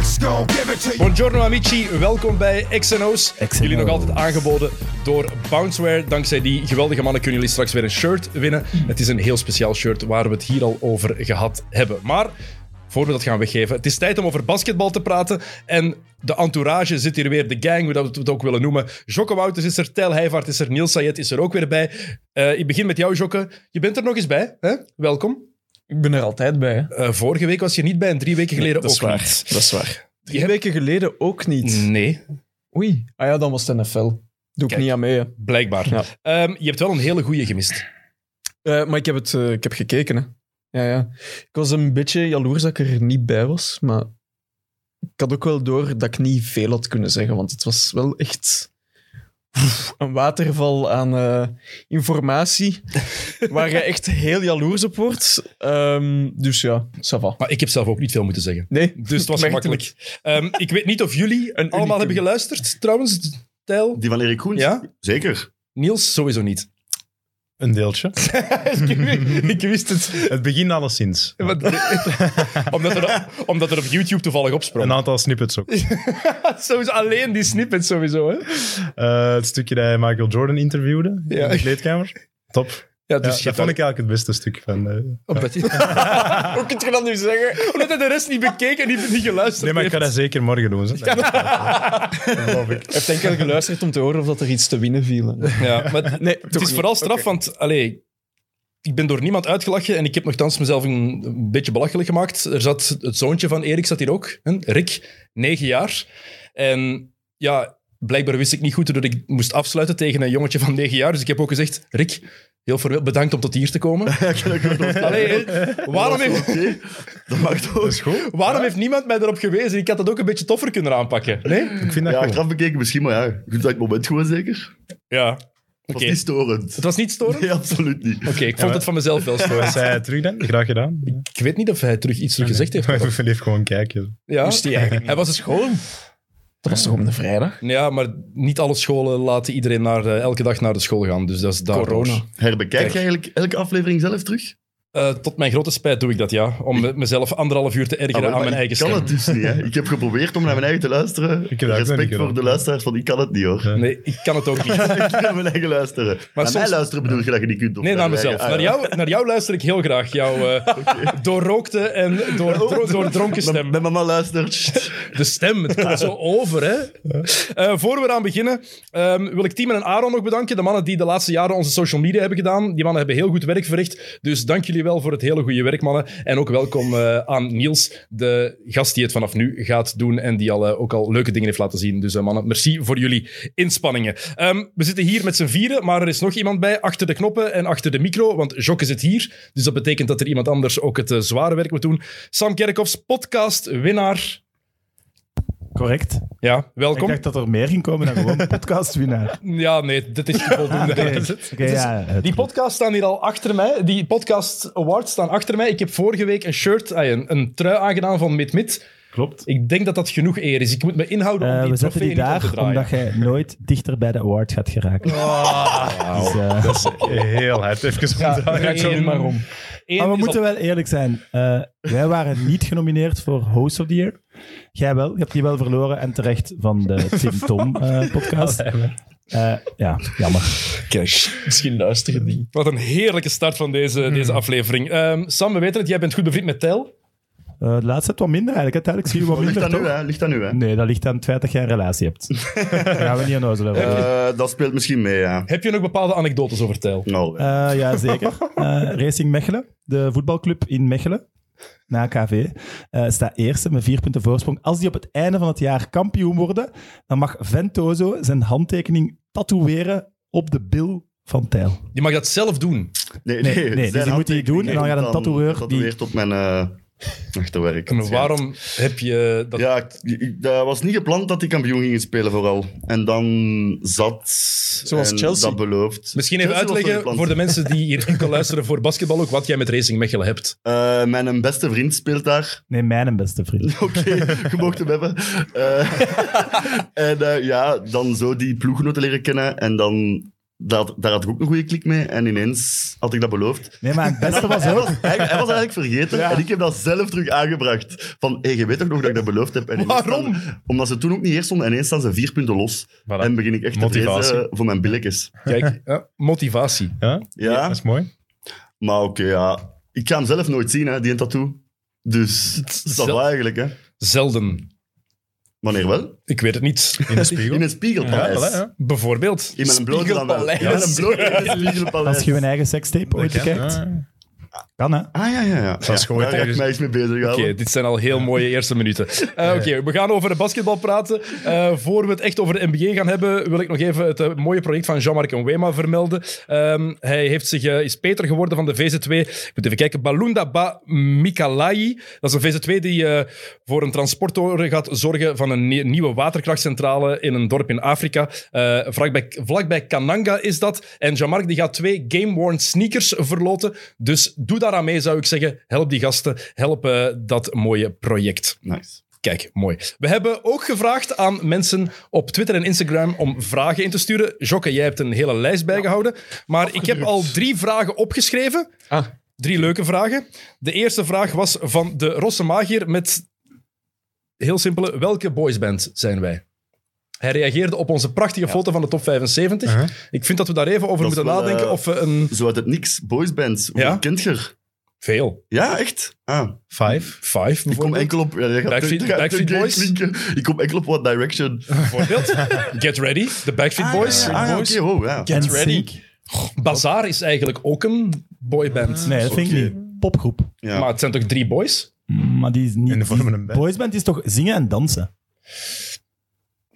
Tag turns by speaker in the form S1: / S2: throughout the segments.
S1: X gon' give it to you.
S2: Buongiorno amici, welkom bij XNO's. Jullie nog altijd aangeboden door Bounceware. Dankzij die geweldige mannen kunnen jullie straks weer een shirt winnen. Het is een heel speciaal shirt waar we het hier al over gehad hebben. Maar voor we dat gaan weggeven, het is tijd om over basketbal te praten. En de entourage zit hier weer, de gang, hoe dat we het ook willen noemen. Jocke Wouters is er, Tel Heijvaart is er, Niels Sayed is er ook weer bij. Eh, ik begin met jou, Jocke. Je bent er nog eens bij, hè? Welkom.
S3: Ik ben er altijd bij. hè.
S2: Eh, vorige week was je niet bij en drie weken geleden
S3: dat
S2: ook
S3: is waar.
S2: niet.
S3: Dat is waar. Drie
S2: Jij-
S3: weken geleden ook niet.
S2: Nee,
S3: Oei. Ah ja, dan was het NFL. Doe
S2: Mm. Kijk.
S3: ik niet aan mee. hè.
S2: blijkbaar.
S3: Ja.
S2: Ehm, je hebt wel een hele goeie gemist.
S3: Eh, maar ik heb, het, eh, ik heb gekeken. Hè. Ja, ja. Ik was een beetje jaloers dat ik er niet bij was. Maar ik had ook wel door dat ik niet veel had kunnen zeggen. Want het was wel echt oef, een waterval aan eh, informatie. waar je echt heel jaloers op wordt. Ehm, dus ja, ça va.
S2: Maar ik heb zelf ook niet veel moeten zeggen.
S3: Nee,
S2: Dus het was
S3: merkte
S2: gemakkelijk. Ehm, ik weet niet of jullie
S3: Een
S2: allemaal
S3: unicum.
S2: hebben geluisterd, trouwens. Tel?
S4: Die van Erik Koens?
S2: Ja?
S4: Zeker.
S2: Niels sowieso niet.
S5: Een deeltje.
S2: ik, wist, ik wist het.
S5: Het begin alleszins.
S2: Want- omdat, er, omdat er op YouTube toevallig
S5: Een
S2: opsprong.
S5: aantal snippets ook.
S2: sowieso, alleen die snippet sowieso. Hè?
S5: Eh, het stukje dat hij Michael Jordan interviewde
S2: Ja.
S5: in de kleedkamer. Top.
S2: Ja,
S5: Ja,
S2: dus je
S5: dat vond ik eigenlijk het beste stuk van. eh.
S3: Hoe kun je dat nu zeggen?
S2: Omdat hij de rest niet bekeken en niet, niet geluisterd
S5: Nee, maar ik ga dat
S2: heeft.
S5: zeker morgen doen. Zo. Dat geloof ik.
S3: Hij heeft enkel geluisterd om te horen of dat er iets te winnen viel.
S2: Ja, maar
S3: Nee,
S2: Het is vooral straf, want allee, ik ben door niemand uitgelachen en ik heb nogthans mezelf een, een beetje belachelijk gemaakt. Er zat het zoontje van Erik zat hier ook, hè? Rick, negen jaar. En ja, blijkbaar wist ik niet goed dat ik moest afsluiten tegen een jongetje van negen jaar. Dus ik heb ook gezegd, Rick, heel veel bedankt om tot hier te komen. Allee, hè, waarom, heeft,
S4: Oké, dat mag
S5: Dat
S4: toch.
S5: is goed.
S2: waarom heeft niemand mij erop gewezen? Ik had dat ook een beetje toffer kunnen aanpakken. Nee?
S5: Ik vind dat
S4: Ja,
S5: goed.
S4: achteraf bekeken misschien, maar ja. Je kunt dat moment gewoon zeker.
S2: Ja.
S4: Het was
S2: Oké.
S4: niet storend.
S2: Het was niet storend? Oké,
S4: Nee, absoluut niet.
S2: ik vond het van mezelf wel storend.
S5: Wat zei hij terug dan? Graag gedaan.
S2: Ik weet niet of hij terug iets terug gezegd heeft.
S5: We even gewoon kijken.
S2: Ja.
S3: Moest hij eigenlijk
S2: Hij was dus gewoon.
S3: Dat was toch om de vrijdag?
S2: Ja, maar niet alle scholen laten iedereen naar, eh, elke dag naar de school gaan. Dus dat is daar.
S3: Corona.
S4: Herbekijk je eigenlijk elke aflevering zelf terug?
S2: Eh, tot mijn grote spijt doe ik dat, ja. Om me- mezelf anderhalf uur te ergeren
S4: Ah, maar
S2: aan mijn
S4: ik
S2: eigen
S4: kan
S2: stem.
S4: het dus niet. Hè. Ik heb geprobeerd om naar mijn eigen te luisteren.
S5: Ik heb dat ook nog niet
S4: Respect
S5: gedaan.
S4: voor de luisteraars, want ik kan het niet hoor.
S5: Ja.
S2: Nee, ik kan het ook niet.
S4: ik kan naar mijn eigen luisteren. Maar naar
S2: soms-
S4: mij luisteren bedoel je dat je niet kunt. of
S2: Nee, naar
S4: je eigen-
S2: mezelf.
S4: Ah,
S2: Naar
S4: ja.
S2: jou, naar jou luister ik heel graag. Jouw eh doorrookte en
S4: Oh.
S2: door, door, doordronken stem.
S4: Mijn, mijn mama luistert. Sst.
S2: De stem, het komt zo over, hè. Eh, voor we eraan beginnen, ehm, wil ik Tim en Aaron nog bedanken. De mannen die de laatste jaren onze social media hebben gedaan. Die mannen hebben heel goed werk verricht. Dus dank jullie wel voor het hele goede werk, mannen. En ook welkom eh, aan Niels, de gast die het vanaf nu gaat doen. En die al, eh, ook al leuke dingen heeft laten zien. Dus eh, mannen, merci voor jullie inspanningen. Ehm, we zitten hier met z'n vieren, maar er is nog iemand bij. Achter de knoppen en achter de micro, want Jokke zit hier. Dus dat betekent dat er iemand anders ook het eh, zware werk moet doen. Sam Kerkhoffs, podcast, winnaar.
S6: Correct.
S2: Ja, welkom.
S6: Ik dacht dat er meer ging komen dan gewoon podcastwinnaar.
S2: Ja, nee, dit is voldoende.
S6: Oké, ja, het-
S2: Die podcast staan hier al achter mij. Die podcast awards staan achter mij. Ik heb vorige week een shirt, ah, een, een trui aangedaan van Mid Mid.
S6: klopt.
S2: Ik denk dat dat genoeg eer is. Ik moet me inhouden om
S6: Eh,
S2: die
S6: we zetten
S2: trofee
S6: die
S2: niet om te
S6: daar
S2: draaien.
S6: omdat jij nooit dichter bij de award gaat geraken. Dus, eh,
S5: Heel hard. Even
S2: Ja,
S5: omdraaien.
S2: één-
S3: maar om.
S2: één
S6: maar Ah, we
S2: is
S6: moeten
S2: al-
S6: wel eerlijk zijn. Eh, wij waren niet genomineerd voor Host of the Year. Jij wel. Je hebt die wel verloren en terecht van de Tim Tom eh, podcast. Eh, ja, jammer.
S3: Misschien luisteren die.
S2: Wat een heerlijke start van deze,
S6: Hmm.
S2: deze aflevering. Ehm, Sam, we weten het. Jij bent goed bevriend met Tel.
S6: Eh, de laatste het wat minder eigenlijk. Uiteindelijk zie je wat
S4: Ligt
S6: minder,
S4: aan nu,
S6: toch?
S4: hè? Ligt aan nu, hè?
S6: Nee, dat ligt aan het feit dat jij een relatie hebt. Daar gaan we niet aan ozelen.
S4: Eh, dat speelt misschien mee, ja.
S2: Heb je nog bepaalde anekdotes over Tel?
S4: Nou,
S6: Eh, ja, zeker. Eh, Racing Mechelen, de voetbalclub in Mechelen, na KV, eh, staat eerste met vier punten voorsprong. Als die op het einde van het jaar kampioen worden, dan mag Ventoso zijn handtekening tatoeëren op de bil van Tijl.
S2: Je mag dat zelf doen.
S4: nee,
S6: nee, dus die moet die doen en dan gaat een tatoeëur die-
S4: weer tot mijn... eh, Achterwerk.
S2: Maar waarom heb je dat...
S4: Ja, ik- ik- dat was niet gepland dat die kampioen gingen spelen vooral. En dan zat...
S3: Zoals
S4: en
S3: Chelsea.
S4: Dat beloofd.
S2: Misschien even
S4: Chelsea was wel
S2: uitleggen
S4: gepland.
S2: voor de mensen die hier enkel luisteren voor basketbal ook, wat jij met Racing Mechelen hebt.
S4: Eh, mijn beste vriend speelt daar.
S6: Nee, mijn beste vriend.
S4: Oké, je mocht hem hebben. Eh, en eh, ja, dan zo die ploeggenoten leren kennen. En dan, dat, daar had ik ook een goede klik mee. En ineens had ik dat beloofd.
S6: Nee, maar het beste was
S4: Hij was,
S6: ook...
S4: hij, hij was eigenlijk vergeten. En ik heb dat zelf terug aangebracht. Van, hey, je weet toch nog dat ik dat beloofd heb? En ineens
S2: Waarom?
S4: staan- omdat ze toen ook niet eerst stonden. En ineens staan ze vier punten los. En begin ik echt
S5: Motivatie.
S4: te vrezen voor mijn billetjes.
S2: Kijk, ja, motivatie.
S5: Ja?
S4: Ja,
S5: dat is mooi.
S4: maar oké, ja. Ik ga hem zelf nooit zien, hè, die een tattoo. Dus dat
S2: Zel-
S4: was eigenlijk, hè.
S2: Zelden.
S4: Wanneer wel?
S2: Ik weet het niet.
S5: In de spiegel.
S4: In het spiegelpaleis.
S5: voilà, ja.
S2: Bijvoorbeeld.
S4: In mijn blote dan wel.
S3: Spiegelpaleis.
S4: Ja, in een blote in het spiegelpaleis.
S6: Als je een eigen sekstape ooit
S5: Dat kan,
S6: bekijkt,
S5: ja.
S6: kan hè.
S4: Ah, ja, ja, ja.
S5: is
S4: Ja,
S5: gewoon
S4: daar ga ik
S5: tegen-
S4: mij iets mee bezig
S2: Oké, dit zijn al heel mooie eerste minuten. Eh, Oké, we gaan over de basketbal praten. Eh, voor we het echt over de NBA gaan hebben, wil ik nog even het eh, mooie project van Jean-Marc Onwema vermelden. Ehm, hij heeft zich, eh, is Peter geworden van de VZ2. Ik moet even kijken. Balunda Ba Mikalai. Dat is een VZ2 die eh, voor een transporttoren gaat zorgen van een nie- nieuwe waterkrachtcentrale in een dorp in Afrika. Eh, vlakbij, vlakbij Kananga is dat. En Jean-Marc die gaat twee game-worn sneakers verloten. Dus doe daaraan mee, zou ik zeggen. Help die gasten. Help eh, dat mooie project.
S4: Nice.
S2: Kijk, mooi. We hebben ook gevraagd aan mensen op Twitter en Instagram om vragen in te sturen. Jokke, jij hebt een hele lijst bijgehouden. Maar ik heb al drie vragen opgeschreven.
S3: Ah.
S2: Drie leuke vragen. De eerste vraag was van de Rosse Magier met heel simpele: welke boysband zijn wij? Hij reageerde op onze prachtige foto van de top 75.
S5: Uh-huh.
S2: Ik vind dat we daar even over
S4: Dat is
S2: moeten
S4: wel,
S2: nadenken
S4: eh,
S2: of we een...
S4: Zo uit het niks, boysbands. Hoe
S2: Ja?
S4: kent je er?
S2: Veel.
S4: Ja, echt? Ah,
S5: Five.
S2: Vijf
S4: ik kom
S2: bijvoorbeeld.
S4: enkel op... Ja, dat gaat
S2: Backstreet-
S4: dat gaat
S2: Backstreet
S4: gay
S2: Boys?
S4: klinken. Ik kom enkel op What Direction.
S2: Bijvoorbeeld. Get Ready, de Backstreet Boys.
S4: Ah, ja, ja, oké, wow, ja.
S6: En
S2: ready.
S6: Sync?
S2: Bazaar is eigenlijk ook een boyband.
S3: Ah.
S6: Nee, dat vind ik niet. Popgroep.
S4: Ja.
S2: Maar het zijn toch drie boys?
S6: Maar die is niet...
S5: En die vormen een band.
S6: Boysband is toch zingen en dansen?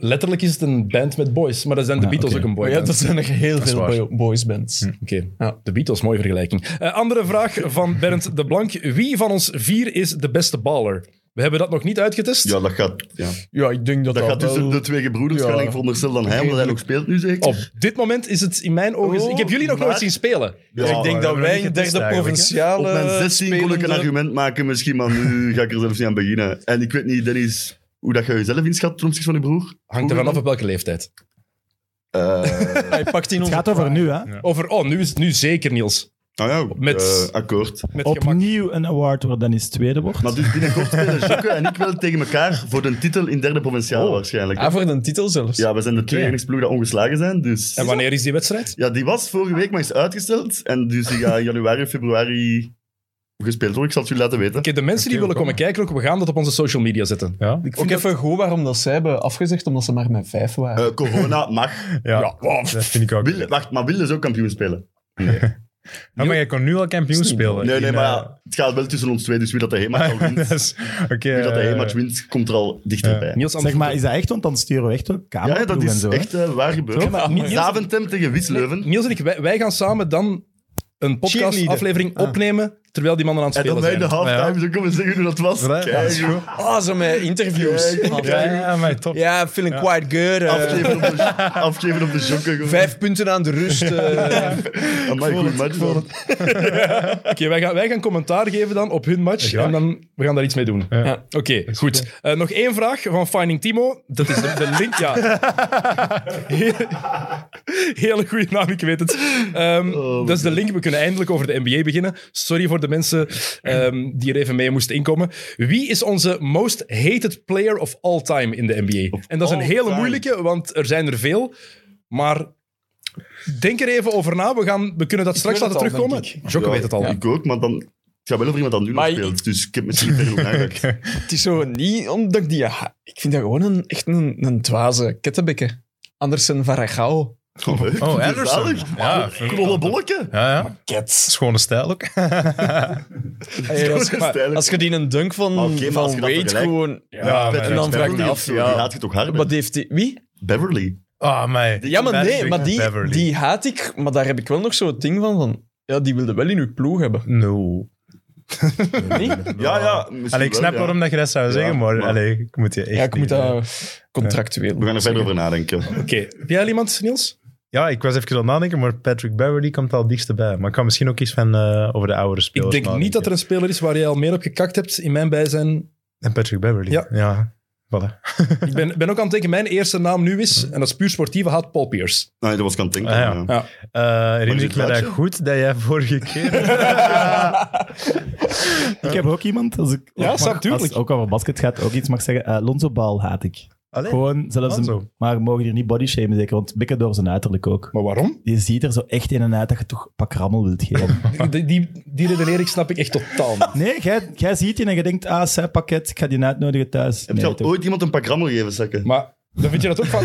S2: Letterlijk is het een band met boys, maar dan zijn de
S6: Ja,
S2: Beatles
S6: oké.
S2: ook een
S3: Maar ja,
S2: boyband.
S3: dat zijn er heel
S2: is
S3: veel
S2: waar.
S3: boy- boysbands.
S2: Oké,
S3: Ja.
S2: de Beatles, mooie vergelijking. Eh, andere vraag van Bernd de Blank. Wie van ons vier is de beste baller? We hebben dat nog niet uitgetest.
S4: Ja, dat gaat... Ja.
S3: Ja, ik denk dat
S4: Dat
S3: dat,
S4: gaat tussen
S3: wel...
S4: de twee gebroeders,
S3: Ja.
S4: kan ik veronderstel dan hij, omdat hij nog speelt nu zeker.
S2: Op dit moment is het in mijn ogen...
S4: Oh,
S2: ik heb jullie nog
S4: maar-
S2: nooit zien spelen.
S4: Ja,
S3: Dus ik denk
S5: we
S3: dat
S5: hebben
S3: wij
S5: nog
S3: een
S5: niet
S3: derde
S5: getest eigenlijk, hè?
S3: provinciale...
S4: Op mijn 16 kon ik een
S3: spelende-
S4: argument maken misschien, maar nu ga ik er zelfs niet aan beginnen. En ik weet niet, Dennis, hoe dat jij jezelf inschat ten opzichte van je broer?
S2: Hangt er vanaf op welke leeftijd.
S4: Eh,
S3: Hij pakt in
S6: Het
S3: onze
S6: gaat over nu, hè.
S2: Over... Oh, nu is het nu zeker, Niels.
S4: nou ja,
S2: Met-
S4: eh, akkoord.
S2: Met gemak.
S6: Opnieuw een award waar Dennis tweede wordt.
S4: Maar dus binnenkort spelen Jokke en ik wel tegen elkaar voor de titel in derde provinciaal waarschijnlijk.
S3: Ah, voor een titel zelfs.
S4: Ja, we zijn de twee enigste ploegen die ongeslagen zijn, dus...
S2: En wanneer is die wedstrijd?
S4: Ja, die was vorige week maar is uitgesteld. En dus die gaat in januari, februari gespeeld worden. Ik zal het jullie laten weten.
S2: Oké, de mensen die
S5: Oké,
S2: willen komen kijken, ook, we gaan dat op onze social media zetten.
S5: Ja.
S3: Ik vind ook even goed waarom dat zij hebben afgezegd, omdat ze maar met vijf waren.
S4: Eh, corona mag.
S5: Ja. dat vind ik ook.
S4: Wil, wacht, maar willen ze ook kampioen spelen?
S5: Ja, maar je kon nu al kampioen spelen.
S4: Nee, nee,
S5: In,
S4: maar
S5: eh,
S4: ja, het gaat wel tussen ons twee. Dus wie dat de heenmatch al wint,
S5: dat is- Oké.
S4: wie dat de
S5: eh,
S4: heenmatch wint komt er al dichterbij. Ja,
S2: Niels, aan de
S6: Zeg maar,
S2: voeten.
S6: is dat echt? Want dan sturen we echt wel
S4: ja,
S6: camera
S4: dat
S6: en
S4: is
S6: zo. hè.
S4: echt eh, waar gebeurd.
S2: maar niet-
S4: Zaventem tegen Wisleuven.
S2: Niels en ik, wij, wij gaan samen dan een podcast-aflevering opnemen terwijl die mannen aan het
S4: En dan
S2: spelen
S4: wij
S2: zijn.
S4: de halftime zo komen zeggen hoe dat was.
S5: voilà, ja, dat
S4: Kijk,
S5: is goed.
S3: Ah, zo met interviews.
S4: Ja,
S3: Ja,
S5: Ja, ja, maar top.
S3: feeling quite good. eh,
S4: afgeven op de, afgeven op de jokken. gewoon.
S3: vijf punten aan de rust. eh.
S4: Amai, goed match, man.
S2: Oké, wij, gaan, wij gaan commentaar geven dan op hun match
S5: Graag.
S2: en dan, we gaan daar iets mee doen.
S5: Ja.
S2: Oké, goed. Eh, nog één vraag van Finding Timo. Dat is de, de link, ja. Hele- Hele goede naam, ik weet het. Ehm, dat is de link. We kunnen eindelijk over de NBA beginnen. Sorry voor de mensen ehm, die er even mee moesten inkomen. Wie is onze most hated player of all time in de NBA? en dat is een
S4: all
S2: hele
S4: time.
S2: moeilijke, want er zijn er veel. Maar denk er even over na. We, gaan, we kunnen dat straks
S3: weet
S2: laten
S3: het al,
S2: terugkomen.
S3: denk
S2: Jokke
S4: Ja,
S2: weet het al.
S4: Ik ook, maar dan... Ik ga wel over iemand dat nu nog
S3: Maar ik-
S4: speelt. Dus ik heb misschien verder ook aangeraakt.
S3: het is zo niet omdat ik die... ja, ik vind dat gewoon een, echt een, een dwaze kettenbekken. Andersen Varagao.
S4: Oh, leuk. Dat is
S5: Anderson.
S4: zalig.
S5: Ja,
S4: Ah, Krolle bolletje.
S5: Ja, ja. Schone stijl ook. Ah,
S3: Hey, als,
S4: Maar-
S3: als je die een dunk van,
S4: Maar oké, maar als
S3: van
S4: je dat
S3: Wade
S4: vergelijkt-
S3: gewoon... Ja,
S5: maar
S3: en dan vraag ik me
S4: Beverly
S3: af...
S4: of zo, Die
S3: Ja,
S4: haat je toch hard?
S3: wat heeft die... Wie?
S4: Beverly.
S5: Ah, mij.
S3: Ja, maar nee,
S5: Patrick
S3: maar die,
S5: Beverly.
S3: die haat ik. Maar daar heb ik wel nog zo'n ding van, van... Ja, die wilde wel in uw ploeg hebben.
S5: No.
S4: Ja, ja. misschien
S5: Allee, ik
S4: wel,
S5: snap
S4: ja.
S5: waarom dat je dat zou zeggen, maar,
S4: maar-
S5: allee, ik moet je echt
S3: Ja, ik moet
S5: niet, eh.
S3: dat contractueel.
S4: We gaan er verder over nadenken.
S2: Oké, heb jij al iemand, Niels?
S5: Ja, ik was even aan het nadenken, maar Patrick Beverly komt al het dichtst bij. Maar ik kan misschien ook iets van eh, over de oudere
S2: Ik
S5: spelers
S2: denk niet dat er een speler is waar jij al meer op gekakt hebt in mijn bijzijn.
S5: En Patrick Beverly.
S2: Ja.
S5: Ja. Voilà.
S2: Ik ben, ben ook aan het denken, mijn eerste naam nu is, en dat is puur sportieve, haat Paul Pierce.
S4: Nee, dat was ik aan het denken.
S5: Ah, ja.
S4: ja.
S5: Eh herinner
S4: dit
S5: ik me dat
S4: plaatje?
S5: goed dat jij vorige keer...
S6: Ik heb ook iemand, als ik
S2: Ja,
S6: ook mag-
S2: snap, tuurlijk.
S6: als het ook over basket gaat, ook iets mag zeggen. Eh, Lonzo Ball haat ik.
S5: Allee,
S6: Gewoon, zelfs een-
S5: Lonzo.
S6: maar we mogen hier niet body shamen zeker, want bikken door zijn uiterlijk ook.
S2: Maar waarom?
S6: Je ziet er zo echt in en uit dat je toch een pak rammel wilt geven.
S2: Die, die, die redenering snap ik echt totaal niet.
S6: Nee, jij, jij ziet die en je denkt, ah, zij pakket, ik ga die uitnodigen thuis.
S4: Heb
S6: Nee,
S4: je al
S6: toch.
S4: ooit iemand een pak rammel gegeven, Sakke?
S2: Maar dan vind je dat ook van,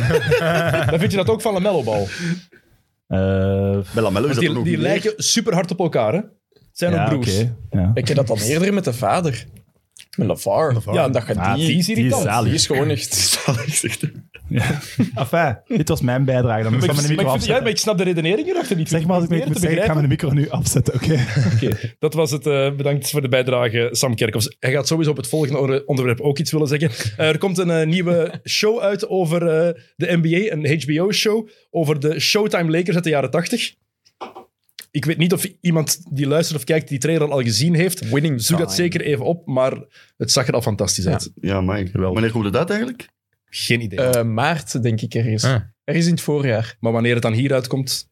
S2: dan vind je dat ook van Lamello-bal.
S6: Eh,
S4: Bij Lamello is dat
S2: Die,
S4: nog
S2: die
S4: meer.
S2: lijken super hard op elkaar, hè? Het zijn
S6: ja,
S2: ook broers.
S6: oké, ja.
S3: Ik heb dat dan eerder met de vader. Met LaVar. Ja, dat gaat
S6: Ah,
S3: die,
S2: die is
S3: die,
S2: irritant.
S6: Die is zalig.
S3: is gewoon echt...
S4: Zalig, zegt hij.
S6: Enfin, dit was mijn bijdrage. Dan moet ik
S2: Maar
S6: van
S2: ik, maar
S6: mijn
S2: ik vind- ja,
S6: micro afzetten.
S2: maar ik snap de redenering erachter niet.
S6: Zeg maar als ik
S2: Probeer
S6: niet moet
S2: te
S6: zeggen, ik ga
S2: begrijpen.
S6: mijn micro nu afzetten, oké?
S2: Oké, dat was het. eh, bedankt voor de bijdrage, Sam Kerkhoffs. Hij gaat sowieso op het volgende onder- onderwerp ook iets willen zeggen. Eh, er komt een eh, nieuwe show uit over eh, de NBA, een HBO-show, over de Showtime Lakers uit de jaren 80. Ik weet niet of iemand die luistert of kijkt die trailer al gezien heeft.
S3: Winning
S2: Zoek dat
S3: time.
S2: zeker even op, maar het zag er al fantastisch uit.
S4: Ja, man. Wanneer komt het uit eigenlijk?
S2: Geen idee.
S3: Eh, maart, denk ik, ergens.
S5: Ah.
S3: Ergens in het voorjaar.
S2: maar wanneer het dan hier uitkomt,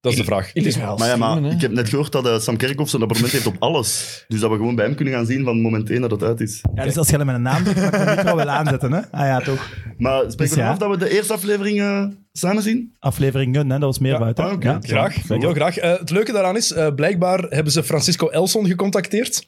S2: dat is de vraag.
S3: Het is wel
S4: Maar ja, maar
S3: streamen, hè.
S4: ik heb net gehoord dat eh, Sam Kerkhoff zijn abonnement heeft op alles. Dus dat we gewoon bij hem kunnen gaan zien van moment één dat het uit is.
S6: Ja, dus als jij met een naam doet, mag ik mijn micro wel aanzetten, hè? Ah ja, toch.
S4: Maar spreken
S6: Dus
S4: we
S6: ja.
S4: af dat we de eerste aflevering eh, samen zien?
S6: Afleveringen, hè? Dat was meer buiten.
S4: ah, oké.
S6: Ja.
S2: Graag, heel graag. Eh, het leuke daaraan is, eh, blijkbaar hebben ze Francisco Elson gecontacteerd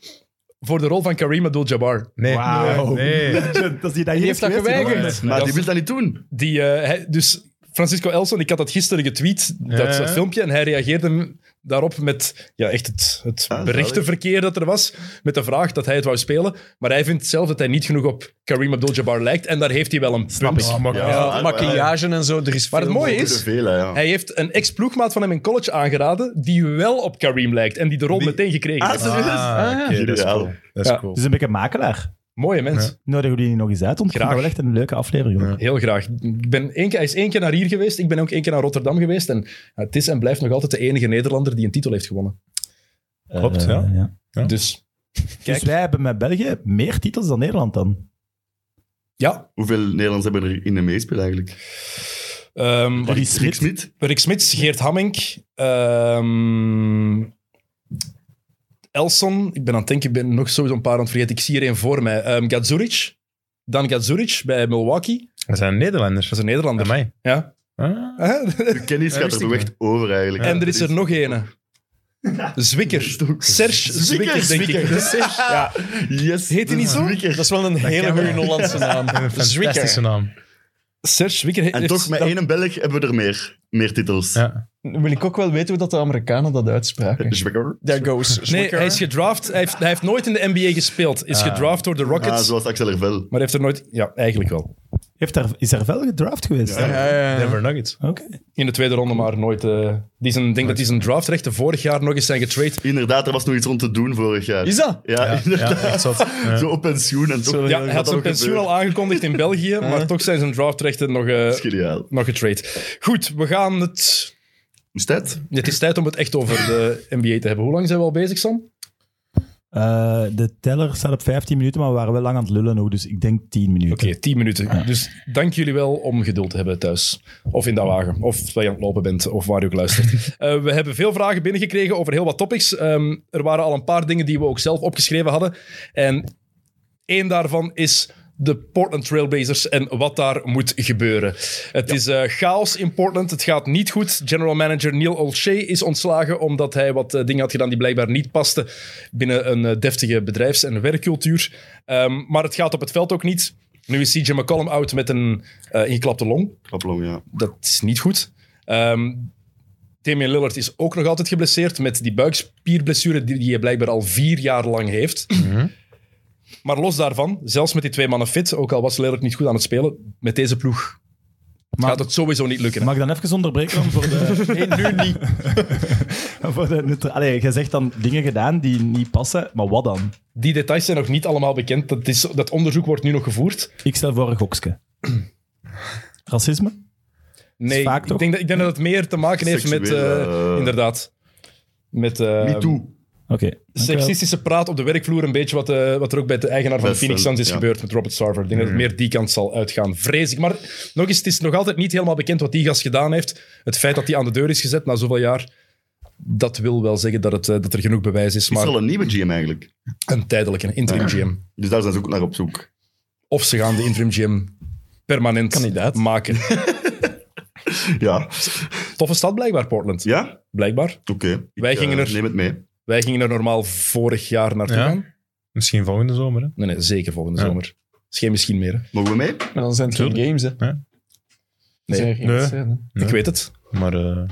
S2: voor de rol van Kareem Abdul-Jabbar.
S5: Nee.
S6: Wauw.
S5: Nee. Ah, nee.
S6: Dat is die dat
S3: Die
S6: hier
S3: heeft dat
S6: geweest,
S3: geweigerd.
S6: jongen.
S4: Maar
S2: Dat
S4: die
S2: is-
S4: wil dat niet doen.
S2: Die, eh, hij- dus Francisco Elson, ik had dat gisteren getweet, dat,
S5: Ja.
S2: dat filmpje, en hij reageerde daarop met ja, echt het, het
S4: Ah,
S2: berichtenverkeer dat er was, met de vraag dat hij het wou spelen. Maar hij vindt zelf dat hij niet genoeg op Kareem Abdul-Jabbar lijkt, en daar heeft hij wel een punt.
S5: maar-
S4: Ja,
S3: Ja,
S4: maar-
S3: maquillage en zo, er is
S2: Maar het
S3: veel
S2: mooie
S3: mogelijk.
S2: is,
S4: Te veel, hè, ja.
S2: Oh. hij heeft een ex-ploegmaat van hem in college aangeraden, die wel op Kareem lijkt, en die de rol meteen gekregen
S4: Ah,
S2: heeft.
S4: serieus?
S5: Ah, oké, dat is
S4: Geniaal.
S5: cool. Dat is
S2: Ja.
S5: cool.
S6: Het is Dus een beetje een makelaar.
S2: Mooie mens.
S6: Nodigen jullie die nog eens uit, want ik
S2: Graag.
S6: vind dat wel echt een leuke aflevering. jongen.
S2: Heel graag. Ik ben één keer, hij is één keer naar hier geweest. Ik ben ook één keer naar Rotterdam geweest. En ja, het is en blijft nog altijd de enige Nederlander die een titel heeft gewonnen.
S5: Klopt,
S6: Eh,
S5: ja. Ja.
S2: Dus
S6: Dus wij hebben met België meer titels dan Nederland dan.
S2: ja,
S4: Hoeveel Nederlands hebben er in de meespel eigenlijk?
S2: ehm,
S6: Rick
S4: Rick
S6: Smit.
S4: Smit?
S2: Rick Smits, Geert Hammink, ehm, Elson. Ik ben aan het denken, ik ben nog sowieso een paar aan het vergeten. Ik zie er één voor mij. Ehm Gadzuric. Dan Gadzuric bij Milwaukee.
S5: Dat zijn Nederlanders.
S2: Dat is een Nederlander.
S5: mij.
S2: Ja.
S5: Ah.
S4: De kennis gaat er
S5: wist ik
S4: toch echt over eigenlijk.
S2: en er is er nog ene. Zwikker. Serge Zwikker, denk ik.
S4: Ja. Yes.
S2: Heet hij
S4: de
S2: niet zo?
S4: Zwikker.
S3: Dat is wel een hele
S5: kan
S3: goede
S5: wel.
S3: Hollandse naam.
S5: Ah, Een fantastische
S3: Zwicker.
S5: naam.
S2: Serge Zwikker.
S4: En toch, met één Belg hebben we er meer, meer titels.
S5: Ja.
S3: Ah. Wil ik ook wel weten hoe dat de Amerikanen dat uitspraken.
S4: Zwikker.
S3: There goes
S2: Nee,
S3: Zwicker.
S2: hij is gedraft. Hij heeft, hij heeft nooit in de NBA gespeeld. Is gedraft door de Rockets.
S4: Ah, zoals Axel Ervel.
S2: Maar heeft er nooit... Ja, eigenlijk wel.
S6: Heeft daar, is er wel gedraft geweest?
S3: Ja, ja, ja.
S5: Denver Nuggets.
S6: Oké.
S2: In de tweede ronde, maar nooit... eh, die zijn, ik denk dat die zijn draftrechten vorig jaar nog eens zijn getrade.
S4: Inderdaad, er was nog iets rond te doen vorig jaar.
S3: Is dat?
S4: Ja,
S5: Ja,
S4: inderdaad.
S5: echt zot. Ja.
S4: Zo op pensioen en toch.
S2: Ja, hij had zijn pensioen al aangekondigd in België, maar toch zijn zijn draftrechten nog, eh,
S4: Geniaal.
S2: nog getrade. Goed, we gaan het...
S4: Is dat?
S2: Het is tijd om het echt over de NBA te hebben. Hoe lang zijn we al bezig, Sam?
S6: Eh, de teller staat op 15 minuten, maar we waren wel lang aan het lullen ook, dus ik denk 10 minuten.
S2: Oké, 10 minuten. Dus dank jullie wel om geduld te hebben thuis. Of in dat wagen. Of waar je aan het lopen bent. Of waar je ook luistert. Eh, we hebben veel vragen binnengekregen over heel wat topics. Ehm, er waren al een paar dingen die we ook zelf opgeschreven hadden. En één daarvan is de Portland Trailblazers en wat daar moet gebeuren. Het is eh, chaos in Portland. Het gaat niet goed. General manager Neil Olshay is ontslagen omdat hij wat eh, dingen had gedaan die blijkbaar niet pasten binnen een eh, deftige bedrijfs- en werkcultuur. Ehm, maar het gaat op het veld ook niet. Nu is CJ McCollum out met een eh, ingeklapte long.
S4: Klaplong, ja.
S2: Dat is niet goed. Ehm Damian Lillard is ook nog altijd geblesseerd met die buikspierblessure die, die hij blijkbaar al vier jaar lang heeft.
S6: Mhm.
S2: Maar los daarvan, zelfs met die twee mannen fit, ook al was Lillard niet goed aan het spelen, met deze ploeg gaat het sowieso niet lukken. hè.
S6: Mag ik dan even onderbreken om voor de...
S3: Nee, nu niet.
S6: Voor voor de neutra- Allee, jij zegt dan dingen gedaan die niet passen, maar wat dan?
S2: Die details zijn nog niet allemaal bekend. Dat, is, dat onderzoek wordt nu nog gevoerd.
S6: Ik stel voor een gokske. Racisme?
S2: Nee,
S6: vaak
S2: ik
S6: toch?
S2: denk, dat, ik denk dat het meer te maken heeft met...
S4: Seksuele,
S2: eh,
S4: eh,
S2: inderdaad. Met... eh,
S4: Me too.
S6: Oké. dankjewel.
S2: Sexistische praat op de werkvloer, een beetje wat, eh, wat er ook bij de eigenaar van de
S4: Best
S2: Phoenix
S4: wel,
S2: Suns is
S4: ja.
S2: gebeurd met Robert Sarver. Ik denk dat het meer die kant zal uitgaan. Vrees ik. Maar nog eens, het is nog altijd niet helemaal bekend wat die gast gedaan heeft. Het feit dat hij aan de deur is gezet na zoveel jaar, dat wil wel zeggen dat, het, eh, dat er genoeg bewijs is.
S4: Is
S2: Maar
S4: er al een nieuwe GM eigenlijk?
S2: een tijdelijke, een interim GM.
S4: Dus daar zijn ze ook naar op zoek.
S2: Of ze gaan de interim GM permanent
S3: Kandidaat.
S2: maken.
S4: Ja.
S2: Toffe stad blijkbaar, Portland.
S4: Ja?
S2: Blijkbaar.
S4: Oké. Ik,
S2: Wij gingen
S4: eh,
S2: er-
S4: Neem het mee.
S2: Wij gingen er normaal vorig jaar naartoe
S5: Ja.
S2: gaan.
S5: Misschien volgende zomer, hè?
S2: Nee, nee, zeker volgende
S5: Ja.
S2: zomer. Is geen misschien meer. hè?
S4: Mogen we mee?
S3: Maar dan zijn het geen games, hè.
S5: Ja.
S2: Nee.
S3: Zijn er geen
S5: Nee.
S3: wedstrijden, hè.
S2: Ik weet het.
S5: Maar eh,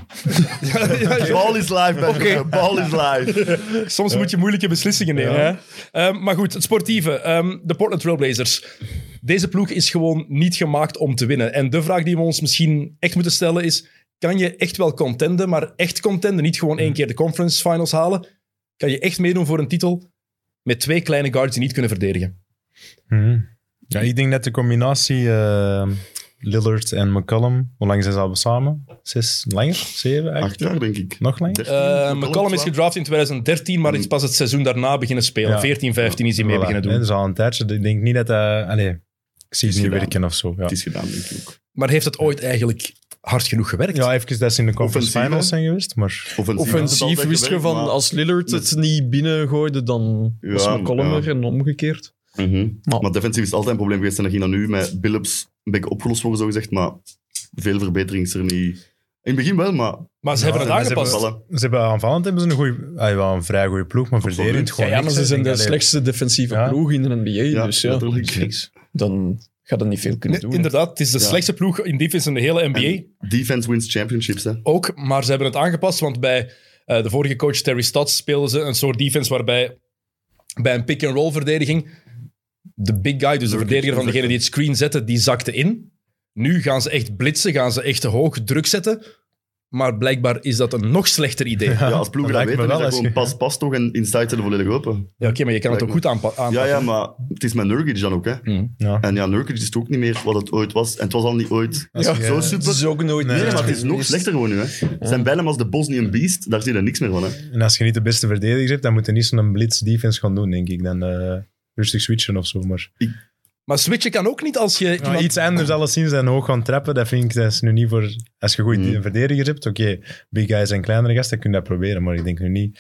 S2: Ja, ja,
S4: Ball is live, Oké. Ball is live.
S2: Soms moet je moeilijke beslissingen nemen. Ehm, maar goed, het sportieve. Ehm, de Portland Trailblazers. Deze ploeg is gewoon niet gemaakt om te winnen. En de vraag die we ons misschien echt moeten stellen is... Kan je echt wel contenden, maar echt contenden? Niet gewoon
S5: Hmm.
S2: één keer de conference finals halen. Kan je echt meedoen voor een titel met twee kleine guards die niet kunnen verdedigen?
S5: mhm. ja, ik denk net de combinatie eh, Lillard en McCollum. Hoe lang zijn ze al samen? Zes, langer? Zeven eigenlijk?
S4: Acht jaar, denk ik.
S5: Nog langer?
S4: Dertien,
S2: Eh McCollum is
S4: twaalf.
S2: gedraft in 2013, maar is pas het seizoen daarna beginnen spelen.
S5: Hmm. Ja.
S2: 14, 15 is hij mee
S5: Voilà,
S2: beginnen
S5: hè,
S2: doen.
S5: Dus al een tijdje. Ik denk niet dat hij... Allee, ik zie het niet
S4: gedaan.
S5: werken of zo. Ja,
S4: Het is gedaan, denk ik ook.
S2: Maar heeft het ooit eigenlijk hard genoeg gewerkt?
S5: ja even dat ze in de conference
S4: Offensief,
S5: finals
S4: hè?
S5: zijn geweest, maar...
S4: Offensief, is
S3: Offensief
S4: altijd
S3: wist je
S4: gewerkt,
S3: van,
S4: maar-
S3: als Lillard het niet binnengooide, dan was
S4: Ja,
S3: McCollum
S4: ja.
S3: er en omgekeerd.
S4: Mhm.
S3: Maar-
S4: Maar defensief is altijd een probleem geweest. En dat ging dan nu met Billups een beetje opgelost worden, zogezegd. Maar veel verbetering is er niet. In het begin wel, maar...
S2: Maar ze
S5: Ja,
S2: hebben het
S5: maar ze
S2: aangepast.
S5: hebben-
S4: Voilà.
S5: Ze hebben aanvallend hebben ze een, goeie, ah, wel een vrij goede ploeg, maar
S4: Absoluut.
S5: verdedigend
S3: Ja,
S5: gewoon
S3: ja, maar
S5: niks,
S3: ze
S5: hè.
S3: zijn
S5: Ik
S3: de
S5: denk,
S3: slechtste defensieve
S5: Ja.
S3: ploeg in de NBA,
S4: Ja,
S3: dus ja,
S4: natuurlijk.
S5: allee, niks.
S3: dan gaat dat niet veel
S2: Nee,
S3: kunnen doen. Dus
S2: inderdaad, het is de
S4: Ja.
S2: slechtste ploeg in defense in de hele NBA.
S4: En defense wins championships, hè.
S2: ook, maar ze hebben het aangepast, want bij eh, de vorige coach Terry Stotts speelden ze een soort defense waarbij bij een pick-and-roll verdediging de big guy, dus de verdediger van degene die het screen zette, die zakte in. Nu gaan ze echt blitsen, gaan ze echt hoog druk zetten, maar blijkbaar is dat een nog slechter idee. Ja,
S4: Ja, als ploegen dat
S5: dat lijkt
S4: weten,
S5: me
S4: is
S5: wel
S4: dat
S5: eens
S4: gewoon
S5: ge-
S4: pas, pas toch en inside er volledig open.
S2: oké, maar je kan het ook goed aanpa- aanpakken.
S4: Ja, ja, maar het is met Nurkic dan ook, hè.
S2: Hmm,
S5: Ja.
S4: En ja, Nurkic is het ook niet meer wat het ooit was. En het was al niet ooit
S5: Als je-
S4: zo
S3: Het
S4: super.
S3: is ook nooit
S5: Nee,
S4: Nee,
S3: meer
S4: maar het is nog
S3: geweest.
S4: slechter gewoon nu, hè. Het Zijn bijna als de Bosnian Beast, daar zie je er niks meer van, hè.
S5: En als je niet de beste verdediger hebt, dan moet je niet zo'n blitz defense gaan doen, denk ik. Dan eh, rustig switchen of zo. Maar
S2: Maar switchen kan ook niet als je...
S5: Ja,
S2: iemand-
S5: iets anders alleszins dan hoog gaan trappen, dat vind ik dat is nu niet voor... Als je goed
S4: Mm.
S5: een verdediger hebt, oké, big guys en kleinere gasten, kun je dat proberen. Maar ik denk nu niet...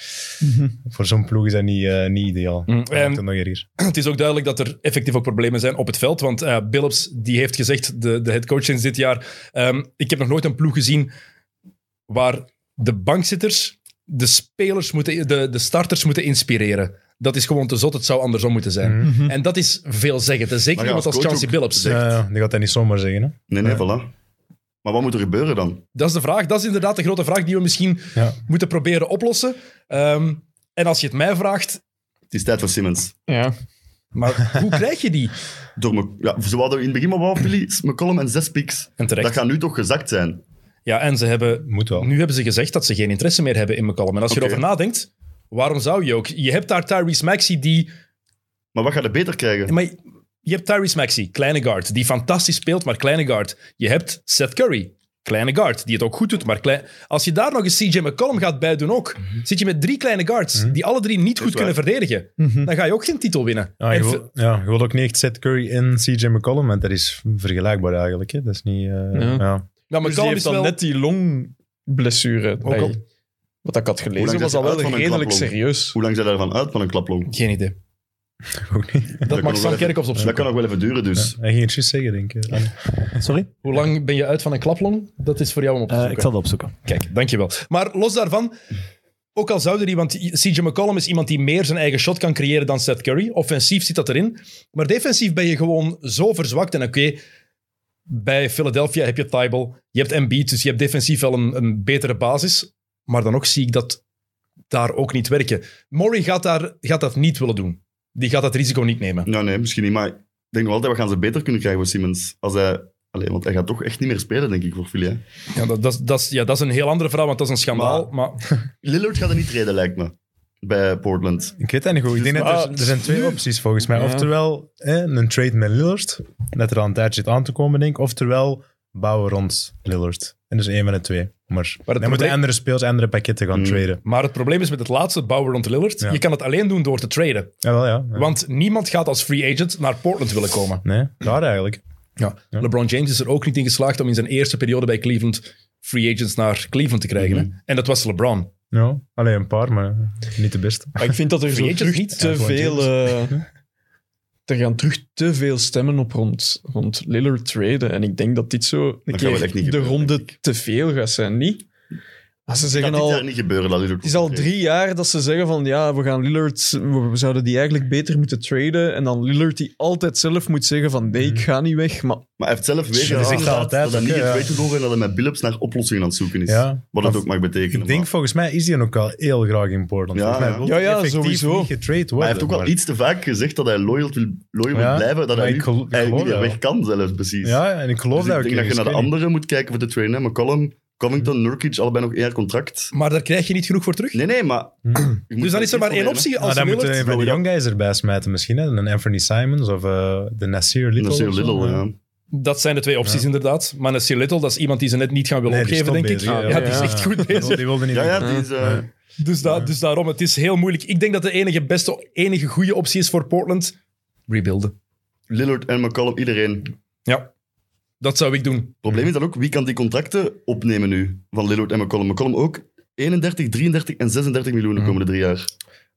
S5: Voor zo'n ploeg is dat niet, eh, niet ideaal.
S2: Mm,
S5: Dat maakt
S2: Mhm. en-
S5: het nog erger.
S2: Het is ook duidelijk dat er effectief ook problemen zijn op het veld. Want eh Billups die heeft gezegd, de, de headcoach sinds dit jaar, ehm, ik heb nog nooit een ploeg gezien waar de bankzitters de spelers moeten, de, de starters moeten inspireren. Dat is gewoon te zot, het zou andersom moeten zijn. En dat is veelzeggend. En Zeker
S4: Maar ja,
S2: iemand als
S4: coach
S2: Chauncey
S4: ook
S2: Billups.
S4: zegt-
S5: Ja, ja, die gaat dat niet zomaar zeggen, hè.
S4: Nee, nee, voilà. Maar wat moet er gebeuren dan?
S2: Dat is de vraag. Dat is inderdaad de grote vraag die we misschien
S5: Ja.
S2: moeten proberen oplossen. Ehm, en als je het mij vraagt,
S4: Het is tijd voor Simmons.
S3: Ja.
S2: maar hoe krijg je die?
S4: Door me, ja, ze hadden in het begin maar wat, Billy, McCollum en zes picks.
S2: En terecht.
S4: Dat gaat nu toch gezakt zijn.
S2: Ja, en ze hebben
S5: Moet wel.
S2: Nu hebben ze gezegd dat ze geen interesse meer hebben in McCollum. En als je
S4: Oké.
S2: erover nadenkt, waarom zou je ook? Je hebt daar Tyrese Maxey die...
S4: Maar wat gaat er beter krijgen?
S2: Maar je hebt Tyrese Maxey, kleine guard, die fantastisch speelt, maar kleine guard. Je hebt Seth Curry, kleine guard, die het ook goed doet, maar klein... Als je daar nog eens CJ McCollum gaat bij doen ook, zit je met drie kleine guards die alle drie niet goed
S4: waar.
S2: kunnen verdedigen. Dan ga je ook geen titel winnen.
S5: Ja, Ah, je,
S2: En nou,
S5: wil, ja, je wil ook niet echt Seth Curry en CJ McCollum, want dat is vergelijkbaar eigenlijk. Hè. Dat is niet... eh,
S3: Ja.
S5: ja.
S2: nou,
S3: Dus die
S2: McCollum
S3: heeft
S2: is
S3: dan
S2: wel...
S3: net die longblessure. bij-
S2: al-
S3: Wat ik had
S4: Hoe
S3: gelezen,
S4: lang
S3: was dat
S4: zet je uit
S3: wel
S4: van een
S3: redelijk
S4: klaplong?
S3: serieus.
S4: Hoe lang zijn daarvan uit van een klaplong?
S2: Geen idee.
S5: Ook niet.
S2: Dat mag
S4: kan nog
S2: Sam
S4: wel even-
S2: Kerkhoffs
S4: Dat kan
S2: opzoeken.
S4: nog wel even duren, dus.
S5: Hij ging het juist zeggen, denk ik. Ja.
S6: Sorry?
S2: Hoe lang ben je uit van een klaplong? Dat is voor jou om op te
S6: Eh,
S2: zoeken.
S6: ik zal het opzoeken.
S2: Kijk, dankjewel. Maar los daarvan, ook al zouden die, want CJ McCollum is iemand die meer zijn eigen shot kan creëren dan Seth Curry. Offensief zit dat erin. Maar defensief ben je gewoon zo verzwakt. En oké, bij Philadelphia heb je Tybal, je hebt Embiid, dus je hebt defensief wel een, een betere basis. Maar dan ook zie ik dat daar ook niet werken. Murray gaat, daar, gaat dat niet willen doen. Die gaat dat risico niet nemen.
S4: Nou, nee, misschien niet. Maar ik denk nog altijd, wat gaan ze beter kunnen krijgen voor Simmons? Als hij Allee, want hij gaat toch echt niet meer spelen, denk ik, voor Villiers.
S7: Ja, dat, dat, is- dat, is- ja, dat is een heel andere verhaal, want dat is een schandaal. Maar,
S4: Lillard gaat er niet treden, lijkt me. Bij Portland.
S5: Ik weet het niet goed. Ik denk dat er,
S7: maar-
S5: er zijn twee opties volgens mij.
S3: Dus Ja.
S5: Oftewel hè, een trade met Lillard, dat er aan een tijdje zit aan te komen, denk ik. Oftewel bouwen rond Lillard. En dus één van de twee. Maar, dan
S7: probleem-
S5: moeten andere speels, andere pakketten
S3: Hmm.
S5: gaan traden.
S7: maar het probleem is met het laatste, bouwen rond Lillard,
S5: Ja.
S7: je kan het alleen doen door te traden.
S5: Jawel, ja. ja.
S7: Want niemand gaat als free agent naar Portland willen komen.
S5: Nee, daar eigenlijk.
S7: Ja. LeBron James is er ook niet in geslaagd om in zijn eerste periode bij Cleveland free agents naar Cleveland te krijgen. hè.
S5: Mhm.
S7: En dat was LeBron.
S5: Ja, alleen een paar, maar niet de beste.
S3: Maar ik vind dat er zo
S7: Vergeet je het
S3: terug
S7: niet,
S3: te
S5: Antoine
S3: veel... eh, er gaan terug te veel stemmen op rond, rond Lillard traden. En ik denk dat dit zo een
S4: gaat wel
S3: keer
S4: echt niet
S3: de
S4: gebeuren,
S3: ronde te veel gaat zijn, niet? Als ze
S4: Dat
S3: zeggen
S4: dit
S3: al...
S4: jaar niet gebeuren, dat Lillard
S3: Het is al
S4: wordt
S3: drie jaar dat ze zeggen van ja, we gaan Lillard, we we zouden die eigenlijk beter moeten traden. En dan Lillard die altijd zelf moet zeggen van nee, ik ga niet weg. Maar
S4: Maar hij heeft zelf weer
S5: Ja,
S4: gezegd
S5: zegt
S4: inderdaad
S5: altijd,
S4: dat hij niet
S5: oké,
S4: in
S5: ja.
S4: twee te door en dat hij met Billups naar oplossingen aan het zoeken is.
S5: Ja.
S4: Wat dat
S5: Of-
S4: ook mag betekenen.
S5: Ik denk,
S4: maar.
S5: volgens mij is hij ook al heel graag in Portland.
S4: Ja,
S5: Volgens mij
S4: ja.
S5: wil
S3: Ja,
S5: hij
S3: ja,
S5: effectief
S3: sowieso.
S5: niet getrade worden.
S4: Maar hij heeft ook al
S5: maar-
S4: iets te vaak gezegd dat hij loyal wil, loyal wil
S5: Ja,
S4: blijven, dat
S5: maar
S4: hij
S5: ik
S4: nu
S5: gel- ik
S4: eigenlijk
S5: geloof
S4: niet meer
S5: dat.
S4: weg kan zelfs, precies.
S5: Ja, en ik geloof
S4: Dus
S5: dat
S4: ik
S5: ook.
S4: denk dat je
S5: ergens,
S4: naar de
S5: ik weet niet.
S4: anderen moet kijken voor de train. Hè. McCollum, Covington, Nurkic, allebei nog één jaar contract.
S7: Maar daar krijg je niet genoeg voor terug.
S4: Nee, nee, maar...
S5: Hmm.
S4: je moet
S7: Dus dan
S4: er
S7: is er maar één
S4: nemen.
S7: optie.
S5: Maar
S7: Als
S5: Ah, Nou, dan
S7: Lillard-
S5: eh, moeten we een van de
S4: Oh,
S5: young guys erbij smijten misschien. Hè? Een Anthony Simons of eh, de Nasir Little.
S4: Nasir
S5: of zo.
S4: Little, ja.
S7: Dat zijn de twee opties, inderdaad. Maar Nasir Little, dat is iemand die ze net niet gaan willen
S5: Nee, die is
S7: opgeven,
S5: top
S7: denk ik.
S5: bezig,
S7: ja,
S5: hè.
S7: die is echt goed bezig.
S5: Die wilde niet
S4: Ja, ja,
S5: weg.
S4: die is... eh,
S5: Ja.
S7: Dus, da- dus daarom, het is heel moeilijk. Ik denk dat de enige beste, enige goede optie is voor Portland, rebuilden.
S4: Lillard en McCollum, iedereen.
S7: Ja, dat zou ik doen.
S4: probleem is dan ook, wie kan die contracten opnemen nu? Van Lillard en McCollum. McCollum ook 31, 33 en 36 miljoen de komende drie jaar.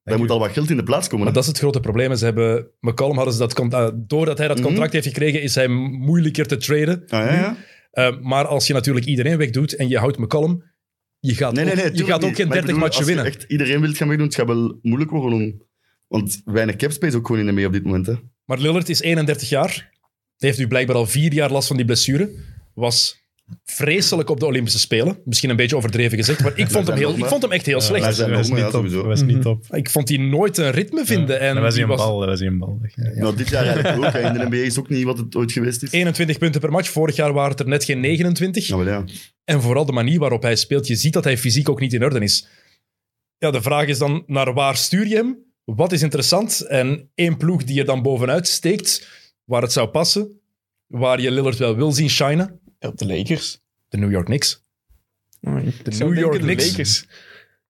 S4: Daar moet al wat geld in de plaats
S7: Hmm.
S4: komen.
S7: Maar
S4: hè.
S7: dat is het grote probleem. Ze hebben, McCallum hadden ze dat, con- eh, doordat hij dat
S4: Mhm.
S7: contract heeft gekregen, is hij moeilijker te traden.
S4: Ah, ja, ja.
S7: Eh, maar als je natuurlijk iedereen wegdoet en je houdt McCallum, je gaat
S4: Nee, nee, nee.
S7: ook, je
S4: tuurlijk
S7: gaat
S4: niet.
S7: ook geen
S4: Maar ik
S7: 30
S4: bedoel,
S7: matchen winnen.
S4: Als je echt iedereen wilt gaan meedoen, het gaat wel moeilijk worden om... Want weinig capspace ook gewoon in de mee op dit moment. Hè.
S7: Maar Lillard is 31 jaar. Hij heeft nu blijkbaar al vier jaar last van die blessure. Was vreselijk op de Olympische Spelen. Misschien een beetje overdreven gezegd, maar ik, vond, hem
S4: zijn
S7: heel,
S4: nog,
S7: ik
S4: hè?
S7: vond hem echt heel
S5: Dat
S4: Daar
S7: slecht.
S5: was-
S4: zijn
S5: dat was
S4: nog, maar
S5: niet
S4: ja,
S5: top.
S4: sowieso.
S5: Dat was niet top.
S7: Ik vond hij nooit een ritme vinden. En
S5: Dat was
S7: die
S5: hij een
S7: was
S5: bal. Dat was hij een bal. Ja.
S4: Nou, dit jaar eigenlijk ook. hè. In de NBA is ook niet wat het ooit geweest is.
S7: 21 punten per match. Vorig jaar waren het er net geen 29.
S4: Nou, wel ja.
S7: En vooral de manier waarop hij speelt. Je ziet dat hij fysiek ook niet in orde is. Ja, de vraag is dan, naar waar stuur je hem? Wat is interessant? En één ploeg die er dan bovenuit steekt, waar het zou passen, waar je Lillard wel wil zien shinen,
S3: ja, de Lakers.
S7: de New York Knicks.
S3: De
S7: New York Knicks.
S3: Lakers.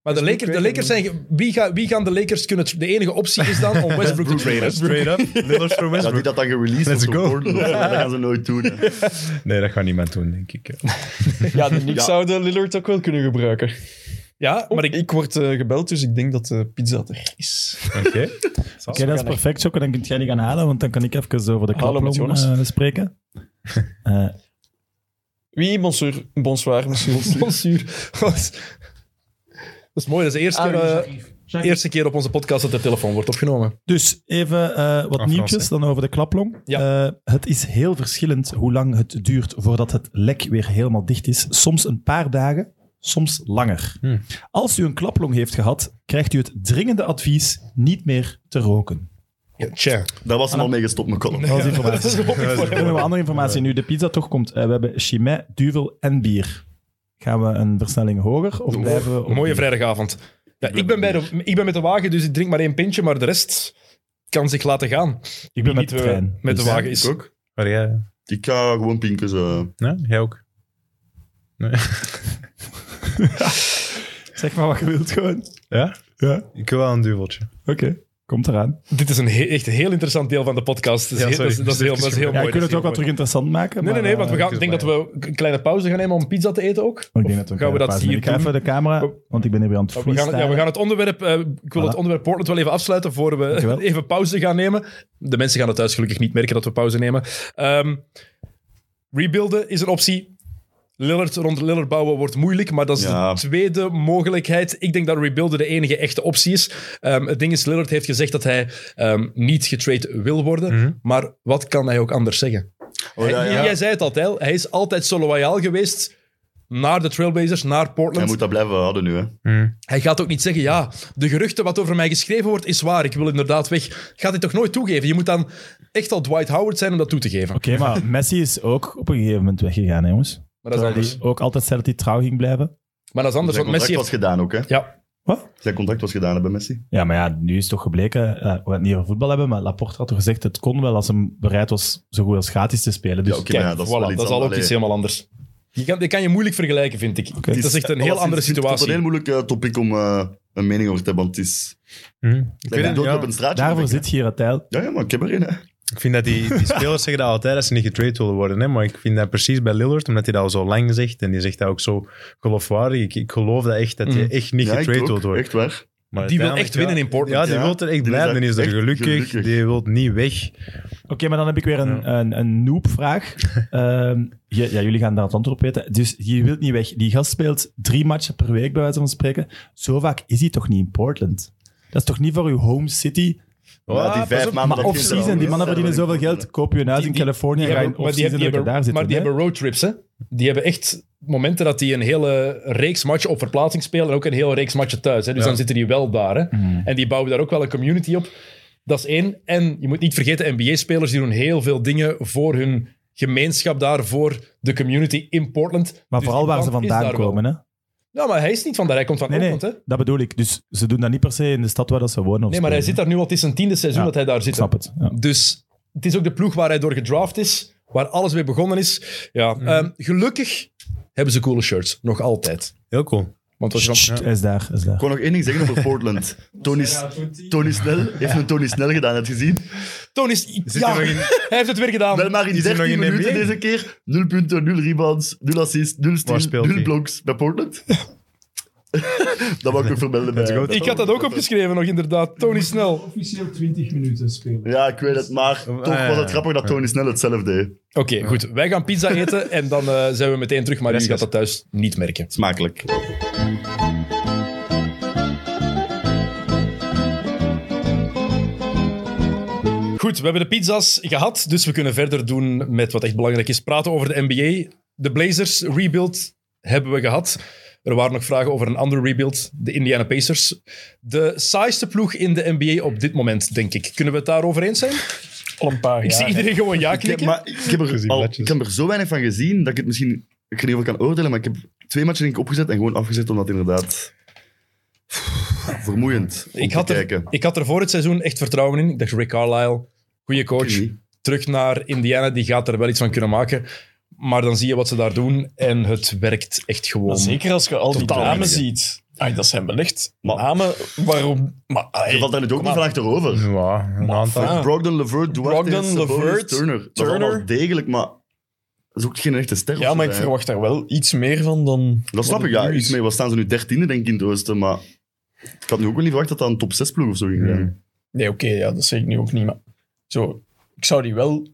S7: Maar de
S3: Dus
S7: Lakers,
S3: ik
S7: de
S3: weet
S7: Lakers
S3: het
S7: zijn... ge- Wie, ga, wie gaan de Lakers kunnen... tra- De enige optie is dan om Westbrook te traden.
S5: Straight up. Lillard voor
S4: Dat die
S5: Westbrook.
S4: dat dan gereleased
S5: Let's
S4: wordt
S5: go.
S4: door Portland of zo, dat gaan ze nooit doen. hè.
S5: Nee, dat gaat niemand doen, denk ik.
S3: Ja, de Knicks
S4: Ja.
S3: zouden Lillard ook wel kunnen gebruiken.
S7: Ja, maar ik,
S3: ik, word eh, gebeld, dus ik denk dat de pizza er is.
S5: Oké.
S6: Oké, dat is perfect, Jocke. Dan kunt jij niet gaan halen, want dan kan ik even over de
S3: Hallo, met
S6: klaploop
S3: Jonas.
S6: eh spreken. Eh,
S3: Wie? Bonsoir, bonsoir monsieur.
S7: Bonsuur. dat is mooi. Dat is de eerste,
S5: Ah,
S7: keer, eh, eerste keer op onze podcast dat de telefoon wordt opgenomen.
S6: dus even eh, wat
S5: Frans,
S6: nieuwtjes dan over de klaplong.
S7: Ja.
S6: Eh, het is heel verschillend hoe lang het duurt voordat het lek weer helemaal dicht is. Soms een paar dagen, soms langer.
S5: Hmm.
S6: Als u een klaplong heeft gehad, krijgt u het dringende advies niet meer te roken.
S7: Ja, tja.
S4: Daar was hem al mee gestopt, McCollum.
S6: Dat was informatie.
S7: Dat is gewoon niet voor
S6: Dan
S7: hem.
S6: hebben we andere informatie. Nu de pizza toch komt. Eh, we hebben chimay, duvel en bier. Gaan we een versnelling hoger of blijven we... op
S7: Mooie
S6: bier?
S7: vrijdagavond. Ja, ik, ben bij de, ik ben met de wagen, dus ik drink maar één pintje, maar de rest kan zich laten gaan.
S6: Ik ben met
S7: Niet,
S6: de
S7: eh,
S6: trein.
S7: Met de
S6: Dus-
S7: wagen is...
S4: Ik ook.
S5: Maar jij?
S4: Ik ga gewoon pinkers... eh,
S5: Nee, jij ook.
S6: Zeg maar wat je wilt gewoon.
S5: Ja?
S6: Ja,
S5: Ik wil wel een duveltje.
S6: oké. Komt eraan.
S7: Dit is een he- echt een heel interessant deel van de podcast. Dat is,
S5: Ja,
S7: heel-
S5: sorry.
S7: dat is, dat is heel, dat is heel
S6: Ja,
S7: mooi.
S6: je kunt
S7: dat
S6: het
S7: is
S6: ook wat
S7: heel
S6: terug interessant maken.
S7: mooi. Nee,
S6: maar,
S7: nee, nee, want we
S6: eh,
S7: gaan, ik denk dat we een kleine pauze gaan nemen om pizza te eten ook.
S6: maar oh, ik
S7: Of
S6: denk dat we een
S7: gaan we dat
S6: kleine pauze-
S7: hier
S6: Ik ga even
S7: doen?
S6: de camera, want ik ben hier weer aan het
S7: We gaan,
S6: freestylen.
S7: ja, we gaan het onderwerp, eh, ik wil
S6: Voilà.
S7: het onderwerp Portland wel even afsluiten voor we
S6: Dankjewel.
S7: even pauze gaan nemen. De mensen gaan het thuis gelukkig niet merken dat we pauze nemen. Ehm, rebuilden is een optie. Lillard, rond Lillard bouwen wordt moeilijk, maar dat is
S4: Ja.
S7: de tweede mogelijkheid. Ik denk dat rebuilden de enige echte optie is. Ehm, het ding is, Lillard heeft gezegd dat hij ehm, niet getrade wil worden, maar wat kan hij ook anders zeggen?
S4: Oh, ja,
S7: Hij-
S4: ja.
S7: Jij zei het altijd, hij is altijd zo loyaal geweest naar de Trailblazers, naar
S4: Hij
S7: Portland.
S4: moet dat blijven houden nu, hè.
S7: Hij gaat ook niet zeggen, ja, de geruchten wat over mij geschreven wordt, is waar. Ik wil inderdaad weg. Gaat hij toch nooit toegeven? Je moet dan echt al Dwight Howard zijn om dat toe te geven.
S6: Oké, maar Messi is ook op een gegeven moment weggegaan, hè, jongens.
S7: Maar dat is
S6: Terwijl
S7: anders.
S6: hij ook altijd zei dat hij trouw ging blijven.
S7: Maar dat is anders,
S4: Zijn
S7: want
S4: contract
S7: Messi
S4: was
S7: heeft...
S4: gedaan ook, hè.
S7: Ja,
S4: Zijn contract was gedaan hè, bij Messi.
S6: Ja, maar ja, nu is toch gebleken, eh, we gaan het niet over voetbal hebben, maar Laporte had toch gezegd, het kon wel als hem bereid was zo goed als gratis te spelen. Dus
S4: Ja, oké.
S7: kijk,
S4: maar
S7: dat
S4: dat
S7: is,
S4: is wel
S7: dat
S4: iets
S7: is al ook
S4: anders.
S7: iets helemaal anders. Je kan, die kan je moeilijk vergelijken, vind ik. Het is echt een heel
S4: Alleszins
S7: andere
S4: vind ik Het
S7: situatie.
S4: is een heel moeilijk eh, topic om eh, een mening over te hebben, want het is...
S5: Mhm. Ik,
S4: Ik
S5: weet het, ja.
S4: op een straatje.
S6: daarvoor
S4: denk ik,
S6: zit Gerard Tijl.
S4: hè. Ja, ja, maar ik heb er een, hè.
S5: ik vind dat die, die spelers zeggen dat altijd als ze niet getraind willen worden. Hè? Maar ik vind dat precies bij Lillard, omdat hij dat al zo lang zegt. En die zegt dat ook zo geloofwaardig. Ik, ik geloof dat echt, dat je echt niet
S4: Ja, ik
S5: getraind
S4: ook,
S5: wilt worden.
S4: Echt waar.
S5: Maar
S7: Mhm. Die wil
S5: uiteindelijk,
S7: echt winnen
S5: ja.
S7: in Portland.
S5: Ja, die
S4: Ja.
S5: wil er echt
S4: Die is
S5: blijven. Die is er
S4: echt
S5: gelukkig.
S4: gelukkig.
S5: Die wil niet weg.
S6: Oké, maar dan heb ik weer een, een, een noobvraag. Ehm, je- ja, jullie gaan daar het antwoord op weten. Dus je wilt niet weg. Die gast speelt drie matchen per week, bij wijze van spreken. Zo vaak is hij toch niet in Portland? Dat is toch niet voor uw home city?
S4: Ja, die
S3: Ah,
S7: pas
S4: vijf
S7: op.
S4: maanden
S6: Maar
S4: dat kinderen
S6: off-season, die
S4: al
S6: mannen verdienen
S4: gesteld
S6: zoveel
S4: worden.
S6: geld. Koop je een huis in Californië
S7: Die
S6: en ga je
S7: hebben-
S6: in
S7: maar die,
S6: off-season
S7: hebben- die
S6: lekker daar
S7: hebben,
S6: zitten.
S7: maar die
S6: hè?
S7: hebben roadtrips, hè. Die hebben echt momenten dat die een hele reeks matchen op verplaatsing spelen en ook een hele reeks matchen thuis. Hè. Dus dan zitten die wel daar. Hè.
S6: Mhm.
S7: En die bouwen daar ook wel een community op. Dat is één. En je moet niet vergeten, NBA-spelers die doen heel veel dingen voor hun gemeenschap daar, voor de community in Portland.
S6: Maar
S7: Dus
S3: vooral
S7: die
S6: waar ze
S7: man is
S6: vandaan
S7: daar wel.
S6: komen, hè?
S7: Ja, maar hij is niet van daar. Hij komt van
S6: Nee, nee,
S7: Portland, hè.
S6: dat bedoel ik. Dus ze doen dat niet per se in de stad waar dat ze wonen. Of
S7: Nee, maar hij zit
S6: spelen.
S7: daar nu al. Het is zijn tiende seizoen
S6: Ja,
S7: dat hij daar zit.
S6: Ik snap het. Ja.
S7: Dus het is ook de ploeg waar hij door gedraft is, waar alles mee begonnen is. Ja,
S5: Mhm.
S7: ehm, gelukkig hebben ze coole shirts, nog altijd.
S5: Heel cool.
S7: Want als je dan-
S6: Hij is daar, hij is daar.
S4: Ik kon nog één ding zeggen over Portland. Tony, Tony Snell heeft een Tony Snell gedaan, heb je gezien?
S7: Toon is... Ja,
S5: er nog in-
S7: hij heeft het weer gedaan.
S4: Wel maar in
S5: Is hij nog
S4: 13
S5: in de
S4: minuten
S5: NBA?
S4: deze keer. 0 punten, 0 rebounds, 0 assists, 0 steals,
S5: speelt
S4: 0
S5: hij?
S4: blocks bij Portland. dat wou ik ook vermelden. Bij, bij
S7: Ik had dat ook
S4: Portland.
S7: opgeschreven nog, inderdaad. Tony Snel. Oké,
S2: Officieel 20 minuten spelen.
S4: Ja, ik weet het, maar toch
S5: ja,
S4: was
S5: Ah, ja.
S4: het grappig dat Tony Snell hetzelfde deed.
S7: goed. Wij gaan pizza eten en dan eh, zijn we meteen terug. Maar je gaat dat thuis niet merken.
S4: Smakelijk.
S7: Goed, we hebben de pizza's gehad, dus we kunnen verder doen met wat echt belangrijk is. Praten over de NBA. De Blazers rebuild hebben we gehad. Er waren nog vragen over een andere rebuild, de Indiana Pacers. De saaiste ploeg in de NBA op dit moment, denk ik. Kunnen we het daarover eens zijn?
S2: Al een paar
S7: Ik zie
S2: jaar.
S7: iedereen gewoon ja
S4: Ik heb,
S7: knikken.
S4: maar ik heb, er
S5: Gezien
S4: al,
S5: matches.
S4: ik heb er zo weinig van gezien dat ik het misschien... Ik weet niet of ik kan oordelen, maar ik heb twee matchen denk ik opgezet en gewoon afgezet, omdat het inderdaad... Vermoeiend om
S7: ik, had
S4: te
S7: er,
S4: kijken.
S7: ik had er voor het seizoen echt vertrouwen in. Ik dacht, Rick Carlisle, goede coach.
S4: Ik niet.
S7: Terug naar Indiana, die gaat er wel iets van kunnen maken. Maar dan zie je wat ze daar doen en het werkt echt
S2: Maar
S7: gewoon.
S2: Nou, zeker als je al die
S7: Totaal
S2: namen
S7: weinig, hè.
S2: ziet. Ai, dat zijn wel echt
S4: Maar-
S2: namen waarom... Maar, ai,
S4: Je valt daar nu ook
S2: kom
S4: niet van
S2: aan.
S4: achterover.
S5: Ja, een aantal.
S2: Ah.
S4: Brogdon, Levert, Duarte,
S2: Brogdon,
S4: Sabonis,
S2: Levert,
S4: Turner. Dat is
S2: Turner.
S4: allemaal degelijk, maar dat is ook geen echte ster.
S2: Ja, maar ik
S4: Eh,
S2: verwacht daar wel iets meer van dan...
S4: Dat snap
S2: wat
S4: ik, ja.
S2: het nu is.
S4: Iets mee, wat staan ze nu? Dertiende, denk ik, in het oosten, maar... Ik had nu ook wel niet verwacht dat dat een top 6 ploeg of zo ging zijn.
S2: Nee, oké, ja, dat zeg ik nu ook niet. Maar zo, ik zou die wel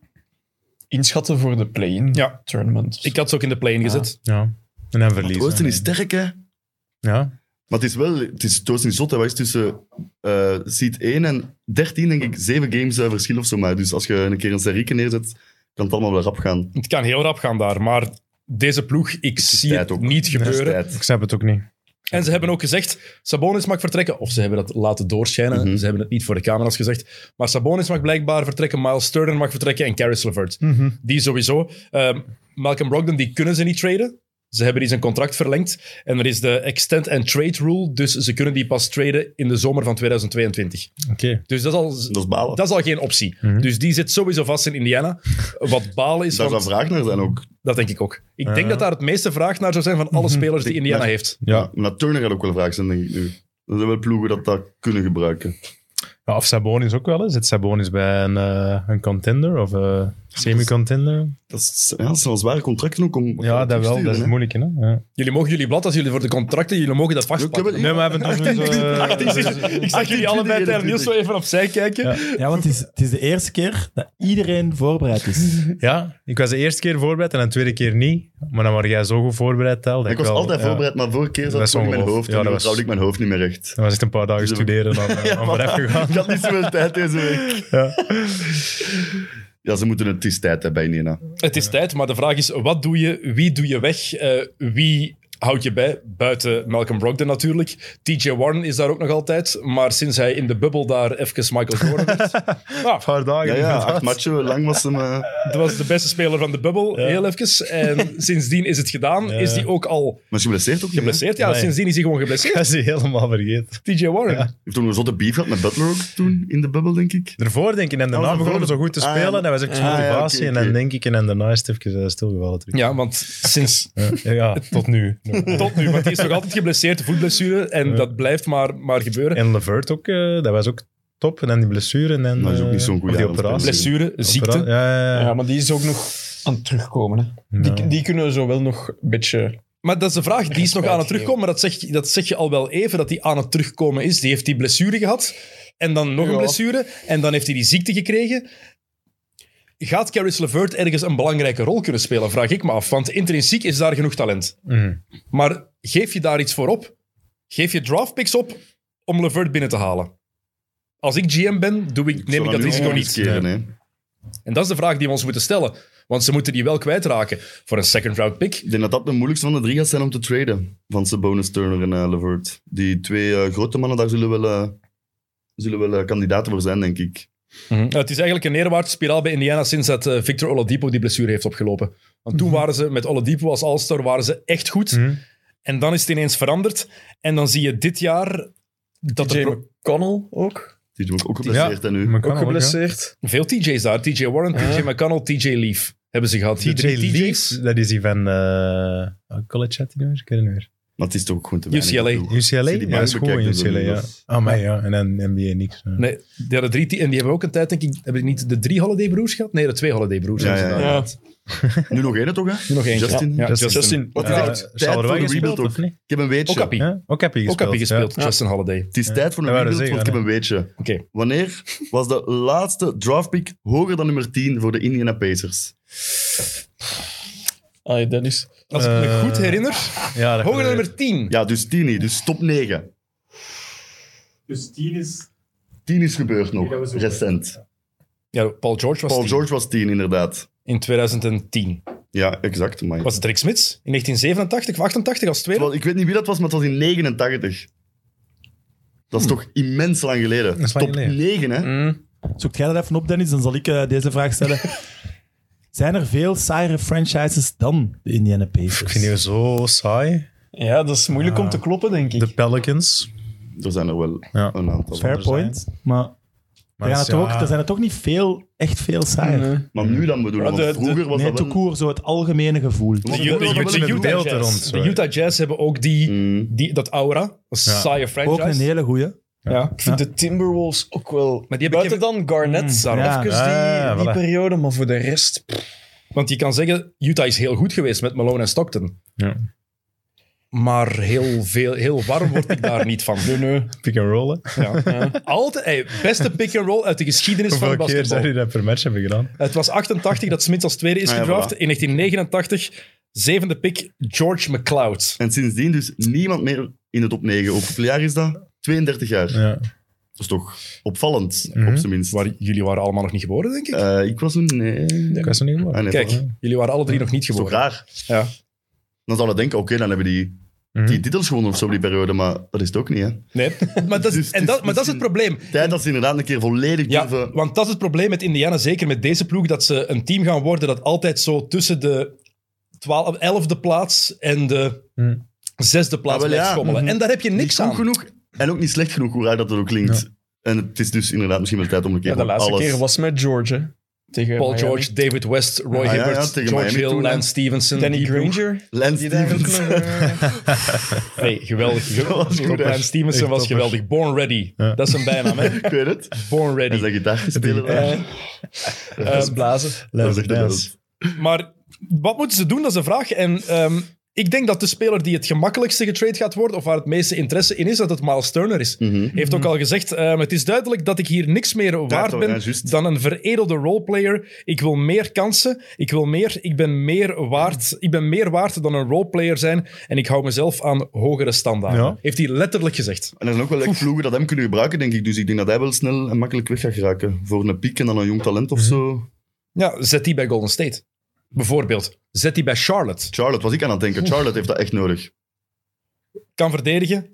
S2: inschatten voor de play-in
S7: Ja.
S2: tournament.
S7: Ik had ze ook in de play gezet.
S5: Ja. En dan
S4: Het
S5: verliezen.
S4: oosten is sterk, hè.
S5: Ja.
S4: Maar het is wel... Het is, het oosten is zot, hè. Wat is tussen eh seed 1 en 13, denk ik, 7 games eh, verschil of zo. Maar dus als je een keer een serieke neerzet, kan het allemaal wel rap gaan.
S7: Het kan heel rap gaan daar, maar deze ploeg, ik zie
S4: tijd
S7: het
S4: ook.
S7: niet gebeuren.
S4: Tijd.
S5: Ik snap het ook niet.
S7: En ze hebben ook gezegd, Sabonis mag vertrekken. Of ze hebben dat laten doorschijnen.
S4: Mhm.
S7: Ze hebben het niet voor de camera's gezegd. Maar Sabonis mag blijkbaar vertrekken, Miles Turner mag vertrekken en Caris LeVert. Die sowieso. Ehm, Malcolm Brogdon, die kunnen ze niet traden. Ze hebben die zijn contract verlengd. En er is de extend and trade rule, dus ze kunnen die pas traden in de zomer van 2022.
S5: Oké.
S7: Dus dat is al,
S4: Dat is balen.
S7: dat is al geen optie. Dus die zit sowieso vast in Indiana. Wat balen is,
S4: Daar zou
S7: want-
S4: vraag naar zijn ook.
S7: dat denk ik ook. Ik denk dat daar het meeste vraag naar zou zijn van alle spelers Mhm. die Indiana
S4: Maar-
S7: heeft.
S5: Ja.
S4: Maar Turner gaat ook wel vraag zijn, denk ik nu. Er zijn wel ploegen dat dat kunnen gebruiken.
S5: ja. Of Sabonis ook wel. Hè. Zit Sabonis bij een, eh, een contender of eh, semi-contender?
S4: Dat, is, ja, dat zijn wel zware contracten ook om...
S5: Ja, dat wel. Dat is
S4: moeilijk.
S5: moeilijk, hè. Ja.
S7: Jullie mogen jullie blad als jullie voor de contracten, jullie mogen dat vastpakken.
S4: Ik heb
S5: Nee, maar we hebben toch sowieso... eh,
S7: Ik zag- ik zag jullie allebei tegen Niels zo even opzij kijken.
S6: Ja, want het is, het is de eerste keer dat iedereen voorbereid is.
S5: Ja, ik was de eerste keer voorbereid en de tweede keer niet. Maar dan was jij zo goed voorbereid, Tel. dat
S4: Ik was
S5: wel-
S4: altijd
S5: ja.
S4: voorbereid, maar vorige keer
S5: Dat
S4: zat
S5: is
S4: ik in mijn
S5: ongeloof.
S4: hoofd.
S5: Ja,
S4: en
S5: dat
S4: nu
S5: was-
S4: vertrouwde ik mijn hoofd niet meer recht.
S5: Dat was echt een paar dagen
S4: Dus-
S5: studeren dan, eh, om
S4: voilà.
S5: eraf gegaan.
S4: Ik had niet zoveel tijd deze week. Ja, ze moeten het is tijd hebben bij Nena.
S7: Het is tijd, maar de vraag is: wat doe je? Wie doe je weg? Eh, wie houd je bij? Buiten Malcolm Brogdon natuurlijk. TJ Warren is daar ook nog altijd. Maar sinds hij in de bubbel daar even Michael Jordan werd. nou,
S5: paar dagen.
S4: Ja, ja,
S5: inderdaad.
S4: acht matchen lang was hem. eh,
S7: dat was de beste speler van de bubbel, heel even. En sindsdien is het gedaan. Is die ook al
S4: maar ze blesseert ook niet. hè?
S7: geblesseerd? Ja,
S5: Nee.
S7: sindsdien is hij gewoon geblesseerd.
S5: Dat is hij helemaal vergeten.
S7: TJ Warren.
S4: Heeft toen een zotte beef gehad met Butler ook toen in de bubbel, denk ik.
S5: Daarvoor denk ik, en
S4: Oh,
S5: daarna
S4: daarvoor.
S5: begonnen we zo goed te
S4: Ah, ja.
S5: spelen. en Dat was echt zo'n
S4: Ah, ja, oké,
S5: motivatie. En
S4: oké.
S5: dan denk ik, en dan daarna is het even eh, stilgevallen terug.
S7: Ja, want sinds
S5: Ja, ja, tot nu.
S7: tot nu, want hij is nog altijd geblesseerd, voetblessure, en dat blijft maar, maar gebeuren.
S5: En Levert ook, eh, dat was ook top. En dan die blessure en dan
S4: Maar dat is ook
S5: eh,
S4: niet zo'n goede
S5: of die
S4: aanspeler.
S5: operatie.
S7: blessure, ziekte.
S5: Opera- Ja, ja, ja.
S2: Ja, maar die is ook nog aan het terugkomen. Hè. Die, die kunnen we zo wel nog een beetje...
S7: Maar dat is de vraag, die is nog aan het terugkomen. Maar dat zeg, je- dat zeg je al wel even, dat die aan het terugkomen is. Die heeft die blessure gehad, en dan nog een
S2: Ja.
S7: blessure, en dan heeft hij die ziekte gekregen. Gaat Caris LeVert ergens een belangrijke rol kunnen spelen, vraag ik me af. Want intrinsiek is daar genoeg talent.
S5: Mm.
S7: Maar geef je daar iets voor op? Geef je draftpicks op om LeVert binnen te halen? Als ik GM ben, doe ik, neem ik
S4: Zou
S7: dat
S4: nu
S7: risico
S4: ook
S7: niet.
S4: Keren, hè?
S7: En dat is de vraag die we ons moeten stellen. Want ze moeten die wel kwijtraken voor een second round pick.
S4: Ik denk dat dat de moeilijkste van de drie gaat zijn om te traden. Van Sabonis, Turner en eh, Levert. Die twee eh, grote mannen, daar zullen wel, eh, zullen wel eh, kandidaten voor zijn, denk ik.
S5: Mhm.
S7: Nou, het is eigenlijk een neerwaartse spiraal bij Indiana sinds dat eh, Victor Oladipo die blessure heeft opgelopen. Want toen waren ze met Oladipo als All-Star waren ze echt goed.
S5: Mhm.
S7: En dan is het ineens veranderd. En dan zie je dit jaar dat er
S2: Jay
S7: pro-
S2: McConnell ook.
S4: Die is ook geblesseerd en nu.
S5: McConnell
S2: Ook
S5: hè.
S2: geblesseerd.
S7: veel TJ's daar. TJ Warren, TJ McConnell, TJ Leaf hebben ze gehad. Die
S5: TJ
S7: drie TJ's.
S5: Leafs, dat is die van eh, college chat nu weer? Ik weet het niet meer.
S4: Maar het is toch ook gewoon te
S7: UCLA.
S4: weinig.
S5: UCLA?
S4: Als je die
S5: Ja, dat is
S4: bank
S5: gewoon
S4: bekijkt, dan
S5: UCLA,
S4: is
S5: ja.
S4: dat-
S5: Oh, maar ja. En dan NBA niks. eh. hè.
S7: Nee, die hadden drie te- en die hebben ook een tijd, denk ik, hebben die niet de drie Holiday broers gehad? Nee, de twee Holiday broers.
S4: Ja,
S7: hebben ze
S4: ja,
S7: daar
S4: ja.
S7: gehad.
S4: Nu nog één toch, hè?
S7: Nu nog één.
S4: Justin.
S7: Ja, ja,
S5: Justin.
S7: Justin.
S2: Justin,
S4: Wat
S5: Ja,
S4: is echt
S5: zal
S4: tijd
S5: er
S4: voor
S5: wel
S4: een
S5: gespeeld,
S4: rebuild,
S5: of
S4: toch?
S5: niet?
S4: Ik heb een weetje.
S7: Okapi.
S5: Ja, ook heb je
S7: Ook
S5: gespeeld.
S7: heb je gespeeld,
S5: ja.
S7: Justin Holiday.
S4: Het is tijd voor een
S5: Ja,
S4: rebuild,
S5: dat
S4: want
S5: zeggen
S4: ik heb
S5: we,
S4: een weetje.
S7: Oké.
S4: Wanneer was de laatste draftpick hoger dan nummer 10 voor de Indiana Pacers?
S2: Allee, dat is...
S7: Als ik me
S5: Eh,
S7: goed herinner,
S5: Ja, dat
S7: hoger dan
S5: kan
S7: nummer 10.
S4: Ja, dus 10 niet, dus top 9.
S6: Dus 10 is...
S4: 10 is gebeurd nog,
S6: dat was ook,
S4: recent.
S7: Ja, Paul George was
S4: Paul
S7: 10.
S4: George was 10, inderdaad.
S7: in 2010.
S4: Ja, exact. Maar...
S7: Was het Rick Smits in 1987 of 88 als tweede?
S4: Terwijl, ik weet niet wie dat was, maar het was in 89. Dat is toch immens lang geleden.
S5: Hm. is lang
S4: Top
S5: geleden.
S4: 9, hè?
S2: Hm.
S6: Zoek jij dat even op, Dennis? Dan zal ik eh, deze vraag stellen. Zijn er veel saaiere franchises dan de Indiana Pacers?
S5: Ik vind die zo saai.
S2: Ja, dat is moeilijk om te kloppen, denk ik.
S5: De Pelicans.
S4: Er zijn er wel
S5: Ja.
S4: een aantal.
S6: Fair
S5: er zijn.
S6: point. Maar,
S5: Maar
S6: er, gaan
S5: dat
S6: er,
S5: is-
S6: toch,
S5: ja.
S6: er zijn er toch niet veel, echt veel saaier.
S2: Nee.
S4: Maar nu dan bedoelen,
S2: Ja,
S4: want
S2: de- de-
S4: vroeger was
S6: Nee,
S4: dat
S6: te
S4: wel...
S6: koer, zo het algemene gevoel.
S7: De,
S4: De
S7: Ju- de,
S4: Utah-
S7: Ju- de
S5: met
S7: Utah
S5: beeld
S7: Jazz.
S5: er rond, zo,
S7: de
S5: hè.
S7: Utah Jazz hebben ook die,
S4: Mm.
S7: die, dat aura. Dat is een
S5: Ja.
S7: saaie
S6: Ook
S7: franchise.
S6: een hele goeie.
S7: ja.
S2: Ik vind de Timberwolves ook wel...
S7: Maar die hebben
S2: Buiten dan Garnett,
S7: daarom.
S2: even die,
S5: Ah,
S2: die
S5: voilà.
S2: periode, maar voor de rest...
S7: Want je kan zeggen, Utah is heel goed geweest met Malone en Stockton.
S5: Ja.
S7: Maar heel, veel, heel warm word ik daar niet van.
S5: Pick and rollen.
S7: Ja. Altijd, hey, beste pick-and-roll uit de geschiedenis van
S5: Hoeveel
S7: de
S5: keer
S7: basketbal.
S5: zou je dat per match hebben gedaan?
S7: Het was 88 dat Smith als tweede is
S4: Ah, ja,
S7: gedraft.
S4: voilà.
S7: In 1989, zevende pick, George McLeod.
S4: En sindsdien dus niemand meer in de top 9. Hoeveel jaar is dat? 32 jaar.
S5: Ja.
S4: Dat is toch opvallend,
S5: Mhm.
S4: op zijn minst.
S7: Waar, jullie waren allemaal nog niet geboren, denk ik.
S4: Eh, ik was toen... Nee.
S5: Ik was er niet
S4: Ah,
S5: geworden.
S4: nee,
S7: Kijk,
S4: dat
S7: jullie waren alle drie nog niet
S4: is toch
S7: geboren.
S4: raar?
S7: Ja.
S4: Dan zou je denken, oké, dan hebben die,
S2: Mhm.
S4: die titels gewonnen of zo die periode, maar dat is het ook niet, hè?
S7: Nee, maar dat, is,
S4: Dus-
S7: en dat, maar dat is het
S4: misschien-
S7: probleem.
S4: Tijd dat ze inderdaad een keer volledig
S7: Ja,
S4: durven...
S7: want dat is het probleem met Indiana, zeker met deze ploeg, dat ze een team gaan worden dat altijd zo tussen de 12, 11e plaats en de
S5: Hmm.
S7: zesde plaats
S4: Ah, wel,
S7: blijft
S4: ja.
S7: schommelen.
S2: Mhm.
S7: En daar heb je
S4: Niet
S7: niks
S4: goed
S7: aan.
S4: genoeg en ook niet slecht genoeg, hoe raar dat het ook klinkt. En het is dus inderdaad misschien wel tijd om een keer
S2: Ja, de
S4: van
S2: laatste
S4: alles...
S2: keer was met George, hè. Tegen
S7: Paul
S2: Miami.
S7: George, David West, Roy
S4: Ah, ja, ja,
S7: Hibbert,
S4: tegen
S7: George
S4: Miami
S7: Hill,
S4: toen, hè.
S7: Lance Stevenson,
S2: Danny
S7: die ploeg.
S2: Granger.
S4: Lance
S2: Die daar ook
S4: Stevens.
S2: nog, eh,
S7: Hey, geweldig.
S4: was goed,
S7: geweldig.
S4: hè.
S7: Lance Stevenson
S5: Echt
S7: was
S5: topper.
S7: geweldig. Born Ready.
S5: Ja.
S7: Dat is zijn bijnaam, hè?
S4: Ik weet het.
S7: Born
S4: En
S7: Ready. Ehm,
S4: zijn gitaarspeler
S2: eh,
S4: daar.
S2: dat is blazen.
S4: Dat is
S5: Last
S4: echt de
S5: Dance.
S4: best.
S7: Maar wat moeten ze doen? Dat is een vraag. En ehm, ik denk dat de speler die het gemakkelijkste getrade gaat worden, of waar het meeste interesse in is, dat het Miles Turner is.
S4: Mhm.
S7: Heeft ook al gezegd, ehm, het is duidelijk dat ik hier niks meer waard
S4: toch,
S7: ben
S4: ja, juist.
S7: dan een veredelde roleplayer. Ik wil meer kansen, ik wil meer, ik ben meer waard, ik ben meer waard dan een roleplayer zijn en ik hou mezelf aan hogere standaarden.
S5: Ja.
S7: Heeft hij letterlijk gezegd.
S4: En er zijn ook wel echt ploegen dat hem
S2: Mhm.
S4: kunnen gebruiken, denk ik. Dus ik denk dat hij wel snel en makkelijk weg gaat geraken. Voor een piek en dan een jong talent of zo.
S7: Ja, zet die bij Golden State. Bijvoorbeeld. Zet die bij Charlotte.
S4: Charlotte was ik aan het denken. Charlotte heeft dat echt nodig.
S7: Kan verdedigen.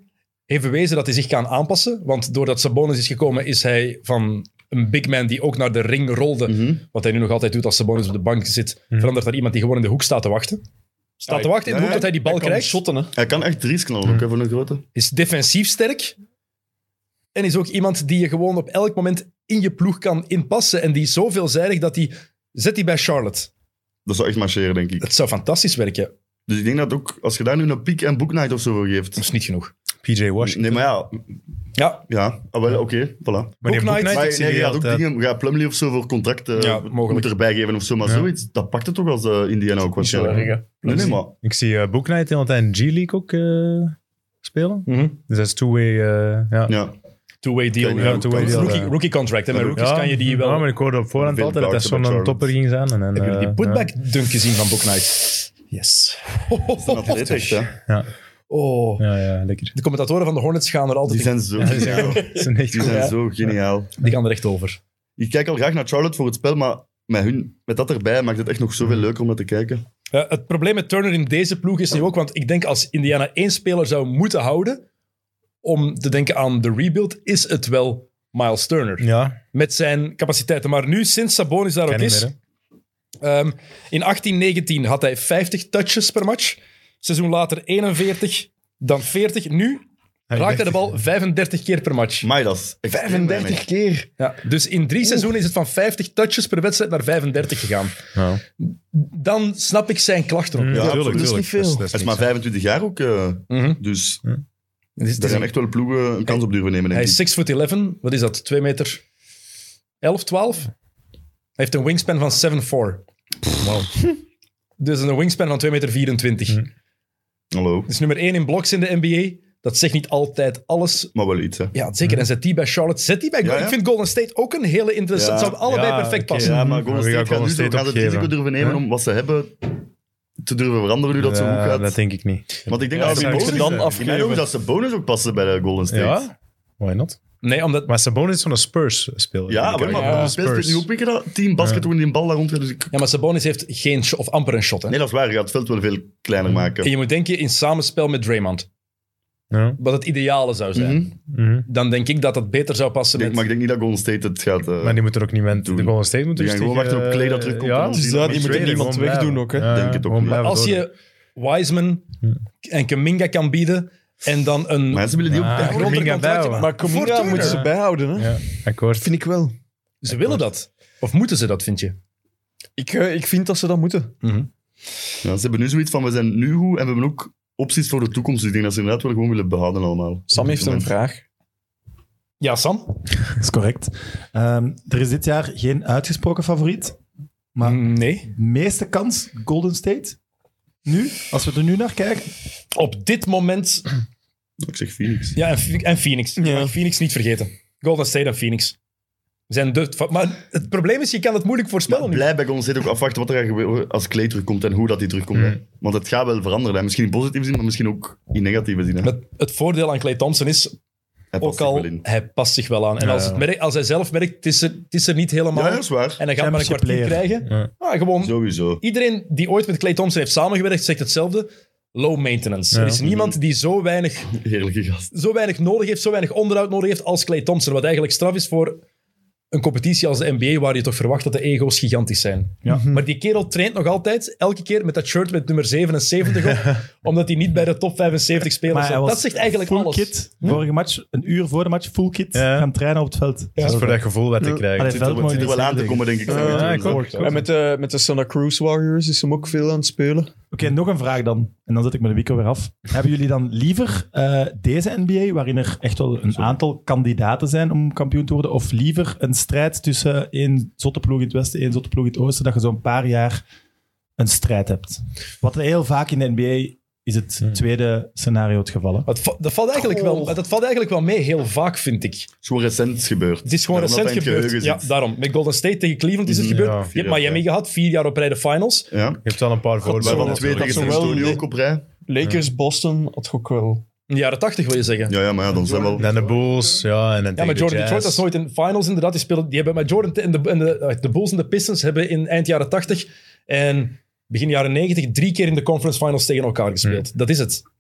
S7: Heeft bewezen dat hij zich kan aanpassen. Want doordat Sabonis is gekomen, is hij van een big man die ook naar de ring rolde.
S4: Mhm.
S7: Wat hij nu nog altijd doet als Sabonis op de bank zit. Verandert naar iemand die gewoon in de hoek staat te wachten. Staat te wachten in de hoek dat hij die bal krijgt.
S3: shotten, hè.
S4: Hij kan echt drie's knallen,
S2: Mhm.
S4: ook hè, voor een grote.
S7: is defensief sterk. En is ook iemand die je gewoon op elk moment in je ploeg kan inpassen. En die is zo veelzijdig dat die... Zet die bij Charlotte.
S4: Dat zou echt marcheren, denk ik.
S7: Het zou fantastisch werken. Dat
S4: Dus ik denk dat ook, als je daar nu een piek en boeknight of zo voor geeft.
S7: is niet genoeg.
S5: PJ Washington.
S4: Nee, maar ja,
S7: Ja,
S4: ja ah, wel, oké, voilà.
S5: Maar die
S7: Boeknight-
S5: Boeknight,
S4: Maar
S5: ik
S4: nee,
S5: zie
S4: je
S5: die
S4: gaat ook
S5: altijd.
S4: dingen, ja, Plumlee of zo voor contract eh,
S7: Ja,
S4: moet
S7: mogelijk.
S4: erbij geven of zo, maar
S5: Ja.
S4: zoiets, dat pakt het toch als eh, Indiana ook
S2: Niet zo erg,
S4: waarschijnlijk.
S2: hè.
S4: Nee, nee, maar
S5: Ik zie eh, Boeknight heel de tijd in G-League ook eh, spelen. Dus dat is two-way. eh, ja.
S7: Oh,
S4: ja.
S7: two-way deal.
S4: Kijk,
S7: Ja,
S4: ja,
S5: two-way
S4: dat-
S5: deal,
S7: rookie,
S5: ja.
S7: rookie contract. En met rookies
S5: Ja,
S7: kan je die wel...
S5: Ja, maar ik hoorde op voorhand
S4: Veel
S5: altijd dat dat
S4: kaarten
S5: zo'n
S4: bij Charlotte.
S5: topper ging zijn. En,
S7: Hebben jullie die
S5: eh,
S7: putback dunk gezien van Boeknight?
S5: Yes.
S4: Dat is een atleet echt, hè.
S7: Oh.
S5: Ja, ja, lekker.
S7: De commentatoren van de Hornets gaan er altijd...
S4: Die
S7: Die,
S4: zijn zo geniaal.
S5: Dat is een echt
S4: Die
S5: goed.
S4: zijn zo geniaal.
S7: die gaan er echt over.
S4: Ik kijk al graag naar Charlotte voor het spel, maar met, hun, met dat erbij maakt het echt nog zoveel leuker om naar te kijken.
S7: Ja, Eh, het probleem met Turner in deze ploeg is nu ook, want ik denk als Indiana één speler zou moeten houden om te denken aan de rebuild, is het wel Miles Turner.
S5: Ja,
S7: Met zijn capaciteiten. Maar nu, sinds Sabonis daar ook
S5: ken ik
S7: is,
S5: meer.
S7: ehm, in 18-19 had hij 50 touches per match. Seizoen later 41, dan 40. Nu raakt hij de bal 35 keer per match.
S4: Maidas. extreem weinig.
S7: keer? Ja, dus in drie seizoenen is het van 50 touches per wedstrijd naar 35 gegaan.
S5: hè. Ja.
S7: Dan snap ik zijn klachten op.
S5: Ja,
S4: absoluut.
S5: tuurlijk,
S4: Dat is
S5: tuurlijk.
S3: niet veel.
S4: Hij is maar 25 jaar ook, eh,
S7: Mhm.
S4: dus
S7: Het is- het
S4: daar
S7: is
S4: gaan
S7: een
S4: echt wel ploegen een kans op durven nemen, denk
S7: Hij
S4: ik.
S7: is 6 foot 11. Wat is dat? 2 meter 11, 12? Hij heeft een wingspan van 7'4. Dus een wingspan van 2 meter 24.
S4: Hallo.
S7: Dus nummer 1 in bloks in de NBA. Dat zegt niet altijd alles.
S4: Maar wel iets, hè.
S7: Ja, zeker. En zet die bij Charlotte. Zet die bij
S4: Mhm. Ja,
S7: Golden.
S4: ja.
S7: Ik vind Golden State ook een hele interessante.
S4: Ja.
S7: Het zou allebei
S5: Ja,
S7: perfect
S5: oké.
S7: passen.
S4: Ja, maar
S5: Mhm.
S4: Golden
S5: We gaan
S4: State gaat nu
S5: Golden
S4: zo
S5: State
S4: gaan ze het
S5: opgeven.
S4: risico durven nemen
S5: Ja.
S4: om wat ze hebben te durven veranderen nu dat zo goed
S5: Ja,
S4: gaat.
S5: dat denk ik niet.
S4: Want ik denk
S5: Ja,
S4: dat, ze
S5: zou ik
S4: bonus,
S5: ze dan
S4: dan afgeven.
S5: afgeven?
S4: dat ze bonus ook passen bij de Golden State.
S5: Ja? Why not?
S7: Nee, omdat...
S5: Maar Sabonis is zo'n Spurs-speler.
S4: Ja,
S5: Vind
S4: maar,
S5: ik
S4: maar
S5: eigenlijk.
S4: Golden State doet nu ook weer dat team basket toen die een bal daar rond gaat, dus ik-
S7: Ja, maar Sabonis heeft geen sh- of amper een shot. Hè?
S4: Nee, dat is waar. Je gaat het veld wel veel kleiner
S5: Mm.
S4: maken.
S7: En je moet denken in samenspel met Draymond.
S5: Ja.
S7: Wat het ideale zou zijn.
S4: Mhm.
S5: Mhm.
S7: Dan denk ik dat dat beter zou passen
S4: Ik
S7: met...
S4: denk- maar ik denk niet dat Golden State het gaat... eh,
S5: Maar die moeten er ook niet met de
S4: Doen.
S5: Golden State moeten
S4: Die gaan gewoon
S5: rustig,
S4: wachten op Clay dat
S5: eh,
S4: terugkomt en
S5: Ja,
S4: dan
S5: dus
S4: zien we
S5: ja,
S4: hem
S5: die moeten
S4: traden.
S5: niemand
S4: Gewoon
S5: wegdoen ook. Hè.
S4: Denk het ook niet.
S7: Maar als je Wiseman en Kaminga kan bieden en dan een
S4: Maar ze willen die ook...
S5: Ja,
S4: Ja,
S7: groter
S5: Kuminga
S7: contract-
S5: bijhouden.
S7: Maar voor
S3: Comunga
S7: Turner.
S3: moeten ze bijhouden, hè.
S5: Ja, akkoord.
S3: Vind ik wel.
S7: Ze willen dat. Of moeten ze dat, vind je?
S3: Ik, eh, ik vind dat ze dat moeten.
S4: ze hebben nu zoiets van, we zijn nu goed en we hebben ook opties voor de toekomst. Dus ik denk dat ze inderdaad wel gewoon willen behouden allemaal.
S3: Sam heeft een vraag.
S7: Ja, Sam?
S6: Dat is correct. Ehm, er is dit jaar geen uitgesproken favoriet. Maar
S7: Nee.
S6: meeste kans Golden State. Nu, als we er nu naar kijken.
S7: Op dit moment...
S4: Ik zeg Phoenix.
S7: Ja, en, Phoe- en Phoenix. Je
S3: Ja.
S7: mag Phoenix niet vergeten. Golden State en Phoenix. Zijn de, fa- maar het probleem is, je kan het moeilijk
S4: Maar
S7: voorspellen. nu.
S4: blij bij Golden State ook afwachten wat er gaat gebeuren als Clay terugkomt en hoe dat hij terugkomt. hè. Want het gaat wel veranderen. Hè. Misschien in positieve zin, maar misschien ook in negatieve zin. Hè.
S7: Het, het voordeel aan Clay Thompson is,
S4: Hij past
S7: ook
S4: zich
S7: al,
S4: wel in.
S7: hij past zich wel aan. En als, het merkt, als hij zelf merkt, het is er, het is er niet helemaal.
S4: Ja, dat is waar.
S7: en hij gaat maar een
S6: Championship
S7: kwartier krijgen. Ah, gewoon
S4: Sowieso.
S7: Iedereen die ooit met Clay Thompson heeft samengewerkt, zegt hetzelfde. Low maintenance. Er is niemand die zo weinig,
S4: Heerlijke gast.
S7: zo weinig nodig heeft, zo weinig onderhoud nodig heeft als Clay Thompson. Wat eigenlijk straf is voor een competitie als de NBA, waar je toch verwacht dat de ego's gigantisch zijn.
S6: Mhm.
S7: Maar die kerel traint nog altijd, elke keer met dat shirt met nummer 77 op, omdat hij niet bij de top 75 spelers
S6: Maar hij
S7: zat.
S6: was
S7: Dat zegt eigenlijk
S6: full
S7: alles.
S6: kit. Vorige match, een uur voor de match, full kit.
S5: Ja.
S6: Gaan trainen op het veld.
S5: Dat is voor dat gevoel wat ik krijg.
S4: Het
S6: Allee,
S4: zit er,
S6: Veldman
S4: het zit er
S6: is
S4: wel aan te
S6: eigenlijk-
S4: komen, denk ik.
S5: Ja, ik ook.
S3: En met de, met de Santa Cruz Warriors is hem ook veel aan het spelen.
S6: Oké, nog een vraag dan. En dan zet ik mijn Wico weer af. Hebben jullie dan liever eh, deze NBA, waarin er echt wel een aantal kandidaten zijn om kampioen te worden, of liever een strijd tussen één zotte ploeg in het westen en één zotte ploeg in het oosten, dat je zo'n paar jaar een strijd hebt? Wat heel vaak in de NBA is het tweede scenario het geval. hè?
S7: Dat, va- dat valt eigenlijk
S6: Oh.
S7: wel, dat valt eigenlijk wel mee, heel vaak, vind ik.
S4: Het is gewoon recent gebeurd.
S7: Het is gewoon
S4: Daarom dat
S7: recent
S4: hij in het
S7: gebeurd. Ja,
S4: geheugen zit.
S7: daarom. Met Golden State tegen Cleveland is het gebeurd.
S5: ja,
S7: je
S4: vier
S7: hebt
S4: jaar,
S7: Miami gehad, vier jaar op rij de finals.
S4: Ja.
S5: Je hebt al een paar
S4: Waarvan
S5: voorbeelden.
S4: twee tegen
S3: zowel
S4: San Antonio
S3: in de-
S4: ook op rij.
S3: Lakers, Boston had ik ook wel.
S7: In de jaren tachtig wil je zeggen.
S4: Ja, ja, maar ja, dan zijn we wel...
S5: Dan de Bulls, ja. En dan
S7: Ja, maar Jordan
S5: Jazz.
S7: Detroit was nooit in finals inderdaad. Die, speelden, die hebben met Jordan en de, en de, eh, de Bulls en de Pistons hebben in eind jaren 80 en begin jaren 90 drie keer in de conference finals tegen elkaar gespeeld. Dat is het. Hmm.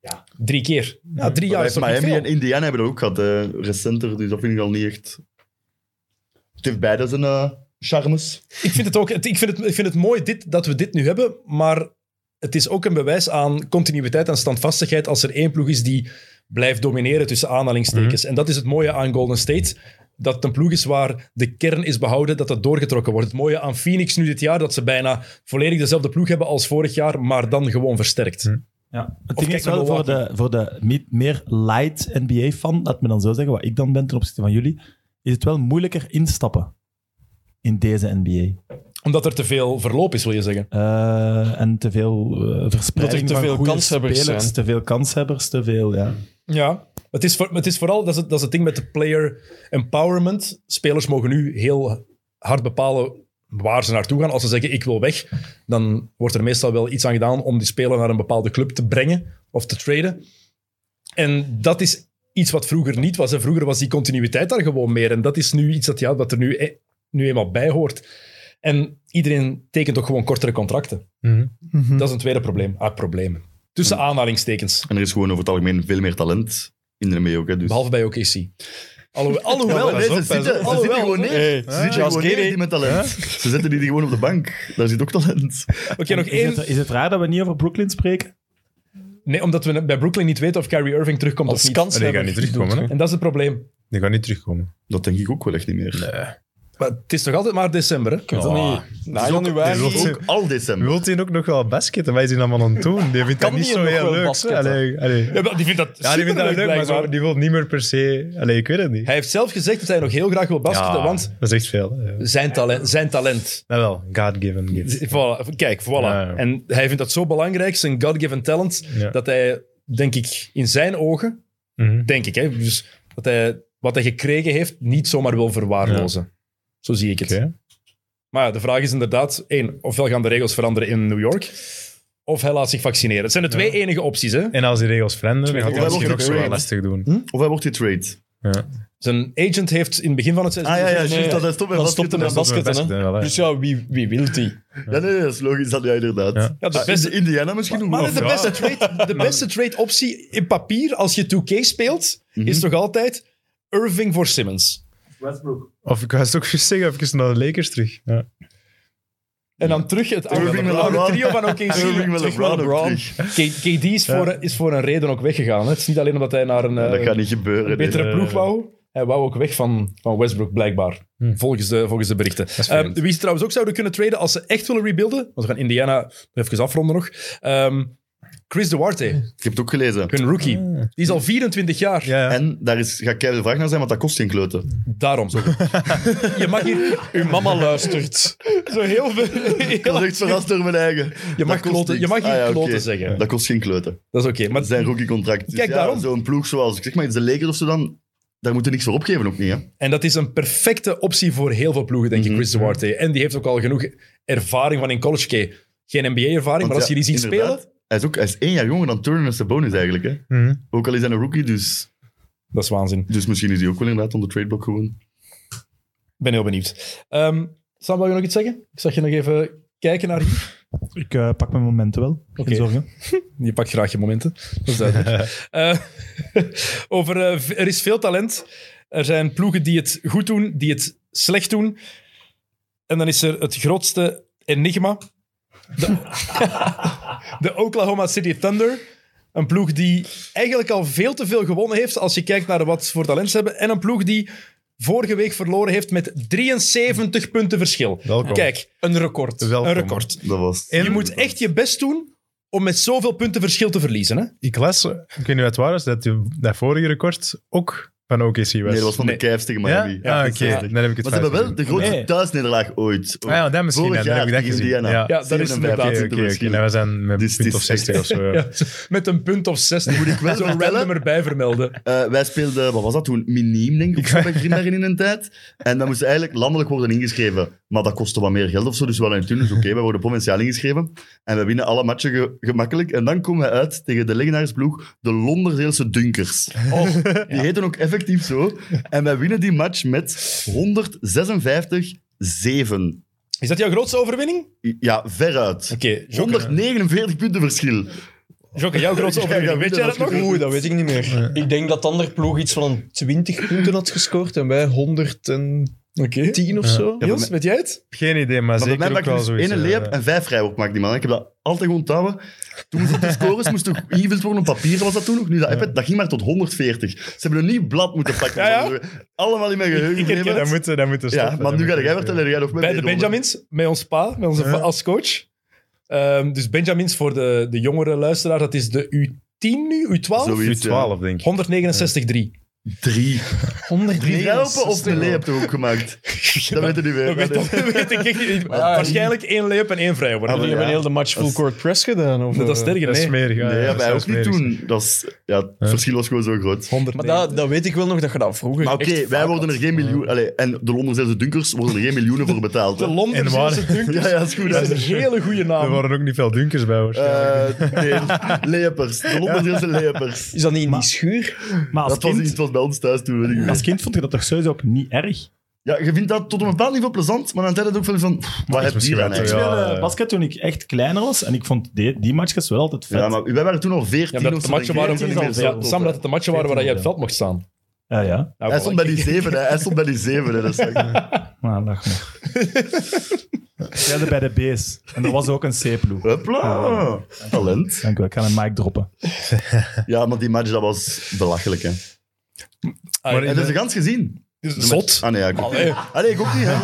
S7: Ja, drie keer. Ja, drie jaar is toch niet
S4: Miami en
S7: veel.
S4: Indiana hebben dat ook gehad, eh, recenter, dus dat vind ik al niet echt... Het heeft beide zijn eh, charmes.
S7: Ik vind het ook het- ik vind het, ik vind het mooi dit, dat we dit nu hebben, maar het is ook een bewijs aan continuïteit en standvastigheid als er één ploeg is die blijft domineren tussen aanhalingstekens. En dat is het mooie aan Golden State. Dat het een ploeg is waar de kern is behouden, dat dat doorgetrokken wordt. Het mooie aan Phoenix nu dit jaar, dat ze bijna volledig dezelfde ploeg hebben als vorig jaar, maar dan gewoon versterkt.
S6: Ja, het
S7: kijk
S6: ding is
S7: naar
S6: wel voor de,
S7: Milwaukee.
S6: voor de mi- meer light NBA-fan, laat me dan zo zeggen, wat ik dan ben ten opzichte van jullie, is het wel moeilijker instappen in deze NBA.
S7: Omdat er te veel verloop is, wil je zeggen.
S6: Eh, en te veel eh verspreiding
S3: te
S6: van
S3: veel
S6: goede
S3: kanshebbers
S6: spelers,
S3: zijn.
S6: te veel kanshebbers, te veel, ja.
S7: Ja. Het is, voor, het is vooral, dat is het, dat is het ding met de player empowerment. Spelers mogen nu heel hard bepalen waar ze naartoe gaan. Als ze zeggen, ik wil weg, dan wordt er meestal wel iets aan gedaan om die speler naar een bepaalde club te brengen of te traden. En dat is iets wat vroeger niet was. En vroeger was die continuïteit daar gewoon meer. En dat is nu iets dat, ja, dat er nu, e- nu eenmaal bij hoort. En iedereen tekent ook gewoon kortere contracten.
S5: Mhm.
S7: Dat is een tweede probleem. Ah, problemen. Tussen aanhalingstekens.
S4: En er is gewoon over het algemeen veel meer talent in de NBA ook. Hè, dus.
S7: Behalve bij OKC. Alhoewel,
S4: Alhoewel,
S7: alhoewel
S4: nee, ze
S5: pas op.
S4: zitten, ze
S7: Alhoewel.
S4: zitten gewoon neer.
S5: Hey,
S4: Ze zitten
S5: Charles
S4: gewoon neer,
S5: Giddy.
S4: die met talent. Ze zetten die gewoon op de bank. Daar zit ook talent.
S7: Oké, nog
S6: Is
S7: één.
S6: het, is het raar dat we niet over Brooklyn spreken?
S7: Nee, omdat we bij Brooklyn niet weten of Kyrie Irving terugkomt of
S3: Als
S7: niet.
S3: kans
S5: Ah, Die gaan niet terugkomen, hè?
S7: En dat is het probleem.
S5: Die gaan niet terugkomen.
S4: Dat denk ik ook wel echt niet meer. Het
S7: Maar het is toch altijd maar december, hè?
S3: weet het niet. Na januari.
S4: is ook al december.
S5: Wilt hij ook nog wel basketten? Wij zien allemaal aan het doen. Die vindt
S3: Kan
S5: dat niet
S3: die
S5: zo
S3: nog
S5: heel
S3: wel
S5: leuk. hè?
S3: basketten?
S5: Allee, allee.
S7: Ja, maar die vindt dat
S5: Ja, die vindt dat
S7: superleuk,
S5: leuk, maar zo,
S7: blijkbaar.
S5: die wil niet meer per se... Allee, ik weet het niet.
S7: Hij heeft zelf gezegd dat hij nog heel graag wil basketten,
S5: Ja,
S7: want
S5: Dat is echt veel. hè. Ja.
S7: zijn talent... Zijn talent
S5: Nou wel, God-given gift.
S7: Voilà, kijk, voilà.
S5: Ja, ja.
S7: En hij vindt dat zo belangrijk, zijn God-given talent,
S5: Ja.
S7: dat hij, denk ik, in zijn ogen,
S5: Mhm.
S7: denk ik, hè, dus dat hij wat hij gekregen heeft, niet zomaar wil verwaarlozen. Zo zie ik het.
S5: Oké.
S7: Maar ja, de vraag is inderdaad, één, ofwel gaan de regels veranderen in New York, of hij laat zich vaccineren. Het zijn de twee enige opties, hè.
S5: En als die regels veranderen, dan gaat hij
S4: Wel
S5: misschien
S4: nog
S5: ook zo wel
S4: getraind.
S5: lastig doen.
S4: Of hij wordt getrade.
S5: Ja.
S7: Zijn agent heeft in het begin van het seizoen...
S4: Ah ja, ja,
S7: gezegd,
S4: juist, dat hij stopt met
S3: Dan
S4: basket.
S3: stopt hij met basketten, hè?
S5: wel, hè.
S3: Dus ja, wie, wie wil die?
S4: Ja, nee, nee, dat is logisch. Dat, ja, inderdaad.
S5: Ja.
S7: Ja, de beste-
S4: Ah, Indiana misschien ook.
S7: Maar
S4: Of-
S7: de beste, trade, de beste trade optie in papier, als je 2K speelt,
S5: Mhm.
S7: is toch altijd Irving voor Simmons.
S5: Of ik ga het ook even zeggen, even naar de Lakers terug. Ja.
S7: En dan terug het oude,
S4: Irving met
S7: oude
S4: LeBron.
S7: trio van
S4: Irving
S7: OKC.
S4: met
S7: Terug met
S4: LeBron ook
S7: LeBron.
S4: terug.
S7: K- KD is voor, is voor een reden ook weggegaan. Hè. Het is niet alleen omdat hij naar een, eh,
S4: Dat gaat niet gebeuren.
S7: een betere
S5: nee.
S7: ploeg wou. Hij wou ook weg van, van Westbrook, blijkbaar. Volgens, de, volgens de berichten.
S5: vreemd.
S7: Ehm, wie ze trouwens ook zouden kunnen traden als ze echt willen rebuilden. Want we gaan Indiana even afronden nog. Ehm, Chris Duarte,
S4: Ik heb het ook gelezen.
S7: hun rookie. Die is al 24 jaar.
S5: Ja, ja.
S4: En daar is, ga ik de vraag naar zijn, want dat kost geen kloten.
S7: Daarom. je mag hier
S3: Uw mama luistert.
S7: zo heel veel...
S4: Dat is echt verrast door mijn eigen. Dat
S7: mag
S4: kost
S7: kloten-
S4: niks.
S7: je mag hier
S4: Ah oké.
S7: kloten zeggen.
S4: Dat kost geen kloten.
S7: Dat is oké. maar
S4: Zijn rookiecontract. Dus
S7: Kijk,
S4: ja,
S7: daarom.
S4: Zo'n ploeg zoals, ik zeg maar, iets de Lakers of zo dan, daar moeten niks voor opgeven ook niet, hè.
S7: En dat is een perfecte optie voor heel veel ploegen, denk ik, Chris Duarte. En die heeft ook al genoeg ervaring van in college. Oké, Geen NBA-ervaring, maar als je die ziet spelen,
S4: Hij is, ook, hij is één jaar jonger dan Turner en Sabonis eigenlijk. Hè?
S5: Mhm.
S4: Ook al is hij een rookie, dus,
S7: dat is waanzin.
S4: dus misschien is hij ook wel inderdaad onder tradeblock gewoon.
S7: Ik ben heel benieuwd. Ehm Sam, wil je nog iets zeggen? Ik zag je nog even kijken naar hier.
S6: Ik eh, pak mijn momenten wel,
S7: Oké.
S6: geen zorgen.
S7: Je pakt graag je momenten. Dat is duidelijk. Eh, over, eh, v- er is veel talent. Er zijn ploegen die het goed doen, die het slecht doen. En dan is er het grootste enigma. De, de Oklahoma City Thunder. Een ploeg die eigenlijk al veel te veel gewonnen heeft als je kijkt naar wat ze voor talent ze hebben. En een ploeg die vorige week verloren heeft met 73 punten verschil.
S5: Welkom.
S7: Kijk,
S3: Een record.
S5: Welkom.
S7: een record.
S4: Dat was.
S5: En-
S7: Je moet echt je best doen om met zoveel punten verschil te verliezen. Hè?
S5: Ik las, ik weet niet wat het waar is, dat die- dat vorige record ook van OKC was.
S4: Nee, dat was van
S7: Nee.
S4: de Cavs tegen
S5: Ja?
S4: Miami.
S5: Ah, oké.
S4: Ja.
S5: Dan heb ik het fout
S4: Maar ze hebben wel
S5: gezien.
S4: de grootste
S6: Nee.
S4: thuisnederlaag ooit.
S5: Ah ja, dat misschien. ja,
S4: Vorig
S5: dan heb ik
S4: jaar
S5: dat gezien.
S4: tegen Indiana.
S5: Ja,
S7: Ja, dat is
S4: 57
S7: inderdaad.
S5: oké,
S4: punten
S5: oké. oké.
S4: verschil.
S5: Nou, we zijn met
S4: Dus het
S5: punt
S4: is
S5: of 60 of zo. ja.
S7: Ja, met een punt of zes. Moet ik
S4: wel
S7: Zo'n
S4: vertellen?
S7: random erbij vermelden.
S4: Eh, wij speelden, wat was dat toen? Miniem, denk ik, of zo, bij Grimbergen in een tijd. En dat moest eigenlijk landelijk worden ingeschreven. Maar dat kostte wat meer geld of zo. Dus we hadden toen dus oké, we worden provinciaal ingeschreven. En we winnen alle matchen ge- gemakkelijk. En dan komen we uit tegen de legendarische ploeg, de Londerzeelse Dunkers. Die heten ook effectief zo. En wij winnen die match met 156-7.
S7: Is dat jouw grootste overwinning?
S4: Ja, veruit.
S7: Oké, Jokke.
S4: 149 punten verschil.
S7: Jokke, jouw grootste
S4: Ja,
S7: overwinning.
S4: ja,
S7: Weet jij dat nog?
S3: Oeh, dat weet ik niet meer. Ik denk dat de andere ploeg iets van 20 punten had gescoord en wij 110
S7: Oké.
S3: of zo.
S7: Niels, weet jij het?
S5: Geen idee, maar,
S4: Maar bij
S5: zeker
S4: mij
S5: ook
S4: maakte
S5: wel
S4: dus
S5: zoiets.
S4: één layup
S5: eh,
S4: en vijf vrijworp maakt die man. Ik heb dat altijd onthouden. Toen moesten de scores moesten ook ingevuld worden op papier, was dat toen ook. Nu dat iPad, dat ging maar tot 140. Ze hebben een nieuw blad moeten pakken.
S7: Ja, ja.
S4: Allemaal in mijn geheugen.
S7: ik herken
S4: gebleven.
S5: Dat moet, dat moet
S4: ja, maar nu ga jij vertellen, jij nog mee.
S7: Bij de Benjamins, met ons pa, met onze va- als coach. Ehm, dus Benjamins voor de, de jongere luisteraar, dat is de U10 nu, U12?
S4: Zoiets.
S5: U
S4: Zoiets,
S5: 12, denk ik.
S7: 169-3.
S4: Drie. Drie
S3: 103
S4: layupen of een layup toch ook gemaakt? Dat weten die weer.
S7: Dat weet,
S4: Dat
S7: dat
S4: is-
S7: weet ik echt niet. Waarschijnlijk één layup en één vrijwoord.
S4: Ah,
S3: Jullie
S4: wel,
S3: hebben
S4: ja.
S3: heel de match full court press gedaan. Of,
S7: Dat is
S3: eh,
S7: sterker,
S5: Dat is
S7: nee.
S5: smerig.
S4: Nee, ja,
S5: dat
S4: wij
S5: is
S4: ook niet
S5: smerig.
S4: toen. Dat is, ja, het verschil was gewoon zo groot.
S3: Maar dat, dat weet ik wel nog dat je dat vroeger
S4: Maar oké,
S3: echt
S4: wij
S3: vaak
S4: worden er
S3: had.
S4: geen miljoen... Allee, en de Londense Dunkers worden er geen miljoenen voor betaald.
S7: De
S4: hè.
S5: En
S7: Londense
S5: waar-
S7: Dunkers
S4: Ja, ja, dat is goed.
S7: is een hele goede
S5: Er
S7: naam.
S5: waren ook niet veel dunkers bij, waarschijnlijk.
S4: Eh, nee, lepers. De Londense lepers.
S3: Is dat niet in die schuur?
S6: Maar als
S4: dat was,
S6: kind,
S4: iets was bij ons thuis toen. Weet ik niet.
S6: als kind vond je dat toch sowieso ook niet erg?
S4: Ja, je vindt dat tot een bepaald niveau plezant, maar dan tijd het ook veel van... pff, Waar heb je
S5: misschien
S4: hier aan
S5: wel eh,
S6: Ik
S4: eigenlijk?
S5: ja,
S6: speelde
S5: ja.
S6: basket toen ik echt kleiner was en ik vond die, die matchjes wel altijd vet.
S4: Ja, maar wij waren toen al
S7: Ja,
S4: 14
S7: maar
S4: of
S7: dat de
S4: zo.
S7: matchen waren,
S4: denk ik.
S7: ja,
S4: Ja,
S7: Sam, dat het de matchen waren waar je op het veld mocht staan.
S6: ja, Ah, ja.
S7: Nou,
S4: Hij
S7: voilà.
S4: stond bij die zeven, hè. Hij stond bij die zeven, hè. Dat is echt-
S6: Nou, lach maar. Ik speelde bij de B's en dat was ook een C-ploeg.
S4: Hopla. Talent.
S6: Dank u wel, ik ga een mic droppen.
S4: Ja, maar die match, dat was belachelijk, hè.
S7: Ah,
S4: En dat is de gans gezien.
S7: is zot.
S4: Ah nee, ja, ik ook
S7: Allee.
S4: niet. Allee, ik ook niet, hè.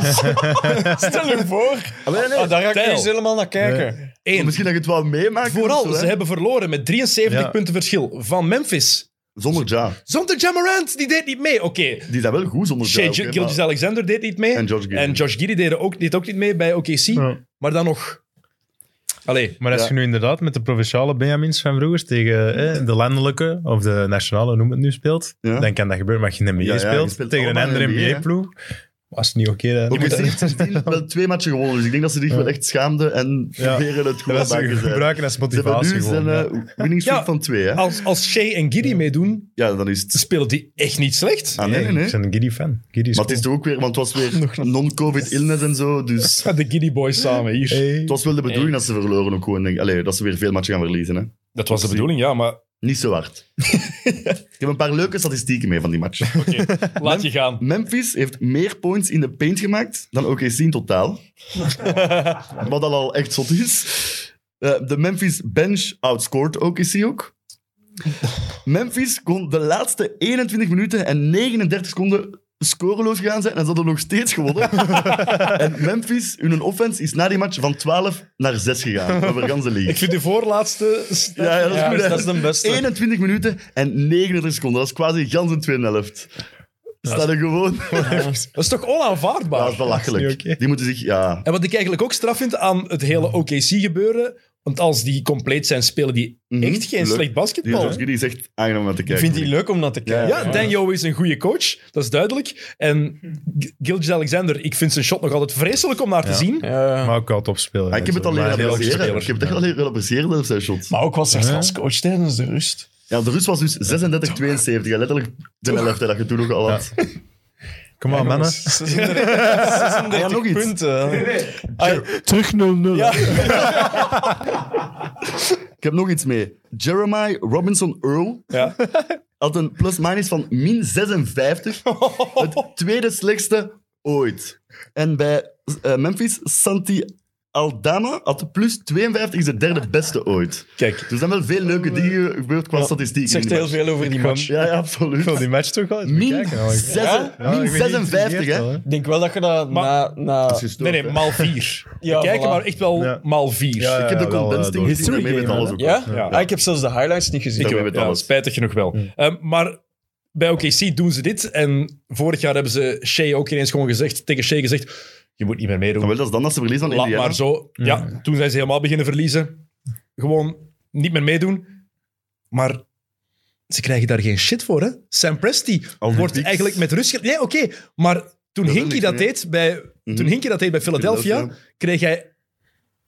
S7: Stel je voor.
S4: Allee, nee.
S3: Ah, daar ga ik
S7: Tijl.
S3: eens helemaal naar kijken.
S4: Maar
S7: Eén.
S4: Misschien dat je het wel meemaakt.
S7: Vooral,
S4: of zo,
S7: ze
S4: hè.
S7: hebben verloren met 73
S5: Ja.
S7: punten verschil van Memphis.
S4: Zonder Ja.
S7: Zonder Jamarant, die deed niet mee. Oké,
S4: Die zijn wel goed zonder Ja.
S7: Shea
S4: oké, maar-
S7: Gilgeous Alexander deed niet mee.
S4: En Josh Giddey.
S7: En Josh Giddy deed ook, deed ook niet mee bij OKC. Maar dan nog... Allee,
S5: Maar als
S4: Ja.
S5: je nu inderdaad met de provinciale Benjamins van vroeger tegen eh, de landelijke of de nationale, noem het nu, speelt,
S4: Ja.
S5: dan kan dat gebeuren. Maar als je in de NBA
S4: Ja, ja, je
S5: speelt,
S4: speelt
S5: tegen een
S4: allemaal
S5: andere
S4: in de NBA,
S5: NBA-ploeg, was het niet oké. dan-
S4: Ook okay, heeft Steele wel twee matchen gewonnen, dus ik denk dat ze zich wel echt schaamden en
S5: Ja.
S4: proberen het goed
S5: Ja, dat
S4: te
S5: ze
S4: maken. zijn.
S5: gebruiken als
S4: Ze hebben
S5: motivatie
S4: nu zijn
S5: gewoon. ja.
S4: eh, winning streak
S7: Ja.
S4: van twee, hè?
S7: als, als Shea en Giddy meedoen,
S4: Ja, dan is het...
S7: speelt die echt niet slecht.
S4: Ah, nee, nee, nee.
S5: Ik ben een Giddy-fan. Giddy is
S4: Maar het is
S5: cool.
S4: toch ook weer, want het was weer non-covid illness en zo, dus...
S7: De Giddy boys samen, hier.
S4: Het was wel de bedoeling dat ze verloren ook gewoon. denk ik. Allee, dat ze weer veel matchen gaan verliezen, hè.
S7: Dat was de bedoeling, ja, maar
S4: Niet zo hard. ik heb een paar leuke statistieken mee van die match.
S7: laat je gaan.
S4: Memphis heeft meer points in de paint gemaakt dan OKC in totaal. Wat al al echt zot is. Eh, de Memphis bench outscored OKC ook. Memphis kon de laatste 21 minuten en 39 seconden scoreloos gaan zijn en ze hadden nog steeds gewonnen. en Memphis, hun offense, is na die match van 12 naar 6 gegaan over de hele
S7: Ik
S4: league.
S7: vind de voorlaatste... st-
S4: Ja, ja, dat is goed. hè.
S3: dat is de beste.
S4: 21 minuten en 39 seconden. Dat is quasi gans een tweede helft. Staat er gewoon...
S7: Dat is toch
S4: Ja,
S7: onaanvaardbaar?
S4: dat is belachelijk.
S5: Dat is niet oké.
S4: Die moeten zich, ja.
S7: En wat ik eigenlijk ook straf vind aan het hele OKC-gebeuren, want als die compleet zijn, spelen die
S4: Mhm.
S7: echt geen
S4: Leuk.
S7: slecht
S4: Die
S7: basketbal.
S4: Josh Giddy is echt aangenaam om naar te
S3: Ik
S4: kijken.
S3: vind die leuk om naar te kijken.
S7: Ja, Daniel is een goede coach, dat is duidelijk. En Gilgis Alexander, ik vind zijn shot nog altijd vreselijk om naar te zien.
S3: Ja.
S5: Maar ook wel topspeler.
S4: Ah, ik heb het al
S5: Maar
S4: leren
S5: heel goed
S4: appreciëren.
S5: speler.
S4: Ik heb het echt al leren appreciëren, dat zijn shot.
S3: Maar ook was er als coach tijdens de rust.
S4: Ja, de rust was dus 36-72. Ja, letterlijk de helft hè, dat je toen nog al had.
S5: Kom aan, mannen.
S3: 36
S4: nog iets.
S3: punten.
S6: Terug 0-0.
S4: Ik heb nog iets mee. Jeremiah Robinson Earl
S7: Ja.
S4: had een plus-minus van min 56. Het tweede slechtste ooit. En bij eh, Memphis, Santi Aldama had plus 52, is de derde beste ooit.
S7: Kijk.
S4: Dus er zijn wel veel leuke dingen gebeurd qua statistiek.
S3: Zegt heel veel over die match.
S4: Ja, ja, absoluut.
S5: Ik wil die match toch wel eens
S4: Min,
S5: bekijken, eigenlijk.
S4: zes-
S3: Ja?
S5: ik
S4: min
S5: ben
S4: 56,
S5: geïntrigeerd
S4: hè?
S5: wel,
S3: Ik denk wel dat je dat
S7: Maar-
S3: na... na
S7: Nee, nee, maal vier.
S3: Ja,
S7: We kijken,
S3: voilà.
S7: maar echt wel
S5: Ja.
S7: maal vier.
S5: Ja,
S4: Ik heb de
S5: wel,
S4: condensed
S5: eh,
S4: dingen gezien,
S6: History
S4: daarmee met
S6: game,
S4: alles
S6: hè?
S4: ook.
S3: ja?
S7: Ja.
S3: Ah, ik heb zelfs de highlights
S7: Dus
S3: niet gezien.
S4: Ik Mm.
S3: Ik
S4: heb- met
S7: ja,
S4: alles.
S7: spijtig genoeg wel. Ehm, maar bij OKC doen ze dit. En vorig jaar hebben ze Shea ook ineens gewoon gezegd, tegen Shea gezegd, je moet niet meer
S4: Ja,
S7: meedoen.
S4: wel, dat is dan dat ze verliezen van
S7: Laat
S4: Indiana. Mm.
S7: maar zo. Ja, toen zijn ze helemaal beginnen verliezen. Gewoon niet meer meedoen. Maar ze krijgen daar geen shit voor, hè? Sam Presti
S4: Al die
S7: wordt
S4: picks.
S7: eigenlijk met rust... ge- Nee, oké, maar Toen
S4: Dat wil
S7: Hinkie
S4: ik,
S7: dat
S4: ja.
S7: deed bij, toen
S4: Mhm.
S7: Hinkie dat deed bij Philadelphia,
S4: Philadelphia.
S7: kreeg hij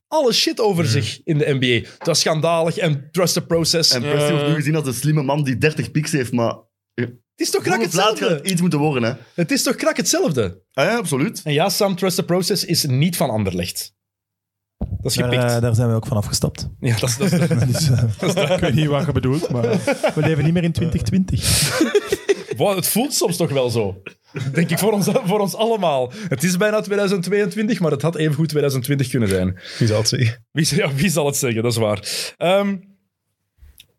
S7: alle shit over
S4: Mhm.
S7: zich in de NBA. Dat was schandalig en trust the process.
S4: En Preston
S7: Eh.
S4: wordt nu gezien als een slimme man die 30 piks heeft, maar...
S7: het is toch krak
S4: Vroeg of laat gaat
S7: hetzelfde?
S4: het iets moeten worden, hè.
S7: Het is toch krak hetzelfde?
S4: Ah, ja, absoluut.
S7: En ja, Sam, trust the process is niet van Anderlecht. Dat is
S6: Daar,
S7: gepikt.
S6: eh, daar zijn we ook van afgestapt.
S7: ja, dat is, dat is-
S6: Dus, eh, ik weet niet wat je bedoelt, maar we leven niet meer in 2020.
S7: Wow, het voelt soms toch wel zo. Denk ik voor ons, voor ons allemaal. Het is bijna 2022, maar het had evengoed 2020 kunnen zijn.
S5: Wie zal het zeggen?
S7: Wie, z- ja, wie zal het zeggen? Dat is waar. Ehm,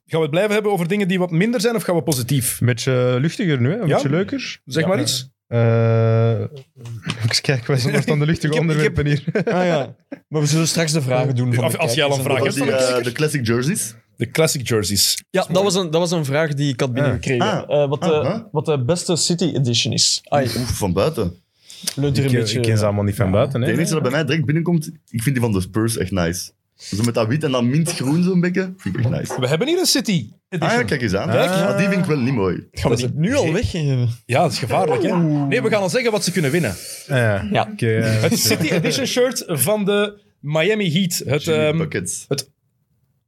S7: gaan we het blijven hebben over dingen die wat minder zijn of gaan we positief?
S5: Een beetje luchtiger nu, hè? een
S7: Ja.
S5: beetje leuker.
S7: Zeg maar iets.
S5: Eh, ik kijk, wij zijn wat aan de luchtige
S7: Ik heb- ik heb-
S5: onderwerpen hier.
S3: Ah ja. Maar we zullen straks de vragen doen. Van
S7: Als-
S3: de
S7: als jij al een
S3: kijkers
S7: vraag
S3: en
S4: Of
S7: hebt.
S3: de-
S4: die, eh, de classic jerseys.
S7: De classic jerseys.
S3: Ja, dat was, een, dat was een vraag die ik had binnengekregen.
S4: Ah.
S3: Eh, wat, de,
S4: Ah, ah.
S3: wat de beste City Edition is. Ai,
S4: Oef, van buiten.
S3: leunt er
S5: Ik,
S3: een
S5: ken-
S3: beetje...
S5: ik ken ze allemaal niet van buiten.
S4: Het
S5: Hè?
S4: enige dat bij mij direct binnenkomt, ik vind die van de Spurs echt nice. Zo met dat wit en dat mintgroen zo'n beetje, vind ik echt nice.
S7: We hebben hier een City.
S4: Ah ja, kijk eens aan. Maar die vind ik wel niet mooi.
S7: Ehm,
S3: Gaan we die nu al weggeven?
S7: Ja, dat is gevaarlijk, hè? Nee, we gaan al zeggen wat ze kunnen winnen.
S5: Ja.
S3: Ja.
S5: Ik, eh,
S7: Het City Edition shirt van de Miami Heat. Het
S4: Jimmy
S7: ehm,
S4: Buckets.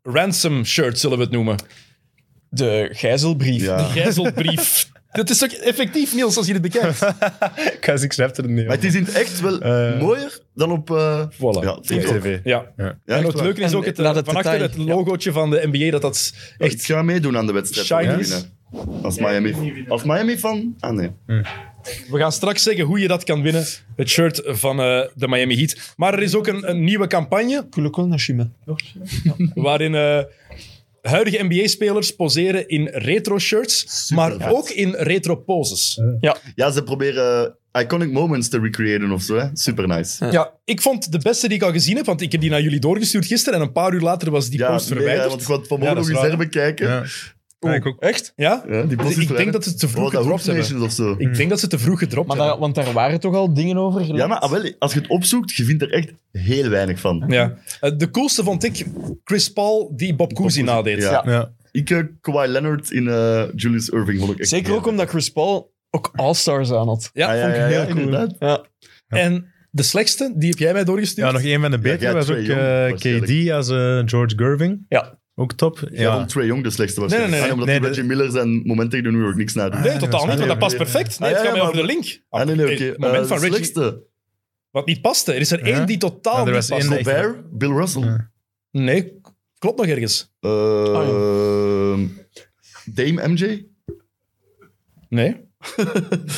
S7: ransom shirt, zullen we het noemen.
S3: De gijzelbrief.
S4: Ja.
S7: Gijzelbrief. Dat is toch effectief, Niels, als je dit bekijkt?
S5: ik was- ik snapte het niet.
S4: Maar het is in het echt wel
S5: Eh.
S4: mooier dan op... eh
S7: Voilà.
S4: Ja, het
S5: op
S4: is ook.
S5: tv.
S7: Ja.
S4: Ja,
S7: En
S4: echt
S7: het
S4: waar.
S7: leuke is
S3: En
S7: ook het,
S3: laat het
S7: vanachter het
S3: detail.
S7: logootje van de NBA, dat dat
S4: Ik
S7: echt...
S4: ga meedoen aan de wedstrijd. om te
S7: Shinies.
S4: winnen. Als Miami, als Miami van... Ah nee.
S7: We gaan straks zeggen hoe je dat kan winnen. Het shirt van eh, de Miami Heat. Maar er is ook een, een nieuwe campagne
S3: Ik wil ook wel naar Chime.
S7: waarin eh, huidige NBA-spelers poseren in retro-shirts, maar
S4: vet.
S7: ook in retro-poses.
S4: Ja, ze proberen eh, iconic moments te recreëren of zo. Hè. Super nice.
S7: Ja, ik vond de beste die ik al gezien heb, want ik heb die naar jullie doorgestuurd gisteren en een paar uur later was die
S4: Ja,
S7: post
S4: nee,
S7: verwijderd.
S4: hè, want ik wou het
S7: Ja,
S4: vanmorgen
S7: dat
S4: nog
S7: is
S4: eens
S7: waar.
S4: herbekijken.
S5: Ja. Ja, ik ook.
S3: Echt?
S7: Ja?
S4: Ja, die post is
S7: ik denk
S4: verwijderd.
S7: dat ze het te vroeg
S4: Oh, dat Hmm.
S7: gedropt hebben.
S4: Nations of zo.
S7: Ik denk dat ze het te vroeg gedropt
S3: Maar daar-
S7: hebben.
S3: want daar waren toch al dingen over?
S4: Ja, maar ah, wel, als je het opzoekt, je vindt er echt heel weinig van.
S7: Ja. Eh, de coolste vond ik Chris Paul die Bob Cousy nadeed.
S4: Ja.
S5: Ja.
S4: Ik eh, Kawhi Leonard in eh, Julius Irving vond ik echt
S3: Zeker
S4: heel
S3: ook omdat Chris Paul ook All-Stars aan had.
S7: Ja,
S4: Ah, ja,
S7: vond ik
S4: ja,
S7: heel
S4: ja,
S7: cool.
S4: inderdaad.
S3: Ja.
S7: En de slechtste, die heb jij mij doorgestuurd.
S5: ja, nog één van de betere
S4: jij
S5: was ook
S4: twee jong,
S5: eh,
S4: waarschijnlijk.
S5: KD als eh, George Gerving.
S3: Ja.
S5: Ook top.
S4: Ja,
S5: Ja.
S4: vond Trae Young de slechtste was.
S7: Nee, nee, Ah, nee,
S4: Ah, omdat
S5: nee,
S4: die
S5: dat-
S4: Reggie Miller zijn momenten ik doe nu ook niks naar.
S7: Nee, totaal niet, want dat past
S4: nee.
S7: perfect. Nee,
S4: Ah,
S7: het
S4: ja,
S7: gaat mij
S4: ja,
S7: over de link.
S4: Ah, nee, nee, oké.
S7: Het moment
S4: Eh,
S7: van
S4: de
S7: Reggie,
S4: slechtste.
S7: wat niet paste. Er is er
S5: Ja?
S7: één die totaal
S5: Ja, er
S7: niet
S5: was één
S7: paste.
S5: echt-
S4: Gobert, Bill Russell.
S5: Ja.
S7: Nee, k- klopt nog ergens.
S4: Eh,
S7: Ah,
S4: Dame MJ.
S7: Nee.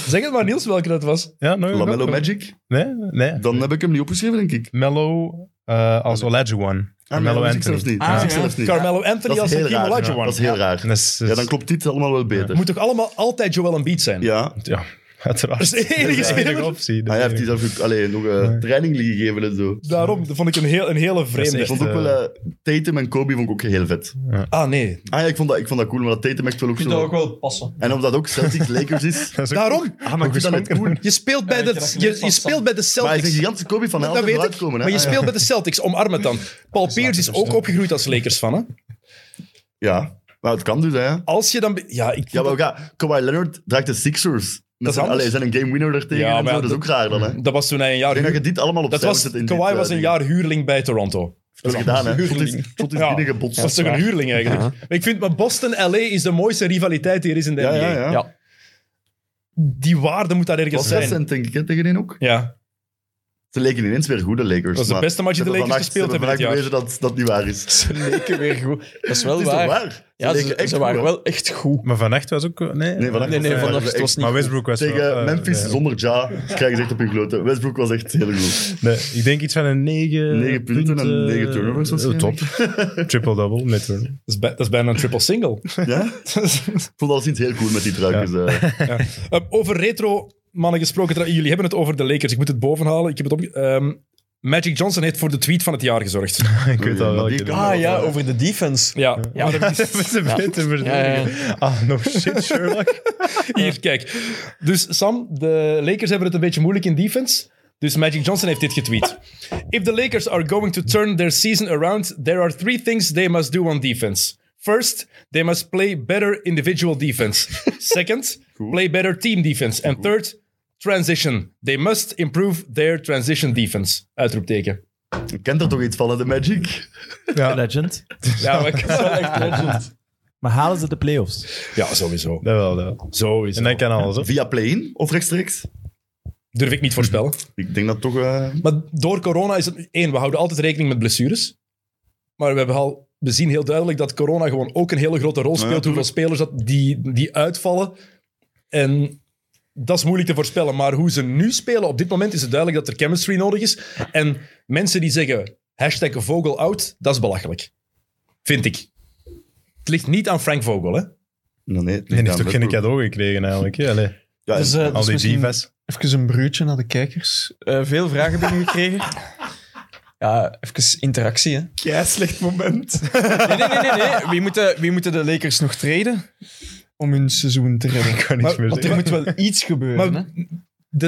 S7: zeg het maar, Niels, welke dat was.
S5: Ja, nou,
S4: Lamello
S5: ook-
S4: Magic.
S5: Nee, nee.
S4: Dan heb ik hem niet opgeschreven, denk
S5: Ah,
S4: ik.
S5: Mello eh, als Olajuwon.
S4: Ah, nee,
S5: Mello
S4: dat
S5: Anthony.
S4: wist ik zelfs niet.
S3: Ah,
S4: Dat wist ik
S3: ja.
S4: zelfs niet.
S7: Carmelo Anthony
S4: Dat is
S7: als
S4: heel
S7: Hakim
S4: raar.
S7: Olajuwon.
S4: Ja, Dat is heel raar.
S5: Dat is-
S4: Ja, dan klopt dit allemaal wel beter.
S7: Moet toch allemaal altijd Joel Embiid zijn?
S4: Ja.
S5: Ja, uiteraard.
S7: Dat is de enige
S5: Dat is
S7: speler.
S5: optie.
S4: Ah, hij heeft die zelf ook allee, nog eh, training gegeven en zo.
S7: Daarom dat vond ik een, heel, een hele
S5: Dat
S7: vreemde.
S5: is
S4: Ik vond ook
S5: Eh.
S4: wel... eh, Tatum en Kobe vond ik ook heel vet.
S7: Ah, nee.
S4: Ah ja, ik vond dat, ik vond dat cool, maar dat Tatum echt wel ook
S3: Ik vind dat ook
S4: zo...
S3: wel passen.
S4: En omdat ook Celtics-Lakers is...
S5: Dat is ook-
S7: Daarom.
S4: Ah, maar ik vind dat net cool.
S7: Je speelt bij,
S3: krijg
S7: de,
S3: je
S7: je,
S3: net
S7: je
S3: van
S7: speelt bij de
S4: Maar hij is een
S7: Celtics.
S4: gigantische Kobe van
S7: Dat
S4: altijd
S7: weet ik,
S4: uitkomen.
S7: maar je speelt bij de Celtics. Omarm het dan. Paul Pierce is ook opgegroeid als Lakers-fan, hè?
S4: Ja, maar het kan dus, hè. Ja,
S7: Als je dan... be- Ja, ik...
S4: maar ook, ja, Kawhi Leonard draagt de Sixers.
S7: is
S4: Met zijn,
S7: anders.
S4: allee, zijn een game winner er tegen
S7: Ja, maar
S4: en zo,
S7: ja,
S4: dat is
S7: dat-
S4: ook raar dan, hè. Ik
S7: Dat was toen hij een jaar...
S4: denk dat je
S7: huur-
S4: dit allemaal opzij
S7: Dat was...
S4: moet zetten in
S7: Kawhi
S4: dit,
S7: was
S4: eh,
S7: een
S4: ding.
S7: jaar huurling bij Toronto.
S4: Dat is gedaan, hè. Tot
S7: huurling.
S4: is, tot is
S7: Ja.
S4: binnengebotst.
S7: Dat is toch een huurling, eigenlijk? Maar Ik vind maar Boston-LA is de mooiste rivaliteit die er is in de
S4: Ja,
S7: NBA.
S4: ja, ja.
S3: Ja.
S7: Die waarde moet daar ergens
S4: Was zes
S7: zijn.
S4: cent, denk ik, hè, tegen hen ook.
S7: Ja.
S4: Ze leken ineens weer goede Lakers.
S7: Dat was de
S4: maar
S7: beste match die de
S4: ze
S7: Lakers
S4: vannacht-
S7: gespeeld hebben
S4: Ze hebben vandaag bewezen dat dat niet waar is. Het
S3: Ze leken weer goed. Dat is wel
S4: is toch
S3: waar.
S4: waar?
S3: Ja,
S4: leken
S3: ze,
S4: echt
S3: ze waren
S4: goed, hè.
S3: wel echt goed.
S5: Maar vannacht was ook... Nee,
S4: Nee, vannacht
S3: Nee, nee,
S4: was-
S3: vannacht
S4: echt-
S3: was het niet
S5: Maar Westbrook was
S4: Tegen
S5: wel, eh,
S4: Memphis
S5: nee.
S4: zonder Ja krijgen ze echt op hun kloten. Westbrook was echt heel goed.
S5: Nee, ik denk iets van een eh, 9...
S4: Negen punten en negen turnovers
S5: top.
S4: waarschijnlijk.
S5: Triple-double met turnovers.
S7: Dat is, bij- dat is bijna een triple-single.
S4: Ja? Ik vond alles iets heel cool met die truikers. eh.
S7: Eh, over retro mannen gesproken. tra- Jullie hebben het over de Lakers. Ik moet het bovenhalen. Ik heb het op. ehm, Magic Johnson heeft voor de tweet van het jaar gezorgd.
S5: Ik weet al
S4: Maar
S5: wel.
S4: die
S5: ik-
S4: kan-
S3: Ah ja, over de defense.
S7: Ja. Maar dat is-
S5: Met zijn been te verdedigen. Ah, no shit, Sherlock.
S7: Hier, kijk. Dus Sam, de Lakers hebben het een beetje moeilijk in defense. Dus Magic Johnson heeft dit getweet. If the Lakers are going to turn their season around, there are three things they must do on defense. First, they must play better individual defense. Second, play better team defense. And third, Transition. They must improve their transition defense. Uitroepteken.
S4: Je kent er toch iets van, hè, de Magic?
S6: Legend.
S7: Ja, maar ik-
S6: Maar halen ze de playoffs?
S7: ja sowieso.
S5: Dat wel, dat wel.
S7: Sowieso.
S5: En hij kan alles, hè?
S4: Via play-in of rechtstreeks?
S7: Durf ik niet voorspellen.
S4: Ik denk dat toch... eh,
S7: Maar door corona is het... één, we houden altijd rekening met blessures. Maar we, hebben al, we zien heel duidelijk dat corona gewoon ook een hele grote rol speelt. hoeveel spelers dat die, die uitvallen. En dat is moeilijk te voorspellen. Maar hoe ze nu spelen, op dit moment is het duidelijk dat er chemistry nodig is. En mensen die zeggen hashtag Vogel out, dat is belachelijk. Vind ik. Het ligt niet aan Frank Vogel, hè?
S4: nee, nee, het ligt
S5: En die heeft
S4: aan
S5: ook geen
S4: Westbrook.
S5: cadeau gekregen, eigenlijk. hè? Allee,
S4: Ja,
S3: Dus, eh,
S5: al
S3: dus
S5: die
S3: misschien
S5: divas.
S3: Even een bruutje naar de kijkers. Eh, veel vragen binnengekregen. Ja, even interactie, hè.
S6: Ja, slecht moment.
S3: Nee, nee, nee. nee, nee. Wie, moeten, wie moeten de Lakers nog treden om hun seizoen te redden?
S5: Ik kan niks meer
S3: Want er
S5: zeggen.
S3: moet wel iets gebeuren,
S7: Maar-
S3: hè.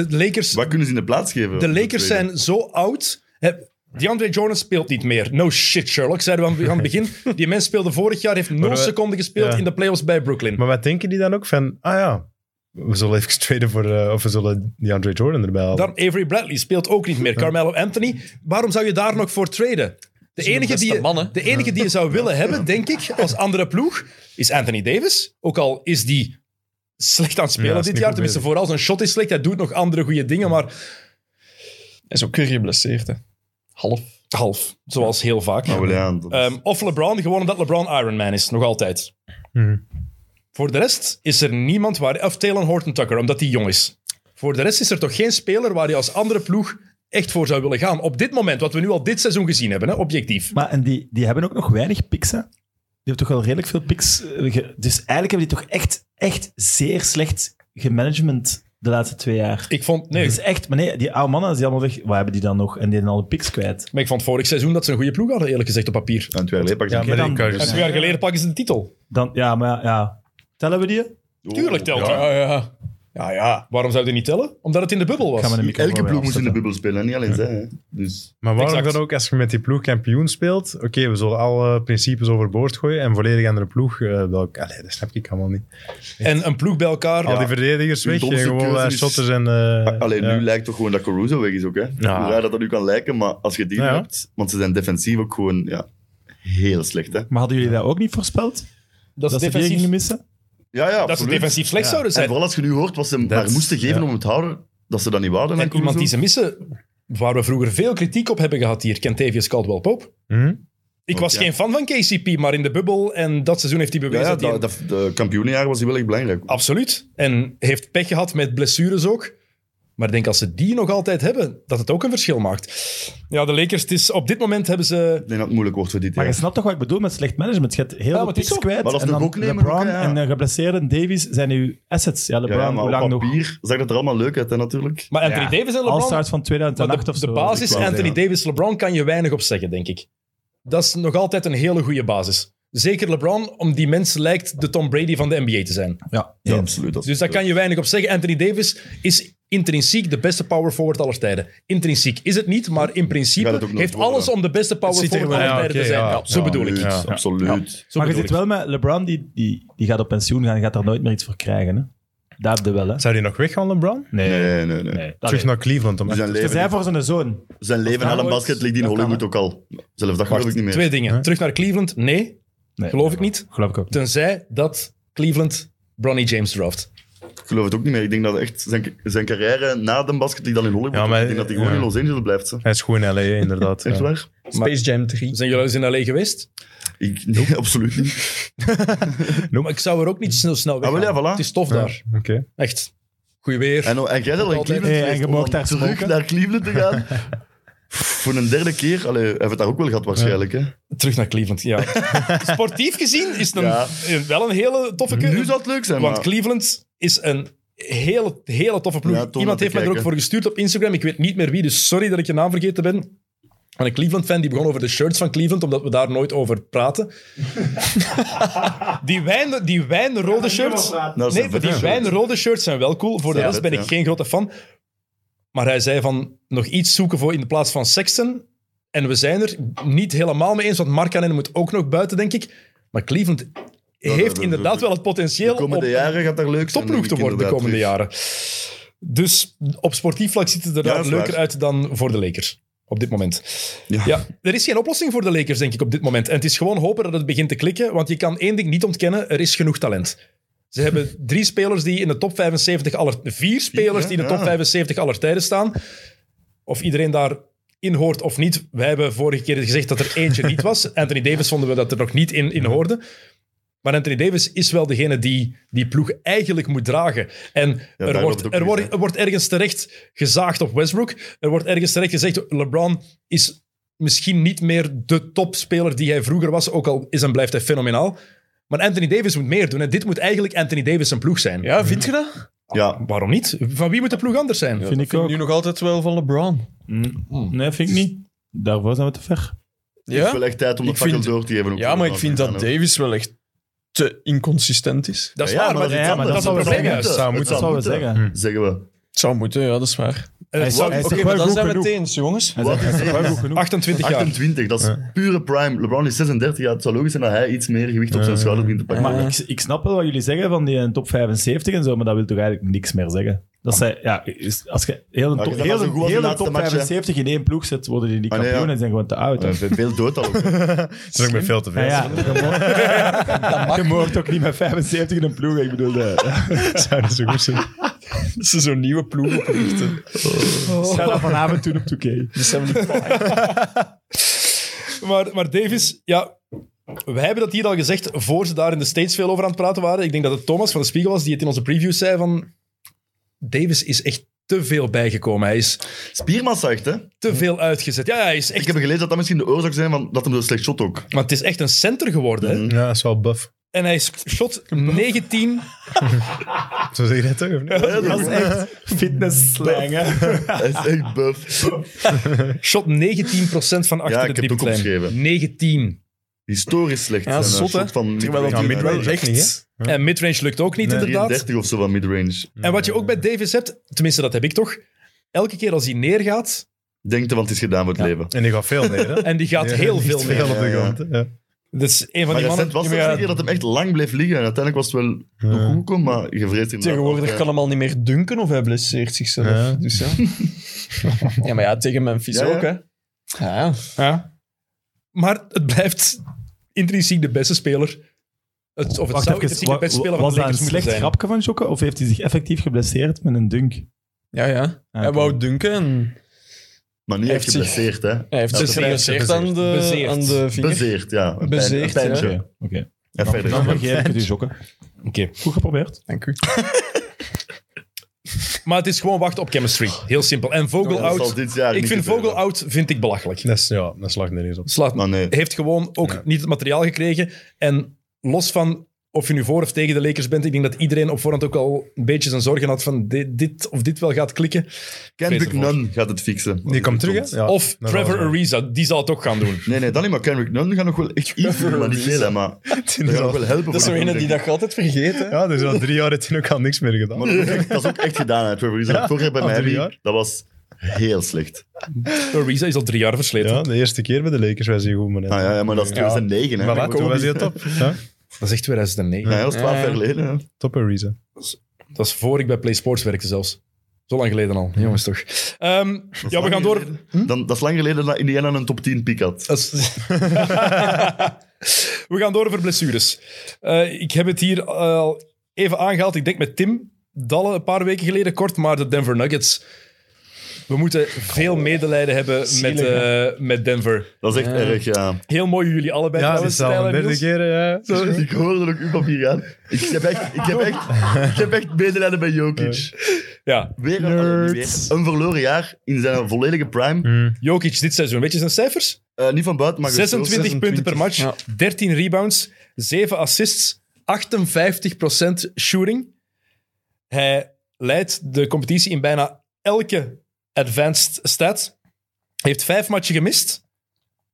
S7: De Lakers,
S4: Wat kunnen ze in de plaats geven?
S7: de Lakers zijn zo oud. Hè, DeAndre Jordan speelt niet meer. No shit, Sherlock, zeiden we aan- aan het begin. Die mens speelde vorig jaar, heeft 0
S5: we-
S7: seconden gespeeld
S5: ja.
S7: in de playoffs bij Brooklyn.
S5: Maar wat denken die dan ook van, ah ja, we zullen even traden voor, eh, of we zullen die Andre Jordan erbij halen.
S7: Dan Avery Bradley speelt ook niet meer. Carmelo Anthony. Waarom zou je daar nog voor traden? De enige,
S3: beste
S7: die
S3: man,
S7: je,
S3: hè?
S7: de enige die je zou willen hebben, denk ik, als andere ploeg, is Anthony Davis. Ook al is die slecht aan het spelen
S5: Ja, is
S7: dit
S5: niet
S7: jaar.
S5: goed
S7: Tenminste, vooral zijn shot is slecht. Hij doet nog andere goede dingen, maar
S3: Hij is ook weer geblesseerd, hè. Half.
S7: half. Zoals heel vaak.
S4: Nou, wel, ja, dat is-
S7: Ehm, of LeBron, gewoon omdat LeBron Iron Man is, nog altijd.
S5: Hmm.
S7: Voor de rest is er niemand waar... Of Talon Horton Tucker, omdat hij jong is. Voor de rest is er toch geen speler waar je als andere ploeg echt voor zou willen gaan. Op dit moment, wat we nu al dit seizoen gezien hebben, hè, objectief.
S6: Maar en die, die hebben ook nog weinig picks, hè? Die hebben toch wel redelijk veel picks. eh, ge- Dus eigenlijk hebben die toch echt, echt zeer slecht gemanagement de laatste twee jaar.
S7: Ik vond... Nee,
S6: Het is echt, maar nee, die oude mannen, als die allemaal weg, wat hebben die dan nog? En die zijn al de picks kwijt.
S7: maar ik vond vorig seizoen dat ze een goede ploeg hadden, eerlijk gezegd, op papier.
S4: Aan het weer leepak.
S5: ja, maar
S6: dan-
S5: die Curry.
S7: En twee jaar geleden pakken ze de titel.
S6: Dan, ja, maar ja. Tellen we die? Ik
S7: Tuurlijk telt dat.
S2: Ja, ja.
S7: Ja, ja. Waarom zou je die niet tellen? Omdat het in de bubbel was.
S6: ga mijn microfoon
S4: Elke
S6: weer
S4: ploeg moet in de
S6: afzetten.
S4: bubbel spelen, hè, niet alleen zij. hè. Dus
S5: Maar waarom
S7: Exact.
S5: dan ook, als je met die ploeg kampioen speelt, oké, we zullen alle principes overboord gooien en volledig andere ploeg, eh welk, allee, dat snap ik allemaal niet.
S7: En een ploeg bij elkaar...
S5: Al die
S7: Ja.
S5: verdedigers
S4: Hun
S5: weg en
S4: domste
S5: gewoon
S4: keuze
S5: eh,
S4: is-
S5: shotters en... eh,
S4: Alleen
S5: ja.
S4: nu lijkt toch gewoon dat Caruso weg is ook, hè?
S5: Ja.
S4: Hoe raar dat dat nu kan lijken, maar als je die
S5: Ja, ja.
S4: hebt... Want ze zijn defensief ook gewoon ja, heel slecht, hè?
S6: Maar hadden jullie dat ook niet voorspeld?
S7: Dat is
S6: Dat ze die gingen
S7: defensief,
S6: missen?
S4: Ja, ja,
S7: dat ze
S4: absoluut.
S7: defensief slecht zouden
S4: En
S7: zijn.
S4: vooral als je nu hoort wat ze hem
S5: Dat-
S4: maar moesten geven
S5: ja.
S4: om hem te houden, dat ze dat niet wouden. aan
S7: En iemand die
S4: Caruso.
S7: ze missen, waar we vroeger veel kritiek op hebben gehad hier, Kentavious Caldwell-Pope.
S5: Hm?
S7: Ik
S4: Ook,
S7: was
S4: Mhm. ja.
S7: geen fan van KCP, maar in de bubbel en dat seizoen heeft hij
S4: Ja,
S7: bewezen
S4: ja
S7: dat hij...
S4: dat, dat, de kampioenenjaar was hij wel echt belangrijk.
S7: Ah. Absoluut. En heeft pech gehad met blessures ook. Maar ik denk als ze die nog altijd hebben, dat het ook een verschil maakt. Ja, de Lakers, het is, op dit moment hebben ze...
S4: Ik denk dat het moeilijk wordt voor dit
S6: Maar
S4: jaar.
S6: je snapt toch wat ik bedoel met slecht management? Je hebt heel
S7: maar
S6: veel
S7: het is
S6: picks
S7: zo.
S6: kwijt.
S4: Maar dat is
S6: en
S4: toch
S6: dan
S4: ook nemen,
S6: LeBron
S4: ook, ja.
S6: en eh, geblesseerde Davies zijn uw assets. Ja,
S4: Ja,
S6: LeBron,
S4: ja, maar
S6: hoe
S4: op
S6: lang nog?
S4: papier zag dat er allemaal leuk uit, hè, natuurlijk.
S7: Maar Anthony Davis en LeBron...
S6: All-Stars van
S7: maar
S6: 2008
S7: de,
S6: of zo.
S7: de basis
S4: wou
S7: Anthony
S4: zeggen.
S7: Davis, LeBron kan je weinig op zeggen, denk ik. Dat is nog altijd een hele goede basis. Zeker LeBron, om die mens lijkt de Tom Brady van de NBA te zijn.
S6: Ja,
S4: Ja,
S6: eens.
S4: absoluut. dat is-
S7: Dus daar kan je weinig op zeggen. Anthony Davis is intrinsiek de beste power forward aller tijden. Intrinsiek is het niet, maar in
S4: Gaat
S7: principe
S4: het ook nooit
S7: heeft
S4: worden.
S7: alles om de beste power
S5: Het zit er
S7: forward aller
S5: wel-
S7: tijden
S5: ja,
S7: te
S5: oké,
S7: zijn.
S5: ja.
S7: Ja, zo
S4: Ja,
S7: bedoel ik.
S4: absoluut,
S5: Ja.
S4: Absoluut.
S7: Zo
S6: maar
S7: bedoel
S6: je zit
S7: ik.
S6: wel met LeBron, die, die, die gaat op pensioen gaan, die gaat daar nooit meer iets voor krijgen. Hè? Daar heb je wel, hè?
S5: Zou die nog weggaan, LeBron?
S4: Nee, nee, nee.
S6: nee.
S5: Terug naar Cleveland. Om
S4: Dus Zijn
S6: Ze zei
S4: leven,
S6: voor zijn zoon.
S4: zijn leven aan een
S6: ooit-
S4: basket ligt in
S6: dat kan,
S4: Hollywood ook al. Zelfs dat geloof ik niet meer.
S7: Twee dingen. Terug naar Cleveland? Nee,
S6: Nee,
S7: geloof ik niet.
S6: Geloof ik ook.
S7: Tenzij dat Cleveland Bronny James draft.
S4: Ik geloof het ook niet meer. Ik denk dat echt zijn, zijn carrière na de basket ligt dan in Hollywood.
S5: Ja, maar-
S4: ik denk dat hij gewoon
S5: ja.
S4: in Los Angeles blijft. Hè.
S5: Hij is goed in L.A., inderdaad.
S4: Echt
S5: ja.
S4: waar?
S3: Space Jam 3.
S7: Zijn Dus jullie eens in LA geweest?
S4: Ik, nee, absoluut niet.
S7: Maar ik zou er ook niet zo snel weg.
S4: Ah, wel, ja, voilà.
S7: Het is tof daar.
S5: Oké.
S7: Echt. Goeie weer.
S4: En, en jij al in
S7: Altijd.
S4: Cleveland
S6: Hey,
S4: geweest
S6: en je
S4: om
S6: mocht
S4: dan
S6: daar
S4: terug
S6: smoken.
S4: naar Cleveland te gaan. Voor een derde keer. Allee, hij heeft het daar ook wel gehad waarschijnlijk. Hè.
S7: Terug naar Cleveland, ja. Sportief gezien is het een,
S4: Ja.
S7: wel een hele toffe keuze.
S4: Nu zou het leuk zijn,
S7: Want
S4: maar-
S7: Cleveland is een hele, hele toffe ploeg.
S4: Ja, tof om
S7: Iemand
S4: te
S7: heeft mij er ook
S4: kijken.
S7: voor gestuurd op Instagram. Ik weet niet meer wie, dus sorry dat ik je naam vergeten ben. Maar een Cleveland-fan die begon over de shirts van Cleveland, omdat we daar nooit over praten. die, wijn, die wijnrode shirts...
S4: Nou,
S7: Nee, maar die wijnrode shirts zijn wel cool. Voor de
S4: Ja,
S7: rest ben
S4: ja.
S7: ik geen grote fan. Maar hij zei van nog iets zoeken voor in de plaats van Sexton. En we zijn er niet helemaal mee eens, want Markkanen moet ook nog buiten, denk ik. Maar Cleveland heeft
S4: dat-
S7: inderdaad
S4: dat-
S7: wel het potentieel
S4: De komende
S7: om
S4: jaren gaat daar leuk zijn.
S7: topploeg te
S4: denk ik,
S7: worden de
S4: inderdaad, Dus-
S7: komende
S4: terug.
S7: jaren. Dus op sportief vlak ziet het er
S4: Ja,
S7: daar
S4: dat is
S7: leuker
S4: waar.
S7: uit dan voor de Lakers. Op dit moment. Ja. er is geen oplossing voor de Lakers, denk ik, op dit moment. En het is gewoon hopen dat het begint te klikken, want je kan één ding niet ontkennen, er is genoeg talent. Ze hebben drie spelers die in de top 75 aller... Vier spelers die in de top
S4: ja.
S7: 75 aller tijden staan. Of iedereen daarin hoort of niet. Wij hebben vorige keer gezegd dat er eentje niet was. Anthony Davis vonden we dat er nog niet in, in hoorde. Maar Anthony Davis is wel degene die die ploeg eigenlijk moet dragen. En er,
S4: daar loopt
S7: wordt,
S4: het ook
S7: er,
S4: mis,
S7: wordt,
S4: hè?
S7: er wordt ergens terecht gezaagd op Westbrook. Er wordt ergens terecht gezegd, LeBron is misschien niet meer de topspeler die hij vroeger was, ook al is en blijft hij fenomenaal. Maar Anthony Davis moet meer doen. En dit moet eigenlijk Anthony Davis zijn ploeg zijn.
S3: Ja, vind je dat?
S4: Ja,
S7: Waarom niet? Van wie moet de ploeg anders zijn?
S6: vind ik ook.
S3: Nu nog altijd wel van LeBron.
S6: Nee, vind ik niet. Daarvoor zijn we te ver.
S4: het is
S3: Ja,
S4: wel echt tijd om de
S3: Ik
S4: fakkel
S3: vind-
S4: door te geven. ook
S3: ja
S4: voor
S3: maar
S4: de
S3: ik vind dat
S4: Amerikanen.
S3: Davis wel echt te inconsistent is.
S7: Dat is
S4: Ja,
S7: waar, maar,
S4: maar dat is
S6: ja,
S4: iets
S6: maar
S4: anders.
S6: dat zou
S4: Dat
S7: wel zeggen.
S4: moeten.
S5: Zou moeten.
S4: Dat moeten.
S6: Dat zou wel zeggen.
S4: Zeggen we.
S3: Het zou moeten, ja, dat is waar.
S7: eh,
S6: Hij is,
S4: zou-
S6: hij is
S4: oké,
S6: toch
S3: Maar dan
S6: wel goed
S3: zijn we
S6: genoeg.
S3: het eens, jongens.
S6: Hij is-
S4: Wat
S6: hij is
S4: is
S6: toch wel
S4: er?
S6: goed genoeg.
S7: 28 jaar.
S4: 28, dat is pure prime. LeBron is 36, ja, het zou logisch zijn dat hij iets meer gewicht op zijn schouder begint te pakken.
S6: Maar
S3: Ja.
S6: ik, ik snap wel wat jullie zeggen van die eh, top 75 en zo, maar dat wil toch eigenlijk niks meer zeggen? Dat zij, ja, is- als je heel de
S4: Maar Nou, dat
S6: top,
S4: was
S6: heel
S4: zo
S6: de-
S4: goed als
S6: heel
S4: de
S6: de
S4: laatste
S6: top
S4: match, hè.
S6: 75 in één ploeg zet, worden die niet
S4: Ah, nee,
S6: kampioen
S4: ja.
S6: en zijn gewoon te oud. hè.
S4: Eh, ve- Veel dood al.
S5: Dat is ook weer veel te veel.
S6: Ja, ja, je mocht- je mocht ook niet met 75 in een ploeg, ik bedoel... eh,
S5: Zou dat zo goed zijn?
S3: Dat ze zo'n nieuwe ploeg oprichten.
S6: Ik ga dat vanavond doen op 2K.
S3: Die 75.
S7: Maar, maar Davis, ja, wij hebben dat hier al gezegd voor ze daar in de States veel over aan het praten waren. Ik denk dat het Thomas van de Spiegel was die het in onze preview zei van... Davis is echt te veel bijgekomen. Hij is
S4: Spierman zegt, hè.
S7: te veel uitgezet. Ja, hij is echt...
S4: Ik heb gelezen dat dat misschien de oorzaak zijn van dat hem zo slecht shot ook.
S7: Maar het is echt een center geworden. hè.
S5: Ja, dat is wel buff.
S7: En hij is shot 19.
S5: Zo zeg je dat toch? of niet?
S6: Dat is echt fitness slang, hè.
S4: Hij is echt buff.
S7: Shot 19% van achter
S4: Ja, ik
S7: de
S4: heb het ook
S7: driepuntlijn.
S4: opgeschreven.
S7: 19.
S4: Historisch slecht.
S3: Ja, zot,
S4: zijn, eh,
S3: hè.
S4: shot Van
S3: Terwijl dat
S5: Ja,
S3: die
S4: midrange.
S5: midrange
S3: wel
S5: echt niet, hè?
S3: echt...
S7: En midrange lukt ook niet, inderdaad.
S4: 33 of zo van midrange.
S7: En wat je ook bij Davis hebt, tenminste dat heb ik toch, elke keer als hij neergaat,
S4: Denk er, want het is gedaan voor het leven.
S5: En die gaat veel neer, hè?
S7: en die gaat heel veel
S5: Veel
S7: neer.
S5: op de grond, hè? Ja.
S7: Dat is een van
S4: Maar
S7: die
S4: recent
S7: mannen...
S4: was het een keer dat hem echt lang bleef liggen. En uiteindelijk was het wel nog goed gekomen, maar je vreest inderdaad.
S3: Tegenwoordig
S4: ook,
S3: kan hem al niet meer dunken of hij blesseert zichzelf.
S5: Ja.
S3: Dus ja. ja, maar ja, tegen Memphis
S4: Ja, ja.
S3: ook, hè. Ja,
S7: Ja. Maar het blijft intrinsiek de beste speler. Het, of het zou
S6: Wacht even,
S7: intrinsiek de
S6: wa-
S7: beste speler
S6: wa-
S7: van
S6: was
S7: de
S6: dat een
S7: Lakers moeten
S6: slecht
S7: zijn.
S6: grapje van Jokke, of heeft hij zich effectief geblesseerd met een dunk?
S3: ja. ja. Hij
S6: oké.
S3: wou dunken en...
S4: Maar niet echt
S3: Heeft zich-
S4: geblesseerd, hè?
S3: Hij heeft
S4: Dat
S3: zich
S4: is
S3: geblesseerd aan de,
S7: Bezeerd.
S3: aan de vinger.
S4: Bezeerd, ja. Een pijn-
S3: Bezeerd,
S4: een pijntje.
S3: ja.
S6: Oké, oké.
S4: En verder.
S6: Dan vergeef ik het u, Jokke.
S7: Oké.
S6: Goed geprobeerd.
S3: Dank u.
S7: Maar het is gewoon wachten op chemistry. Heel simpel. En Vogel
S4: Dat zal
S7: out.
S4: dit jaar
S7: Ik
S4: niet
S7: vind
S4: gebeuren.
S7: Vogel out vind ik belachelijk.
S5: Dat is, ja, dat slaagt nergens op.
S7: Slaat
S4: Maar nee.
S7: Heeft gewoon ook niet het materiaal gekregen. En los van of je nu voor of tegen de Lakers bent, ik denk dat iedereen op voorhand ook al een beetje zijn zorgen had van dit, dit of dit wel gaat klikken.
S4: Kendrick
S7: Vrees ervoor.
S4: Nunn gaat het fixen.
S5: Die komt terug, hè? Ja,
S7: of
S5: dat zal
S7: Trevor
S5: zijn.
S7: Ariza, die zal het ook gaan doen.
S4: Nee, nee, dan niet. Maar Kendrick Nunn gaat nog wel echt iets doen, maar niet veel, hè, Maar dat gaat nog wel helpen.
S3: Dat is
S4: voor
S3: zo'n
S4: de
S3: ene die dat je altijd vergeet, hè.
S5: Ja, dus al drie jaar heeft hij ook al niks meer gedaan.
S4: Maar dat is, echt, dat is ook echt gedaan, hè, Trevor Ariza. Vorig jaar bij
S5: al drie
S4: mij,
S5: jaar.
S4: dat was heel slecht.
S7: Ariza is al drie jaar versleten.
S5: Ja, de eerste keer bij de Lakers was hij goed, maar...
S4: Ah, ja, ja, maar dat is 2009, hè.
S5: Maar toen was hij top. Ja,
S7: Dat is echt 2009.
S4: Ja, dat is 12
S3: Ja.
S4: jaar geleden, hè.
S5: top Ariza.
S7: Dat is voor ik bij Play Sports werkte zelfs. Zo lang geleden al, jongens toch. Ehm, ja, we
S4: lang
S7: gaan door.
S4: Dan, dat is lang geleden dat Indiana een top 10 piek had.
S7: Dat is- we gaan door over blessures. Eh, ik heb het hier al even aangehaald. Ik denk met Tim Dalle een paar weken geleden kort, maar de Denver Nuggets. We moeten veel medelijden hebben met, eh, met Denver.
S4: Dat is echt erg, ja.
S7: Heel mooi jullie allebei.
S5: Ja, dat
S7: trouwens,
S5: is al
S7: Stijl
S5: de
S7: en
S5: derde
S7: Niels.
S5: keer, ja.
S4: Ik hoorde ook uw papier gaan. Ik heb echt, ik heb echt, ik heb echt medelijden bij Jokic.
S7: Ja,
S4: Weer een, weer een verloren jaar in zijn volledige prime.
S5: Hmm.
S7: Jokic dit seizoen. Weet je zijn cijfers?
S4: Eh, niet van buiten, maar
S7: 26,
S4: gespeeld.
S7: punten per match,
S3: Ja.
S7: 13 rebounds, 7 assists, 58% shooting. Hij leidt de competitie in bijna elke advanced stat. Heeft vijf matchen gemist.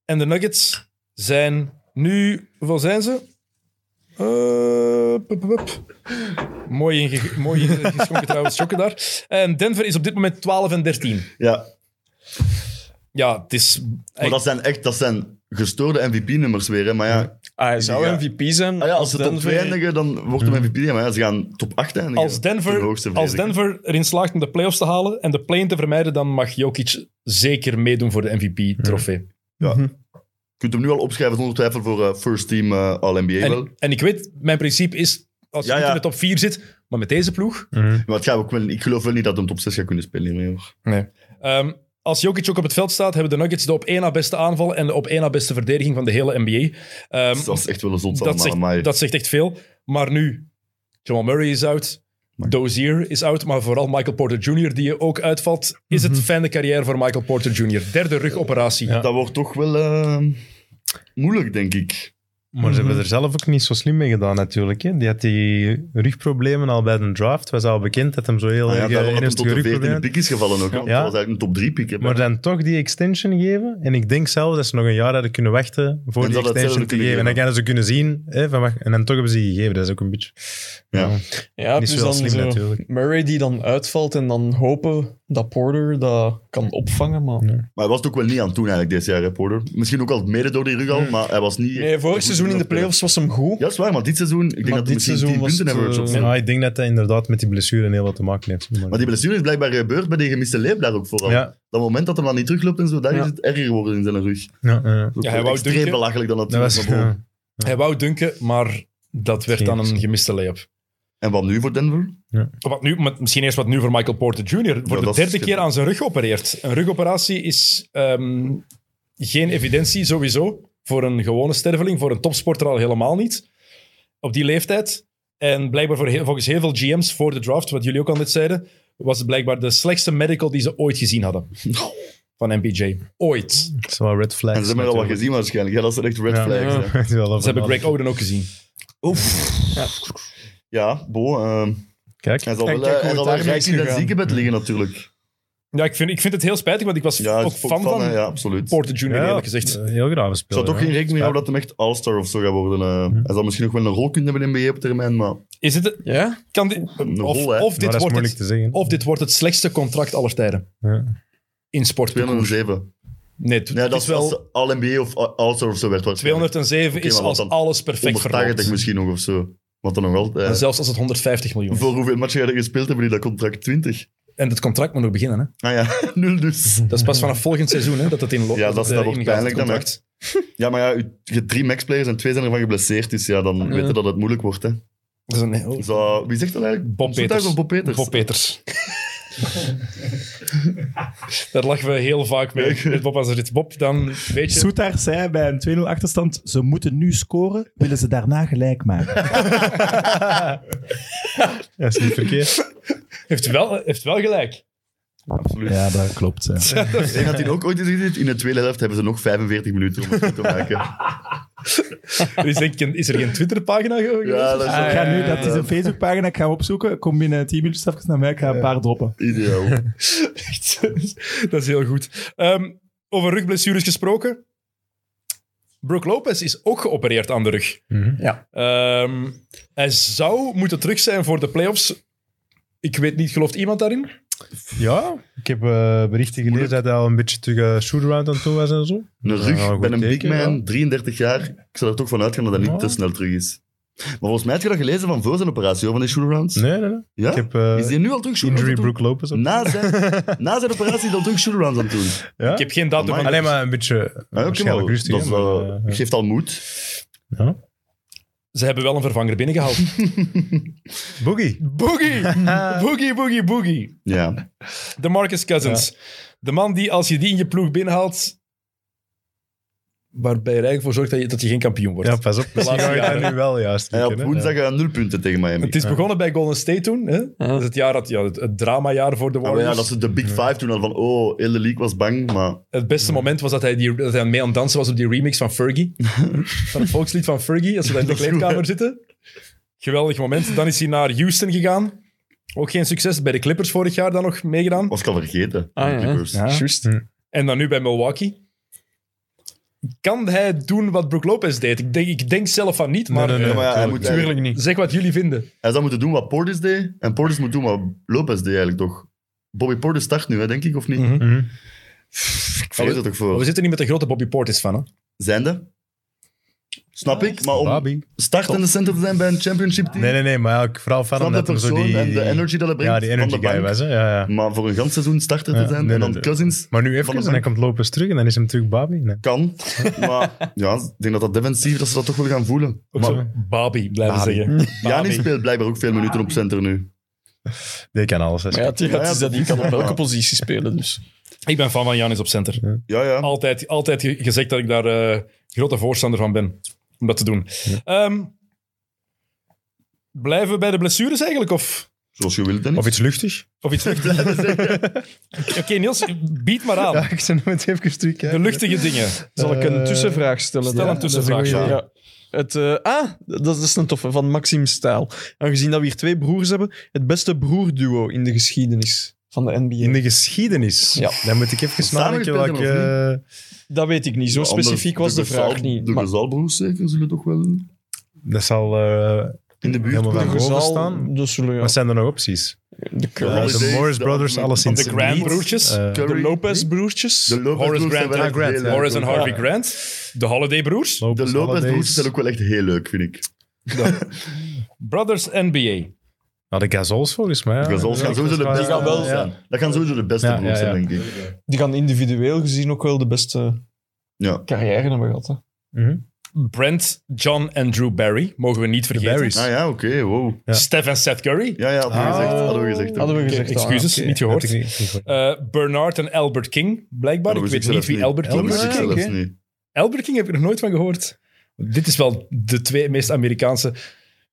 S7: En de Nuggets zijn nu... Hoeveel zijn ze? Eh, pup, pup, pup. Mooi, inge- mooi ingeschonken trouwens, schokken daar. En Denver is op dit moment 12 en 13.
S4: Ja,
S7: Ja, het is...
S4: maar dat zijn echt dat zijn gestoorde MVP-nummers weer. Hè. Maar ja,
S3: Ah, hij zou
S4: Ja.
S3: MVP zijn.
S4: Ah ja, als ze top
S3: Denver-
S4: 2 eindigen, dan wordt
S5: Hmm.
S4: hem MVP. Ja, Maar ja, ze gaan top 8 eindigen.
S7: Als
S4: De
S7: Denver,
S4: hoogste vrees
S7: als
S4: ik.
S7: Denver erin slaagt om de playoffs te halen en de play te vermijden, dan mag Jokic zeker meedoen voor de MVP-trofee.
S4: Je kunt hem nu al opschrijven zonder twijfel voor eh, first team eh, All-NBA wel.
S7: En, en ik weet, mijn principe is, als je
S4: Ja,
S7: niet
S4: ja.
S7: in de top 4 zit, maar met deze ploeg,
S4: Maar het gaat ook wel, ik geloof wel niet dat hem top 6 gaat kunnen spelen hiermee. hoor.
S7: Ehm, als Jokic ook op het veld staat, hebben de Nuggets de op één na beste aanval en de op één na beste verdediging van de hele NBA. Ehm,
S4: Dus dat is echt wel een zot
S7: dat,
S4: allemaal. maar-
S7: zegt, dat zegt echt veel. Maar nu, Jamal Murray is out, Dozier is out, maar vooral Michael Porter Jr., die ook uitvalt, is
S4: Mhm.
S7: het fijne carrière voor Michael Porter Jr. Derde rugoperatie.
S4: Dat wordt toch wel eh, moeilijk, denk ik.
S5: Maar ze hebben er zelf ook niet zo slim mee gedaan, natuurlijk. Hè. Die had die rugproblemen al bij de draft. Was al bekend dat hem zo heel
S4: Ah ja,
S5: erg
S4: daarom
S5: eh,
S4: dat hem tot
S5: ernstige
S4: de
S5: rugproblemen
S4: 14e
S5: had.
S4: pick is gevallen ook. hè, want
S5: Ja.
S4: Dat was eigenlijk een top 3 pick. Hè,
S5: Maar dan toch die extension geven. En ik denk zelfs dat ze nog een jaar hadden kunnen wachten voor
S4: En
S5: die
S4: dat het
S5: extension
S4: zelf
S5: te
S4: kunnen
S5: geven. En dan gaan ze kunnen zien. Hè, van, wacht, en dan toch hebben ze die gegeven. Dat is ook een beetje
S4: Dus Ja.
S5: nou,
S3: Ja,
S5: niet
S3: dus
S5: zo
S3: dan
S5: slim,
S3: zo
S5: natuurlijk.
S3: Murray die dan uitvalt en dan hopen dat Porter dat kan opvangen. Maar...
S4: Maar hij was het ook wel niet aan toen eigenlijk deze jaar, hè, Porter. Misschien ook al mede door die rug al, maar hij was niet...
S3: Nee, vorig seizoen in de playoffs was hem goed.
S4: Ja, dat is waar, maar dit seizoen... Ik denk
S3: Maar
S4: dat hij
S3: dit
S4: misschien
S3: seizoen
S4: 10 punten
S3: was het,
S4: average of zo.
S3: eh,
S5: Ja, ik denk dat dat inderdaad met die blessure heel wat te maken heeft.
S4: Maar die blessure is blijkbaar gebeurd bij die gemiste leep daar ook vooral.
S5: Ja.
S4: Dat moment dat hij dan niet terugloopt en zo, daar is het erger geworden in zijn rug.
S5: Ja, ja.
S4: Dat
S7: Ja,
S4: ja,
S7: hij wou
S4: extreem
S7: dunken.
S4: belachelijk dan dat.
S5: Dat was...
S4: naar boven.
S5: ja.
S7: Hij wou dunken, maar dat werd
S5: Geen
S7: dan een
S5: optie.
S7: gemiste layup.
S4: En wat nu voor Denver?
S7: Wat nu, maar misschien eerst wat nu voor Michael Porter Jr.
S4: Ja,
S7: Wordt
S4: dat
S7: de
S4: is
S7: derde
S4: schitterend.
S7: keer aan zijn rug geopereerd. Een rugoperatie is ehm, geen evidentie sowieso voor een gewone sterveling, voor een topsporter al helemaal niet. Op die leeftijd. En blijkbaar voor heel, volgens heel veel GM's voor de draft, wat jullie ook al net zeiden, was het blijkbaar de slechtste medical die ze ooit gezien hadden. Van MPJ. Ooit.
S5: Dat is wel red flags.
S4: En ze hebben er al wat gezien waarschijnlijk. Ja, dat zijn echt red
S5: Ja.
S4: flags. hè.
S5: gezien.
S7: Ze hebben Greg Oden ook gezien.
S4: Ja, Bo, ehm,
S5: Kijk.
S4: hij zal
S3: En
S4: wel,
S3: kijk hoe
S4: eh, hij
S3: het
S4: zal wel
S3: daarmee
S4: rijk
S3: is
S4: in dat
S3: gegaan.
S4: ziekenbed liggen natuurlijk.
S7: Ja, ik vind, ik vind het heel spijtig, want ik was
S4: Ja,
S7: ook
S4: het is
S7: fan van
S4: hè, ja, absoluut. Ik
S7: Porter Jr. eerlijk gezegd.
S5: eh, Heel graag
S4: zou
S5: spelen.
S4: toch geen rekening mee houden dat hij echt all-star of zo gaat worden. eh. Hij zal misschien nog wel een rol kunnen hebben in NBA op termijn, maar
S7: Is het,
S3: Ja?
S7: kan dit,
S4: Een
S7: of,
S4: rol, hè.
S7: of
S5: Maar
S7: dit
S5: dat is
S7: wordt
S5: moeilijk
S7: het,
S5: te
S4: Oh.
S5: zeggen.
S7: Of dit wordt het slechtste contract aller tijden.
S5: Ja.
S7: In sport.
S4: 207.
S7: Nee, het,
S4: Nee,
S7: het
S4: dat
S7: is
S4: is
S7: wel...
S4: als All-NBA of All-star of zo werd. waarschijnlijk.
S7: 207
S4: Oké,
S7: is
S4: maar wat
S7: als
S4: dan?
S7: alles perfect
S4: 180
S7: verloopt.
S4: misschien nog of zo. Wat dan nog altijd.
S7: En zelfs als het 150 miljoen is.
S4: Voor hoeveel matchen heb je gespeeld hebben die dat contract? 20?
S7: En dat contract moet nog beginnen. Hè?
S4: Ah ja, nul dus.
S7: Dat is pas vanaf volgend seizoen hè, dat het in lo-
S4: Ja, dat is-
S7: eh,
S4: dat wordt
S7: ingaat,
S4: pijnlijk
S7: het
S4: dan, hè.
S7: contract.
S4: Ja, maar ja, je- je hebt drie maxplayers en twee zijn ervan geblesseerd. Dus ja, dan weten dat het moeilijk wordt. Hè.
S7: Dat is een heel...
S4: Dus, eh, wie zegt dat eigenlijk?
S7: Bob
S4: Soethuis
S7: Peters.
S4: of Bob Peters?
S7: Bob Peters. Daar lachen we heel vaak mee. Met Bob, als er iets Bob, dan weet je...
S6: Soetaar zei bij een 2-0 achterstand, ze moeten nu scoren, willen ze daarna gelijk maken.
S5: Dat is niet verkeerd.
S7: Heeft wel, heeft wel gelijk.
S4: Absoluut.
S6: Ja, dat klopt. ja.
S4: Ik denk dat hij ook ooit is gezien. In de tweede helft hebben ze nog 45 minuten om het goed te maken.
S7: Er is, denk ik een- is er geen Twitterpagina ge- geweest?
S4: Ja,
S5: Ah,
S4: dat is
S6: Ik ga nu, dat is een Facebookpagina, ik ga hem opzoeken. Kom binnen 10 minuten even naar mij, ik ga een paar droppen.
S4: ideaal.
S7: Echt, dat is heel goed. Ehm, over rugblessures gesproken. Brooke Lopez is ook geopereerd aan de rug.
S5: Mhm.
S2: Ja.
S7: Ehm, hij zou moeten terug zijn voor de playoffs. Ik weet niet, gelooft iemand daarin?
S5: Ja, ik heb eh, berichten gelezen dat hij al een beetje terug eh, shoot-around aan toe was en zo.
S4: Een
S5: Dat is
S4: rug
S5: wel
S4: bij
S5: goed
S4: een big
S5: teken,
S4: man,
S5: ja.
S4: 33 jaar. Ik zou er toch van uitgaan dat dat niet
S5: Ja.
S4: te snel terug is. Maar volgens mij had je dat gelezen van voor zijn operatie, hoor, van die shoot-arounds.
S5: Nee, nee, nee.
S4: Ja?
S5: Ik heb eh,
S4: is die nu al terug shoot-arounds
S5: injury
S4: aan
S5: Brook
S4: het
S5: Lopez op.
S4: doen? na zijn, na zijn operatie is hij al terug shoot-arounds aan het doen.
S5: Ja?
S7: Ik heb geen datum
S4: Amai.
S7: van...
S5: Alleen maar een beetje eh,
S4: Ah, Oké, maar
S5: waarschijnlijk
S4: dat
S5: rustig.
S4: is,
S5: hè,
S4: wel-
S5: maar, eh,
S4: geeft al moed.
S5: ja.
S7: Ze hebben wel een vervanger binnengehaald.
S5: Boogie.
S7: boogie! Boogie, boogie, boogie.
S4: Ja.
S7: De Marcus Cousins. De man die, als je die in je ploeg binnenhaalt... Waarbij je er eigenlijk voor zorgt dat je, dat je geen kampioen wordt.
S5: Ja, pas op. Misschien ga ik
S7: jaren.
S5: dat nu wel juist
S4: Hij had
S5: likken, hè.
S4: woensdag eh, nul punten tegen Miami.
S7: Het is begonnen bij Golden State toen. Hè? Dat is het, jaar dat, ja, het, het dramajaar voor de
S4: Ah, maar
S7: Warriors.
S4: ja, dat ze de Big Five toen hadden van, oh, hele league was bang, maar
S7: Het beste moment was dat hij, die, dat hij mee aan het dansen was op die remix van Fergie. van het volkslied van Fergie, als we daar in de
S4: Dat is goed,
S7: kleedkamer zitten. Geweldig moment. Dan is hij naar Houston gegaan. Ook geen succes. Bij de Clippers vorig jaar dan nog meegedaan.
S4: was ik al vergeten.
S3: Ah,
S4: De
S3: ja.
S4: Clippers.
S5: Mm.
S3: Juist.
S7: En dan nu bij Milwaukee. Kan hij doen wat Brook Lopez deed? Ik denk, ik denk zelf van niet, maar eh,
S5: Nee, nee,
S4: Ja,
S5: nee.
S4: maar ja, hij, moet,
S5: tuurlijk.
S4: eigenlijk-
S3: Tuurlijk niet.
S7: zeg wat jullie vinden.
S4: hij zou moeten doen wat Portis deed, en Portis moet doen wat Lopez deed eigenlijk toch. Bobby Portis start nu, hè, denk ik, of niet?
S7: Mhm.
S5: Mhm.
S4: Ik vrees het toch
S7: Maar we
S4: voor.
S7: zitten niet met de grote Bobby Portis van. Hè?
S4: Zijnde? Snap ik, maar om
S5: Babi.
S4: startende center te zijn bij een championship team...
S5: Nee, nee, nee, maar ja, ik- vooral fan
S4: Snap
S5: omdat
S4: de
S5: hem zo
S4: persoon
S5: die...
S4: en de energy dat hij brengt
S5: Ja, die energy
S4: van de
S5: guy
S4: bank.
S5: was, hè. Ja, ja.
S4: Maar voor een gans seizoen starter
S5: Ja,
S4: te zijn
S5: nee,
S4: en dan
S5: nee, nee.
S4: Cousins
S5: Maar nu even,
S4: de
S5: en dan
S4: bank.
S5: komt Lopez terug en dan is hem terug Babi. Nee.
S4: kan. Maar ja, ik denk dat dat defensief, dat ze dat toch wel gaan voelen.
S7: Ook zo, Babi, blijven
S5: Ah,
S4: Babi.
S7: zeggen.
S4: Jani speelt blijkbaar ook veel minuten op center nu.
S5: Die kan alles, hè.
S2: Maar ja, het
S4: Ja, ja,
S2: is dat die kan op welke positie spelen, dus.
S7: Ik ben fan van Janis op center.
S4: Ja, ja.
S7: Altijd, altijd ge- gezegd dat ik daar eh, grote voorstander van ben. Om dat te doen. Ehm, blijven we bij de blessures eigenlijk? Of,
S4: Zoals je wilt, Dennis.
S5: Of iets luchtig.
S7: of iets Oké, Niels, bied maar aan.
S5: Ja, ik zit met even terug,
S7: De luchtige dingen.
S3: Zal ik een
S5: Eh,
S3: tussenvraag stellen?
S7: stel
S3: dan?
S7: een tussenvraag,
S3: Dat is goeie.
S7: ja.
S3: Het, eh, ah, dat is een toffe, van Maxime Stijl. Aangezien dat we hier twee broers hebben, het beste broerduo in de geschiedenis van de NBA.
S5: In de geschiedenis.
S3: Ja.
S5: Dan moet ik even nadenken
S4: gespeeld
S5: welke...
S3: Dat weet ik niet, zo specifiek was de vraag niet.
S4: De
S3: Maar
S4: Gezalbroers zeker zullen toch wel
S5: Dat zal eh,
S4: in de buurt
S5: helemaal
S4: komen.
S5: van
S3: de
S5: boven
S3: gezaal,
S5: staan.
S3: dus zullen ja,
S5: Wat zijn er nog opties?
S3: de
S5: Eh,
S3: Curry.
S4: Holiday,
S5: de Morris
S4: de
S5: Brothers,
S4: Anthony-
S5: alleszins
S7: De Graham-broertjes.
S5: niet. Eh,
S3: de
S4: Curry,
S3: Lopez-broertjes.
S4: De Lopez
S7: Horace
S4: broers zijn wel
S7: Grant,
S4: echt
S5: ja, Grant,
S4: heel erg
S7: Horace en
S4: leuk.
S7: Harvey Grant. De Holiday Broers.
S4: De
S5: Lopez
S4: Lopez broers
S5: Holidays.
S4: zijn ook wel echt heel leuk, vind ik.
S7: Brothers NBA.
S5: Nou, de Gazols volgens mij. ja.
S4: De Gazols gaan sowieso de
S5: Ja,
S4: beste
S3: gaan wel
S4: broers zijn. Dat gaan sowieso de beste
S5: Ja,
S4: broers
S5: ja, ja.
S4: zijn, denk ik.
S3: Die gaan individueel gezien ook wel de beste
S4: Ja.
S3: carrière hebben gehad. Hè.
S5: Mhm.
S7: Brent, John en Drew Barry. Mogen we niet vergeten.
S5: Barrys.
S4: Ah ja, oké, wow.
S5: Ja.
S7: Steph en Seth Curry.
S4: Ja, ja, hadden we
S5: Ah.
S4: gezegd. Hadden we gezegd.
S3: Hadden we
S4: Oké.
S3: gezegd. ah. al,
S7: Excuses,
S3: oké.
S7: niet
S5: Had
S7: gehoord.
S5: ik niet- niet gehoord.
S7: Eh, Bernard en Albert King, blijkbaar.
S4: Dat
S7: ik
S4: wist
S7: weet
S4: zelfs
S7: niet wie Albert
S4: Dat
S7: King
S4: wist
S7: is.
S4: ik zelfs
S7: Oké.
S4: niet.
S7: Albert King heb ik er nooit van gehoord. Dit is wel de twee meest Amerikaanse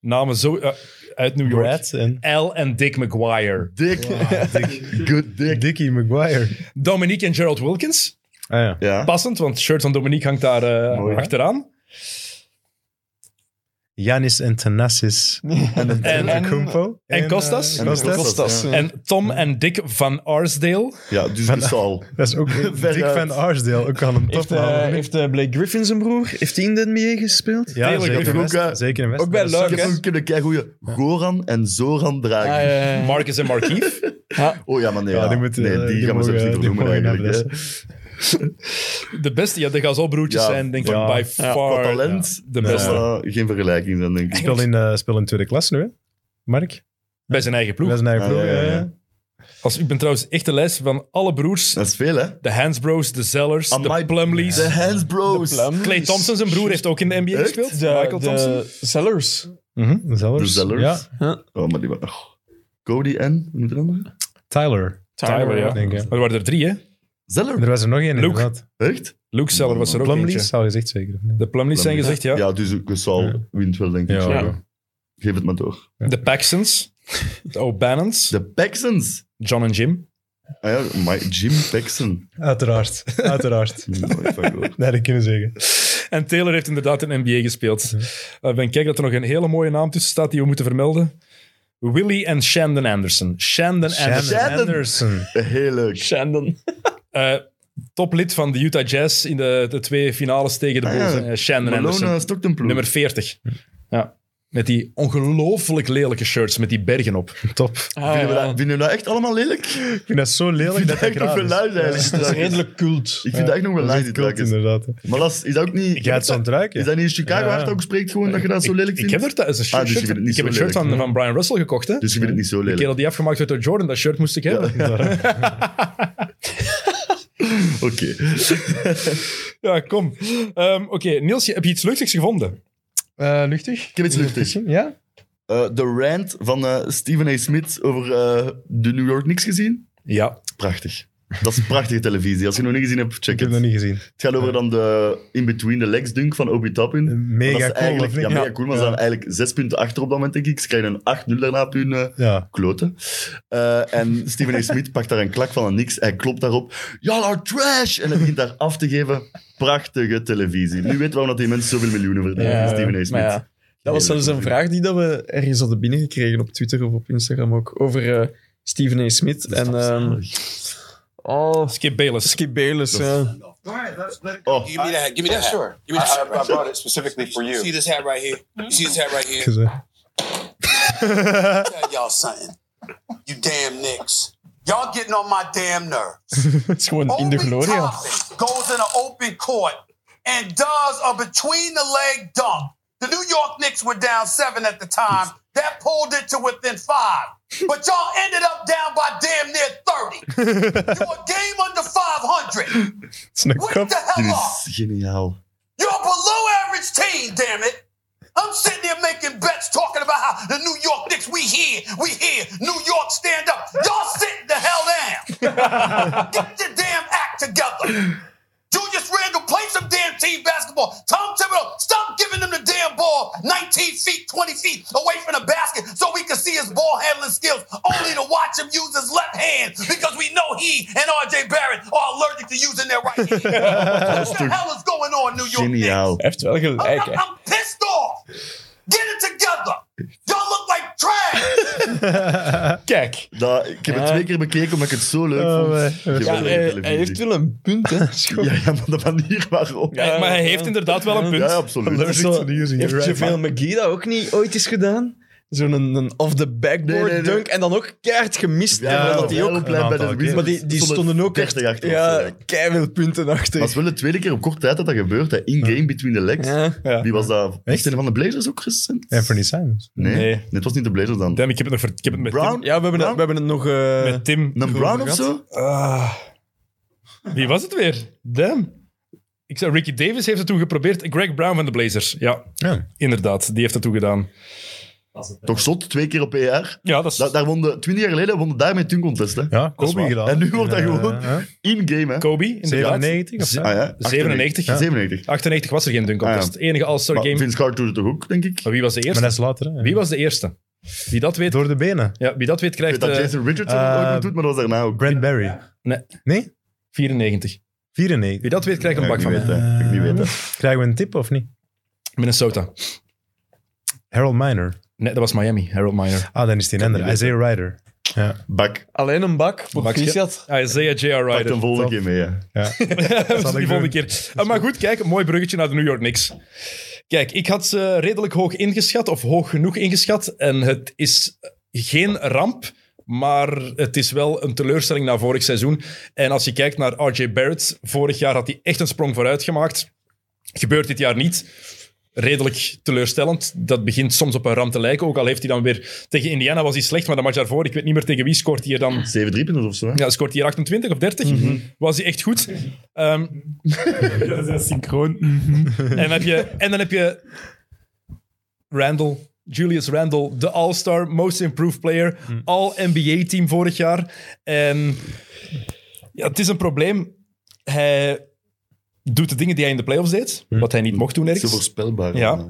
S7: namen zo, eh, uit New York.
S5: Brad en...
S7: Al en Dick McGuire.
S4: Dick. Good dick.
S5: Dickie Maguire.
S7: Dominique en Gerald Wilkins.
S5: Ah ja.
S4: Ja.
S7: Passend, want het shirt van Dominique hangt daar eh,
S4: Mooi, hè?
S7: achteraan.
S5: Janis en Tanassis.
S4: En,
S7: En, en,
S5: Kumpo.
S7: Kostas.
S5: eh, Kostas.
S3: Kostas, ja.
S7: Tom en Dick van Arsdale.
S4: ja, dus de Saal.
S5: eh, Dat is ook
S4: Ver
S5: Dick
S4: uit.
S5: van Arsdale. Ook aan hem
S3: Heeft,
S5: top.
S3: eh,
S5: man.
S3: heeft eh, Blake Griffin zijn broer, heeft hij in de NBA gespeeld?
S5: Ja,
S7: Taylor
S5: zeker in
S4: Griffin ook,
S5: West.
S4: eh,
S5: Zeker in West.
S3: ook bij
S5: Maar dat
S3: Leuk,
S4: Ik
S3: hè?
S4: heb ook een keigoeie Goran en Zoran Dragic.
S3: Ah, ja, ja, ja.
S7: Marcus en Markief.
S4: Oh ja, maar nee,
S5: Ja,
S4: ja.
S5: die moeten,
S4: nee,
S5: eh,
S4: die,
S5: die
S4: gaan we
S5: mogen-
S4: zelfs
S5: die
S4: niet vernoemen
S5: mogen
S4: eigenlijk.
S5: hebben,
S4: hè.
S7: De beste, ja, de Gazalbroertjes
S4: Ja.
S7: zijn denk ik
S5: Ja.
S7: by
S4: Qua
S7: far
S4: talent,
S7: de
S4: dat
S7: beste.
S4: zal, eh, geen vergelijking zijn, denk ik.
S5: Speel in, eh, speel in tweede klas nu, hè? Mark?
S7: Bij zijn eigen ploeg.
S5: Dat is een eigen
S4: Ah,
S5: ploeg. eh,
S4: ja, ja,
S5: ja,
S4: ja.
S5: ja.
S7: Als, ik ben trouwens echt de lijst van alle broers.
S4: Dat is veel, hè?
S7: De Hans Bros, de Zellers, de
S2: Oh
S4: Amai,
S7: Plumleys.
S4: De Hans Bros. De
S3: Plum.
S7: Clay Thompson, zijn broer, heeft ook in de NBA
S4: Echt?
S7: gespeeld.
S3: De,
S7: Michael Thompson.
S3: de Sellers.
S5: Zellers.
S4: Zellers.
S5: Ja.
S4: Oh, maar die waren... oh. Cody en... Hoe noemt de andere?
S5: Tyler,
S7: Tyler, ja.
S5: denk ik.
S7: Maar er waren er drie, hè?
S4: Zeller.
S5: Er was er nog één,
S7: Luke.
S5: inderdaad.
S4: Echt?
S7: Luke Zeller was er ook
S5: Plumlee,
S7: eentje.
S5: zou je gezegd zeker. of niet?
S7: De Plumleys zijn gezegd, ja.
S4: Ja, dus de Saal wint wel, denk ik.
S5: Ja,
S3: Ja.
S5: ja.
S4: Geef het maar door.
S7: De Paxons. De O'Bannons.
S4: De Paxons.
S7: John en Jim.
S4: Ah ja, my Jim Paxson.
S5: Uiteraard. Uiteraard.
S4: Nooit van gehoord.
S5: Nee, dat kunnen we zeggen.
S7: En Taylor heeft inderdaad in de NBA gespeeld. Uh, ben kijk dat er nog een hele mooie naam tussen staat die we moeten vermelden. Willie en Shandon Anderson. Shandon Anderson.
S4: Shandon.
S5: Anderson.
S4: Heel leuk.
S3: Shandon.
S7: Eh, toplid van de Utah Jazz in de, de twee finales tegen de
S4: Ah, ja.
S7: Bulls. eh, Shandon Anderson.
S4: Malone Stockton ploeg.
S7: Nummer 40. Ja. Met die ongelooflijk lelijke shirts met die bergen op.
S5: Top.
S3: Ah,
S4: Vinden we dat-
S3: ja.
S4: vinden we dat echt allemaal lelijk?
S5: Ik vind dat zo lelijk
S4: Ik
S5: dat
S4: vind dat
S5: dat
S4: echt nog
S5: graag
S4: wel
S5: is.
S4: luid eigenlijk.
S3: Dat is redelijk cult.
S4: Ik vind dat echt nog wel
S5: Dat is
S4: luid,
S5: echt
S4: die
S5: cult,
S4: truikens.
S5: inderdaad.
S4: Maar dat is, is dat ook niet...
S5: Ik ga het zo aan het ruiken.
S4: Is dat niet in Chicago
S5: Ja.
S4: hard ook spreekt gewoon dat je dat zo
S7: Ik
S4: lelijk vindt?
S7: heb er dat is een shirt,
S4: Ah, dus je vindt het niet
S7: ik heb
S4: zo
S7: een shirt
S4: lelijk,
S7: van, van Brian Russell gekocht. Hè?
S4: Dus je vindt het niet zo
S7: de
S4: lelijk.
S7: kerel die afgemaakt werd door Jordan, dat shirt moest ik hebben. Ja,
S4: Oké.
S7: kom. Ehm, Oké, Niels, je- heb je iets luchtigs gevonden?
S5: Eh, luchtig?
S4: Ik heb iets luchtigs.
S5: Ja?
S4: Eh, de rant van eh, Stephen A. Smith over eh, de New York Knicks gezien?
S7: Ja.
S4: Prachtig. Dat is prachtige televisie. Als je nog niet gezien hebt, check
S5: Ik heb
S4: het.
S5: dat niet gezien.
S4: Het gaat over dan de in-between the legs dunk van Obi Toppin. Maar dat
S5: Mega
S4: is
S5: cool,
S4: eigenlijk,
S5: of niet?
S4: ja, mega cool, maar ze staan eigenlijk zes punten achter op dat moment, denk ik. Ze krijgen een 8-0 daarna op hun eh,
S5: Ja.
S4: kloten. Eh, en Stephen A. Smith pakt daar een klak van aan niks. Hij klopt daarop. Y'all are trash! En hij begint daar af te geven. Prachtige televisie. Nu weet waarom dat die mensen zoveel miljoenen verdienen.
S3: Ja,
S4: Stephen A. Smith.
S3: maar ja, dat was zelfs een vraag die dat we ergens hadden binnengekregen op Twitter of op Instagram ook. Over eh, Stephen A. Smith en ehm oh,
S7: Skip Bayless.
S3: Skip Bayless. Ja.
S4: Oh,
S1: Give me that. Give me that. Sure. Give me that. I, I brought it specifically for you. See this hat right here. You see this hat right here. Tell y'all something. You damn nicks. Y'all getting on my damn nerves.
S3: Het is gewoon in de gloria.
S1: Goes in an open court and does a between the leg dunk. The New York Knicks were down seven at the time. That pulled it to within five. But y'all ended up down by damn near 30. You're a game under 500.
S3: is een
S1: Wake
S3: kop.
S1: the
S4: Dit
S1: hell up.
S4: is geniaal.
S1: You're a below average team, damn it. I'm sitting here making bets talking about how the New York Knicks, we here, we here, New York stand up. Y'all sitting the hell down. Get your damn act together. Julius Randle, play some damn team basketball. Tom Thibodeau, stop giving him the damn ball 19 feet, 20 feet away from the basket so we can see his ball handling skills, only to watch him use his left hand because we know he and RJ Barrett are allergic to using their right hand. what the hell is going on, New York Knicks?
S4: Geniaal.
S2: Hij heeft wel gelijk,
S7: Ah.
S1: I'm,
S2: hè.
S1: I'm pissed off. Get it together. Y'all look like trash.
S2: Kijk.
S4: Dat, ik heb het twee keer bekeken omdat ik het zo leuk vond. Je
S2: Ja,
S4: wil geen
S2: hij, hij
S4: televisie.
S2: heeft wel een punt, hè. Schoon.
S4: Ja, ja, maar de manier waarop. Ja,
S7: Ja, maar hij heeft inderdaad wel een punt.
S4: ja absoluut.
S2: Allergic to the
S4: using
S3: Heeft Javale McGee dat ook niet ooit eens gedaan? Zo'n een, een off-the-backboard
S4: Nee, nee, nee.
S3: dunk en dan ook keihard gemist.
S4: Ja,
S3: terwijl
S4: ja,
S3: dat die ook,
S4: bij de
S5: aantal
S4: Wizards
S3: maar die, die stonden ook echt
S4: 30 achter. of zo,
S3: ja,
S4: ja.
S3: keiveel punten achter.
S4: Maar het is wel de tweede keer op korte tijd dat dat gebeurt. hè. In-game between the legs.
S3: Ja.
S4: Wie was dat? Was
S5: Echt?
S4: het een van de Blazers ook recent?
S5: Anthony Simons.
S4: Nee.
S7: Nee.
S4: nee, het was niet de Blazers dan.
S7: Damn, ik heb het, nog ver- ik heb het met,
S4: Brown?
S3: Ja, we hebben, het, we hebben het nog... eh,
S7: Tim, met Tim.
S4: Een Brown of zo?
S7: Ah. wie was het weer? Damn. Ik zei, Ricky Davis heeft het toen geprobeerd. Greg Brown van de Blazers. Ja,
S5: Ja.
S7: inderdaad. Die heeft het toen gedaan.
S4: Toch zot, twee keer op ER.
S7: Ja, dat is...
S4: Da daar won de, 20 jaar geleden won de daarmee toen contest. Hè.
S5: Ja, Kobe
S7: waar.
S5: gedaan.
S4: En nu wordt dat
S5: Eh,
S4: gewoon
S5: hè?
S4: in-game. hè.
S7: Kobe, inderdaad.
S5: 97 of zo?
S4: Ah, ja.
S7: 97, ja.
S4: 97.
S7: 98 was er geen dunk contest.
S4: Ah,
S7: Enige All-Star
S4: Maar
S7: game.
S4: Vince Carter doet het toch ook, denk ik? Ik
S7: Maar wie was de
S5: Maar
S7: eerste?
S5: dat is later. Hè.
S7: Wie was de eerste? Wie dat weet,
S5: Door de benen.
S7: ja, wie dat weet
S4: weet
S7: krijgt
S4: dat
S7: eh,
S4: Jason Richardson het
S5: eh,
S4: ook nog doet, maar dat was daarna ook.
S5: Brent Barry.
S7: Nee.
S5: Nee?
S7: 94.
S5: 94.
S7: Wie dat weet krijgt een
S4: Ja,
S7: bak
S4: ik
S7: van
S4: niet
S7: mij.
S4: weten. hè. Ik niet weten.
S5: Krijgen we een tip of niet?
S7: Minnesota.
S5: Harold Miner.
S7: Nee, dat was Miami. Harold Miner.
S5: Ah, dan is die een ander. Isaiah Ryder. Ja.
S4: Bak,
S3: Alleen een bak voor
S7: bakje.
S3: Christian.
S7: Ah, Isaiah J.R.
S4: pak de
S7: Ryder.
S4: volgende keer mee. hè.
S7: dat is
S5: zal
S7: de
S5: ik
S7: volgende
S5: doen.
S7: keer. Eh, maar goed, kijk, een mooi bruggetje naar de New York Knicks. Kijk, ik had ze redelijk hoog ingeschat, of hoog genoeg ingeschat. En het is geen ramp, maar het is wel een teleurstelling na vorig seizoen. En als je kijkt naar R.J. Barrett, vorig jaar had hij echt een sprong vooruit gemaakt. Gebeurt dit jaar niet. Redelijk teleurstellend. Dat begint soms op een ramp te lijken. Ook al heeft hij dan weer... Tegen Indiana was hij slecht, maar de match daarvoor, ik weet niet meer tegen wie, scoort hij er dan...
S4: Zeven driepunten of zo. hè.
S7: Ja, scoort hij er 28 of 30?
S4: Mhm.
S7: Was hij echt goed. Ehm,
S6: Dat is synchroon. Mhm.
S7: en, dan heb je, en dan heb je Randall, Julius Randall, de All-Star, Most Improved Player,
S2: Hmm.
S7: All-NBA-team vorig jaar. En ja, het is een probleem. Hij doet de dingen die hij in de playoffs deed,
S2: Hmm.
S7: wat hij niet mocht doen
S4: Zo
S7: ergens.
S4: voorspelbaar.
S7: Ja.
S4: hè.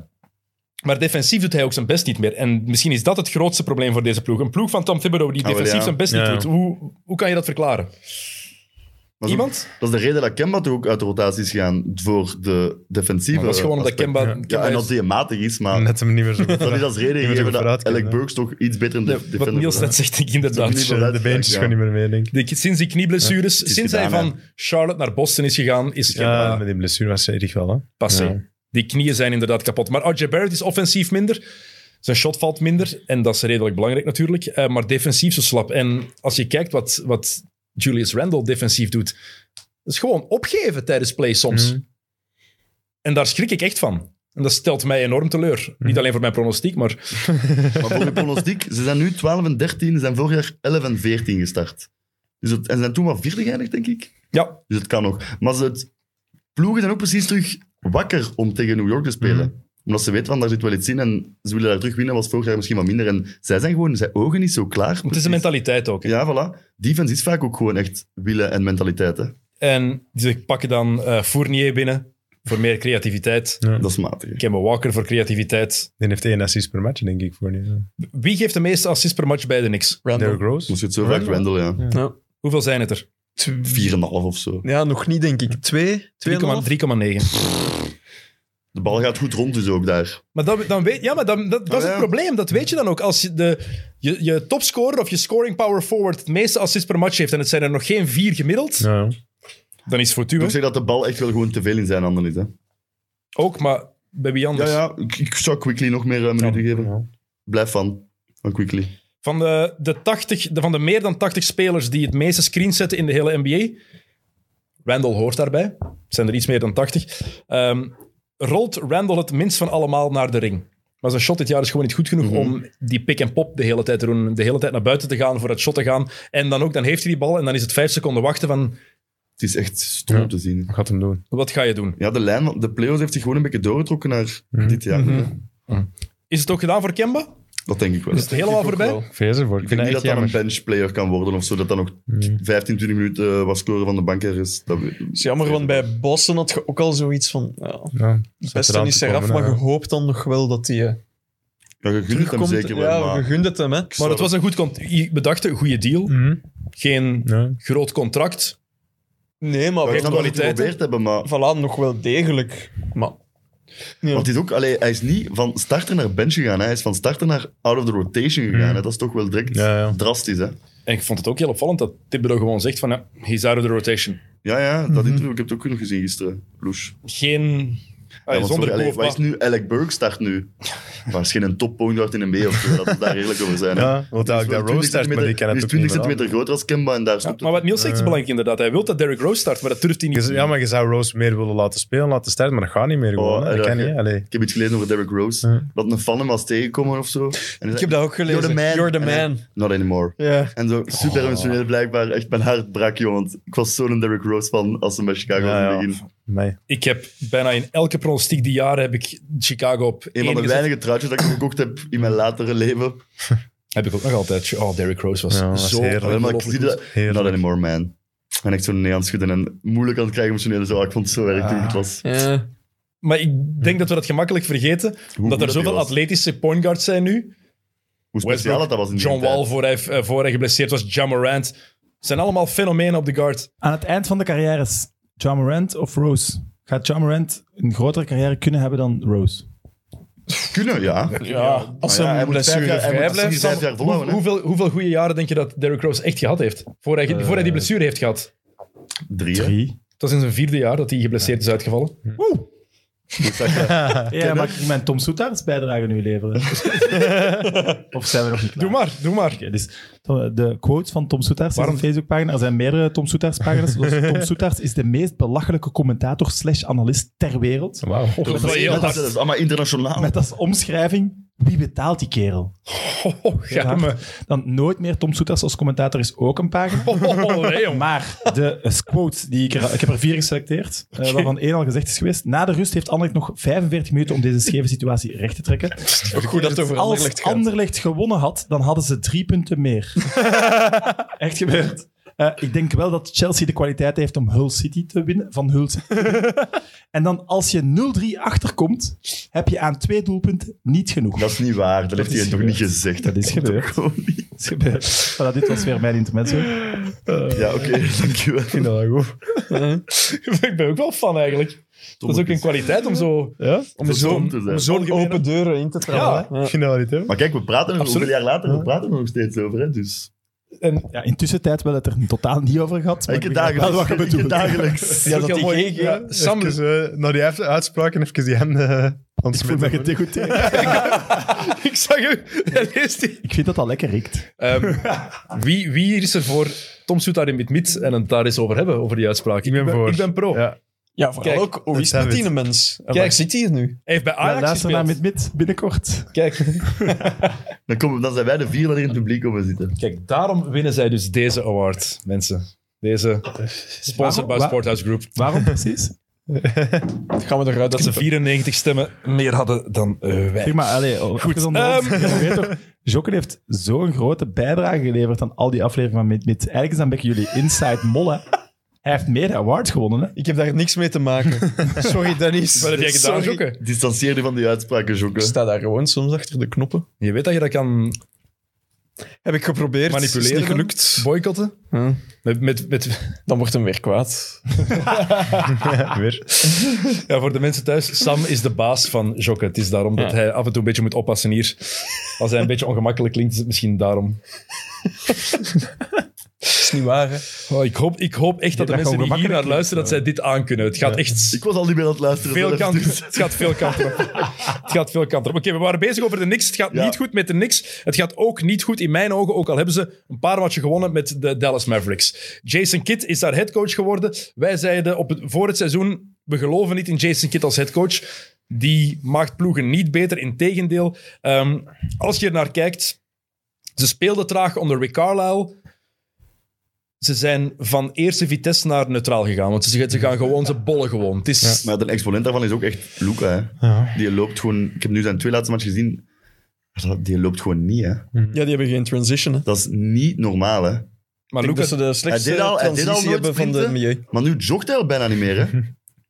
S7: Maar defensief doet hij ook zijn best niet meer. En misschien is dat het grootste probleem voor deze ploeg. Een ploeg van Tom Thibodeau die
S4: Ah, wel,
S7: defensief
S4: ja.
S7: zijn best niet
S5: Ja.
S7: doet. Hoe, hoe kan je dat verklaren?
S4: Dat is ook-
S7: Iemand?
S4: Dat is de reden dat Kemba toch ook uit de rotatie is gegaan voor de defensieve.
S7: Dat is gewoon omdat
S4: aspect.
S7: Kemba...
S4: Ja,
S7: Kemba
S4: en
S7: is-
S4: dat die matig is, maar
S5: Net hem niet meer zo goed.
S4: Ah. dat is als reden
S5: Die moet
S4: gegeven
S5: ook
S4: dat
S5: vooruit kunnen,
S4: Alec
S5: hè.
S4: Burks toch iets beter in de
S7: Ja,
S4: defender
S7: wat Niels
S4: wordt, hè.
S7: net zegt, denk ik inderdaad.
S4: Dat is ook
S5: De, de beentjes
S4: Ja.
S5: gaan niet meer mee, denk ik.
S7: De- sinds die knieblessures,
S4: is
S7: sinds
S4: gedaan,
S7: hij van Charlotte naar Boston is gegaan, is
S5: Ja,
S7: Kemba
S5: met die blessure was Erik wel, hè.
S7: passé.
S5: ja.
S7: Die knieën zijn inderdaad kapot. Maar RJ Barrett is offensief minder. Zijn shot valt minder. En dat is redelijk belangrijk natuurlijk. Eh, maar defensief zo slap. En als je kijkt wat, wat Julius Randle defensief doet, dat is gewoon opgeven tijdens play soms.
S6: Mhm.
S7: En daar schrik ik echt van. En dat stelt mij enorm teleur.
S6: Mhm.
S7: Niet alleen voor mijn pronostiek, maar
S4: Maar voor de pronostiek, ze zijn nu 12 en 13, ze zijn vorig jaar 11 en 14 gestart. Dus het, en ze zijn toen maar vierde geëindigd, denk ik.
S7: ja,
S4: Dus het kan nog. Maar ze, het, ploegen zijn ook precies terug wakker om tegen New York te spelen.
S5: Mhm.
S4: Omdat ze weten, van, daar zit wel iets in en ze willen daar terug winnen, was vorig jaar misschien wat minder. En zij zijn gewoon, zijn ogen niet zo klaar.
S7: het is een mentaliteit ook.
S4: Ja, voilà. Defense is vaak ook gewoon echt willen en mentaliteit. Hè.
S7: En ze pakken dan eh, Fournier binnen voor meer creativiteit.
S4: Dat is matig. hè.
S7: Kemba Walker voor creativiteit.
S5: Die heeft één assist per match, denk ik, voor nu. ja.
S7: Wie geeft de meeste assists per match bij de Knicks?
S5: Derrick Rose.
S4: Moest je het zo vaak Randall, ja.
S3: Ja.
S7: Hoeveel zijn het er?
S4: 4,5 of zo.
S3: ja, nog niet, denk ik. Twee?
S7: 3,9.
S3: Twee
S4: De bal gaat goed rond dus ook daar.
S7: Maar dat, dan weet, ja, maar dan, dat, dat is het
S4: ja.
S7: probleem. Dat weet je dan ook. Als je, de, je, je topscorer of je scoring power forward het meeste assists per match heeft en het zijn er nog geen vier gemiddeld,
S5: Ja.
S7: dan is
S4: Ik
S7: Fortuna
S4: zeg dat de bal echt wel gewoon te veel in zijn handen is. Hè.
S7: ook, maar bij wie
S4: Ja,
S7: anders?
S4: ja. Ik, ik zou Quickly nog meer eh, minuten geven. Blijf van. Van Quickly.
S7: Van, de, de 80, de, van de meer dan 80 spelers die het meeste screens zetten in de hele NBA, Randall hoort daarbij. Het zijn er iets meer dan 80. Ehm, rolt Randall het minst van allemaal naar de ring. Maar zijn shot dit jaar is gewoon niet goed
S4: Mhm.
S7: genoeg om die pick en pop de hele tijd te doen. De hele tijd naar buiten te gaan, voor het shot te gaan. En dan ook, dan heeft hij die bal en dan is het vijf seconden wachten van,
S4: Het is echt stom om te zien.
S5: Wat gaat hem doen?
S7: wat ga je doen?
S4: Ja, de lijn, van- de play-offs heeft zich gewoon een beetje doorgetrokken naar
S5: Mhm.
S4: dit jaar.
S7: Is het ook gedaan voor Kemba?
S4: Dat denk ik wel.
S7: Is het helemaal voorbij?
S5: Ik vrees ervoor. Ik
S4: Ik
S5: vind het
S4: denk niet dat
S5: echt
S4: dat een
S5: jammer. Mhm.
S4: benchplayer kan worden of zo, dat dan nog 15, 20 minuten eh, wat scoren van de bank er is. Dat weet-
S2: is jammer, want bij Boston had je ook al zoiets van... Ja,
S5: Ja, zet
S2: Beste
S5: eraan
S2: is
S5: te
S2: eraf,
S5: komen,
S2: maar
S5: hè.
S2: je hoopt dan nog wel dat hij eh,
S4: Ja, je gunt hem
S2: terugkomt.
S4: zeker wel,
S2: ja,
S4: maar
S2: je gunt het hem, hè.
S7: Maar het was een goed contract. Je bedacht een goede deal.
S5: Mhm.
S7: Geen
S5: Ja.
S7: groot contract.
S2: Nee, maar heeft
S4: we gaan het wel
S2: kwaliteit. hè.
S4: geprobeerd hebben, maar...
S2: Voilà, nog wel degelijk. Maar
S4: Want het is ook, allee, hij is niet van starter naar bench gegaan. hè. Hij is van starter naar out of the rotation gegaan. Hè. Dat is toch wel direct
S5: Hmm. Ja, ja.
S4: drastisch. Hè.
S7: En ik vond het ook heel opvallend dat Thibodeau gewoon zegt van, ja, he's out of the rotation.
S4: Ja, ja,
S5: Hmm.
S4: dat interview. Ik heb het ook nog gezien gisteren. Loes.
S7: Geen...
S4: Ja,
S7: Allee,
S4: Ah, want
S7: zonder
S4: sorry, allee,
S7: Kofba.
S4: wat is nu? Alec Burke start nu. Maar is geen top point guard in een B of zo. Laten we daar eerlijk over zijn. hè.
S5: Ja, want
S4: Die is
S5: eigenlijk
S4: wel
S5: dat Rose
S4: 20
S5: start, maar die
S4: centimeter-
S5: kan het ook
S4: die is 20
S5: niet meer
S4: centimeter groter als Kemba en daar
S7: Ja,
S4: stopt
S7: maar wat Niels zegt is belangrijk inderdaad. Hij wil dat Derrick Rose start, maar dat durft hij niet.
S5: Ja, maar je zou Rose meer willen laten spelen, laten starten, maar dat gaat niet meer gewoon.
S4: Oh,
S5: hè. dat
S4: ja,
S5: kan
S4: ja.
S5: niet. Allee.
S4: Ik heb iets gelezen over Derrick Rose. Dat een fan hem was tegengekomen of zo. En hij
S2: ik
S4: zei,
S2: heb dat ook gelezen.
S4: You're the man.
S2: You're the
S4: En hij-
S2: man.
S4: Not anymore.
S2: Ja.
S4: En zo super emotioneel blijkbaar. Echt mijn hart brak, joh. Want ik was zo'n Derrick Rose van als ze bij Chicago
S5: Ja,
S4: in
S5: ja.
S4: het begin.
S5: Nee.
S7: Ik heb bijna in elke pronostiek die jaren heb ik Chicago op
S4: Een van
S7: één
S4: de
S7: gezet.
S4: weinige truitjes dat ik gekocht heb in mijn latere leven.
S7: Heb ik ook nog altijd. Oh, Derrick Rose was
S5: Ja, was
S7: zo
S5: heerlijk.
S4: Ja, maar ik
S7: ongelooflijk
S4: zie
S7: goed.
S4: dat...
S5: Heerlijk.
S4: Not anymore, man. En echt zo nee aan het schudden en moeilijk aan het krijgen emotioneel. Zo, Ah, ik vond het zo erg toen ik het was.
S2: Eh,
S3: Ja.
S7: Maar ik denk dat we dat gemakkelijk vergeten. Omdat
S4: goed
S7: er
S4: dat hij
S7: zoveel
S4: was.
S7: atletische point guards zijn nu.
S4: Hoe speciaal
S7: Westbrook,
S4: dat was in die
S7: John
S4: tijd.
S7: Wall, voor hij, eh, voor hij geblesseerd was. John Morant. Het zijn allemaal fenomenen op de guard.
S6: Aan het eind van de carrière is John Morant of Rose? Gaat John Morant een grotere carrière kunnen hebben dan Rose?
S4: Kunnen, ja.
S2: Ja, als
S4: Maar ja,
S2: hij
S4: hij
S2: een
S4: moet vijf jaar-
S2: blessure
S4: hij
S2: vrij
S4: moet precies
S2: blijft,
S4: vijf
S2: dan...
S4: jaar
S7: Hoe-
S4: volhouden. hè.
S7: hoeveel, hoeveel goede jaren denk je dat Derrick Rose echt gehad heeft? Voor hij,
S4: Eh.
S7: voor hij die blessure heeft gehad.
S4: Drie, hè.
S6: Drie.
S7: Het was in zijn vierde jaar dat hij geblesseerd is uitgevallen.
S6: Ja, mag ik mijn Tom Soetaars bijdrage nu leveren? of zijn we nog niet
S7: Doe
S6: klaar?
S7: maar, doe maar.
S6: Oké, dus Tom- de quotes van Tom Soetaars is een Facebookpagina. Er zijn meerdere Tom Soetaars pagina's. Zoals Tom Soetaars is de meest belachelijke commentator slash analist ter wereld.
S5: Wauw.
S7: Dat is wel heel
S4: Dat
S7: hard.
S4: is allemaal internationaal.
S6: Met als omschrijving, wie betaalt die kerel?
S7: Oh, ga me.
S6: Dan nooit meer Tom Soetaars als commentator is ook een pagina.
S7: Oh, nee, jong.
S6: Maar de eh, quotes die ik er... Ik heb er vier geselecteerd, eh, waarvan één al gezegd is geweest. Na de rust heeft Anderlecht nog 45 minuten om deze scheve situatie recht te trekken.
S2: goed dat het over Anderlecht
S6: Als
S2: gaat.
S6: Anderlecht gewonnen had, dan hadden ze drie punten meer. Echt gebeurd. Eh, ik denk wel dat Chelsea de kwaliteit heeft om Hull City te winnen. Van Hull City. en dan als je 0-3 achterkomt, heb je aan twee doelpunten niet genoeg.
S4: Dat is niet waar. Dat heeft
S6: is
S4: hij toch
S6: gebeurd.
S4: niet gezegd.
S6: Dat is
S4: komt
S6: gebeurd.
S4: ook gewoon niet.
S6: Dat is gebeurd. Voilà, dit was weer mijn intermezzo.
S4: Ja, oké. Dankjewel.
S7: Ik ben ook wel fan eigenlijk. Dat is ook een kwaliteit om zo...
S4: Om
S2: zo'n-
S4: te
S2: om
S4: zijn.
S2: zo'n open deuren in te trappen. hè.
S5: Ik vind dat wel niet, hè.
S4: Maar kijk, we praten er
S7: Absoluut.
S4: hoeveel jaar later, we praten er nog steeds over. Hè, dus.
S6: Ja, intussen tijd wel het er totaal niet over gehad. Maar
S4: Ik heb
S6: begrijp wel
S4: dagelijks.
S6: wat
S4: Ik
S6: je
S4: heb
S6: bedoelt.
S4: dagelijks.
S2: Ja, dat
S7: heel
S2: die
S7: mooi.
S2: gege-
S7: Ja, Sam,
S5: Even, eh, naar die uit- uitspraak en even die handen eh,
S6: Ik voel me
S5: ontsmiddelen.
S6: gedegoûteerd.
S7: ik zag u. Hij leest die.
S6: Ik vind dat al lekker riekt.
S7: Ehm, wie, wie hier is er voor Tom Soet daar in mid en het daar eens over hebben, over die uitspraak?
S5: Ik ben voor.
S7: Ik ben pro.
S5: Ja.
S2: Ja, vooral
S7: Kijk,
S2: ook, hoe is
S5: dat
S2: het met
S5: zijn
S2: die mens? En
S7: Kijk.
S2: waar zit hij hier nu?
S7: Hij heeft bij
S6: Ja,
S7: Ajax
S6: luister naar
S7: gespeeld.
S6: met mid binnenkort.
S7: Kijk,
S4: Dan, komen, dan zijn wij de vier dat er in het publiek komen zitten.
S7: kijk, daarom winnen zij dus deze award, mensen. Deze, sponsored by
S6: wa-
S7: Sporthouse Group.
S6: Waarom precies?
S2: Dan gaan we eruit
S7: Dat ze 94 stemmen meer hadden dan eh, wij.
S6: Zeg maar, allee, oh,
S7: Goed,
S6: even aan de hand. Je weet toch, Jokken heeft zo'n grote bijdrage geleverd aan al die afleveringen van Mid Mid. Eigenlijk is dat een beetje jullie inside mollen. Hij heeft meer awards gewonnen. Hè?
S2: Ik heb daar niks mee te maken. Sorry, Dennis.
S7: Wat heb jij gedaan,
S2: Sorry.
S7: Jokke?
S4: Distanceer je van die uitspraken,
S2: Ik
S4: Jokke.
S2: sta daar gewoon soms achter de knoppen.
S7: Je weet dat je dat kan
S2: Heb ik geprobeerd.
S7: manipuleren.
S2: Is niet gelukt.
S7: gelukt. Boycotten.
S2: Huh?
S7: Met, met, met,
S2: Dan wordt hem weer kwaad.
S5: Weer.
S7: ja, voor de mensen thuis, Sam is de baas van Jokke. Het is daarom dat hij af en toe een beetje moet oppassen hier. Als hij een beetje ongemakkelijk klinkt, is het misschien daarom.
S3: is niet waar, hè?
S7: Oh, ik, hoop, ik hoop echt dat de
S6: dat
S7: mensen
S6: gewoon
S7: die hier naar
S6: gemakkelijk
S7: luisteren, dat zij dit aankunnen. Het gaat echt
S4: Ik was al niet meer aan het luisteren.
S7: veel
S4: zelf,
S7: kanten,
S4: dus-
S7: het gaat veel kanten op. Het gaat veel kanten op. Oké, we waren bezig over de Knicks. Het gaat
S4: Ja.
S7: niet goed met de Knicks. Het gaat ook niet goed in mijn ogen, ook al hebben ze een paar matchen gewonnen met de Dallas Mavericks. Jason Kidd is daar headcoach geworden. Wij zeiden op het, voor het seizoen, we geloven niet in Jason Kidd als headcoach. Die maakt ploegen niet beter, integendeel. Ehm als je er naar kijkt, ze speelden traag onder Rick Carlisle. Ze zijn van eerste vitesse naar neutraal gegaan. Want ze, ze gaan gewoon, ze bollen gewoon. Het is,
S4: Maar de exponent daarvan is ook echt Luca. Hè. Die loopt gewoon... Ik heb nu zijn twee laatste matchen gezien. Dat- Die loopt gewoon niet, hè.
S3: Ja, die hebben geen transition, hè?
S4: Dat is niet normaal, hè.
S7: Maar
S3: Ik denk
S7: Luca,
S3: dat ze de
S4: Hij
S3: slechtste
S4: deed al- hij deed al
S3: transitie
S4: nooit
S3: hebben van de
S4: sprinten.
S3: NBA.
S4: Maar nu jogt hij al bijna niet meer, hè.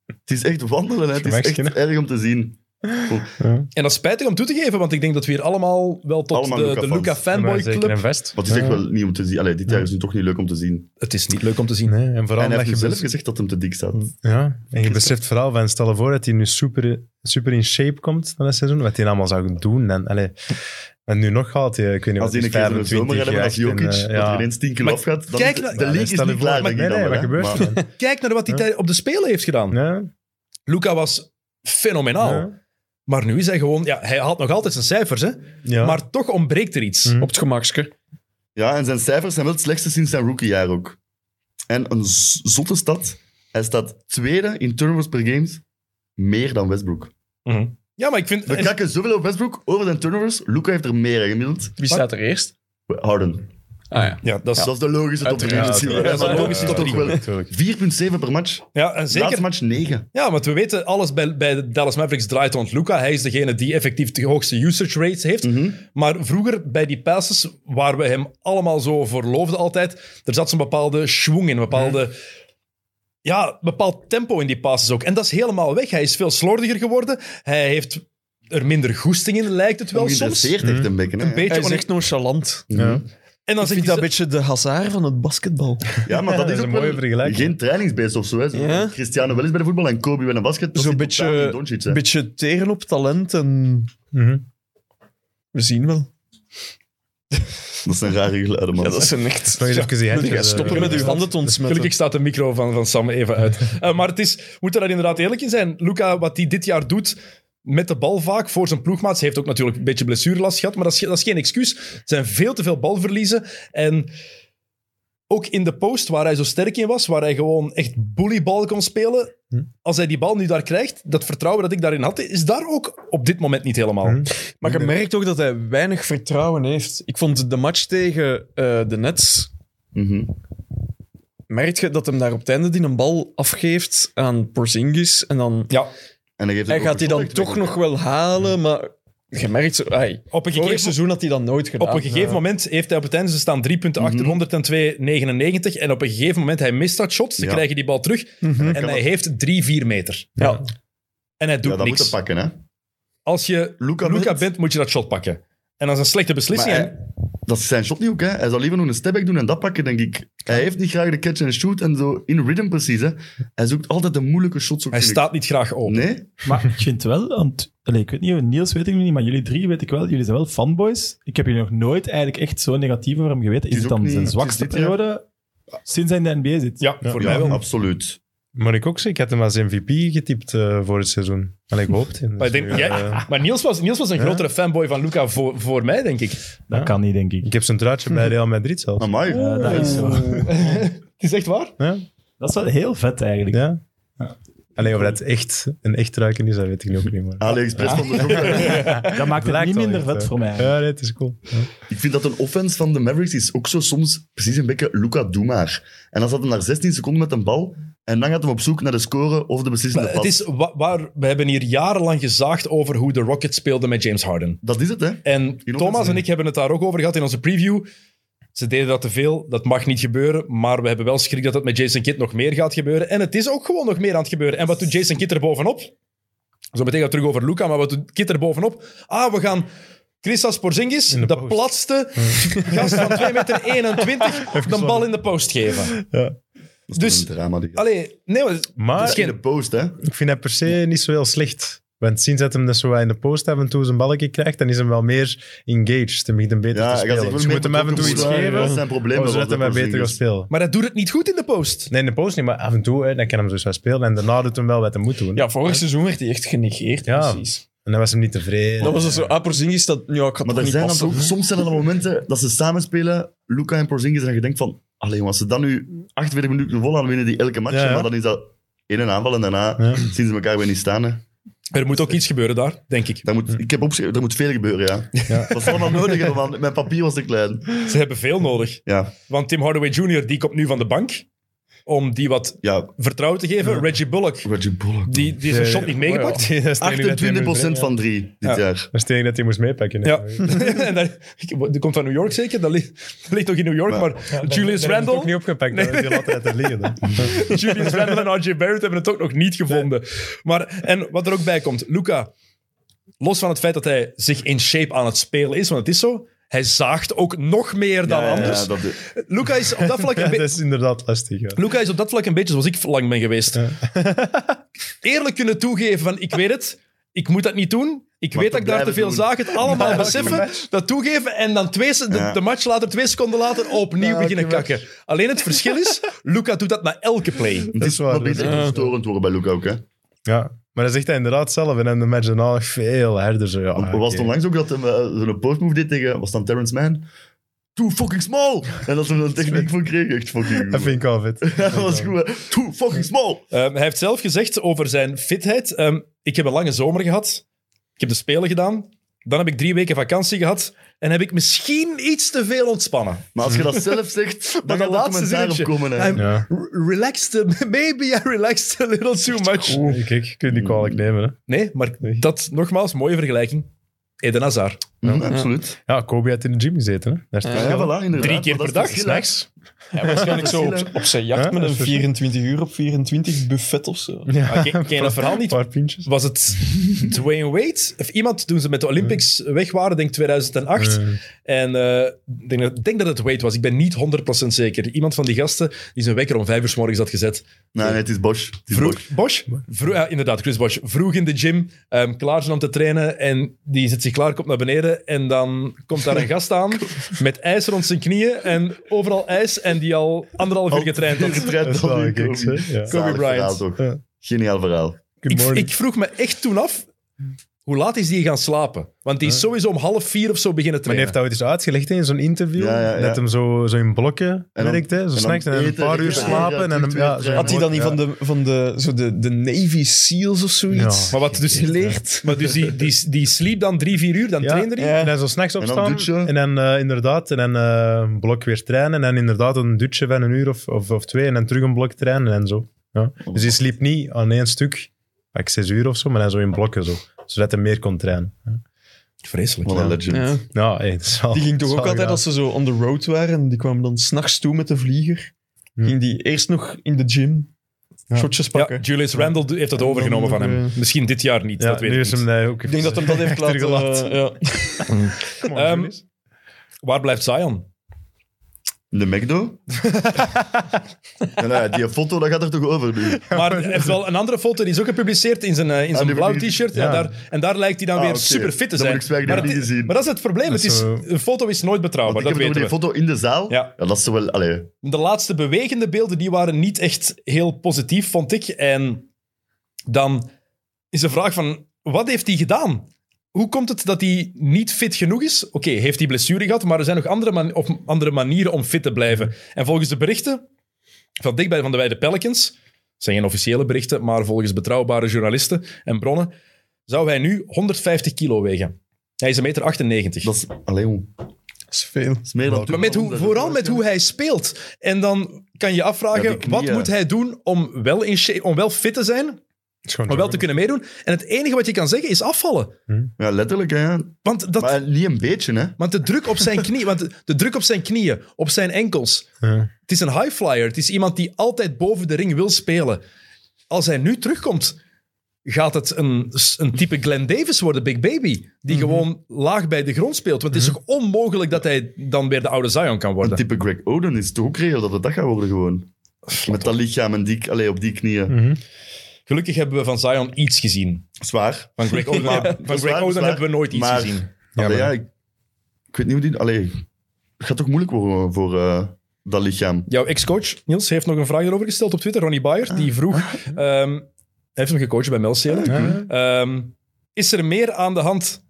S4: Het is echt wandelen, hè. Het is echt
S5: Gemakskinnen.
S4: erg om te zien.
S7: en dat is spijtig om toe te geven, want ik denk dat we hier allemaal wel tot
S4: Allemaal
S7: de,
S4: Luca
S7: de
S4: fans.
S7: Luca fanboy
S5: Maar zeker een
S7: club...
S5: vest.
S4: Maar het is echt wel niet om te zien. Allee, dit jaar is nu toch niet leuk om te zien.
S7: Het is niet leuk om te zien.
S5: Nee, en vooral
S4: en hij
S5: dat
S4: heeft
S5: je
S4: nu zelf
S5: bes-
S4: gezegd dat hem te dik staat.
S5: Ja, en je beseft vooral van, stel je voor dat hij nu super, super in shape komt na dat seizoen, wat hij allemaal zou doen. En, allee, en nu nog gaat hij, ik weet niet
S4: Als
S5: wat,
S4: die een keer in de
S5: 25
S4: zomer hebben als
S5: echt en,
S4: Jokic,
S5: eh,
S4: dat
S5: ja. nou,
S4: er ineens 10 kilo
S7: Maar
S4: afgaat, dan
S7: kijk
S4: is
S7: naar-
S4: de
S5: Ja,
S4: league is
S5: stel je
S4: niet
S5: voor-
S4: klaar,
S5: maar
S4: denk ik
S5: nee,
S4: dan
S5: nee,
S4: wel,
S5: wat
S4: hè.
S5: gebeurt
S4: Maar-
S5: er dan?
S7: Kijk naar wat hij
S5: Ja.
S7: tij- op de Spelen heeft gedaan.
S5: Ja,
S7: Luca was
S4: Oh.
S7: fenomenaal.
S5: ja,
S7: Maar nu is hij gewoon... Ja, hij haalt nog altijd zijn cijfers, hè.
S5: ja.
S7: Maar toch ontbreekt er iets.
S5: Hm.
S3: Op het gemakske.
S4: Ja, en zijn cijfers zijn wel het slechtste sinds zijn rookiejaar ook. En een z- zotte stad. Hij staat tweede in turnovers per games. Meer dan Westbrook.
S7: Ja, maar ik vind...
S4: We
S7: en-
S4: kakken zoveel op Westbrook over zijn turnovers. Luca heeft er meer hè, gemiddeld.
S3: Wie staat er eerst?
S4: Harden.
S3: Ah ja.
S7: ja, dat is,
S4: Dat is de logische top 3
S3: Uiteraard,
S4: misschien. wel, hè,
S7: ja, dat is
S4: maar
S7: de logische
S4: toch
S7: top drie.
S4: wel. 4,7 per match.
S7: ja, en zeker
S4: Laatste match 9.
S7: Ja, want we weten alles bij, bij de Dallas Mavericks draait rond Luca. Hij is degene die effectief de hoogste usage rates heeft.
S3: Mhm.
S7: Maar vroeger bij die passes, waar we hem allemaal zo voor loofden altijd, er zat zo'n bepaalde schwung in, een bepaalde...
S3: Mhm.
S7: Ja, een bepaald tempo in die passes ook. En dat is helemaal weg. Hij is veel slordiger geworden. Hij heeft er minder goesting in, lijkt het wel soms. Een
S4: Ongeïnteresseerd echt Mm. een bekken. hè.
S7: beetje
S3: Hij is
S7: on-
S3: echt nonchalant.
S7: En dan
S3: Ik
S7: zegt
S3: vind
S7: hij...
S3: dat
S7: zo-
S3: een beetje de hazard van het basketbal.
S4: Ja, maar dat is
S5: een
S4: ook
S5: mooie
S4: wel
S5: vergelijking.
S4: Geen trainingsbeest of zo. Hè. Zo,
S3: Ja.
S4: Cristiano wel eens bij de voetbal en Kobe bij de basket. Dat
S3: Zo'n
S4: zit
S3: beetje-
S4: totaal in Doncic, hè.
S3: Een beetje teren op talent en...
S5: Mhm.
S3: We zien wel.
S4: Dat zijn rare geluiden, man.
S3: Ja, dat is een echt...
S5: Nog eens even die
S3: Moet
S5: handjes,
S3: jij
S5: eh,
S3: stoppen met uw handen te ontsmetten?
S7: Gelukkig staat de micro van, van Sam even uit. Eh, maar het is, we moeten daar inderdaad eerlijk in zijn. Luca, wat hij dit jaar doet met de bal vaak voor zijn ploegmaats, heeft ook natuurlijk een beetje blessurelast gehad, maar dat is, ge- dat is geen excuus. Er zijn veel te veel balverliezen. En ook in de post, waar hij zo sterk in was, waar hij gewoon echt bullybal kon spelen, als hij die bal nu daar krijgt, dat vertrouwen dat ik daarin had, is daar ook op dit moment niet helemaal.
S5: Hm.
S3: Maar je merkt ook dat hij weinig vertrouwen heeft. Ik vond de match tegen eh, de Nets...
S4: Mhm.
S3: Merk je dat hem daar op het einde die een bal afgeeft aan Porzingis en dan...
S7: Ja,
S4: En dan geeft
S3: Hij
S4: ook
S3: gaat die
S4: een
S3: dan
S4: shot weg,
S3: toch
S4: denk
S3: nog
S4: ik.
S3: wel halen, maar... Je merkt zo... Ai,
S7: op een
S3: vorig
S7: gegeven
S3: seizoen had hij dat nooit gedaan.
S7: Op een gegeven
S3: Ja.
S7: moment heeft hij op het einde, ze staan drie punten achter,
S4: Mhm.
S7: 102, 99. En op een gegeven moment, hij mist dat shot, ze
S4: Ja.
S7: krijgen die bal terug. En hij heeft drie, vier meter.
S3: Ja,
S7: En hij doet
S4: Ja, dat moet
S7: niks.
S4: hij pakken, hè.
S7: Als je Luca,
S4: Luca
S7: bent,
S4: bent-
S7: moet je dat shot pakken. En dat is een slechte
S4: Maar
S7: beslissing.
S4: hij- dat is zijn shot niet ook, hè. Hij zou liever nog een stepback doen en dat pakken, denk ik. Hij heeft niet graag de catch and shoot en zo in rhythm precies, hè. Hij zoekt altijd de moeilijke shots. ook,
S7: hij
S4: vind ik.
S7: staat niet graag open.
S4: Nee?
S6: Maar ik vind wel, want allee, ik weet niet, Niels weet ik nog niet, maar jullie drie weet ik wel, jullie zijn wel fanboys. Ik heb jullie nog nooit eigenlijk echt zo negatief over hem geweten. Is
S4: Het
S6: het
S4: is
S6: dan
S4: ook niet-
S6: zijn
S4: het is
S6: zwakste
S4: dit jaar-
S6: periode sinds hij in de NBA zit?
S7: Ja, voor mij
S4: Ja,
S7: wel.
S4: absoluut.
S5: Maar ik ook zeg, ik had hem als MVP getypt eh, voor het seizoen. En ik hoopte hem.
S7: Maar,
S5: Dus
S7: ik denk,
S5: nu,
S7: jij-
S5: eh,
S7: maar Niels, was, Niels was een grotere fanboy van Luca voor, voor mij, denk ik.
S6: Dat
S5: Ja.
S6: kan niet, denk ik.
S5: ik heb zijn truitje bij Real Madrid zelf.
S4: Amai.
S6: Eh, dat is zo.
S7: Het is echt waar.
S5: Ja?
S6: Dat is wel heel vet eigenlijk.
S5: ja? Alleen of dat echt een echt truitje is, dat weet ik nu ook niet meer.
S4: AliExpress van de zomer.
S6: Dat maakt het
S5: Lijkt
S6: niet
S5: wel
S6: minder
S5: echt,
S6: vet
S5: hè.
S6: voor mij.
S5: Ja, nee, het is cool. Ja.
S4: Ik vind dat een offense van de Mavericks is ook zo soms precies een beetje Luca, doe maar. En dan zat hij naar 16 seconden met een bal en dan gaat hij op zoek naar de score of de beslissende
S7: Maar
S4: pas.
S7: het is wa- waar, we hebben hier jarenlang gezaagd over hoe de Rockets speelden met James Harden.
S4: Dat is het, hè.
S7: En
S4: Hier nog
S7: Thomas
S4: eens
S7: en
S4: een-
S7: ik hebben het daar ook over gehad in onze preview. Ze deden dat te veel, dat mag niet gebeuren. Maar we hebben wel schrik dat het met Jason Kidd nog meer gaat gebeuren. En het is ook gewoon nog meer aan het gebeuren. En wat doet Jason Kidd er bovenop? Zo meteen gaan we terug over Luca, maar wat doet Kidd er bovenop? Ah, we gaan Christas Porzingis, de, platste gast van 2,21 meter, 21, de bal in de post geven.
S4: Dat is
S7: Dus-
S4: toch een drama. Die...
S7: Allee, nee, maar
S5: Maar
S7: Het is geen-
S4: in de post, hè.
S5: ik vind dat per se niet zo heel slecht. Want sinds dat hem dat zo wat in de post af en toe zijn balkje krijgt, dan is hem wel meer engaged. Hij begint hem beter
S4: Ja,
S5: te
S4: hij
S5: spelen.
S4: gaat zich
S5: Dus
S4: wel
S5: je
S4: meer
S5: moet hem af en toe iets
S4: betrokken voelen.
S5: geven, Oh,
S4: Dat is zijn probleem wel,
S5: zodat
S4: dat
S5: hij maar
S4: hij
S5: beter
S4: is.
S5: gaat spelen.
S7: Maar hij doet het niet goed in de post.
S5: Nee, in de post niet, maar af en toe hè, dan kan hem zo wel spelen. En daarna doet hem wel wat hij moet doen.
S2: Ja, vorig seizoen werd hij echt genegeerd,
S5: Ja.
S2: precies.
S5: En dan was hem niet tevreden.
S2: Dat was dus zo, ah, Porzingis, dat... Ja, ik had
S4: Maar
S2: toch
S4: er
S2: niet
S4: zijn dan
S2: passen.
S4: toch, soms zijn er dan momenten dat ze samen spelen, Luca en Porzingis, en je denkt van, alleen als ze dan nu 48 minuten vol aan winnen die elke match,
S5: Ja, ja.
S4: maar dan is dat in een aanval en daarna
S5: Ja.
S4: zien ze elkaar weer niet staan. Hè.
S7: Er moet ook iets gebeuren daar, denk ik.
S4: Daar
S5: Hm.
S4: moet, ik heb opgeschreven, er moet veel gebeuren, ja. Dat is allemaal nodig, hè, man. Mijn papier was te klein.
S7: Ze hebben veel nodig.
S4: Ja,
S7: Want Tim Hardaway Jr. die komt nu van de bank om die wat
S4: ja. Oh,
S7: vertrouwen te geven. Reggie Bullock,
S4: Reggie Bullock.
S7: die, die is een shot niet meegepakt.
S5: Dat is het enige dat hij
S4: 28%
S5: moest-
S4: van drie dit
S7: Ja.
S4: jaar.
S5: Dat is het enige dat hij moest meepakken. hè.
S7: Ja,
S4: Oh,
S7: en dat, die komt van New York zeker. Dat ligt, dat ligt toch in New York,
S4: Ja.
S7: maar Julius
S5: Daar hebben ze het ook niet
S7: Randle,
S5: opgepakt. Nee. Die laten het er liggen. hè. Dus
S7: Julius Randle en RJ Barrett hebben het ook nog niet gevonden. Maar, en wat er ook bij komt, Luca, los van het feit dat hij zich in shape aan het spelen is, want het is zo, hij zaagt ook nog meer dan
S4: Ja, ja, ja,
S7: anders.
S4: dat-
S7: Luca is op dat vlak
S5: Ja,
S7: een
S5: dat
S7: beetje...
S5: is inderdaad lastig. Ja.
S7: Luca is op dat vlak een beetje zoals ik lang ben geweest. Eerlijk kunnen toegeven van, ik weet het, ik moet dat niet doen. Ik
S4: Maar
S7: weet
S4: te
S7: dat ik daar te veel
S4: blijven doen.
S7: zaag, het allemaal beseffen, dat toegeven en dan twee, se- de,
S4: Ja.
S7: de match later, twee seconden later, opnieuw beginnen kakken. Alleen het verschil is, Luca doet dat na elke play.
S4: Het
S5: is
S4: is
S5: waar,
S4: wel
S5: dat is
S4: beter
S5: waar.
S4: storend worden bij Luca ook, hè.
S5: Ja. Maar dat zegt hij inderdaad zelf. En hem de match daarna nog nou, veel harder. Zo, ja,
S4: Want er
S5: Ah, oké.
S4: was het onlangs ook dat hij zo'n postmove deed tegen, was dan Terrence Mann? Too fucking small! En dat ze er een techniek voor kreeg, echt fucking
S5: Dat
S4: goed.
S5: vind ik wel vet.
S4: Dat was goed, hè. Too fucking small!
S7: Ehm, hij heeft zelf gezegd over zijn fitheid, ehm, ik heb een lange zomer gehad, ik heb de Spelen gedaan, dan heb ik drie weken vakantie gehad en heb ik misschien iets te veel ontspannen.
S4: Maar als je dat zelf zegt,
S7: Maar
S4: dan
S7: dat
S4: gaat dat
S7: laatste zinnetje.
S4: commentaar op komen. Hè.
S7: Hij-
S5: Ja.
S7: R- relaxed, a- maybe I relaxed a little too much.
S5: Oeh, Kijk, kun je die kwalijk
S4: Mm.
S5: nemen. Hè.
S7: Nee, maar dat, nogmaals, mooie vergelijking. Eden Hazard.
S4: Mhm, absoluut.
S5: Ja, Kobe had in de gym gezeten. Hè. Daar is het
S4: Ja,
S5: verschil.
S4: voilà, inderdaad.
S7: Drie keer
S4: Maar dat
S7: per
S4: is
S7: dag,
S4: verschil, hè.
S7: s'nachts.
S2: Ja, waarschijnlijk zo op, op zijn jacht
S5: Ja,
S2: met
S5: dat
S2: een
S5: is
S2: 24 uur op 24 buffet of zo.
S5: Ja.
S7: Maar ken- ken je dat verhaal niet?
S5: Een paar pintjes.
S7: Was het Dwayne Wade? Of iemand, toen ze met de Olympics weg waren, denk 2008. En eh, ik denk, dat- ik denk dat het Wade was. Ik ben niet 100% zeker. Iemand van die gasten die zijn wekker om vijf uur s morgens had gezet.
S4: Nee, nee, het is Bosch. Het is
S7: Vroeg,
S4: Bosch.
S7: Bosch? Vroeg, ja, inderdaad, Chris Bosch. Vroeg in de gym, ehm, klaar zijn om te trainen. En die zet zich klaar, komt naar beneden. En dan komt daar een gast aan met ijs rond zijn knieën. En overal ijs. En die al anderhalf uur getraind had.
S4: Getraind
S5: Dat is
S4: door
S5: wel
S4: die
S5: een kiks, hè.
S4: Kobe.
S5: Ja.
S4: Zalig
S7: Kobe Bryant.
S4: verhaal, toch?
S5: Ja.
S4: Geniaal verhaal.
S5: Good
S7: Ik,
S5: morning.
S7: ik vroeg me echt toen af, hoe laat is die gaan slapen? Want die is sowieso om half vier of zo beginnen
S5: Maar
S7: trainen.
S5: die heeft dat ooit eens uitgelegd hè, in zo'n interview.
S4: Ja, ja, ja.
S5: Dat hem zo, zo in blokken
S4: En dan-
S5: werkte. Zo
S4: en dan
S5: s'nachts en dan een
S4: eten,
S5: paar uur
S4: ja,
S5: slapen.
S4: ja,
S5: en dan,
S4: twee,
S5: ja,
S4: twee,
S5: zo-
S4: twee.
S2: Had hij dan niet
S5: Ja.
S2: van, de, van de, zo de, de Navy SEALs of zoiets
S5: Ja.
S7: Maar, wat, dus,
S2: geleerd?
S7: maar dus die, die, die sliep dan drie, vier uur, dan
S5: Ja.
S7: trainde hij.
S5: En dan zo s'nachts
S4: dan
S5: opstaan. En dan,
S4: douchen.
S5: eh, inderdaad, en dan eh, een blok weer trainen. En dan inderdaad een dutje van een uur of, of, of twee. En dan terug een blok trainen en zo. Ja. Dus hij sliep niet aan één stuk, like zes uur of zo, maar dan zo in blokken zo. Zodat hij meer kon trainen.
S7: Vreselijk.
S4: Wat een legend.
S3: Ja.
S5: Ja, hey, dat is wel-
S3: Die ging toch
S5: dat is wel
S3: ook altijd
S5: graaf.
S3: als ze Oh, zo on the road waren, en die kwamen dan s'nachts toe met de vlieger.
S5: Hm.
S3: Ging die eerst nog in de gym shotjes
S7: Ja,
S3: pakken.
S7: Julius Randle do- heeft dat overgenomen van hem. Misschien dit jaar niet,
S5: Ja,
S7: dat weet
S5: nu
S7: ik
S5: is
S7: niet.
S5: hem dat ook
S3: Ik denk dat hem dat heeft laten...
S5: Achtergelaten.
S3: eh, ja.
S5: Kom op,
S7: Ehm,
S5: Julius.
S7: Waar blijft Zion?
S4: De McDo? ja, nou ja, die foto, dat gaat er toch over nu?
S7: Maar hij heeft wel een andere foto, die is ook gepubliceerd in zijn, eh, in zijn
S4: Ah, die
S7: blauw
S4: heb ik niet-
S7: t-shirt.
S5: Ja.
S7: En, daar, en daar lijkt hij dan
S4: Ah,
S7: weer
S4: oké.
S7: super fit te
S4: Dan
S7: zijn.
S4: moet ik zwijgen,
S7: maar,
S4: dat heb
S7: het
S4: ik
S7: is-
S4: niet gezien.
S7: maar dat is het probleem. Het
S5: Dat
S7: is,
S5: is
S7: een foto is nooit betrouwbaar,
S4: Want ik
S7: dat
S4: heb nog
S7: weten
S4: die
S7: we.
S4: foto in de zaal.
S7: Ja.
S4: Ja. dat is zo wel... Allee,
S7: De laatste bewegende beelden die waren niet echt heel positief, vond ik. En dan is de vraag van, wat heeft hij gedaan? Hoe komt het dat hij niet fit genoeg is? Oké, heeft hij blessure gehad, maar er zijn nog andere, man- of andere manieren om fit te blijven. En volgens de berichten van dichtbij van de Weide Pelicans, het zijn geen officiële berichten, maar volgens betrouwbare journalisten en bronnen, zou hij nu 150 kilo wegen. Hij is een meter 98.
S4: dat is... Allee, jong. Dat
S3: Dat is veel.
S4: is meer dan...
S7: Maar met hoe, vooral met hoe hij speelt. En dan kan je afvragen,
S4: Ja, die
S7: wat
S4: knieën.
S7: moet hij doen om wel, in shape- om wel fit te zijn,
S5: Het is gewoon
S7: om wel
S5: zo.
S7: te kunnen meedoen? En het enige wat je kan zeggen is afvallen.
S4: Ja, letterlijk, hè.
S7: Want, dat,
S4: Maar niet een beetje, hè.
S7: want de druk op zijn knie, want de, de druk op zijn knieën, op zijn enkels.
S5: Ja.
S7: Het is een high flyer. Het is iemand die altijd boven de ring wil spelen. Als hij nu terugkomt, gaat het een, een type Glenn Davis worden, Big Baby. Die
S5: Mhm.
S7: gewoon laag bij de grond speelt. Want het is toch onmogelijk dat hij dan weer de oude Zion kan
S4: Een
S7: worden.
S4: type Greg Oden is toch ook reëel dat het dat gaat worden, gewoon. Met dat lichaam en die, allee, op die knieën.
S5: Mhm.
S7: Gelukkig hebben we van Zion iets gezien.
S4: Zwaar.
S7: Van Greg Oden, heb- van
S4: zwaar,
S7: Greg Oden
S4: zwaar.
S7: hebben we nooit iets
S4: Maar-
S7: gezien.
S4: Allee, ja, ik, ik weet niet hoe die... Allee, het gaat toch moeilijk worden voor eh, dat lichaam.
S7: Jouw ex-coach, Niels, heeft nog een vraag erover gesteld op Twitter. Ronnie Bayer, die vroeg... ehm, hij heeft hem gecoacht bij Melcelen. Ehm, is er meer aan de hand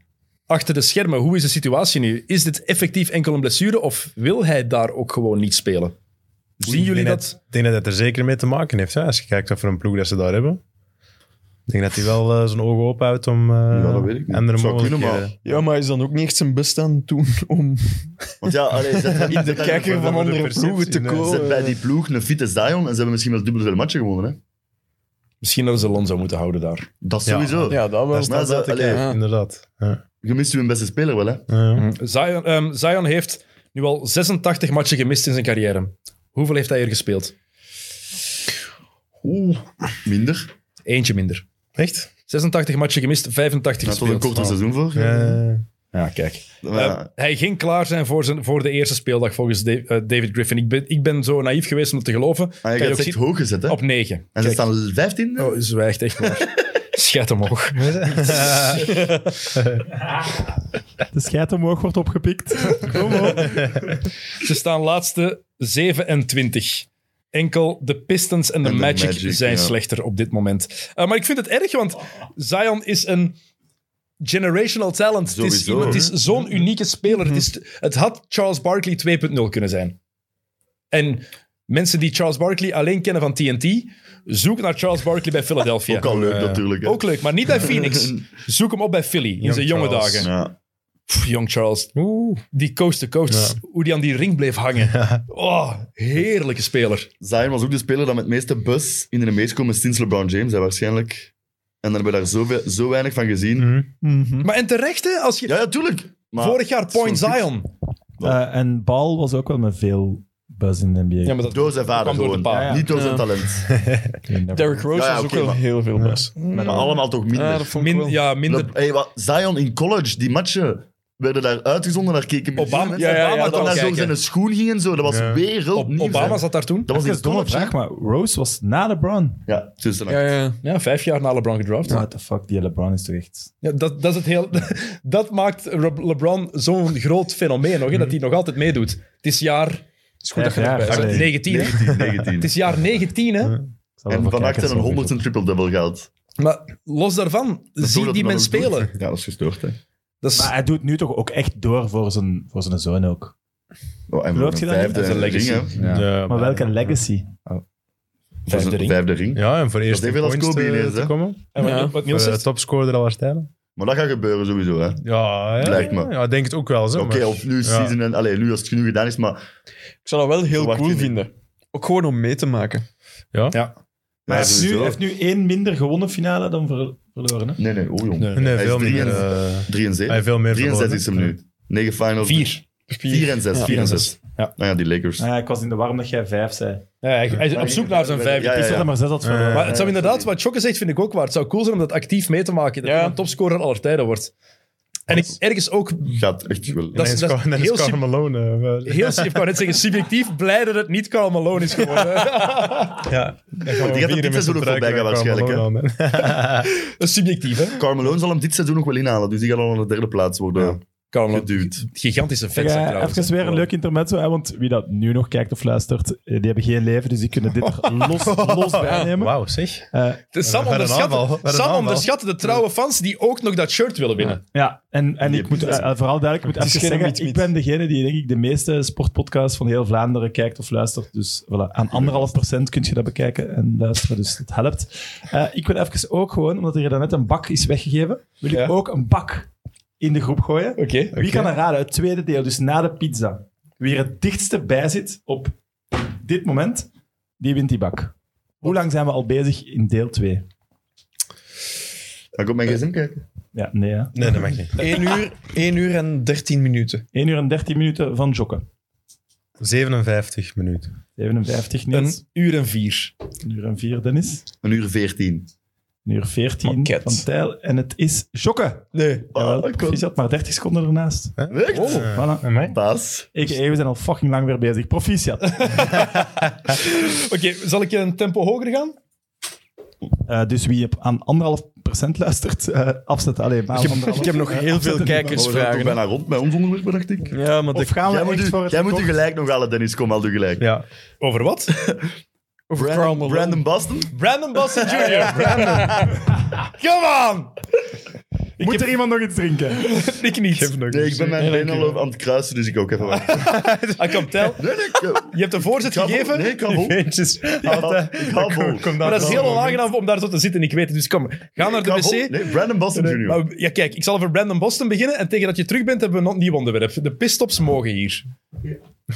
S7: achter de schermen? Hoe is de situatie nu? Is dit effectief enkel een blessure of wil hij daar ook gewoon niet spelen? Zien jullie
S5: Ik denk
S7: dat?
S5: Ik denk dat het er zeker mee te maken heeft. Hè? Als je kijkt wat voor een ploeg dat ze daar hebben. Ik denk dat hij wel eh, zijn ogen ophoudt om eh
S4: Ja, dat weet ik niet.
S5: andere
S4: Zou kunnen,
S5: mogelijkheden.
S4: maar...
S3: Ja, maar hij is dan ook niet echt zijn best aan het doen om
S4: Want ja, allee, zet hem-
S3: in de
S4: zet hem
S3: kijker van
S4: voor-
S5: voor de
S3: andere
S5: perceptie,
S3: ploegen te
S5: nee.
S3: komen.
S4: Zet bij die ploeg een fitte Zion en ze hebben misschien wel dubbel veel matchen gewonnen. Hè?
S7: Misschien dat ze Lonzo moeten houden daar.
S4: Dat
S5: Ja.
S4: sowieso.
S3: Ja, dat wel.
S4: is- Maar
S5: Staat dat
S4: ze-
S5: te kijken,
S3: allee, ja.
S5: Inderdaad. Ja.
S4: Je mist je beste speler wel, hè?
S5: Ja, ja.
S7: Zion, ehm, Zion heeft nu al 86 matchen gemist in zijn carrière. Hoeveel heeft hij er gespeeld?
S4: Oeh, minder.
S7: Eentje minder.
S5: Echt?
S7: 86 matchen gemist, 85
S4: Dat was een
S7: gespeeld. Ah.
S4: korter seizoen voor.
S5: Eh,
S7: Ja, kijk.
S4: Ja.
S7: Eh, hij ging klaar zijn voor, zijn voor de eerste speeldag volgens Da- eh, David Griffin. Ik ben, ik ben zo naïef geweest om dat te geloven.
S4: Ah, je
S7: Kan
S4: gaat
S7: je
S4: het
S7: ook
S4: echt
S7: zien-
S4: hoog gezet, hè?
S7: Op 9.
S4: En ze staan 15.
S7: Oh, zwijgt echt maar. Schat omhoog.
S6: De scheid omhoog wordt opgepikt. Kom op.
S7: Ze staan laatste 27. Enkel de Pistons en de
S4: En de
S7: Magic,
S4: Magic,
S7: zijn
S4: ja.
S7: slechter op dit moment. Eh, maar ik vind het erg, want Zion is een generational talent. Het is,
S4: Sowieso, Mhm.
S7: iemand- het is zo'n unieke speler. Het, is, het had Charles Barkley 2.0 kunnen zijn. En mensen die Charles Barkley alleen kennen van TNT, zoek naar Charles Barkley bij Philadelphia.
S4: Ook al leuk, natuurlijk. hè.
S7: Ook leuk, maar niet bij Phoenix. Zoek hem op bij Philly in
S5: Young
S7: zijn jonge
S5: Charles.
S7: dagen.
S4: Ja.
S7: Pff, Young Charles. Die coast to coast. Hoe die aan die ring bleef hangen. Oh, heerlijke speler.
S4: Zion was ook de speler dat met het meeste bus in de meest komen sinds LeBron James, hè, waarschijnlijk. En daar hebben we daar zo, ve- zo weinig van gezien.
S7: Maar en terecht, hè, als je...
S4: Ja, ja, tuurlijk. Maar
S7: vorig jaar
S4: het is
S7: Point
S4: gewoon
S7: Zion.
S6: Eh, en Bal was ook wel met veel buzz in de NBA.
S7: Ja, maar dat
S4: goed. Door zijn vader
S7: kwam door de
S4: gewoon.
S7: pa.
S6: Ja, ja.
S4: Niet door zijn
S3: Ja.
S4: talent.
S3: Derrick Rose
S4: Ja, ja,
S3: is ook
S4: oké,
S3: wel
S4: maar-
S3: heel veel best.
S4: Maar allemaal toch minder.
S3: Ja, dat vond ik
S7: Min-
S3: wel.
S7: ja, minder...
S4: Le- hey, wat, Zion in college, die matchen werden daar uitgezonden, daar keken
S7: Obama,
S4: miljoenen mensen.
S7: ja, ja, ja,
S4: dat
S7: dat
S4: dan naar
S7: kijken.
S4: zo zijn schoen ging en zo, dat was
S5: Ja.
S4: wereldnieuws.
S7: Obama
S4: hè.
S7: zat daar toen.
S4: Dat was
S6: Dat is
S4: iets
S6: een domme
S4: doms, hè?
S6: vraag, maar Rose was na LeBron.
S4: Ja, tussen
S3: Ja, ja.
S7: Ja, vijf jaar na LeBron gedraft.
S6: What the fuck, die LeBron is toch echt...
S7: Ja, dat, dat, is het heel, dat maakt Re- LeBron zo'n groot fenomeen nog, hè, dat hij nog altijd meedoet. Het is jaar...
S6: is goed dat je erbij bent.
S7: 19, hè?
S4: 19, 19.
S7: Het is jaar 19, hè?
S6: Ik zal
S4: en
S6: even
S4: Van
S6: kijken,
S4: Acht en
S6: zo
S4: een 100 triple-double gehad.
S7: Maar los daarvan,
S4: Dat is
S7: zie
S4: goed
S7: die
S4: dat
S7: men
S4: hij dat ook
S7: spelen.
S4: doet. Ja, dat is gestoord, hè.
S7: Dat is,
S6: Maar hij doet nu toch ook echt door voor zijn, voor zijn zoon ook.
S4: Oh, en
S6: Gelooft je dat niet?
S4: vijfde
S6: Dat is een
S4: ring, hè.
S7: Ja.
S5: ja,
S6: Maar welke legacy?
S4: Voor
S7: Vijfde
S4: zijn
S7: ring.
S4: Vijfde ring.
S5: Ja, en voor eerst
S4: evenveel als Kobe
S5: te,
S4: ineens,
S5: te
S4: hè?
S5: komen.
S7: En wat-
S3: Ja.
S7: wat
S5: Voor,
S7: Niels
S5: eh,
S7: zegt,
S5: topscorer aller tijden.
S4: Maar dat gaat gebeuren sowieso, hè.
S5: Ja, ja,
S4: Lijkt me.
S5: Ja, ik denk het ook wel. zo,
S4: Oké,
S5: maar-
S4: of nu
S5: Ja.
S4: season en... Allee, nu als het genoeg gedaan is, maar...
S3: Ik zou dat wel heel
S4: Verwacht je
S3: cool
S4: niet.
S3: vinden. Ook gewoon om mee te maken.
S6: Maar hij heeft nu,
S4: sowieso.
S6: hij heeft nu één minder gewonnen finale dan ver- verloren. Hè?
S4: Nee, nee, oh jong.
S7: Nee.
S5: Nee,
S4: Hij is
S5: veel
S4: drie
S5: meer.
S4: en-
S5: eh,
S4: 3 en
S5: Hij
S4: 7.
S5: heeft veel meer
S4: 3 en 6
S5: verloren.
S4: is hem nu. 9 finals.
S7: vier.
S4: 4 en 6. 4 en 6.
S7: Ja.
S4: Nou ja, die Lakers.
S6: Ah, ja, ik was in de warm dat jij vijf zei.
S7: Ja, hij, hij is op zoek naar zijn vijfde.
S4: Ja, ja,
S6: Ik
S4: ja.
S6: zat er maar zes had verloren.
S7: Maar het zou inderdaad, wat Chokke zegt, vind ik ook waar. Het zou cool zijn om dat actief mee te maken. Dat
S3: Ja.
S7: hij een topscorer aller tijden wordt. En ik, ergens ook...
S4: Gaat echt wel.
S7: Dat is,
S5: Ineens
S7: dat is
S5: kwam- ineens
S7: heel,
S5: kwam
S7: sub-
S5: Malone. eh, wel.
S7: heel sub- ik wou net zeggen, subjectief blij dat het niet Karl Malone is geworden.
S5: Ja,
S4: die gaat hem dit seizoen ook voorbij gaan waarschijnlijk, hè.
S7: Dat is subjectief, hè?
S4: Carmelo zal hem dit seizoen nog wel inhalen, dus die gaat al aan de derde plaats worden
S7: Karl Malone,
S4: geduwd.
S7: gigantische fan
S6: Zeg,
S7: zijn
S6: eh,
S7: trouwens.
S6: even weer een leuk intermezzo, hè, want wie dat nu nog kijkt of luistert, eh, die hebben geen leven, dus die kunnen dit er los, los bij nemen.
S5: Wauw, zeg.
S6: Eh,
S7: De Sam,
S5: Wat een aanval,
S7: onderschatte,
S5: wat een
S7: Sam
S5: aanval.
S7: onderschatte de trouwe fans die ook nog dat shirt willen winnen.
S6: ja, en, en
S4: Die
S6: ik moet
S4: hebben
S6: eh, vooral duidelijk ik moet
S3: is
S6: even
S3: geen
S6: zeggen,
S3: miet-miet.
S6: ik ben degene die denk ik de meeste sportpodcasts van heel Vlaanderen kijkt of luistert. Dus voilà, aan anderhalf procent kun je dat bekijken en luisteren, dus dat helpt. Eh, ik wil even ook gewoon, omdat er daarnet een bak is weggegeven, wil ik
S7: Ja.
S6: ook een bak in de groep gooien.
S7: Oké.
S6: Wie kan er raden? Het tweede deel, dus na de pizza. Wie er het dichtste bij zit op dit moment, die wint die bak. Hoe lang zijn we al bezig in deel 2?
S4: Ga ik op mijn gsm kijken?
S6: Ja, nee hè.
S5: Nee, dat mag niet.
S3: 1 uur, 1 uur en 13 minuten.
S6: 1 uur en 13 minuten van jokken.
S5: 57 minuten.
S6: 57 Niels,
S7: Een uur en vier.
S6: 1 uur en 4 Dennis,
S4: Een uur 14.
S6: 1 uur 14
S3: Maket.
S6: van Tijl. En het is jokken. Oh
S3: Nee.
S6: Jawel,
S4: ik
S6: proficiat, maar 30 seconden ernaast.
S4: Echt?
S6: Oh, voilà.
S5: En mij?
S4: Paas.
S6: Ik, we zijn al fucking lang weer bezig. Proficiat.
S7: Oké, zal ik een tempo hoger gaan?
S6: Eh, dus wie op aan anderhalf procent luistert, eh, afzetten. Allee, maar anderhalf.
S3: Ik heb nog heel veel
S4: Maar we zijn toch
S3: kijkersvragen. hè.
S4: bijna rond met ons onderwerp, dacht ik.
S3: Ja, maar
S6: Of
S3: de
S6: gaan we
S4: Jij moet,
S6: echt
S4: u,
S6: voor het
S4: jij moet u
S6: record?
S4: gelijk nog halen, Dennis. Kom, al u gelijk.
S5: Ja.
S7: Over wat?
S3: over Karl
S4: Brandon,
S3: Malone.
S4: Brandon Boston?
S7: Brandon Boston Jr. Come on!
S6: Moet er iemand nog iets drinken?
S7: Ik niet.
S4: Nee, ik ben mijn benen al aan het kruisen, dus ik ook even wachten.
S7: I can tell.
S4: Nee, nee, ik, eh,
S7: Je hebt een voorzet
S4: ik ga vol.
S7: gegeven.
S4: Nee, ik ga vol. Ik ga vol. Ik ga vol.
S7: Maar dat is heel onaangenaam om daar zo te zitten, ik weet het. Dus kom, ga naar
S4: Ik ga vol.
S7: de wc.
S4: Nee, Brandon Boston Jr.
S7: Maar, ja, kijk, ik zal over Brandon Boston beginnen en tegen dat je terug bent hebben we nog een nieuw onderwerp. De pistops mogen hier.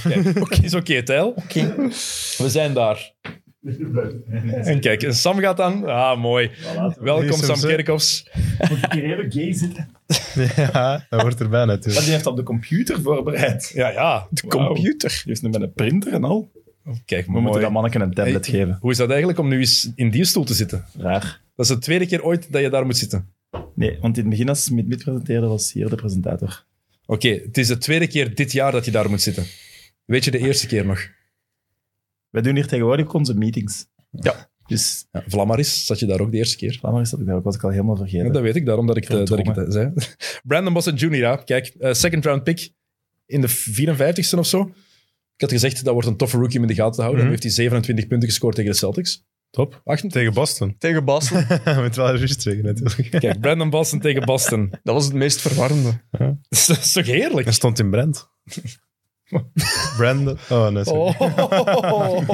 S7: Kijk, oké, is oké, Tijl. We zijn daar. En kijk, en Sam gaat aan. Ah, mooi. Welkom,
S5: Sam,
S7: Sam
S5: hè.
S7: Kerkhoffs.
S5: Ja, dat wordt erbij natuurlijk.
S6: heeft op de computer voorbereid.
S7: Ja, ja.
S6: Computer? Die heeft nu met een printer en al.
S7: Kijk,
S6: We moeten
S7: mooi.
S6: dat manneken een tablet
S7: Hey.
S6: geven.
S7: Hoe is dat eigenlijk om nu eens in die stoel te zitten?
S6: Raar.
S7: Dat is de tweede keer ooit dat je daar moet zitten.
S6: Nee, want in het begin als Smit Mit presenteerde, was hier de presentator.
S7: Oké, het is de tweede keer dit jaar dat je daar moet zitten. Weet je de eerste keer nog?
S6: Wij doen hier tegenwoordig ook onze meetings. Ja. Dus
S7: Ja, Vlammaris zat je daar ook de eerste keer.
S6: laat maar eens dat ik dat ook was ik al helemaal vergeten.
S7: Ja, dat weet ik, daarom dat ik, eh, dat ik het eh, zei. Brandon Boston Jr., ja. kijk, eh, second round pick in de 54ste of zo. Ik had gezegd, dat wordt een toffe rookie om in de gaten te houden.
S5: Mhm.
S7: Nu heeft hij 27 punten gescoord tegen de Celtics. Top. 28.
S5: Tegen Boston.
S3: Tegen Basel.
S5: Met wel rust zeggen natuurlijk.
S7: Kijk, Brandon Boston tegen Boston.
S3: Dat was het meest verwarrende.
S7: dat is toch heerlijk?
S5: Dat stond in Brand. Brandon. Oh, nee. sorry.
S7: Oh,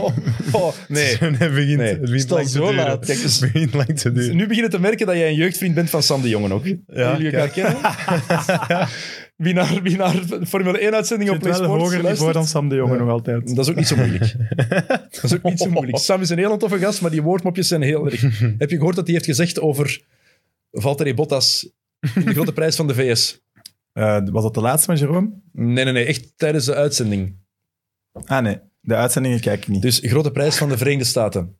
S7: oh, Nee.
S5: het begint,
S7: Nee.
S5: het begint
S3: Stel
S5: lang te
S3: zo
S5: duren.
S3: laat, kijk,
S5: het begint lang te duren.
S7: Nu begin je te merken dat jij een jeugdvriend bent van Sam de Jongen ook. Ja, Jullie elkaar kennen. wie, naar, wie naar Formule 1-uitzending op
S6: het
S7: Play
S6: wel een
S7: Sports
S6: hoger niveau
S7: luistert.
S6: dan Sam de Jonge nog altijd.
S7: Dat is ook niet zo moeilijk. dat is ook niet zo moeilijk. Sam is een heel toffe gast, maar die woordmopjes zijn heel erg. Heb je gehoord dat hij heeft gezegd over Valtteri Bottas in de grote prijs van de VS?
S6: Eh, was dat de laatste met Jerome?
S7: Nee, nee, nee. Echt tijdens de uitzending.
S6: Ah nee, de uitzendingen kijk ik niet.
S7: Dus grote prijs van de Verenigde Staten.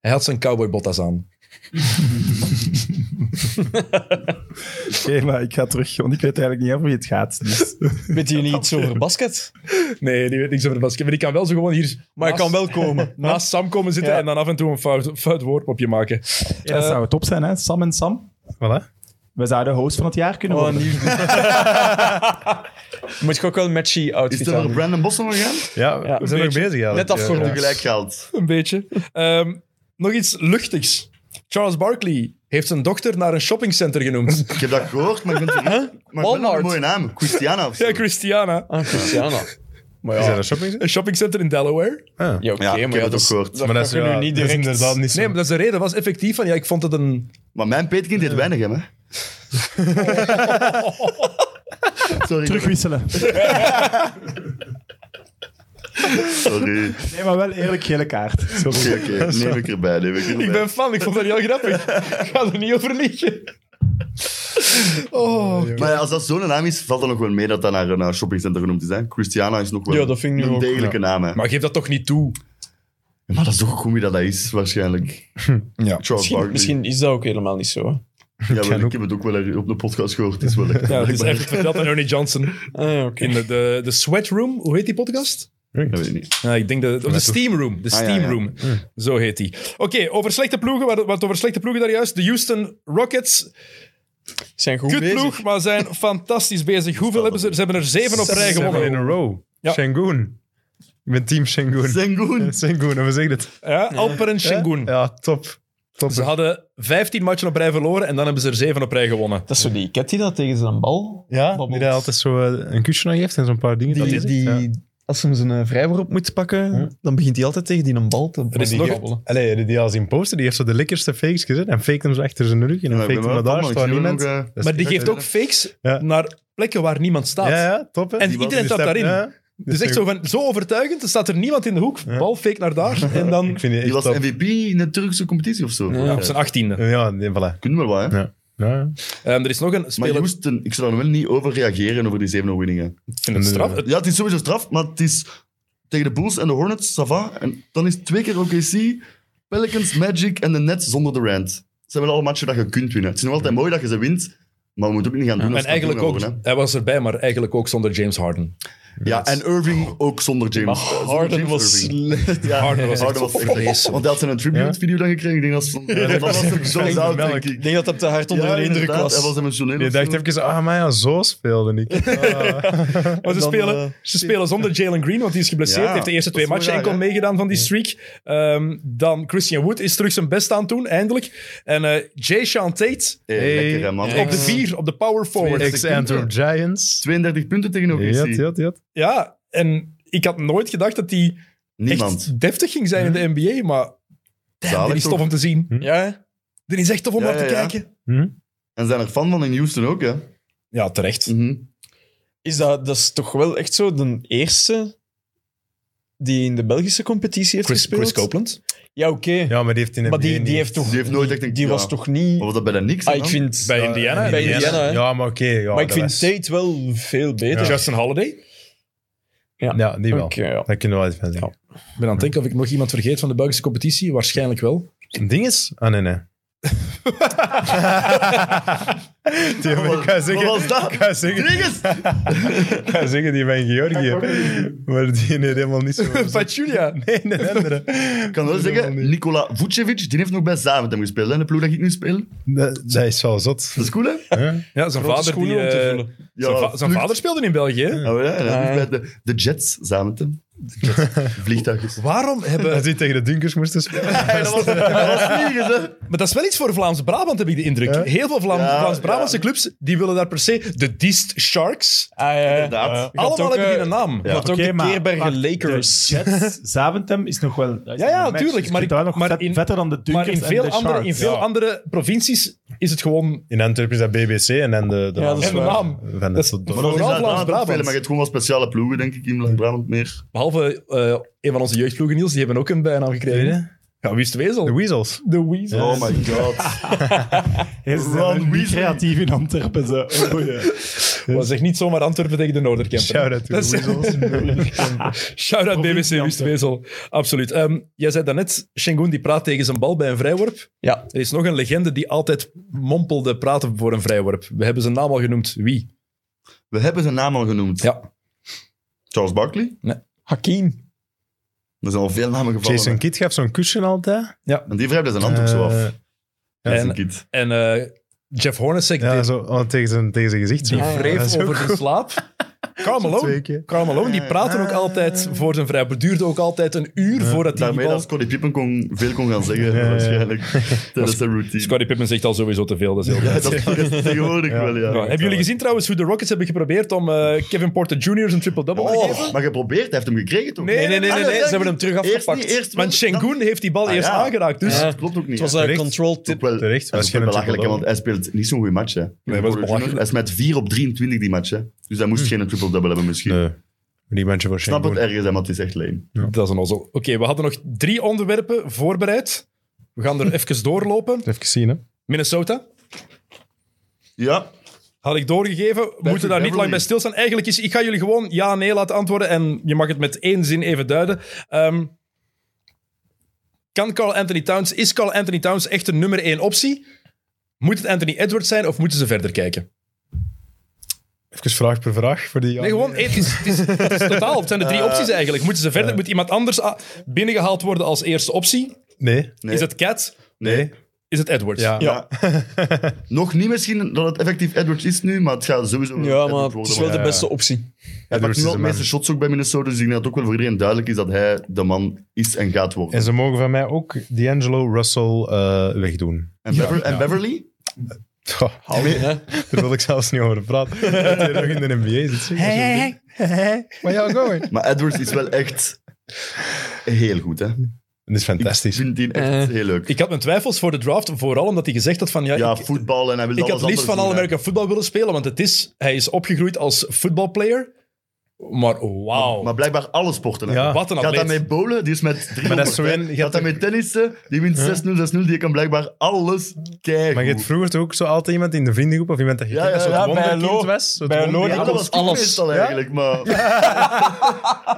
S7: Hij had zijn cowboy Bottas aan.
S6: Oké, maar ik ga terug, want ik weet eigenlijk niet over wie het gaat. Dus.
S3: Weet je niet iets over basket?
S7: Nee, die weet niks over de basket. Maar die kan wel zo gewoon hier...
S3: Maar ik
S7: naast-
S3: kan wel komen.
S7: Naast Sam komen zitten
S3: Ja.
S7: en dan af en toe een fout, fout woordmopje maken.
S6: Ja, dat zou top zijn, hè? Sam en Sam.
S5: Voilà.
S6: We zouden host van het jaar kunnen
S3: Oh,
S6: worden.
S3: nieuw. Moet ik ook wel een matchy
S4: Is
S3: outfit
S4: het over
S3: aan.
S4: Brandon Boston nog gaan?
S5: Ja, we
S3: een
S5: zijn nog
S3: beetje.
S5: bezig eigenlijk.
S3: Net afgerond.
S4: Nu gelijk geld.
S7: Een beetje. Ehm, nog iets luchtigs. Charles Barkley heeft zijn dochter naar een shoppingcenter genoemd.
S4: Ik heb dat gehoord, maar ik vind het niet. Maar ik ben nog
S3: Walmart.
S4: een mooie naam. Christiana of zo.
S7: Ja, Christiana.
S3: Ah, Christiana.
S5: Ja. Is dat een shopping?
S7: Een shoppingcenter in Delaware.
S3: Ja, oké,
S4: Ja, ik
S3: maar
S4: heb
S3: ja,
S4: het
S3: dat
S4: ook
S3: is-
S4: gehoord.
S3: dat
S5: Maar dat
S3: kan
S5: is,
S3: je
S5: ja,
S3: nu niet
S5: dat is
S3: direct...
S5: inderdaad niet zo.
S7: Nee, maar dat is de reden. was effectief van, ja, ik vond het een...
S4: Maar mijn peetkind deed weinig, hè. maar. Sorry.
S6: Terugwisselen.
S4: Sorry.
S6: Nee, maar wel eerlijk gele kaart. Sorry.
S4: Oké, oké. Neem ik erbij, neem ik erbij.
S7: Ik ben fan, ik vond dat heel grappig. Ik ga er niet over liegen. Oh,
S4: Maar ja, als dat zo'n naam is, valt dan nog wel mee dat dat naar een eh, shoppingcenter genoemd is. Hè? Christiana is nog wel
S3: Ja, dat vind ik nu
S4: een
S3: ook,
S4: degelijke naam. Hè?
S7: Maar geef dat toch niet toe.
S4: Ja, maar dat is toch goed wie dat, dat is, waarschijnlijk. ja. Charles
S3: Misschien,
S4: Barkley.
S3: misschien is dat ook helemaal niet zo. hè.
S4: Ja, wel, ik heb het ook wel er- op de podcast gehoord. Het is wel echt.
S7: Ja, dat is
S4: blijkbaar.
S7: even verteld aan Ernie Johnson.
S3: Ah, ja, oké.
S7: In de, de, de Sweat Room, hoe heet die podcast?
S4: Dat weet ik niet.
S7: Ja, ik denk de, of de Steam Room. De
S4: ja,
S7: Steam
S4: ja.
S7: Room. Zo heet die. Oké, over slechte ploegen. Wat, wat over slechte ploegen daar juist. De Houston Rockets.
S3: Zijn goed
S7: Kut
S3: bezig.
S7: ploeg, maar zijn fantastisch bezig. Hoeveel hebben ze? er? Ze hebben er zeven op rij
S5: Seven in
S7: gewonnen.
S5: a row.
S7: Ja.
S5: Shangoon. Ik ben team Shangoon.
S4: Sengun.
S5: Shangoon, hoe zeg je dat?
S7: Ja, Alper en Shingun.
S5: Ja, top. top.
S7: Ze hadden 15 matchen op rij verloren en dan hebben ze er 7 op rij gewonnen.
S3: Dat is zo die ket die dat tegen zijn bal
S5: Ja,
S3: babbelt.
S5: die daar altijd zo eh, een kusje aan geeft en zo'n paar dingen. dat
S3: Die,
S5: hij
S3: die,
S5: zegt, ja.
S3: Als hem zijn eh, vrijworp moet pakken, dan begint hij altijd tegen die een bal te
S7: Er is nog-
S3: babbelen.
S5: Allee, die, die als imposter, die heeft zo de lekkerste fakes gezet en faked hem zo achter zijn rug en dan
S4: Ja, ik
S5: faked
S4: ben
S5: hem
S4: wel
S5: naar
S4: fan,
S5: daar,
S4: man.
S5: staat
S4: Ik zie er
S5: niemand.
S4: nog,
S5: Ja,
S4: eh,
S7: Maar die geeft ook fakes
S5: Ja.
S7: naar plekken waar niemand staat.
S5: ja, top hè.
S7: En
S5: Die was-
S7: iedereen
S5: die
S7: staat
S5: stap-
S7: daarin.
S5: ja,
S7: Dus echt zo, van, zo overtuigend, er staat er niemand in de hoek. Bal fake naar daar en dan...
S5: Ik vind die
S4: Die
S5: echt
S4: was
S5: top.
S4: MVP in de Turkse competitie of zo.
S7: Ja, op zijn achttiende.
S5: Ja, nee, voilà.
S4: Kunnen we wel, hè?
S5: Ja.
S7: Ehm, er is nog een
S4: Maar
S7: speler...
S4: Houston, ik zou daar wel niet over reageren over die 7 winningen.
S7: Ik vind het straf. Het-
S4: Ja, het is sowieso straf, maar het is tegen de Bulls en de Hornets, Sava. En dan is het twee keer OKC, Pelicans, Magic en de Nets zonder de Rand. Het zijn wel alle matchen dat je kunt winnen. Het is nog altijd mooi dat je ze wint, maar we moeten ook niet gaan doen. als
S7: En eigenlijk ook...
S4: kampioen worden,
S7: Hij was erbij, maar eigenlijk ook zonder James Harden.
S4: hè. Ja, en Irving ook zonder James.
S2: Maar
S4: zonder
S2: Harden
S4: James
S2: was
S4: Irving.
S2: slecht.
S4: Ja, Oh. Harden was,
S7: echt
S4: echt vreselijk. Want hij had zijn tribute-video dan gekregen. Ik denk dat ze- dat was natuurlijk zo zout, denk
S3: Ik
S4: ik.
S3: denk dat dat te hard onder
S4: Ja,
S3: de indruk
S4: inderdaad, Hij
S3: was.
S4: was emotioneel.
S5: Je
S4: of
S5: dacht
S4: zo.
S5: even, ah, maar ja, zo speelde ik. Ah.
S7: Maar ze,
S3: dan,
S7: spelen,
S3: eh,
S7: ze spelen zonder Jalen Green, want die is geblesseerd.
S4: Ja,
S7: heeft de eerste
S4: dat
S7: twee
S4: is
S7: matchen
S4: wel raar,
S7: enkel
S4: hè?
S7: meegedaan van die streak. Ehm, dan Christian Wood is terug zijn best aan het doen, eindelijk. En eh Jay Sean Tate
S4: Hey, lekker, hè, man.
S7: op de vier, op de power forward.
S5: Ex-Antwerp Giants.
S4: 32 punten tegen OKC.
S5: Ja, ja, ja.
S7: Ja, en ik had nooit gedacht dat die
S4: Niemand.
S7: echt deftig ging zijn in de NBA, maar damn,
S4: Zalig
S7: die is tof
S4: toch?
S7: om te zien.
S3: Ja,
S7: Die is echt tof om
S4: Ja,
S7: naar te
S4: ja, ja.
S7: kijken.
S4: En zijn er fan van in Houston ook, hè?
S7: Ja, terecht.
S4: Mhm.
S3: is dat, dat is toch wel echt zo de eerste die in de Belgische competitie heeft
S7: Chris,
S3: gespeeld?
S7: Chris Copeland.
S3: Ja, oké.
S5: Ja, maar die heeft in de
S3: maar die,
S5: NBA
S3: die,
S5: niet-
S3: heeft toch,
S4: Die heeft nooit echt een-
S3: die
S4: ja.
S3: was toch niet...
S4: Of was dat bij de Knicks?
S3: Ah,
S4: dan?
S3: ik vind,
S7: Bij Indiana.
S3: bij
S7: Indiana.
S3: Indiana, hè.
S5: Ja, maar oké. ja,
S3: maar ik
S5: dat
S3: vind
S5: was-
S3: Tate wel veel beter.
S5: Ja.
S7: Justin Holiday.
S5: Ja, die wel.
S3: Oké, ja.
S5: Dat kunnen we wel even zeggen.
S7: Ik ben aan het denken of ik nog iemand vergeet van de Belgische competitie. Waarschijnlijk wel.
S5: Een ding is... Ah, nee, nee. die, ik ga
S4: Wat
S5: zeggen,
S4: was dat?
S5: ik ga zeggen,
S4: Rodriguez!
S5: ik ga zeggen die van Georgië. Maar die heeft helemaal niet zo...
S7: Pachulia.
S5: Nee, een andere.
S4: Ik kan wel zeggen, Nikola Vucevic, die heeft nog bij Zaventem gespeeld, hè? De ploeg dat ik nu speel.
S5: Dat, dat is wel zot.
S4: Dat is cool, hè?
S5: Huh?
S7: Ja, zijn vader, die,
S3: schoenen om te
S7: eh,
S3: vullen.
S7: zijn, va- zijn
S4: vlucht.
S7: vader speelde in België. hè?
S4: Oh, ja, en hij
S5: Eh.
S3: Ah.
S4: is bij de, de Jets, Zaventem. Vliegtuigjes.
S7: Waarom hebben...
S5: Als hij tegen de Dunkers moest spelen.
S4: dat was, dat was vliegers, hè?
S7: Maar dat is wel iets voor Vlaams-Brabant, heb ik de indruk.
S5: Ja.
S7: Heel veel Vlaam-
S4: Ja,
S7: Vlaams-Brabantse clubs, die willen daar per se de Deast Sharks.
S3: Ah, ja, ja.
S4: Inderdaad.
S3: Je had
S7: Allemaal
S3: ook,
S7: hebben die
S3: eh,
S7: een naam.
S3: Je had ook
S6: Oké,
S3: de
S6: maar-
S3: Keerbergen
S6: maar
S3: Lakers.
S6: De Jets, Zaventem is nog wel... dat is
S7: Ja, ja,
S6: nog een match,
S7: tuurlijk,
S6: dus
S7: maar
S6: ik vind dat
S7: ik-
S6: nog
S7: maar
S6: vet-
S7: in-
S6: vetter dan de Dunkers
S7: Maar in veel,
S6: en de
S7: andere, in
S6: Sharks.
S7: veel
S5: Ja.
S7: andere provincies is het gewoon...
S5: In Antwerpen is dat BBC en dan de... de
S3: Ja, dat is
S7: En de
S3: waar.
S7: naam.
S5: Van
S7: Dat
S5: het
S7: is-
S5: tot-
S4: Maar dat is
S7: Vooral
S4: inderdaad aan het
S7: Vlaams-Brabant.
S4: spelen, Maar je hebt gewoon wel speciale ploegen, denk ik, in Vlaams-Brabant meer.
S7: Behalve eh, een van onze jeugdploegen, Niels, die hebben ook een bijnaam gekregen. hè? Ja, wie is het wezel?
S5: De Weasels.
S7: De Weasel.
S4: Oh my god.
S6: Hey, ze zijn
S4: Ron
S6: er eh, niet
S4: Weasley.
S6: creatief in Antwerpen. Ze. Oh, boeien.
S7: Maar zeg niet zomaar Antwerpen tegen de Noorderkempen.
S5: Shout-out to
S7: Dat
S5: de
S7: is-
S5: Weasels.
S7: Shout-out BBC Wistwezel. Absoluut. Ehm, jij zei daarnet, Shengun die praat tegen zijn bal bij een vrijworp.
S3: Ja.
S7: Er is nog een legende die altijd mompelde praten voor een vrijworp. We hebben zijn naam al genoemd. Wie?
S4: We hebben zijn naam al genoemd.
S7: Ja.
S4: Charles Barkley.
S3: Hakim.
S4: Er zijn al veel namen gevallen.
S5: Jason Kidd gaf zo'n kusje altijd.
S4: En die wrijft zijn hand ook zo af.
S5: Eh,
S4: Jason
S7: en-
S4: Kidd.
S7: En eh, Jeff Hornacek
S5: Ja,
S7: die-
S5: zo, oh, tegen, zijn, tegen zijn gezicht.
S7: die
S5: zo.
S7: wreef
S5: Dat is ook
S7: over zijn slaap. Karl
S5: twee
S7: Malone.
S5: keer.
S7: Karl Malone, die praatte ook altijd voor zijn vrijworp. Het duurde ook altijd een uur voordat hij die
S4: Daarmee
S7: bal...
S4: dat Scottie Pippen kon, veel kon gaan zeggen,
S5: Ja, ja.
S4: waarschijnlijk. Tijdens zijn routine.
S7: Scottie Pippen zegt al sowieso te veel. Dat is heel
S4: ja, dat is tegenwoordig
S5: Ja.
S4: wel, ja.
S7: Ja, hebben jullie gezien trouwens hoe de Rockets hebben geprobeerd om eh, Kevin Porter Jr. zijn triple-double te geven?
S4: Oh, maar geprobeerd, hij heeft hem gekregen toch? Ah,
S7: Nee, nee, nee, nee, nee, ze hebben hem terug
S4: Eerst
S7: afgepakt.
S4: niet, eerst-
S7: Want Shengun heeft die bal
S4: Ah,
S7: eerst
S4: ja.
S7: aangeraakt. Dus.
S4: Ja,
S7: Ja.
S4: dat klopt ook niet.
S3: Het was
S4: hè.
S3: een
S5: terecht.
S3: control
S4: Dat is ook
S3: tip.
S4: wel,
S5: Terecht,
S4: dat is ook wel
S5: waarschijnlijk
S4: belachelijk, hè,
S5: triple-double.
S4: want hij speelt niet zo'n goede match. Hè.
S7: dat was belachelijk. Hm.
S4: Hij is met 4 op 23 die match. Hè. Dus hij moest geen triple-double hebben misschien.
S5: Nee. Die mensen voor
S4: Ik snap het
S5: Shangoon.
S4: ergens, hè, maar het is echt lame.
S7: Dat is een ozzel. Oké, we hadden nog drie onderwerpen voorbereid. We gaan er even doorlopen.
S5: Even zien, hè.
S7: Minnesota
S4: Ja,
S7: had ik doorgegeven. We moeten daar niet
S4: Beverly.
S7: lang bij stilstaan. Eigenlijk is, ik ga jullie gewoon ja, nee laten antwoorden. En je mag het met één zin even duiden. Ehm, kan Carl Anthony Towns, is Carl Anthony Towns echt de nummer één optie? Moet het Anthony Edwards zijn of moeten ze verder kijken?
S5: Even vraag per vraag voor die...
S7: Nee, gewoon, hey, het, is, het, is, het is totaal. Het zijn de drie opties eigenlijk. Moeten ze verder? Moet iemand anders a- binnengehaald worden als eerste optie?
S5: Nee.
S4: Nee.
S7: Is het Cat?
S4: nee.
S7: Is het Edwards?
S5: Ja.
S4: Ja. Nog niet misschien dat het effectief Edwards is nu, maar het gaat sowieso
S3: Ja,
S4: Edwards
S3: maar het
S4: worden,
S3: is wel
S4: want
S3: de beste optie.
S4: Hij
S5: Edwards
S4: pakt nu
S5: is
S4: al
S5: de
S4: de
S5: man.
S4: meeste shots ook bij Minnesota, dus ik denk dat het ook wel voor iedereen duidelijk is dat hij de man is en gaat worden.
S5: En ze mogen van mij ook D'Angelo Russell eh, wegdoen.
S4: En, Bever- en Beverly?
S5: Goh, daar wil ik zelfs niet over praten. Dat hij nog in de NBA zit. zeg. Where y'all going?
S4: Maar Edwards is wel echt heel goed, hè?
S5: Dat is
S4: Ik
S5: fantastisch.
S4: vind die
S3: Eh.
S4: echt heel leuk.
S7: Ik had mijn twijfels voor de draft, vooral omdat hij gezegd had van... Ja,
S4: ja,
S7: ik,
S4: voetbal en hij wil
S7: ik
S4: alles
S7: had liefst van
S4: anders
S7: alle
S4: doen, hè.
S7: American voetbal willen spelen, want het is, hij is opgegroeid als voetbalplayer. Maar oh, wauw.
S4: Maar blijkbaar alle sporten. hè.
S5: Ja.
S7: Wat een
S4: Gaat hij
S7: atleet.
S4: mee bowlen? Die is met drie
S5: Maar dat is zo
S4: honderd, hè.
S5: een- je
S4: Gaat
S5: hebt
S4: hij
S5: toch-
S4: mee tennissen? Die wint 6-0, 6-0. Die kan blijkbaar alles kijken.
S5: Maar je hebt vroeger toch ook zo altijd iemand in de vriendengroep of iemand dat je
S4: Ja,
S5: kent dat
S4: ja,
S5: zo'n
S4: ja,
S5: wonderkind was? Zo'n
S3: bij
S5: wonder-
S3: Lodi-
S4: ja, dat
S3: alles.
S4: was alles. meestal eigenlijk, maar...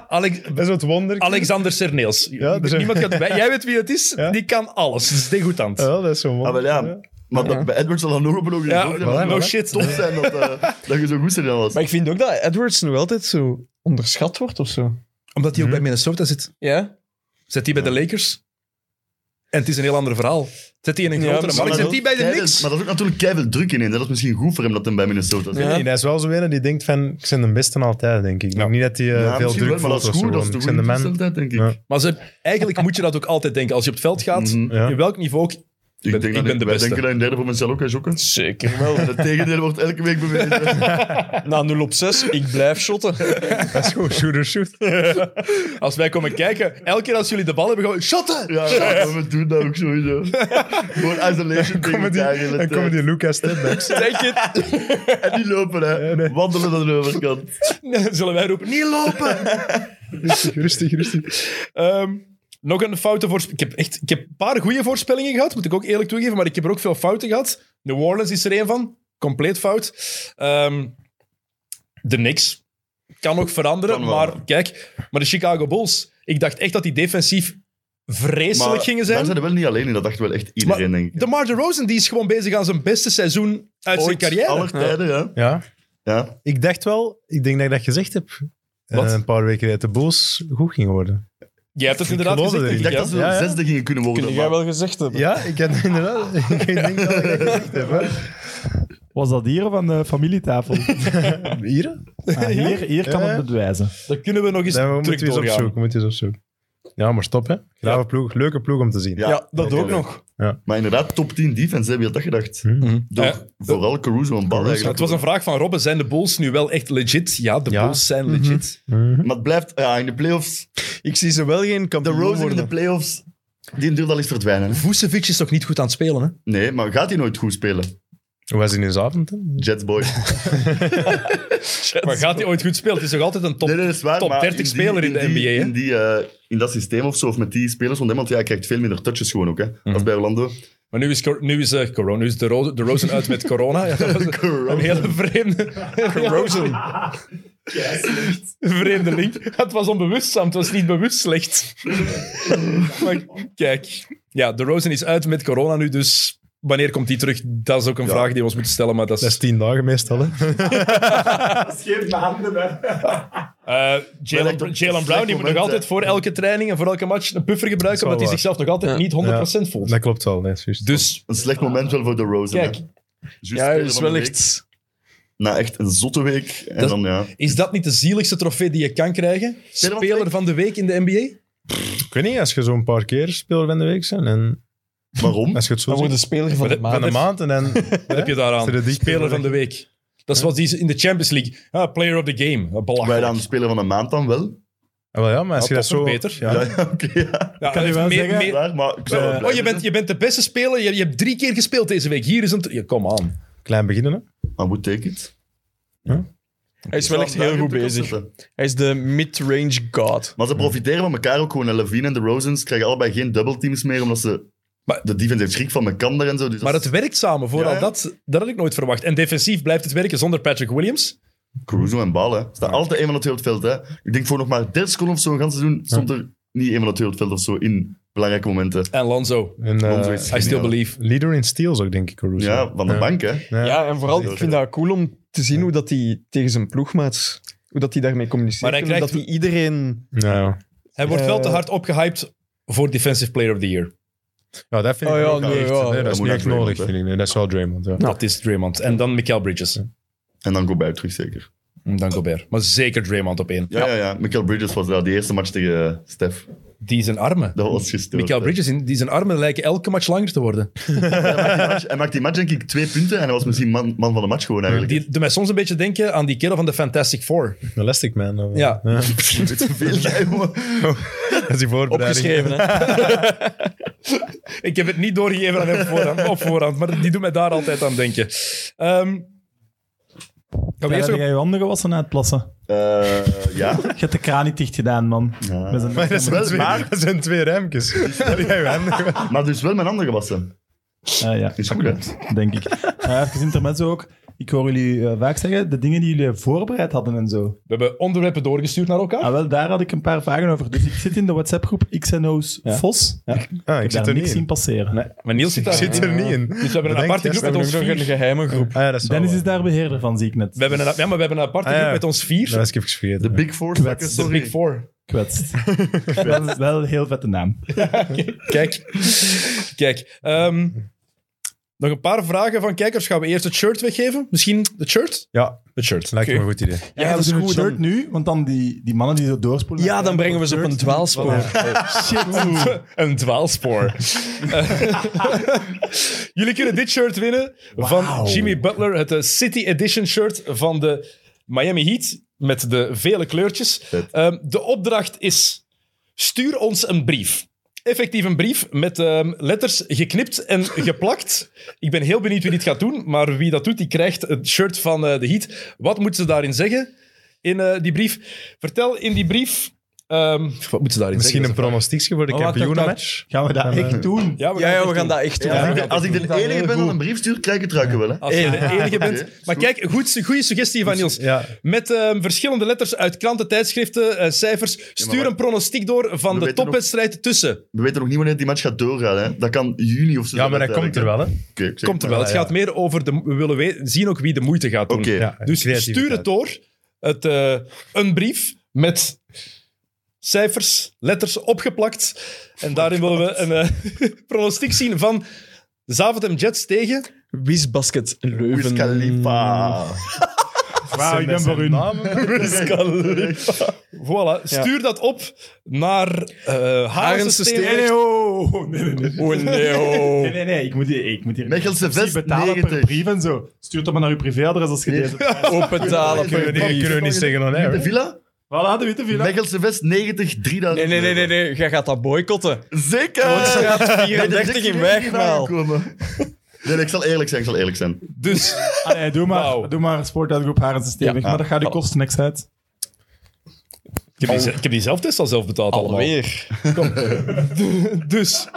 S7: Alex-
S5: Dat is zo'n wonderkind.
S7: Alexander Serneels.
S5: Ja, er zijn-
S7: Niemand gaat bij. Jij weet wie het is, die kan alles. Het is degoutant.
S5: Ja, dat is zo'n
S4: Ah, wel
S5: wonder.
S4: ja. Maar dat, bij Edwards zal dat nog op een ogenblik
S7: Ja,
S4: ook
S7: voilà,
S4: nog
S7: voilà.
S4: shit tof zijn dat, eh, dat je zo goed erin was.
S3: Maar ik vind ook dat Edwards nu altijd zo onderschat wordt of zo.
S7: Omdat hij ook bij Minnesota zit.
S3: Ja?
S7: Zet hij bij de Lakers? En het is een heel ander verhaal. Zet hij in een grotere
S3: maar
S7: markt?
S4: dat
S7: Zet
S4: is
S7: hij
S4: ook
S7: bij de
S4: keiveel-
S7: Knicks?
S4: Maar dat is ook natuurlijk keihard druk in. hè. Dat is misschien goed voor hem dat hij bij Minnesota zit.
S3: Ja.
S5: Nee, hij is wel zo een die denkt van, ik ben de beste altijd, denk ik. Ik denk Niet dat hij eh,
S4: Ja,
S5: veel
S4: misschien
S5: druk
S4: wel, maar
S5: voelt
S4: dat
S5: of
S4: is
S5: zo.
S4: goed. Dat is
S5: gewoon.
S4: de dus
S5: Ik ben de
S4: goede
S5: man.
S4: zelftijd, denk ik.
S5: Ja.
S7: Maar ze, eigenlijk moet je dat ook altijd denken. Als je op het veld gaat,
S4: Mhm.
S5: Ja.
S7: in welk niveau ook,
S4: Ik,
S7: ben-
S4: denk
S7: ik
S4: dat
S7: ben de
S4: wij
S7: beste.
S4: denken dat in derde voor mezelf ook, hè, Jokke?
S2: Zeker wel.
S4: Het tegendeel wordt elke week bewezen.
S2: Na 0 op 6, ik blijf shotten.
S5: Dat is gewoon shooter shoot.
S7: als wij komen kijken, elke keer als jullie de bal hebben gewoon shotten!
S4: Ja, ja, we doen dat ook sowieso. Gewoon isolation tegen elkaar in het,
S5: En komen die Lucas stepbacks.
S7: Denk je
S4: eh, En die lopen, hè. Wandelen aan de overkant.
S7: het? Zullen wij roepen, niet lopen!
S5: Rustig, rustig, rustig.
S7: Ehm, nog een foute voorspelling. Ik heb, echt, ik heb een paar goede voorspellingen gehad, moet ik ook eerlijk toegeven, maar ik heb er ook veel fouten gehad. New Orleans is er één van, compleet fout. Ehm, de Knicks kan nog veranderen,
S4: Kan wel.
S7: maar kijk, maar de Chicago Bulls, ik dacht echt dat die defensief vreselijk gingen
S4: Daar
S7: zijn.
S4: zijn
S7: De
S4: we wel niet alleen in. Dat dacht wel echt
S7: maar
S4: iedereen, denk ik.
S7: DeMar DeRozan die is gewoon bezig aan zijn beste seizoen uit zijn
S4: Ooit,
S7: carrière.
S4: Aller tijden, ja.
S5: Ja,
S4: ja.
S5: ik dacht wel, ik denk dat ik dat gezegd heb. eh,
S7: Wat?
S5: Een paar weken geleden, dat de Bulls goed ging worden.
S7: Jij hebt het inderdaad
S5: geloof
S7: gezegd.
S5: het
S7: denk
S4: Ik
S7: ik,
S4: dacht
S7: hè?
S4: dat ze
S5: Ja, ja.
S4: zesde gingen kunnen worden.
S2: Kun
S4: maar-
S2: jij wel gezegd hebben.
S5: Ja, ik heb inderdaad. Ik denk dat ik dat gezegd heb. hè.
S6: Was dat hier of aan de familietafel?
S5: Hier?
S6: Ah, hier hier kan
S5: Ja, ja.
S6: het bewijzen.
S7: Dat kunnen we nog eens
S5: Dan
S7: terug
S5: moeten we eens
S7: doorgaan.
S5: opzoeken. Moeten we eens opzoeken. Ja, maar stop, hè. Grave ploeg. Leuke ploeg om te zien.
S4: Ja,
S7: dat ook
S4: natuurlijk.
S7: nog.
S4: Maar inderdaad, top 10 defense, hè, wie had dat gedacht? Door
S7: Ja.
S4: vooral Caruso en bal
S7: Ja, het
S4: eigenlijk.
S7: was een vraag van Robben, zijn de Bulls nu wel echt legit? Ja, Mhm. de
S5: Ja.
S7: Bulls zijn legit.
S4: Maar het blijft, ja, in de playoffs,
S3: Ik zie ze wel geen
S4: de
S3: kampioen
S4: Rose in de
S3: worden.
S4: playoffs, die durft al eens verdwijnen. hè.
S7: Vucevic is toch niet goed aan het spelen, hè?
S4: Nee, maar gaat hij nooit goed spelen?
S5: Hoe was hij in avond? hè?
S4: Jets boy.
S7: Maar gaat hij ooit goed spelen? Het is toch altijd een top...
S4: nee, nee, dat is waar.
S7: top
S4: maar
S7: 30
S4: in die-
S7: speler in de
S4: die-
S7: NBA, hè?
S4: In, die, eh, in dat systeem of zo, of met die spelers van hem, want ja, hij krijgt veel minder touches gewoon ook, hè,
S7: Mhm.
S4: als bij Orlando.
S7: Maar nu is, cor- nu is eh, corona, nu is de, Ro- de Rosen uit met corona. Ja, dat was een-
S4: Corona.
S7: een hele vreemde... Rosen. vreemde link. Het was onbewust, Sam. Het was niet bewust slecht. maar kijk. Ja, de Rosen is uit met corona nu, dus... Wanneer komt die terug? Dat is ook een vraag die we ons moeten stellen, maar dat is...
S5: Dat is tien dagen meestal, hè.
S7: Eh, Jalen
S4: lijkt op
S7: Jalen Brown die
S4: een
S7: moet
S4: slecht
S7: nog
S4: moment,
S7: altijd
S4: hè.
S7: voor elke training en voor elke match een puffer gebruiken,
S5: Dat
S7: omdat
S5: is wel
S7: hij zichzelf nog altijd niet 100% voelt.
S5: Dat klopt wel, nee, juist.
S7: Dus
S4: Een slecht moment wel voor de Rose.
S7: kijk,
S2: Ja, dat is wel echt...
S4: Na echt een zotte week. En
S7: Dat-
S4: dan, ja.
S7: is dat niet de zieligste trofee die je kan krijgen?
S4: Speler
S7: Speler van de week in de NBA?
S5: Ik weet niet, als je zo'n paar keer speler van de week zijn en
S4: Waarom?
S5: als je het zo
S2: Dan
S5: ziet,
S2: wordt de speler van
S7: Maar
S2: de
S7: dat-
S2: maand.
S5: van de maand en dan...
S7: Wat heb je daaraan?
S5: Is er een dikke
S7: Speler van
S5: overleg?
S7: de week. Dat is wat die ze in de Champions League. Ah, player of the game. Ah,
S4: Wij
S7: Belachelijk.
S4: dan speler van de maand dan wel?
S5: Ah, wel ja, maar als
S7: Ja,
S5: je dat
S7: toch
S5: zo...
S7: nog beter.
S5: Ja,
S4: Ja, ja, oké. ja.
S7: Ja,
S6: Kan je wel
S7: eh, meer-
S6: zeggen-
S7: meer-
S4: Waar, maar ik zou wel blij
S7: Oh, je bent, je bent de beste speler. Je, je hebt drie keer gespeeld deze week. Hier is een... tr- Ja, kom aan.
S5: Klein beginnen, hè.
S4: zijn. I would take it.
S2: Hij is wel echt heel goed bezig.
S3: Hij is de mid-range god.
S4: Maar ze profiteren van elkaar ook gewoon. En Levine en de Rosens krijgen allebei geen dubbelteams meer, omdat ze...
S7: Maar-
S4: de defense heeft schrik van Mekander en zo. Dus
S7: Maar
S4: dat
S7: het werkt samen. Vooral
S4: Ja, ja.
S7: Dat, dat had ik nooit verwacht. En defensief blijft het werken zonder Patrick Williams.
S4: is Caruso en Bal, hè. Staat altijd een van de twee op het veld, hè. Ik denk voor nog maar 30 seconden of zo, een ganse seizoen, stond er niet een van de twee op het veld of zo in belangrijke momenten.
S7: En Lonzo.
S5: En, eh,
S4: Lonzo is
S7: I still
S4: geniaal.
S7: believe.
S5: leader in steals ook, denk ik, Caruso.
S4: Ja, van de bank, hè.
S5: Ja.
S3: Ja, en vooral, ik vind dat cool om te zien hoe dat hij tegen zijn ploegmaats... Hoe dat hij daarmee communiceert.
S7: Maar hij
S3: en hoe dat
S7: krijgt-
S3: hij iedereen...
S5: Ja, ja.
S7: Hij wordt wel
S3: Eh,
S7: te hard opgehyped voor Defensive Player of the Year.
S5: Nou. Ja, dat vind ik
S3: Oh, ja,
S5: ook
S3: nee,
S5: wel echt,
S3: ja.
S5: hè.
S4: Dat
S5: Dat is
S4: moet
S5: niet
S4: naar
S5: echt
S4: Draymond,
S5: nodig,
S4: hè.
S5: vind ik. Nee, dat is wel Draymond, ja.
S7: Dat is Draymond. En dan Mikael Bridges.
S4: En dan Gobert terug, zeker.
S7: En dan Gobert. Maar zeker Draymond op één.
S4: Ja, ja, ja. Michael Bridges was daar die eerste match tegen eh, Stef.
S7: Die zijn armen.
S4: Dat was gestoord.
S7: Mikael
S4: hè.
S7: Bridges, in- die zijn armen lijken elke match langer te worden.
S4: Hij maakte die match, denk ik, twee punten en hij was misschien man, man van de match gewoon eigenlijk.
S7: Die doet mij soms een beetje denken aan die kerel van de Fantastic Four.
S5: Een Elastic Man. of-
S7: Ja.
S4: Misschien een beetje veel, hè, jongen.
S5: Dat is die voorbereiding.
S3: Opgeschreven, hè.
S7: Ik heb het niet doorgegeven aan hem voorhand, op voorhand, maar die doet mij daar altijd aan denken. Ehm gaan we
S6: Heb
S7: eerst nog-
S6: jij je handen gewassen na het plassen?
S4: Eh, ja.
S6: Je hebt de kraan niet dicht gedaan, man. Met een-
S5: Dat zijn twee- dat zijn twee ruimkes.
S4: Maar dus wel mijn handen gewassen.
S6: Ah, ja,
S4: Is goed, hè?
S6: denk ik. Eh even intermezzo ook. Ik hoor jullie eh, vaak zeggen, de dingen die jullie voorbereid hadden en zo.
S7: We hebben onderwerpen doorgestuurd naar elkaar.
S6: Ah, wel, daar had ik een paar vragen over. Dus ik zit in de WhatsApp-groep XNO's
S7: Ja.
S6: Vos. Ja. Ik
S5: Ah, ik
S6: heb
S5: zit
S6: daar
S5: er
S6: niks
S5: niet
S6: zien
S5: in.
S6: passeren.
S7: Maar Niels zit daar.
S5: Ik zit er niet
S7: Dus
S5: in.
S7: we hebben een
S5: Bedankt,
S7: aparte groep
S5: gasten.
S7: met ons
S5: We hebben
S7: vier.
S3: Een geheime groep.
S5: Ah, ja, dat is wel
S6: Dennis
S5: waar.
S6: is daar beheerder van, zie ik net.
S7: We hebben een, ja, maar we hebben een aparte
S5: Ah, ja.
S7: groep met ons vier.
S5: Dat was ik even vergeten.
S4: De Big Four, zakken,
S6: Kwets, de
S4: sorry.
S7: Big Four.
S6: Kwetst. dat is wel een heel vette naam.
S7: Kijk. Kijk. ehm, nog een paar vragen van kijkers. Gaan we eerst het shirt weggeven? Misschien het Mm, shirt?
S5: Ja,
S7: Het shirt.
S5: lijkt me
S7: Oké.
S5: een goed idee.
S6: Ja, dat is
S3: doen we
S6: goed.
S3: het
S6: Shirt nu, want dan die, die mannen die zo doorspoelen...
S3: Ja, dan brengen we ze op een dwaalspoor.
S7: Een dwaalspoor. Eh, Jullie kunnen dit shirt winnen van Jimmy Butler. Het eh, City Edition shirt van de Miami Heat. Met de vele kleurtjes. Ehm, de opdracht is: stuur ons een brief. Effectief een brief met ehm, letters geknipt en geplakt. Ik ben heel benieuwd wie dit gaat doen, maar wie dat doet, die krijgt het shirt van eh, de Heat. Wat moeten ze daarin zeggen in eh, die brief? Vertel in die brief. ehm, wat moeten ze daarin
S5: Misschien een
S7: zeggen?
S5: pronostiekje voor de
S7: wacht, wacht,
S5: kampioenenmatch.
S6: Gaan we dat echt doen?
S7: Ja,
S3: Ja, ja,
S7: het
S3: we
S7: echt
S3: gaan
S7: doen.
S3: dat echt doen.
S4: Als ik de- Als ik de enige ben aan een brief stuur, krijg ik het ruiken wel. Hè.
S7: Als je de enige
S4: Oké.
S7: bent. Maar kijk, goed, goede suggestie van Niels.
S5: Ja.
S7: Met ehm, verschillende letters uit kranten, tijdschriften, eh, cijfers. Stuur
S4: wacht.
S7: een pronostiek door van
S4: We
S7: de
S4: weten
S7: topwedstrijd tussen.
S4: We weten nog niet wanneer die match gaat doorgaan. Hè. Dat kan juni of zo.
S5: Ja, maar dat komt er wel, hè.
S4: Oké, ik zeg
S7: Komt er wel.
S5: Ja,
S7: Het
S5: ja.
S7: gaat meer over de. We willen we- zien ook wie de moeite gaat doen.
S4: Oké.
S5: Ja,
S7: Dus
S5: creativiteit.
S7: stuur het door. Het, eh, een brief met cijfers, letters opgeplakt. En daarin willen we een eh, pronostiek zien van Zaventem Jets tegen.
S3: Wies Basket
S4: Wiz
S3: Leuven.
S4: Khalifa.
S6: Wauw, ik ben voor hun.
S7: Voilà. Stuur dat op naar eh Harense
S3: Harense
S7: Stenen.
S3: Stenen.
S6: oh, nee, nee, nee.
S3: Oh nee, oh.
S6: Nee, nee, nee, ik moet hier, ik moet hier
S4: Mechelse
S6: ik moet
S4: vest,
S6: betalen per
S4: 90.
S6: brief en zo. Stuur dat maar naar uw privéadres als je
S4: Nee.
S6: deze... Voilà,
S3: Open talen per
S5: Die
S3: brief.
S5: kunnen we niet zeggen on air.
S4: De
S5: hè.
S4: Villa?
S6: de witte villa.
S4: Mechelse Vest 90, 3000.
S3: Nee, nee, nee, Oh, nee, nee. Jij gaat dat boycotten.
S4: Zeker!
S3: Straat
S4: Bij de
S3: 34 in
S4: dikke
S3: Wegmaal.
S4: aangekomen. Nee, nee, ik zal eerlijk zijn, ik zal eerlijk zijn.
S7: Dus
S6: Ah, nee, doe maar,
S7: Wauw.
S6: doe maar sportuitgroep Haren Systeem.
S3: Ja.
S6: maar dat gaat u kosten niks uit.
S7: Ik heb, die, ze- ik heb die zelftest al zelf betaald allemaal.
S3: Alweer.
S7: Dus,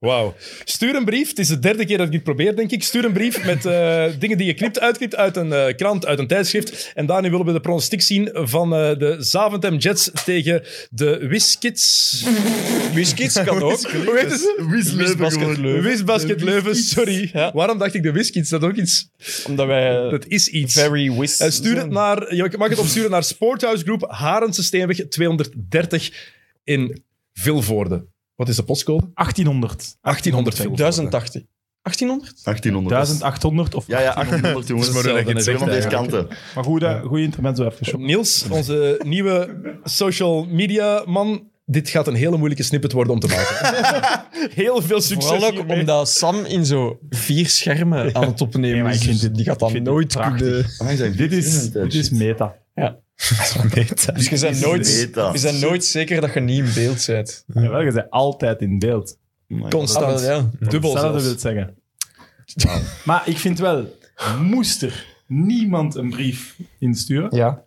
S7: wauw. Stuur een brief. Het is de derde keer dat ik dit probeer, denk ik. Stuur een brief met eh, dingen die je knipt, uitknipt uit een eh, krant, uit een tijdschrift. En daarin willen we de pronostiek zien van eh, de Zaventem Jets tegen de Wiskits.
S3: Wiskits kan ook.
S7: Hoe heet het?
S4: Wiz Leuven gewoon.
S7: Wisbasket Leuven, sorry. Waarom dacht ik de Wiskits? Dat is ook iets.
S3: Omdat wij eh,
S7: Dat is iets.
S3: very wis
S7: Eh, stuur het naar, je mag het opsturen naar Sporthouse Groep Harense Steenweg 230 in Vilvoorde. Wat is de postcode?
S6: 1800.
S7: 1800 Vilvoorde.
S3: 1080. 1800?
S4: 1800.
S6: 1800 of...
S4: Ja, ja, 1800 jongens.
S7: Dat is maar hoe dat je het
S4: Twee van
S7: zegt
S4: deze kanten.
S6: Maar goed, hè, goede intermezzo even. John.
S7: Niels, onze nieuwe social media man. Dit gaat een hele moeilijke snippet worden om te maken. Heel veel succes
S3: Vooral ook
S7: hiermee.
S3: omdat Sam in zo vier schermen aan het opnemen
S6: Ja, maar ik
S3: is.
S6: vind
S3: Dus
S6: dit-
S3: die gaat dat
S6: ik vind dit
S3: nooit
S6: prachtig.
S3: kunnen...
S6: Dit is, dit is meta.
S3: Dus je bent, nooit,
S4: meta.
S3: je bent nooit zeker dat je niet in beeld bent.
S6: Jawel, je bent altijd in beeld.
S3: Ah, wel,
S7: Constant.
S3: ja.
S7: Dubbel
S6: Hetzelfde
S7: zelfs.
S6: wil zeggen. Maar ik vind wel, moest er niemand een brief insturen,
S3: Ja.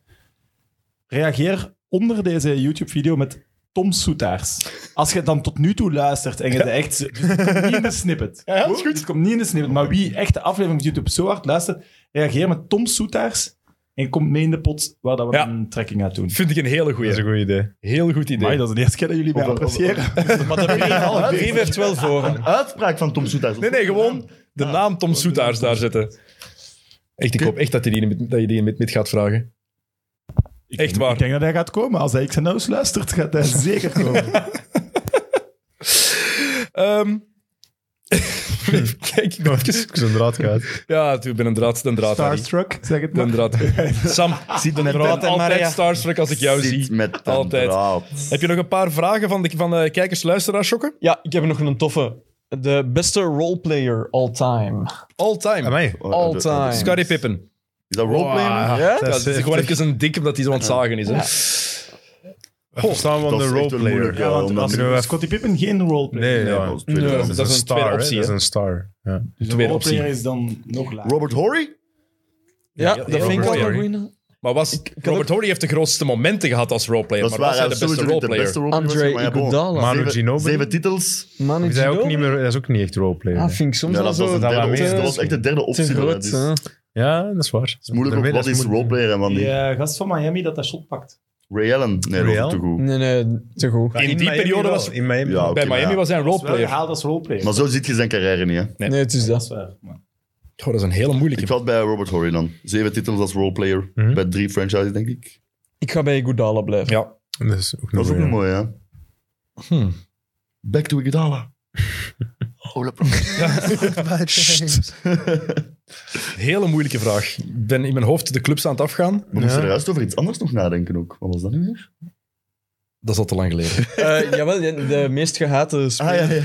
S6: reageer onder deze YouTube-video met Tom Soetaars. Als je dan tot nu toe luistert en je de echt... Dus het komt niet in de snippet.
S7: Ja, dat is goed.
S6: Het komt niet in de snippet. Maar wie echt de aflevering op YouTube zo hard luistert, reageer met Tom Soetaars en komt mee in de pot waar dat we
S7: Ja.
S6: een trekking uit doen.
S7: Vind ik een hele
S5: Dat is een
S7: goeie.
S5: goed idee.
S7: Heel goed idee.
S6: Amai, dat is de eerste keer dat jullie mij
S4: Of- of-
S6: appreciëren.
S3: Maar de brief, de brief heeft wel voor.
S4: Een uitspraak van Tom Ah. Soetaars.
S7: Nee, nee, gewoon de naam Tom Soetaars daar zetten. Echt, ik hoop echt dat je die in het- dat je die in het mid gaat vragen.
S6: Ik
S7: Echt
S6: denk-
S7: waar.
S6: Ik denk dat hij gaat komen. Als hij XNO's luistert, gaat hij zeker komen.
S7: Ehm, Kijk, ik heb even-
S5: Ik ben draad kwijt.
S7: Ja, ik ben een draad, een draad. Harry.
S6: Starstruck, zeg het
S7: Een
S6: maar.
S7: draad. Sam,
S4: Ziet met
S7: ik ben
S4: draad.
S7: altijd starstruck als ik jou
S4: Ziet
S7: zie.
S4: met
S7: Altijd.
S4: altijd. draad.
S7: Heb je nog een paar vragen van, de, van de kijkers, luisteraars, Jokke?
S3: Ja, ik heb nog een toffe. De beste roleplayer all time.
S7: All time.
S5: Amai.
S3: All
S4: dat-
S3: time.
S4: dat-
S7: Scottie Pippen.
S4: Is dat roleplay?
S5: Ah,
S3: Ja?
S7: Ja,
S5: dat
S7: dat is gewoon even een dik omdat hij zo aan het zagen is. Hè?
S5: Goh, staan we aan
S4: Dat
S5: de
S4: is echt een
S5: roleplayer.
S4: moeilijke, Ja, want
S5: Dan
S4: als-
S5: kunnen we even-
S6: Scottie Pippen geen roleplayer.
S5: Nee,
S4: Nee,
S5: ja.
S4: dat is tweede
S7: Nee.
S4: draad.
S7: Dat is een tweede
S5: star, hè.
S7: optie,
S5: Dat is
S7: hè.
S5: een star. Ja.
S6: Dus een
S7: Tweede
S6: roleplayer
S7: optie.
S6: is dan nog lager.
S4: Robert Horry?
S3: Ja,
S7: heel
S3: dat vind ik wel
S7: roleplayer.
S3: een goeie.
S7: Maar was, Robert Horry heeft de grootste momenten gehad als roleplayer.
S4: Dat is
S7: Maar was
S4: waar, hij
S7: hij
S4: is
S7: de beste
S4: sowieso niet de
S7: roleplayer?
S4: beste
S3: Andre
S4: roleplayer. maar ja, bon.
S3: Iguodala.
S5: Manu
S4: Zeven,
S5: Ginobili.
S4: zeven titels.
S3: Manu
S5: Is hij ook
S3: Ginobili?
S5: niet meer, dat is ook niet echt roleplayer.
S3: Ah,
S5: hè.
S3: vind ik soms
S4: Ja,
S3: al
S4: dat was,
S3: zo...
S4: een
S5: dat
S4: derde
S5: wel
S4: optie.
S5: meer-
S4: dat was echt de derde
S3: te
S4: optie.
S3: groot.
S4: Dus-
S3: hè.
S5: Ja, dat is waar. Dat
S4: is moeilijk ook.
S5: Daarmee,
S4: Wat
S5: dat
S4: is
S5: moeilijk.
S4: roleplayer en wat
S6: Die
S4: niet?
S6: eh, gast van Miami dat dat shot pakt.
S4: Ray Allen? Nee,
S5: Ray
S4: dat is
S5: Allen?
S4: te goed.
S3: Nee, nee, te goed.
S7: In die
S5: Miami
S7: periode
S5: wel.
S7: was-
S5: In Miami.
S4: Ja, oké,
S7: Mm. Bij
S4: maar
S7: Miami
S4: ja.
S7: was hij een
S6: Dat is wel
S7: roleplayer.
S6: gehaald als roleplayer.
S4: Maar zo ziet je zijn carrière niet, hè.
S3: Nee, het is
S6: dat
S3: dat.
S6: is waar. maar-
S7: Goh, dat is een hele moeilijke.
S4: Ik had bij Robert Horry dan. Zeven titels als roleplayer.
S5: Mhm.
S4: Bij drie franchises, denk ik.
S3: Ik ga bij Iguodala blijven.
S7: Ja.
S5: Dat is ook
S4: Dat
S5: nog
S4: is ook
S5: mooi.
S4: nog mooi, hè.
S5: Hm.
S7: Hmm.
S4: Back to Iguodala.
S7: Hele moeilijke vraag. Ik ben in mijn hoofd de clubs aan het afgaan.
S4: We moesten er juist over iets anders nog nadenken ook. Wat was dat nu weer?
S7: Dat is al te lang geleden.
S3: Eh, jawel, de de meest gehate speler.
S4: Ah, ja, ja.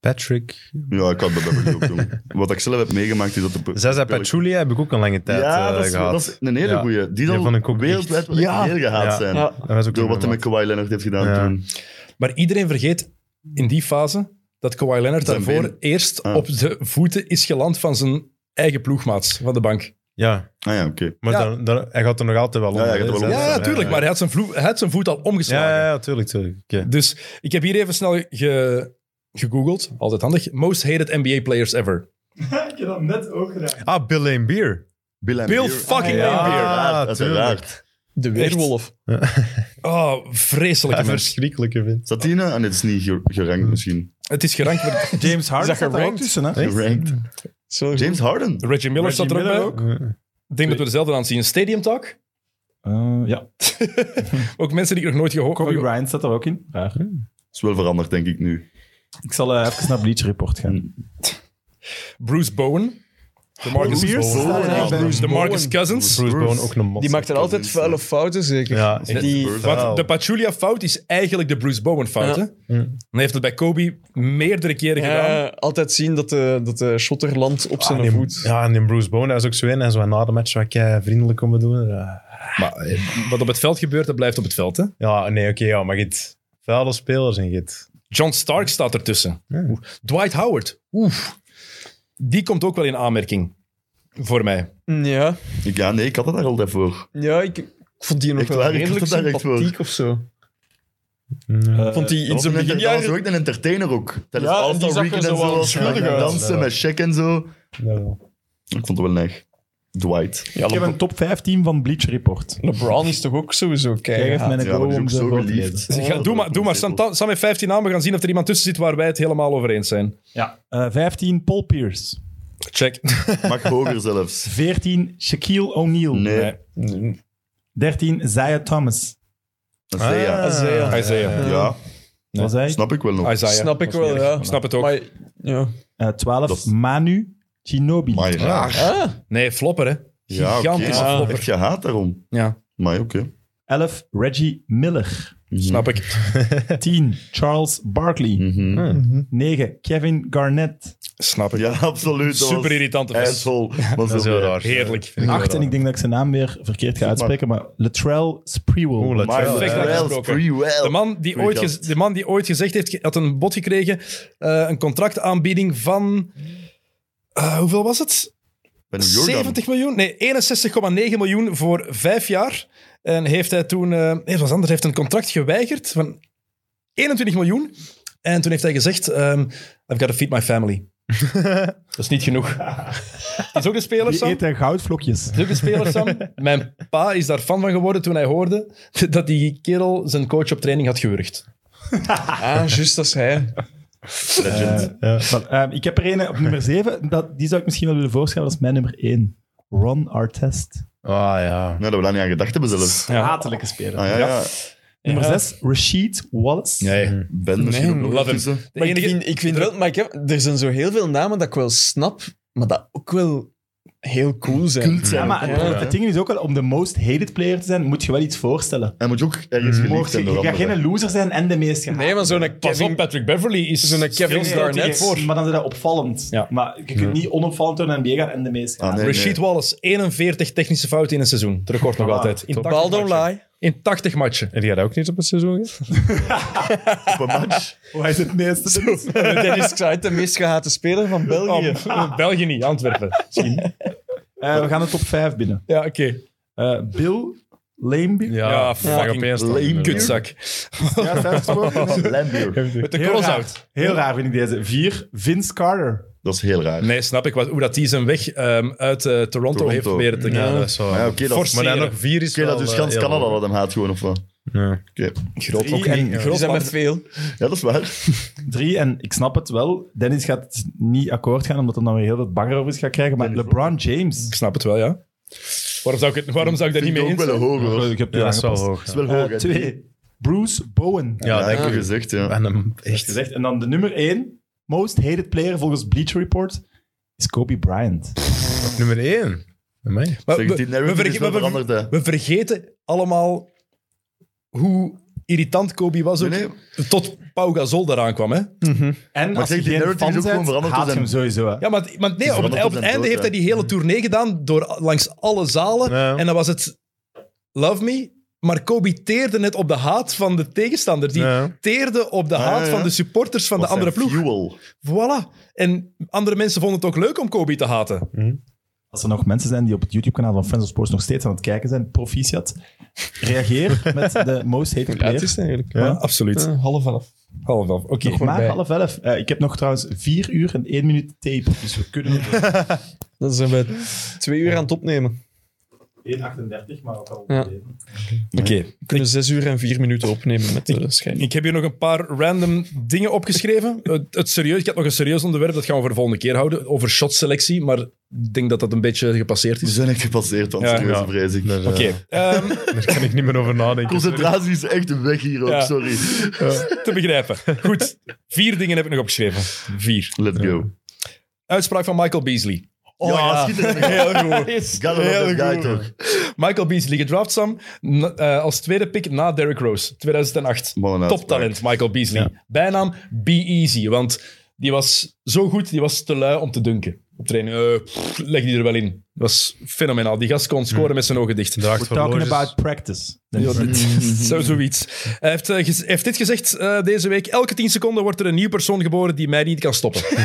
S5: Patrick.
S4: Ja, ik had dat Beverly ook doen. Wat ik zelf heb meegemaakt is dat de...
S5: Zaza Pachulia heb ik ook een lange tijd
S4: Ja,
S5: eh,
S4: dat is,
S5: gehad.
S4: dat is een hele
S5: Ja.
S4: goeie. Die
S5: Die
S4: zal
S5: vond ik ook
S4: wereldwijd
S5: echt-
S4: wel echt
S3: Ja.
S4: heel gehaat
S5: Ja.
S4: zijn.
S3: Ja.
S5: Dat was ook
S4: Door
S5: een
S4: wat hij met
S5: goeie
S4: Kawhi Leonard heeft gedaan
S5: Ja.
S4: toen.
S7: Maar iedereen vergeet in die fase dat Kawhi Leonard
S4: Zijn
S7: daarvoor
S4: been.
S7: eerst
S4: Ah.
S7: op de voeten is geland van zijn eigen ploegmaats van de bank.
S5: Ja,
S4: Ah ja, oké.
S5: maar
S7: Ja.
S5: Dan, dan, hij gaat er nog altijd wel
S4: Ja, hij gaat er wel
S5: hè.
S4: onder.
S7: Ja,
S4: Ja,
S7: ja, tuurlijk. Maar hij had zijn, vloe- hij had zijn voet al omgeslagen.
S5: Ja, ja, ja, tuurlijk, tuurlijk. Oké.
S7: Dus ik heb hier even snel ge- gegoogeld. Altijd handig. Most hated NBA players ever.
S6: Ik heb dat net ook gedaan.
S5: Ah, Bill and Beer.
S4: Bill, and
S7: Bill
S4: Beer.
S7: fucking
S5: Ah, ja.
S7: Lambier.
S4: Uiteraard,
S5: Ah, tuurlijk.
S4: uiteraard.
S3: De weerwolf.
S7: Oh, vreselijke
S5: Ja,
S7: mens.
S5: verschrikkelijke vind.
S4: Zat die in? Ah, nee, het is niet ge- gerankt misschien.
S7: Het is gerankt. maar
S6: James Harden
S3: Is dat
S6: staat daar ook
S3: gerankt?
S6: tussen, hè?
S4: Gerankt.
S3: Zo goed.
S4: James Harden.
S7: Reggie Miller staat er ook bij. Ik denk dat we dezelfde aan het zien. Stadium Talk.
S6: Eh, ja.
S7: Ook mensen die ik nog nooit gehoord
S6: Kobe
S7: heb.
S6: Bryant staat daar ook in. Raar.
S4: is wel veranderd, denk ik nu.
S6: Ik zal eh, even naar Bleach Report
S4: Hmm.
S6: gaan.
S7: Bruce Bowen. De Marcus,
S3: Bruce Bowen.
S4: Ja, Bruce
S7: de Marcus
S3: Bowen.
S7: Cousins.
S5: Bruce Bowen ook een mot.
S3: Die maakt er altijd vuile fouten, zeker.
S5: Ja, echt
S3: die,
S4: Bruce.
S7: Want de Pachulia-fout is eigenlijk de Bruce Bowen-fout.
S3: Ja.
S7: hè? En hij heeft het bij Kobe meerdere keren gedaan.
S3: ja, eh, altijd zien dat de, dat de shotter landt op zijn
S5: Ah, en die-
S3: voet.
S5: Ja, en die Bruce Bowen, dat is ook zo in. En zo na de match wat ik vriendelijk om doen. Ja,
S7: Maar eh, wat op het veld gebeurt, dat blijft op het veld. Hè?
S5: Ja, nee, oké, ja, maar git. Vuile spelers en git.
S7: John Stark staat ertussen. Oeh. Dwight Howard. Oef. Die komt ook wel in aanmerking. Voor mij.
S3: Ja,
S4: Ik, ja, nee, ik had het daar altijd voor.
S3: ja ik, ik vond die nog
S4: Echt
S3: wel
S4: waar, ik
S3: redelijk
S4: had het daar echt voor.
S3: sympathiek of zo.
S6: Eh,
S3: vond die in
S4: Iets
S3: zijn
S4: een beginjaar.
S3: beginjaren...
S4: was ook een entertainer ook. Tijdens
S3: Ja, en
S4: ja,
S3: die
S4: All-Star
S3: zag er
S4: Weekend
S3: zo
S4: en
S3: wel
S4: zo. was hij
S3: onschuldig
S4: aan
S3: uit.
S4: het dansen met Shaq en zo.
S5: Ja, wel.
S4: Ik vond het wel neig. Dwight.
S3: Ja,
S6: ik heb
S3: Le-
S6: een top 15 van Bleach Report.
S3: LeBron is toch ook sowieso
S6: Jij geeft mij
S3: keihard.
S6: een
S4: Ja, maar
S6: go
S4: die is
S6: om
S4: ook
S6: ze
S4: zo
S6: voor te
S4: geliefd. Oh,
S6: lezen.
S7: Zeg, doe maar, doe maar. Sam, Sam heeft 15 namen. We gaan zien of er iemand tussen zit waar wij het helemaal over eens zijn.
S6: Ja. Eh, 15, Paul Pierce.
S7: Check.
S4: Mag hoger zelfs.
S6: 14, Shaquille O'Neal.
S4: Nee.
S7: Nee.
S6: 13, Zaya Thomas.
S4: Isaiah.
S5: Ah,
S3: Isaiah.
S7: Isaiah.
S4: Ja,
S6: Was hij?
S4: snap ik wel nog.
S7: Isaiah.
S3: Snap ik wel, ja.
S7: Snap het ook.
S3: Maar, ja.
S6: Eh, 12,
S4: Dat-
S6: Manu Ginobili.
S4: Maar raar.
S3: Ah,
S7: Nee, flopper, hè.
S4: Ja, oké.
S7: Gigantische
S4: Ja,
S7: flopper.
S4: Echt gehaat daarom.
S7: Ja,
S4: Maar oké.
S6: 11, Reggie Miller.
S7: snap ik.
S6: 10, Charles Barkley.
S4: Mhm.
S6: Ah. 9, Kevin Garnett.
S7: Snap ik.
S4: Ja, absoluut. Dat
S7: Super
S4: was
S7: irritante vest.
S4: asshole. Was eh,
S5: Dat is heel raar.
S7: Heerlijk.
S5: Vind ik wel
S6: 8, en ik
S5: raar.
S6: denk dat ik zijn naam weer verkeerd ga uitspreken, maar Latrell Sprewell.
S5: Oeh,
S4: Maar
S5: Latrell,
S7: perfect
S5: hè.
S7: dat-
S4: wel,
S7: uitgesproken.
S4: free well.
S7: De man, die
S4: Goeie
S7: ooit
S4: gast.
S7: gez- de man die ooit gezegd heeft, ge- had een bod gekregen, eh, een contractaanbieding van... eh, hoeveel was het?
S4: Ben Jordan.
S7: 70 miljoen? Nee, 61,9 miljoen voor vijf jaar. En heeft hij toen... eh nee, het was anders. Hij heeft een contract geweigerd van 21 miljoen. En toen heeft hij gezegd, ehm, I've got to feed my family. dat is niet genoeg. is ook een speler,
S6: Die
S7: Sam.
S6: eet eh, goudvlokjes.
S7: Zulke spelers, Sam. Mijn pa is daar fan van geworden toen hij hoorde dat die kerel zijn coach op training had gewurgd.
S3: ah juist als hij.
S6: Wel, ehm, ik heb er een op nummer 7. Dat, die zou ik misschien wel willen voorstellen. Dat is mijn nummer 1. Ron Artest.
S5: Ah, ja.
S4: Nou, dat we daar niet aan gedacht hebben zelfs.
S7: Ja.
S6: Hatelijke speler.
S4: Ah ja, ja.
S6: Nummer 6, Rashid Wallace.
S7: Nee.
S4: Ben misschien ook nog
S7: love him.
S4: tussen.
S7: De
S3: Maar ik
S7: enige-
S3: vind, ik vind wel... Maar ik heb, er zijn zo heel veel namen dat ik wel snap, maar dat ook wel heel cool zijn.
S4: Kult zijn.
S6: Ja, maar
S4: ook,
S6: het-
S4: hè.
S6: het ding is ook wel, om de most hated player te zijn, moet je wel iets voorstellen.
S4: Hij moet je ook ergens geliefd
S6: Mocht je,
S4: zijn door
S6: je gaat
S4: anderen.
S6: Mm. geen loser zijn en de meest gehaald.
S3: Nee, maar zo'n
S7: Pas op,
S3: Kevin...
S7: Patrick Beverly is
S3: Zo'n Kevin
S7: veel sterker
S3: Garnett.
S7: voor.
S6: Maar dan is dat opvallend.
S7: Ja.
S6: Maar je kunt niet onopvallend door de NBA gaan en de meest gehaald.
S4: Ah, nee,
S7: Rashid
S4: nee.
S7: Wallace, 41 technische fouten in een seizoen. Het record nog
S6: Ah,
S7: altijd. In 80
S3: Ball don't
S7: matchen.
S3: lie.
S7: In 80 matchen.
S5: Heb jij dat ook niet op het seizoen gehad?
S4: Op een match.
S6: Oh, hij is het meeste. Eh,
S3: Dennis Kruijt, de meest gehate speler van België.
S7: Oh, België niet, Antwerpen.
S6: Eh, we gaan de top 5 binnen.
S7: Ja, oké.
S6: Eh, Bill Laimby.
S7: Ja,
S5: Ja,
S7: fucking
S5: opeens dan.
S7: lame kutzak.
S6: Ja, vijf gesproken.
S4: Lambier.
S7: Met de
S6: Heel
S7: cross
S6: raar.
S7: out.
S6: Heel raar vind ik deze. 4, Vince Carter.
S4: Dat is heel raar.
S7: Nee, snap ik. Wat, hoe dat die zijn weg ehm, uit eh, Toronto,
S4: Toronto.
S7: heeft proberen te gaan.
S4: Ja,
S7: eh,
S5: dat is wel-
S4: Maar ja, oké, dat,
S7: Forceren.
S4: oké,
S5: Maar dan nog vier is wel,
S4: dat dus
S5: eh,
S4: gans
S5: heel
S4: Canada
S5: hoog.
S4: dat hem haat gewoon, of wat?
S5: Nee.
S4: Oké.
S7: Groot ook
S6: en-
S7: niet.
S6: die
S7: Groot
S2: zijn
S7: land.
S2: met veel.
S4: Ja, dat is waar.
S6: Drie, en ik snap het wel. Dennis gaat niet akkoord gaan, omdat hij dan weer heel dat bagger over is gaat krijgen. Maar LeBron
S7: Ik
S6: James.
S7: snap het wel, ja. Waarom zou ik, het, waarom zou ik daar niet
S4: Vind
S7: mee
S4: ik
S7: eens
S4: ook wel
S7: zijn?
S4: een hoge, hoor.
S6: Ik heb
S5: Ja, dat is wel
S6: aangepast.
S5: hoog.
S4: Dat
S5: Ja,
S4: is wel
S6: Eh,
S4: hoog, hè.
S6: twee, Bruce Bowen.
S5: ja,
S4: Ja,
S5: denk
S4: ik heb
S5: ik.
S4: gezegd, ja.
S5: En hem echt.
S6: Gezegd. En dan de nummer één, most hated player volgens Bleacher Report, is Kobe Bryant.
S5: Nummer één. Bij mij.
S7: Maar
S4: Zeg,
S7: we,
S4: die
S7: we
S4: narrative
S7: verge-
S4: is wel
S7: we- we-
S4: veranderd, hè.
S7: we vergeten allemaal hoe irritant Kobe was ook.
S4: Nee,
S7: Tot Pau Gasol eraan kwam, hè?
S6: En als
S4: zeg,
S6: je
S4: die
S6: geen
S4: narrative is ook
S6: fan
S4: gewoon
S6: bent,
S4: veranderd
S6: haat je
S4: door
S6: hem sowieso. hè.
S7: Ja, maar, maar nee, op het, e-, op
S4: veranderd
S7: het
S4: tot zijn
S7: einde
S4: dood,
S7: heeft hij die hele tournee gedaan door langs alle zalen.
S5: Mm. Ja.
S7: En dan was het Love Me. Maar Kobe teerde net op de haat van de tegenstander. Die
S5: Ja.
S7: teerde op de haat
S4: ja.
S7: van de supporters van de andere ploeg.
S4: Fuel.
S7: Voilà. En andere mensen vonden het ook leuk om Kobe te haten.
S6: Als er nog mensen zijn die op het YouTube-kanaal van Friends of Sports nog steeds aan het kijken zijn, proficiat, reageer met de most hated
S3: Ja, het
S6: player.
S3: is het eigenlijk.
S5: Ja.
S7: Absoluut.
S3: Eh, half elf.
S7: Half elf. Oké.
S6: Nog maar half elf. Eh, ik heb nog trouwens vier uur en één minuut tape, dus we kunnen het
S3: Dan zijn we twee uur aan het opnemen.
S6: op 1.38, maar ook al.
S3: Ja.
S7: Oké.
S3: We kunnen zes uur en vier minuten opnemen met de schijn.
S7: Ik heb hier nog een paar random dingen opgeschreven. Het, het serieus, ik heb nog een serieus onderwerp, dat gaan we voor de volgende keer houden, over shotselectie. Maar ik denk dat dat een beetje gepasseerd
S4: Die
S7: is.
S4: zijn echt gepasseerd van
S7: Ja.
S4: serieuze
S5: Ja.
S4: vrees ik.
S5: Daar, eh,
S7: Oké, ehm,
S5: Daar kan ik niet meer over nadenken.
S4: Concentratie is echt weg hier ook,
S7: Ja.
S4: sorry.
S7: te begrijpen. Goed, vier dingen heb ik nog opgeschreven. Vier.
S4: Let's go.
S7: Uitspraak van Michael Beasley.
S4: Oh, ja, schitterend. Heel goed. Got
S7: Heel
S4: another guy
S7: goed.
S4: toch.
S7: Michael Beasley gedraft, Sam, na- eh, als tweede pick na Derrick Rose, 2008.
S4: Wat een uitspraak.
S7: Toptalent, Michael Beasley. Bijnaam Be Easy, want die was zo goed, die was te lui om te dunken. Op training eh, pff, leg die er wel in. Dat was fenomenaal. Die gast kon scoren met zijn ogen dicht.
S5: Draagt
S6: Talking
S5: horloges.
S6: about practice.
S7: Ja, dit- zo, zoiets. Hij heeft, eh, gez- heeft dit gezegd eh, deze week. Elke 10 seconden wordt er een nieuw persoon geboren die mij niet kan stoppen.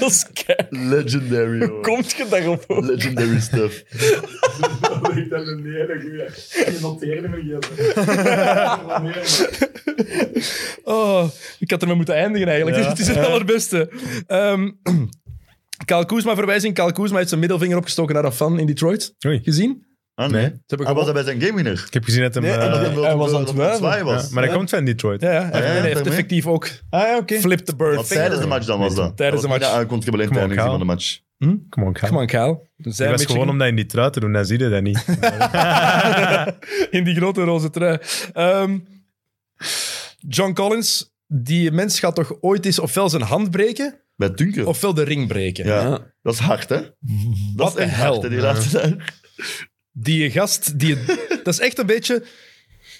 S3: Dat is kei-
S4: Legendary, hoor.
S3: Komt je daarop? hoor?
S4: Legendary stuff.
S7: Oh, ik had ermee moeten eindigen eigenlijk. Het is het allerbeste. Ehm Kyle Kuzma verwijzing. Kyle Kuzma heeft zijn middelvinger opgestoken naar een fan in Detroit.
S5: Oei.
S7: Gezien?
S4: Ah, nee.
S5: Nee.
S7: Ze hebben
S4: Hij
S7: gewonnen.
S4: was hij bij zijn gamewinner.
S5: Ik heb gezien dat hem... eh,
S4: hij
S3: was aan het wuiven.
S5: ja, maar hij komt van Detroit.
S7: Ja, ja. Hij
S4: ja,
S7: heeft
S4: daarmee.
S7: effectief ook
S3: Ah ja, oké.
S7: flip the bird.
S4: Wat tijdens de match dan was dat?
S7: Tijdens de match.
S4: Ja, ik kon het alleen
S5: Come on,
S4: tijdens
S5: Kyle.
S4: van de match.
S5: Come on, Kyle.
S7: Come on, Kyle.
S5: Het
S7: Zij
S5: was gewoon om dat in die trui te doen, dan zie je dat niet.
S7: in die grote roze trui. Ehm, John Collins, die mens gaat toch ooit eens ofwel zijn hand breken,
S4: Bij Dunker.
S7: ofwel de ring breken.
S4: ja.
S3: Ja.
S4: dat is hard, hè? Dat
S7: Wat
S4: is
S7: de
S4: echt hard, hè,
S7: hel.
S4: die laatste tijd.
S7: Die gast, die, dat is echt een beetje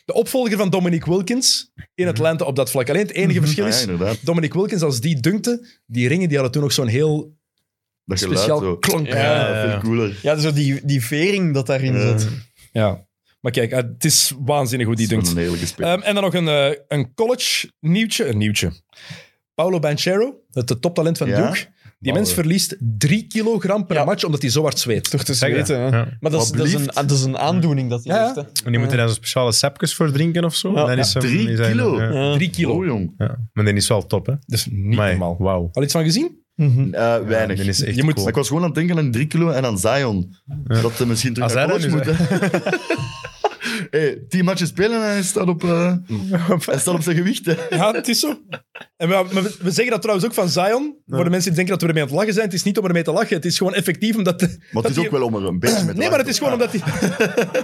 S7: de opvolger van Dominique Wilkins in Atlanta op dat vlak. Alleen het enige verschil
S4: Mhm. Ah Ja,
S7: is,
S4: inderdaad.
S7: Dominique Wilkins, als die dunkte, die ringen die hadden toen nog zo'n heel
S4: Dat geluid
S7: speciaal
S4: zo.
S7: klonk.
S3: Ja.
S4: Ja,
S5: Eh,
S4: dat vind ik cooler.
S3: Ja, zo die, die vering dat daarin zit.
S7: Ja. Maar kijk, eh, het is waanzinnig hoe die
S4: Dat is
S7: dunkt.
S4: wel een heerlijke speel.
S7: Ehm, en dan nog een, eh, een college nieuwtje. Een nieuwtje. Paolo Banchero, het de toptalent van
S4: Ja?
S7: Duke. Die mens verliest 3 kilogram per match omdat hij zo hard zweet.
S3: Toch te
S5: Zeg dat.
S3: zweten, hè?
S5: Ja.
S3: Maar dat is,
S4: Wat
S3: dat, is een,
S4: blieft.
S3: dat is een aandoening dat hij
S7: Ja,
S3: heeft,
S7: ja.
S3: hè.
S5: En die moeten daar zo'n speciale sapjes voor drinken of zo.
S3: Ja.
S5: Dan is hem-
S4: Drie
S5: die zijn-
S4: kilo?
S5: ja.
S3: Ja.
S7: 3 kilo.
S4: Oh, jong.
S5: Ja. Maar die is wel top, hè?
S7: Dat is niet
S5: Maar,
S7: normaal.
S5: Wauw.
S7: Al iets van gezien?
S4: Eh, weinig.
S5: Die is echt
S7: Je moet-
S5: cool.
S4: Maar ik was gewoon aan het denken aan 3 kilo en aan Zion. Dat hij misschien terug
S5: Als
S4: naar
S5: hij
S4: college
S5: dat
S4: moet.
S5: nu
S4: hè. hey, tien matches spelen en hij staat op, eh, hij staat op zijn gewicht. Hè.
S7: Ja, het is zo. En we, maar we- we zeggen dat trouwens ook van Zion. Voor de mensen die denken dat we ermee aan het lachen zijn. Het is niet om ermee te lachen. Het is gewoon effectief omdat... de-
S4: Maar
S7: dat
S4: het is
S7: die-
S4: ook wel om er een beetje mee te
S7: Nee, maar het is gewoon omdat die...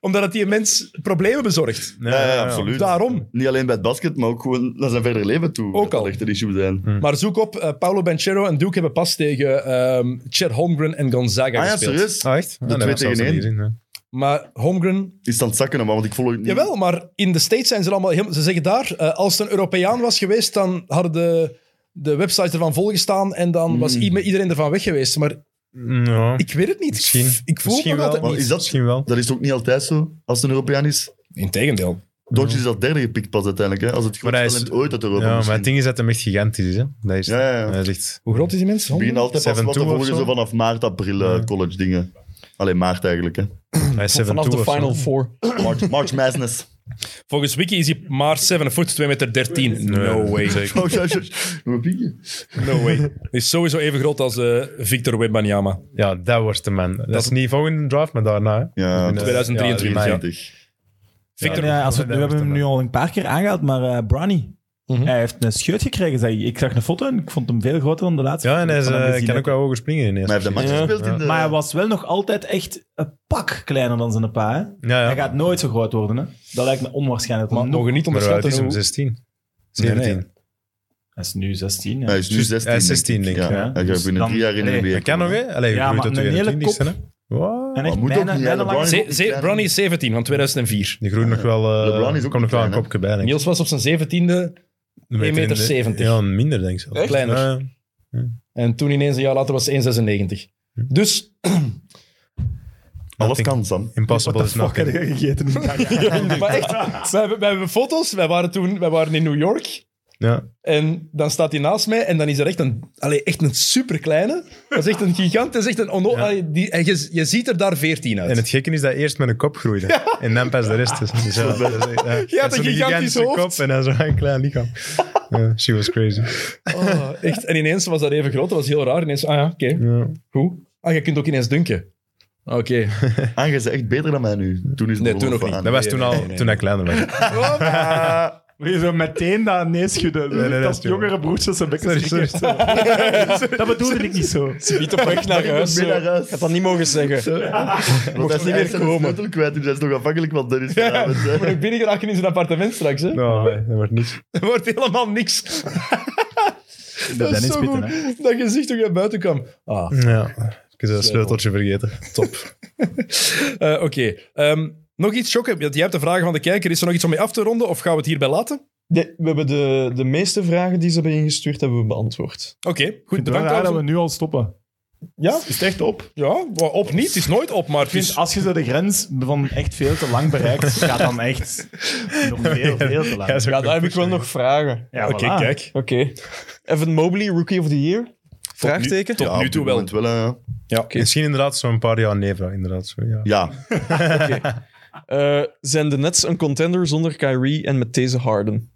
S7: omdat het die mens problemen bezorgt.
S5: Ja,
S4: Ja,
S5: ja,
S4: ja,
S5: ja.
S4: absoluut.
S7: Daarom.
S4: Niet alleen bij het basket, maar ook gewoon naar zijn verder leven toe.
S7: Ook
S4: Dat dat
S7: al.
S4: echt een issue zijn.
S5: Hmm.
S7: Maar zoek op, eh, Paolo Banchero en Duke hebben pas tegen ehm Chet Holmgren en Gonzaga
S4: Ah ja,
S7: gespeeld.
S4: serieus?
S5: Ah, echt?
S4: De twee tegen één.
S7: Maar Holmgren...
S4: Is het aan het zakken, maar want ik volg het niet.
S7: Jawel, maar in de States zijn ze er allemaal... helemaal- Ze zeggen daar, eh, als het een Europeaan was geweest, dan hadden de, de websites ervan volgestaan en dan was
S4: Mm.
S7: i- iedereen ervan weg geweest. Maar
S5: Mm, Ja.
S7: ik weet het niet.
S5: Misschien.
S7: Ik voel
S5: Misschien
S7: het nog
S5: wel.
S7: altijd
S4: Maar
S7: niet.
S4: is dat,
S5: Misschien wel.
S4: dat is ook niet altijd zo, als het een Europeaan is.
S7: Integendeel.
S4: Doncic is dat derde gepikt pas uiteindelijk, hè? als het grootste
S5: hij is-
S4: talent ooit uit Europa
S5: Ja, maar
S4: misschien.
S5: het ding is dat hem echt gigantisch is, hè? Dat is,
S4: Ja, ja, ja.
S5: Hij is echt...
S7: Hoe groot is die mens?
S4: We beginnen altijd pas
S5: 7-2
S4: wat te volgen
S5: of zo.
S4: zo vanaf maart, april eh, college dingen. Alleen maart eigenlijk. Hè.
S5: Hij is 7
S3: Vanaf de Final Four.
S4: March, March Madness.
S7: Volgens Wiki is hij maar 7 foot, 2 meter 13. No way.
S4: Oh, ja, ja, ja. Mijn piekje.
S7: No way. Hij is sowieso even groot als eh, Victor Wembanyama.
S5: Ja, dat wordt de man. Dat, is niet volgende draft, maar daarna. hè.
S4: Ja,
S5: dat-
S7: 2023,
S5: ja,
S7: ja.
S5: mei.
S4: 20.
S7: Victor,
S6: Ja, als we, we
S5: dat Mhm.
S6: hebben hem
S5: wordt
S6: nu al een paar keer aangehaald, maar eh Bronny. Hij heeft een scheut gekregen. Zei, ik. ik zag een foto en ik vond hem veel groter dan de laatste.
S5: Ja, en hij is,
S6: foto die ik
S5: eh,
S6: van hem gezien
S5: kan ook
S6: heb.
S5: wel hoger springen ineens.
S4: Maar hij heeft de match gespeeld in de...
S6: Maar hij was wel nog altijd echt een pak kleiner dan zijn pa. Hè?
S5: Ja, ja.
S6: Hij gaat nooit zo groot worden. Hè? Dat lijkt me onwaarschijnlijk.
S7: maar
S6: Maar nog...
S7: mogen niet
S5: Maar het
S7: onderschatten
S5: is hem
S7: hoe...
S5: 16.
S7: Nee,
S5: 17.
S7: nee.
S6: Hij is nu Dus 16. Ja.
S4: Hij is nu
S5: Juist,
S4: 16.
S5: hij is 16, denk ik,
S4: Ja.
S5: ja.
S4: Hij gaat
S6: Dus
S4: binnen
S6: dan-
S4: drie jaar in de
S5: Nee,
S4: NBA.
S5: dat kan nog,
S4: komen.
S5: hè? Allee, je
S6: Ja,
S5: groeit
S6: maar
S5: tot
S6: een hele
S5: 21 ste hè? Wow.
S6: En
S4: Maar
S6: echt
S4: moet ook
S6: bijna,
S4: niet, hè,
S6: bijna
S4: LeBron
S6: lang-
S4: is
S7: Ze- ze- Bronny is 17 van 2004.
S5: Die groeit nog wel... eh,
S4: LeBron is ook
S5: komt nog wel een
S4: klein, hè?
S5: kopje bij, denk ik.
S7: Niels was op zijn 17e
S5: Een
S7: 1,70.
S5: Ja, minder, denk ik zelfs.
S7: Echt? Kleiner.
S5: Ja,
S7: en toen ineens een jaar later was hij 1,96. Dus
S4: Alles
S5: Nothing.
S4: kan, Sam.
S5: Impossible is
S6: Fuck, heb
S5: nothing.
S6: je gegeten?
S7: maar echt, wij hebben, wij hebben foto's. Wij waren toen wij waren in New York.
S5: Ja.
S7: En dan staat hij naast mij en dan is er echt een, allee, echt een superkleine. Dat is echt een gigant. Dat is echt een onno- allee, die, en je, je ziet er daar 14 uit.
S5: En het gekke is dat eerst met een kop groeide. En dan pas de rest. is. Dus ja, dat is echt, ja.
S7: Je had
S5: Zo'n
S7: een gigantisch
S5: gigantische
S7: hoofd.
S5: kop en dan zo'n klein lichaam. Ja, she was crazy.
S7: Oh, echt. En ineens was dat even groot. Dat was heel raar. Ineens, ah ja, oké.
S5: Ja.
S7: Goed. Ah, je kunt ook ineens dunken. Oké.
S4: Ah, jij bent echt beter dan mij nu. Toen is het
S7: Nee,
S4: er
S7: toen nog
S4: van
S7: niet.
S4: aan.
S5: Dat was
S7: Nee,
S5: toen
S7: nee,
S5: al,
S7: nee, nee.
S5: toen ik kleiner was.
S6: Wil je zo meteen dat nee schudden?
S5: nee, dat
S6: dat
S5: is jongen.
S6: jongere broertjes zijn bekken schrikken. Dat bedoelde ik niet zo.
S3: Niet op weg naar huis. eh.
S4: ben
S3: zo.
S4: naar huis.
S3: Ik had dat niet mogen zeggen.
S4: Want hij
S3: niet
S4: is
S3: meer
S4: echt zijn
S3: komen.
S4: sleutel kwijt. Dus hij is nog afhankelijk van Dennis vanavond. hè.
S7: Moet ik binnen geraken in zijn appartement straks, hè?
S5: Oh, nee, dat wordt niks.
S7: Er wordt helemaal niks. dat is
S6: Dennis
S7: zo
S6: Pitten,
S7: goed. Dat gezicht toen je buiten kwam. Ah.
S5: Ja. Ik heb dat sleuteltje vergeten. Top.
S7: Eh, Oké. Ehm, nog iets, Jokke? Want Jij hebt de vragen van de kijker. Is er nog iets om mee af te ronden of gaan we het hierbij laten?
S3: Nee, we hebben de, de meeste vragen die ze hebben ingestuurd, hebben we beantwoord.
S7: Oké, goed.
S6: Ik vind het wel
S7: Bedankt.
S6: raar dat we
S7: Alvin.
S6: nu al stoppen.
S7: Ja?
S6: Is het echt op?
S7: Ja, maar op niet. Het is nooit op, maar het
S6: Dus
S7: is...
S6: als je zo de grens van echt veel te lang bereikt, gaat dan echt nog veel, veel te lang.
S3: Ja, daar heb ik wel nog vragen.
S6: Ja,
S7: Oké,
S6: voilà.
S7: kijk.
S3: Oké. Evan Mobley, Rookie of the Year? Vraagteken?
S7: Tot
S4: Ja,
S7: nu
S4: op
S7: toe
S4: dit
S7: wel.
S4: moment wel. hè.
S7: Ja, oké.
S5: Misschien inderdaad zo'n paar jaar Neva. Inderdaad, zo, ja.
S4: Ja,
S3: Eh, zijn de Nets een contender zonder Kyrie en met deze Harden?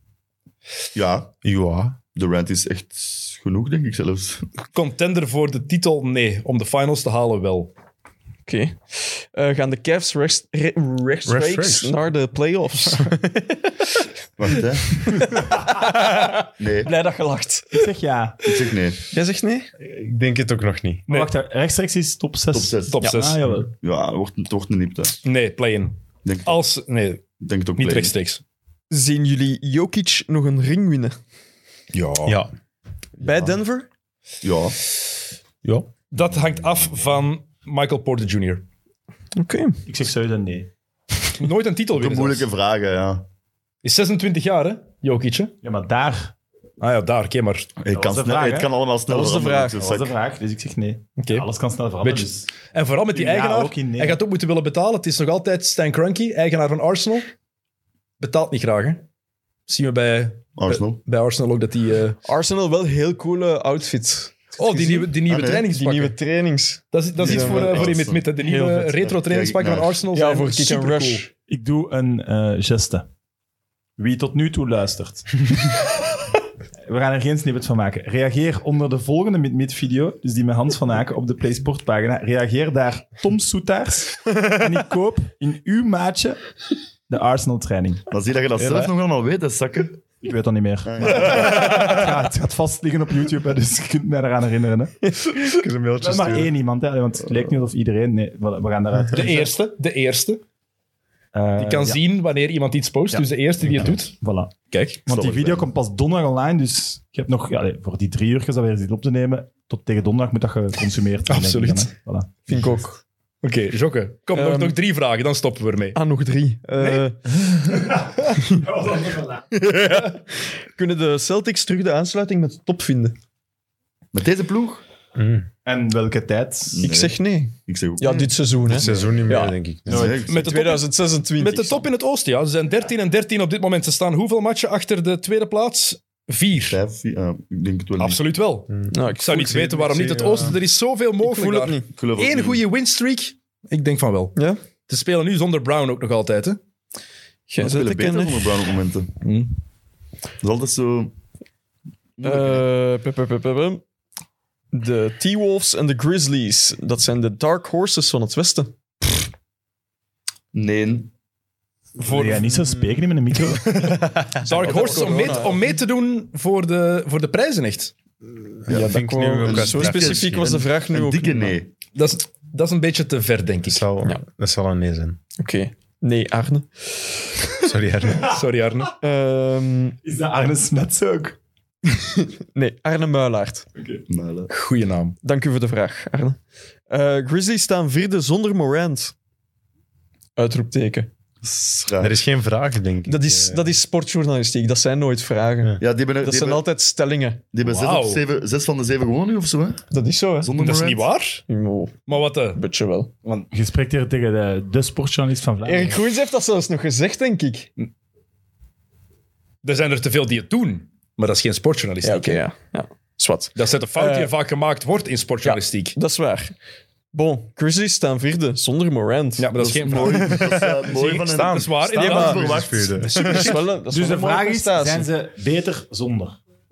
S4: ja.
S5: Ja.
S4: De rant is echt genoeg, denk ik zelfs.
S7: Contender voor de titel? Nee. Om de finals te halen wel.
S3: Oké. Eh, gaan de Cavs rechts- re- rechtstreeks
S5: Rechtstreeks.
S3: naar de playoffs?
S4: Wacht, hè. Nee,
S3: Blij dat gelacht.
S6: Ik zeg ja.
S4: ik zeg nee.
S3: Jij zegt nee?
S5: Ik denk het ook nog niet.
S6: Maar wacht, rechtstreeks is top 6.
S4: Top 6.
S7: Top 6.
S6: Ah, jawel.
S4: Ja, het wordt, het wordt een nipte.
S7: Nee, play-in.
S4: Denk, ik
S7: Als... Nee,
S4: denk het ook
S7: niet
S4: play.
S7: rechtstreeks.
S3: Zien jullie Jokic nog een ring winnen?
S5: Ja.
S3: Bij Denver?
S4: Ja,
S5: Ja.
S7: Dat hangt af van Michael Porter Jr.
S3: Oké.
S6: Ik zeg sowieso nee.
S7: Nooit een titel
S4: de
S7: winnen.
S4: moeilijke
S7: zelfs.
S4: vragen, ja.
S7: Is 26 jaar, hè? Jokic, hè?
S6: Ja, maar daar
S7: Ah ja, daar, oké, maar...
S4: Het kan,
S6: de
S4: snel-
S6: vraag,
S4: het
S6: hè?
S4: kan allemaal snel
S3: Dat was de
S4: veranderen,
S3: vraag.
S4: dus
S6: was de
S4: zak.
S6: vraag, dus ik zeg nee.
S7: Oké.
S6: Alles kan snel veranderen.
S7: Beetje-
S6: dus-
S7: En vooral met die
S6: Ja,
S7: eigenaar.
S6: ook in, nee.
S7: Hij gaat ook moeten willen betalen. Het is nog altijd Stan Kroenke, eigenaar van Arsenal. Betaalt niet graag, hè? Zien we bij,
S4: Arsenal.
S7: bij Arsenal ook dat die... eh,
S3: Arsenal wel heel coole outfit.
S7: Oh, die nieuwe, die nieuwe
S4: Ah, nee.
S3: Die
S7: trainingspakken.
S3: nieuwe trainings.
S7: Dat is, dat is iets
S4: Die zijn
S7: voor,
S4: wel
S7: eh, voor in
S4: echt
S7: het midden. De nieuwe
S4: vet.
S7: retro trainingspakken
S4: Kijk
S7: van
S4: naar.
S7: Arsenal
S3: Ja,
S7: zijn
S3: voor kick and
S7: supercool.
S3: rush.
S6: Ik doe een eh, geste. Wie tot nu toe luistert. We gaan er geen snippet van maken. Reageer onder de volgende Mid-Mid-video, dus die met Hans van Aken op de PlaySport-pagina. Reageer daar Tom Soetaars en ik koop in uw maatje de Arsenal-training.
S4: Dan zie je dat je dat zelf nog allemaal weet, hè, zakken.
S6: Ik weet dat niet meer. Maar het, gaat, het gaat vast liggen op YouTube, hè, dus je kunt mij eraan herinneren. Hè.
S5: Ik heb een mailtje
S6: Maar
S5: sturen.
S6: één iemand, hè, want het leek niet of iedereen... Nee, we we gaan daaruit.
S7: De eerste, de eerste.
S6: Eh,
S7: Die kan
S6: ja,
S7: zien wanneer iemand iets post. Dus de eerste die het doet.
S6: Voilà.
S7: Kijk.
S6: Want
S4: Zal
S6: die
S4: er
S6: video
S4: zijn.
S6: komt pas donderdag online, dus je hebt nog ja, nee, voor die drie uur dat we hier zitten op te nemen. Tot tegen donderdag moet dat geconsumeerd worden. denk ik
S7: Absoluut.
S6: dan, hè. Voilà.
S3: Vind ik ook.
S7: Oké, Jokke. Kom, nog,
S3: Ehm.
S7: nog drie vragen, dan stoppen we ermee.
S3: Ah, nog drie. Eh, Kunnen de Celtics terug de aansluiting met de top vinden?
S4: Met deze ploeg?
S6: En welke tijd?
S3: Ik zeg nee.
S4: Ik zeg ook
S3: Ja,
S4: nee.
S3: dit seizoen, hè.
S5: Het seizoen niet meer,
S3: Ja.
S5: denk ik.
S4: Dat is echt-
S7: Met de top,
S3: 2026.
S7: met de top in het oosten, ja. Ze zijn 13 en 13 op dit moment. Ze staan hoeveel matchen achter de tweede plaats? Vier.
S4: Vijf, vier, ah, ik denk het wel niet.
S7: Absoluut wel.
S3: Nou,
S7: Ik zou niet
S5: zie-
S7: weten
S5: ik
S7: waarom
S5: zie,
S7: niet. Het
S5: ja.
S7: oosten, er is zoveel
S3: Ik voel
S7: mogelijk
S3: het
S7: daar.
S3: niet.
S4: Ik geloof het
S7: Eén
S4: niet.
S7: goede winstreak. Ik denk van wel.
S3: Ja?
S7: Ze spelen nu zonder Brown ook nog altijd, hè?
S3: Jij zet
S4: We spelen
S3: de
S4: beter
S3: kenner.
S4: onder Brown op momenten.
S3: Hm.
S4: Dat is altijd zo...
S3: Eh, pum, pum, pum, pum, pum. De T-Wolves en de Grizzlies. Dat zijn de Dark Horses van het Westen.
S4: Nee.
S6: Wil jij niet zo spreken met een micro?
S7: Dark Horse om mee, om mee te doen voor de, voor de prijzen, echt.
S2: Ja, dat
S5: vind ik nu
S2: kwam-
S5: ook
S3: Zo
S5: uit-
S3: specifiek was de vraag nu
S4: Een
S3: ook.
S4: dikke
S3: niet, maar-
S4: nee.
S7: Dat is, dat is een beetje te ver, denk ik.
S5: Dat zal,
S3: Ja.
S5: dat zal een nee zijn.
S3: Oké. Nee, Arne.
S5: Sorry, Arne.
S7: Sorry, Arne.
S3: Ehm,
S6: Is dat Arne Smets ook?
S3: nee, Arne Muilaert.
S4: Maar, eh,
S7: Goeie naam.
S3: Dank u voor de vraag, Arne. Eh, Grizzlies staan vierde zonder Morant. Uitroepteken.
S4: schraag.
S5: Er is geen vraag, denk ik.
S3: Dat is,
S5: Eh,
S3: dat is sportjournalistiek. Dat zijn nooit vragen.
S5: Ja.
S4: Ja, die hebben,
S3: Dat
S4: die
S3: zijn
S4: hebben,
S3: altijd stellingen.
S4: die hebben zes,
S7: Wauw.
S4: of zeven, zes van de zeven gewonnen nu of zo, hè?
S3: Dat is zo, hè?
S4: Zonder
S7: Dat is
S4: Morant.
S7: niet waar.
S3: Oh,
S7: Maar wat eh, de...
S3: een beetje wel.
S6: Je spreekt hier tegen de, de sportjournalist van Vlaanderen.
S3: Erik Groens heeft dat zelfs nog gezegd, denk ik.
S7: Er zijn er te veel die het doen. Maar dat is geen sportjournalistiek.
S3: Ja, oké, ja. ja. Zwat.
S7: Dat is de fout die
S3: Eh,
S7: er vaak gemaakt wordt in sportjournalistiek. Ja,
S3: Dat is waar. Bon, Grizzlies staan vierde zonder Morant.
S7: maar dat is geen
S4: Mooi, dat is, eh, mooi van
S7: Dat
S4: hen.
S7: is waar.
S4: Ja,
S7: inderdaad.
S4: maar-
S5: Verwacht. Dat
S3: Dat is wel een- dat is wel
S6: Dus de
S3: een mooie
S6: vraag is,
S3: prestatie.
S6: zijn ze beter zonder?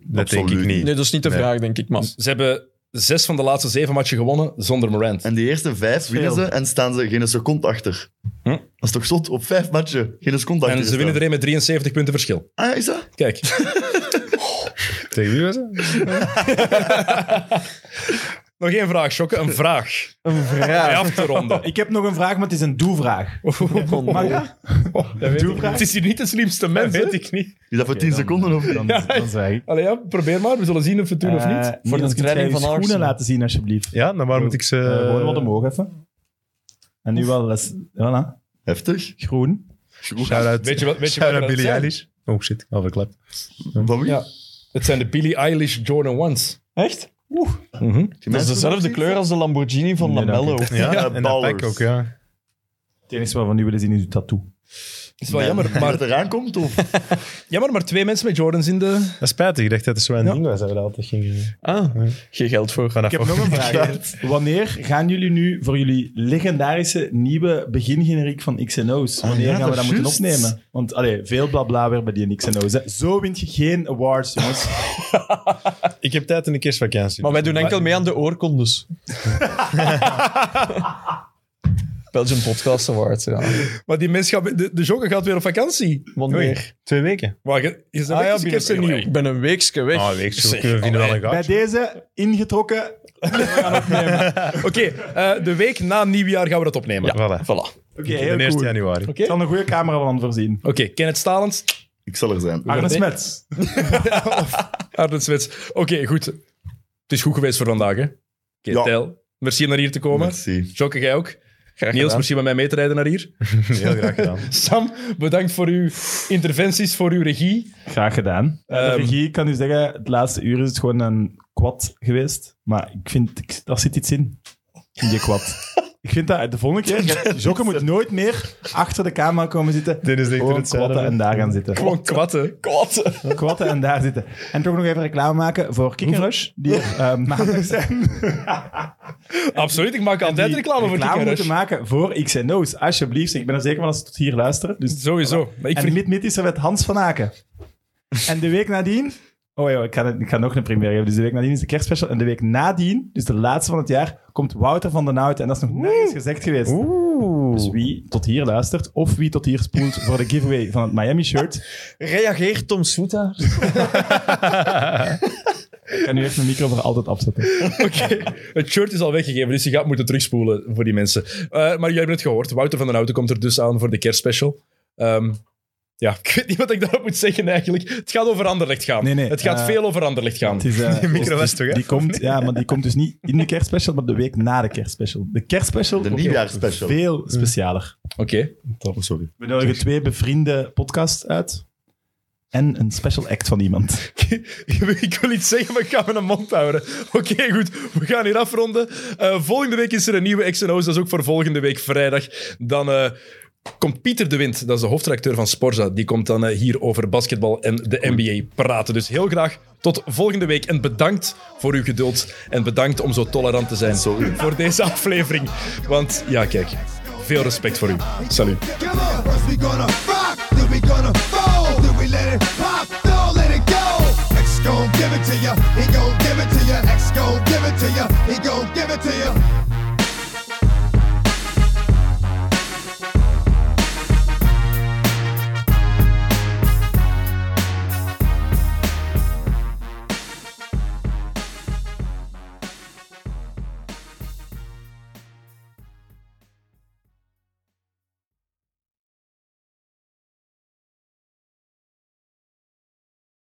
S5: denk ik
S4: Absoluut.
S5: niet.
S3: Nee, dat is niet de
S5: Nee.
S3: vraag, denk ik, man.
S7: Ze hebben zes van de laatste zeven matchen gewonnen zonder Morant.
S4: En die eerste vijf winnen ze en staan ze geen seconde achter.
S7: Hm?
S4: Dat is toch zot? Op vijf matchen geen seconde achter.
S7: En ze winnen
S4: gestaan.
S7: er een met 73 punten verschil.
S4: Ah, ja, is dat?
S7: Kijk,
S5: Tegen wie was het?
S7: nog één vraag, Sjokke. Een vraag.
S3: Een
S7: Bij
S3: vraag.
S7: af te ronden.
S6: Ik heb nog een vraag, maar het is een doe-vraag. Mag dat? Doe-vraag?
S7: Het is hier niet de slimste mens. Dat weet ik niet.
S4: Is dat voor tien
S7: eh,
S4: seconden of niet?
S6: Dan, dan zeg ik. eh,
S7: Allee, ja, probeer maar. We zullen zien of we het doen of niet.
S6: Voor de
S3: training van
S6: schoenen
S3: Arsenal.
S6: laten zien, alsjeblieft.
S5: Ja, dan waar moet ik ze...
S6: Eh, gewoon wat omhoog even. En nu wel, dat is- voilà,
S4: Heftig.
S6: groen.
S5: Shout-out.
S7: Weet je wat- weet je
S5: Shout-out
S7: wat dat
S5: Billie
S7: zijn?
S5: Eilish. Oh shit, overklap.
S4: Van wie?
S7: Ja. Het zijn de Billie Eilish Jordan Ones.
S3: Echt?
S7: Mhm.
S3: Dat is dezelfde kleur als de Lamborghini van
S6: Nee,
S3: Lamello.
S5: Ja, en dat
S4: ballers.
S5: pak ook, ja.
S6: Het enige wat we nu willen zien is uw tattoo.
S7: Is wel jammer,
S4: Maar
S7: maar,
S4: het eraan komt? Of?
S7: jammer, maar twee mensen met Jordans in de...
S5: Dat is spijtig. Ik dacht dat het zo'n ding was dat we dat altijd gingen...
S3: Ah, geen geld voor.
S5: Vanaf
S6: Ik heb nog een vraag.
S5: Ja.
S6: hè. Wanneer gaan jullie nu voor jullie legendarische nieuwe begingeneriek van XNO's? Wanneer
S4: ja,
S6: gaan
S4: dat
S6: we dat
S4: is
S6: moeten
S4: juist.
S6: opnemen? Want allee, veel blabla weer bij die XNO's. hè. Zo wint je geen awards, jongens.
S5: Ik heb tijd in de kerstvakantie.
S3: Maar wij doen enkel mee aan de oorkondes. Belgian Podcast Award, ja.
S7: Maar die mens gaat... De, de Joker gaat weer op vakantie.
S3: Wanneer?
S5: Twee weken.
S7: Maar je, je bent
S3: Ah ja,
S7: echt een keer zo nieuw.
S3: Ik ben een weekje weg.
S5: Ah, week.
S3: Zeg,
S5: We kunnen vinden wel een
S6: bij
S5: gaatje.
S6: deze ingetrokken.
S7: Oké, eh, de week na nieuwjaar gaan we dat opnemen.
S5: Voilà.
S3: Voilà.
S5: De
S6: Oké, heel
S5: 1
S6: cool.
S5: januari.
S6: Ik zal een goede camera van voorzien.
S7: Oké, Kenneth Stalens,
S4: Ik zal er zijn.
S6: Arne Smets.
S7: Arden Swets. Oké, goed. Het is goed geweest voor vandaag, hè? Oké,
S4: Ja.
S7: Tijl, merci om naar hier te komen.
S4: Merci.
S7: Jokke, jij ook. Niels, merci om mij mee te rijden naar hier.
S5: Heel graag gedaan.
S7: Sam, bedankt voor uw interventies, voor uw regie.
S6: Graag gedaan. Eh, de
S7: Ehm.
S6: regie ik kan u zeggen, het laatste uur is het gewoon een kwad geweest. Maar ik vind, ik, daar zit iets in. In die kwad. ik vind dat de volgende keer, Jokke moet nooit meer achter de camera komen zitten.
S5: Dit is de
S6: Gewoon kwatten en daar gaan zitten.
S7: Gewoon kwatten.
S6: Kwatten en daar zitten. En toch nog even reclame maken voor Kick and Rush, die er eh, maandag zijn.
S7: Absoluut, ik maak altijd
S6: Die
S7: reclame voor
S6: reclame
S7: Kikker.
S6: moeten maken voor X&O's, alsjeblieft. Ik ben er zeker van als ze tot hier luisteren. Dus
S7: Sowieso. Maar ik
S6: en
S7: vergeet-
S6: mid, mid is er met Hans van Aken. en de week nadien... Oh ja, ik ga, ik ga nog een première geven. Dus de week nadien is de kerstspecial. En de week nadien, dus de laatste van het jaar, komt Wouter van den Hout. En dat is nog nergens gezegd geweest. Dus wie tot hier luistert, of wie tot hier spoelt voor de giveaway van het Miami-shirt,
S3: Reageert Tom Soeta?
S6: kan nu echt mijn micro voor altijd afzetten.
S7: Oké, Het shirt is al weggegeven, dus je gaat moeten terugspoelen voor die mensen. Eh, maar jullie hebben het gehoord. Wouter van den Houten komt er dus aan voor de kerstspecial. Ehm, ja, ik weet niet wat ik daarop moet zeggen eigenlijk. Het gaat over Anderlecht gaan.
S6: Nee, nee,
S7: het gaat
S6: eh,
S7: veel over Anderlecht gaan.
S6: Het is, eh,
S5: Die micro was toch, hè?
S6: die komt, Ja, maar die komt dus niet in de kerstspecial, maar de week na de kerstspecial. De kerstspecial
S4: De
S6: wordt
S4: nieuwjaarsspecial.
S6: veel specialer.
S7: Oké.
S4: Oh, sorry.
S6: We nodigen twee bevriende podcasts uit. En een special act van iemand.
S7: ik wil iets zeggen, maar ik ga mijn mond houden. Oké, goed. We gaan hier afronden. Eh, volgende week is er een nieuwe X&O's. Dat is ook voor volgende week vrijdag. Dan eh, komt Pieter de Wind, dat is de hoofdredacteur van Sporza. Die komt dan eh, hier over basketbal en de NBA praten. Dus heel graag tot volgende week. En bedankt voor uw geduld. En bedankt om zo tolerant te zijn
S4: Sorry.
S7: voor deze aflevering. Want ja, kijk. Veel respect voor u. Salut.
S8: Come on, first we gonna rock, then we
S1: we gonna fold. Then we let it pop, don't let it go. X gon' give it to ya, he gon' give it to ya. X gon' give it to ya, he gon' give it to ya.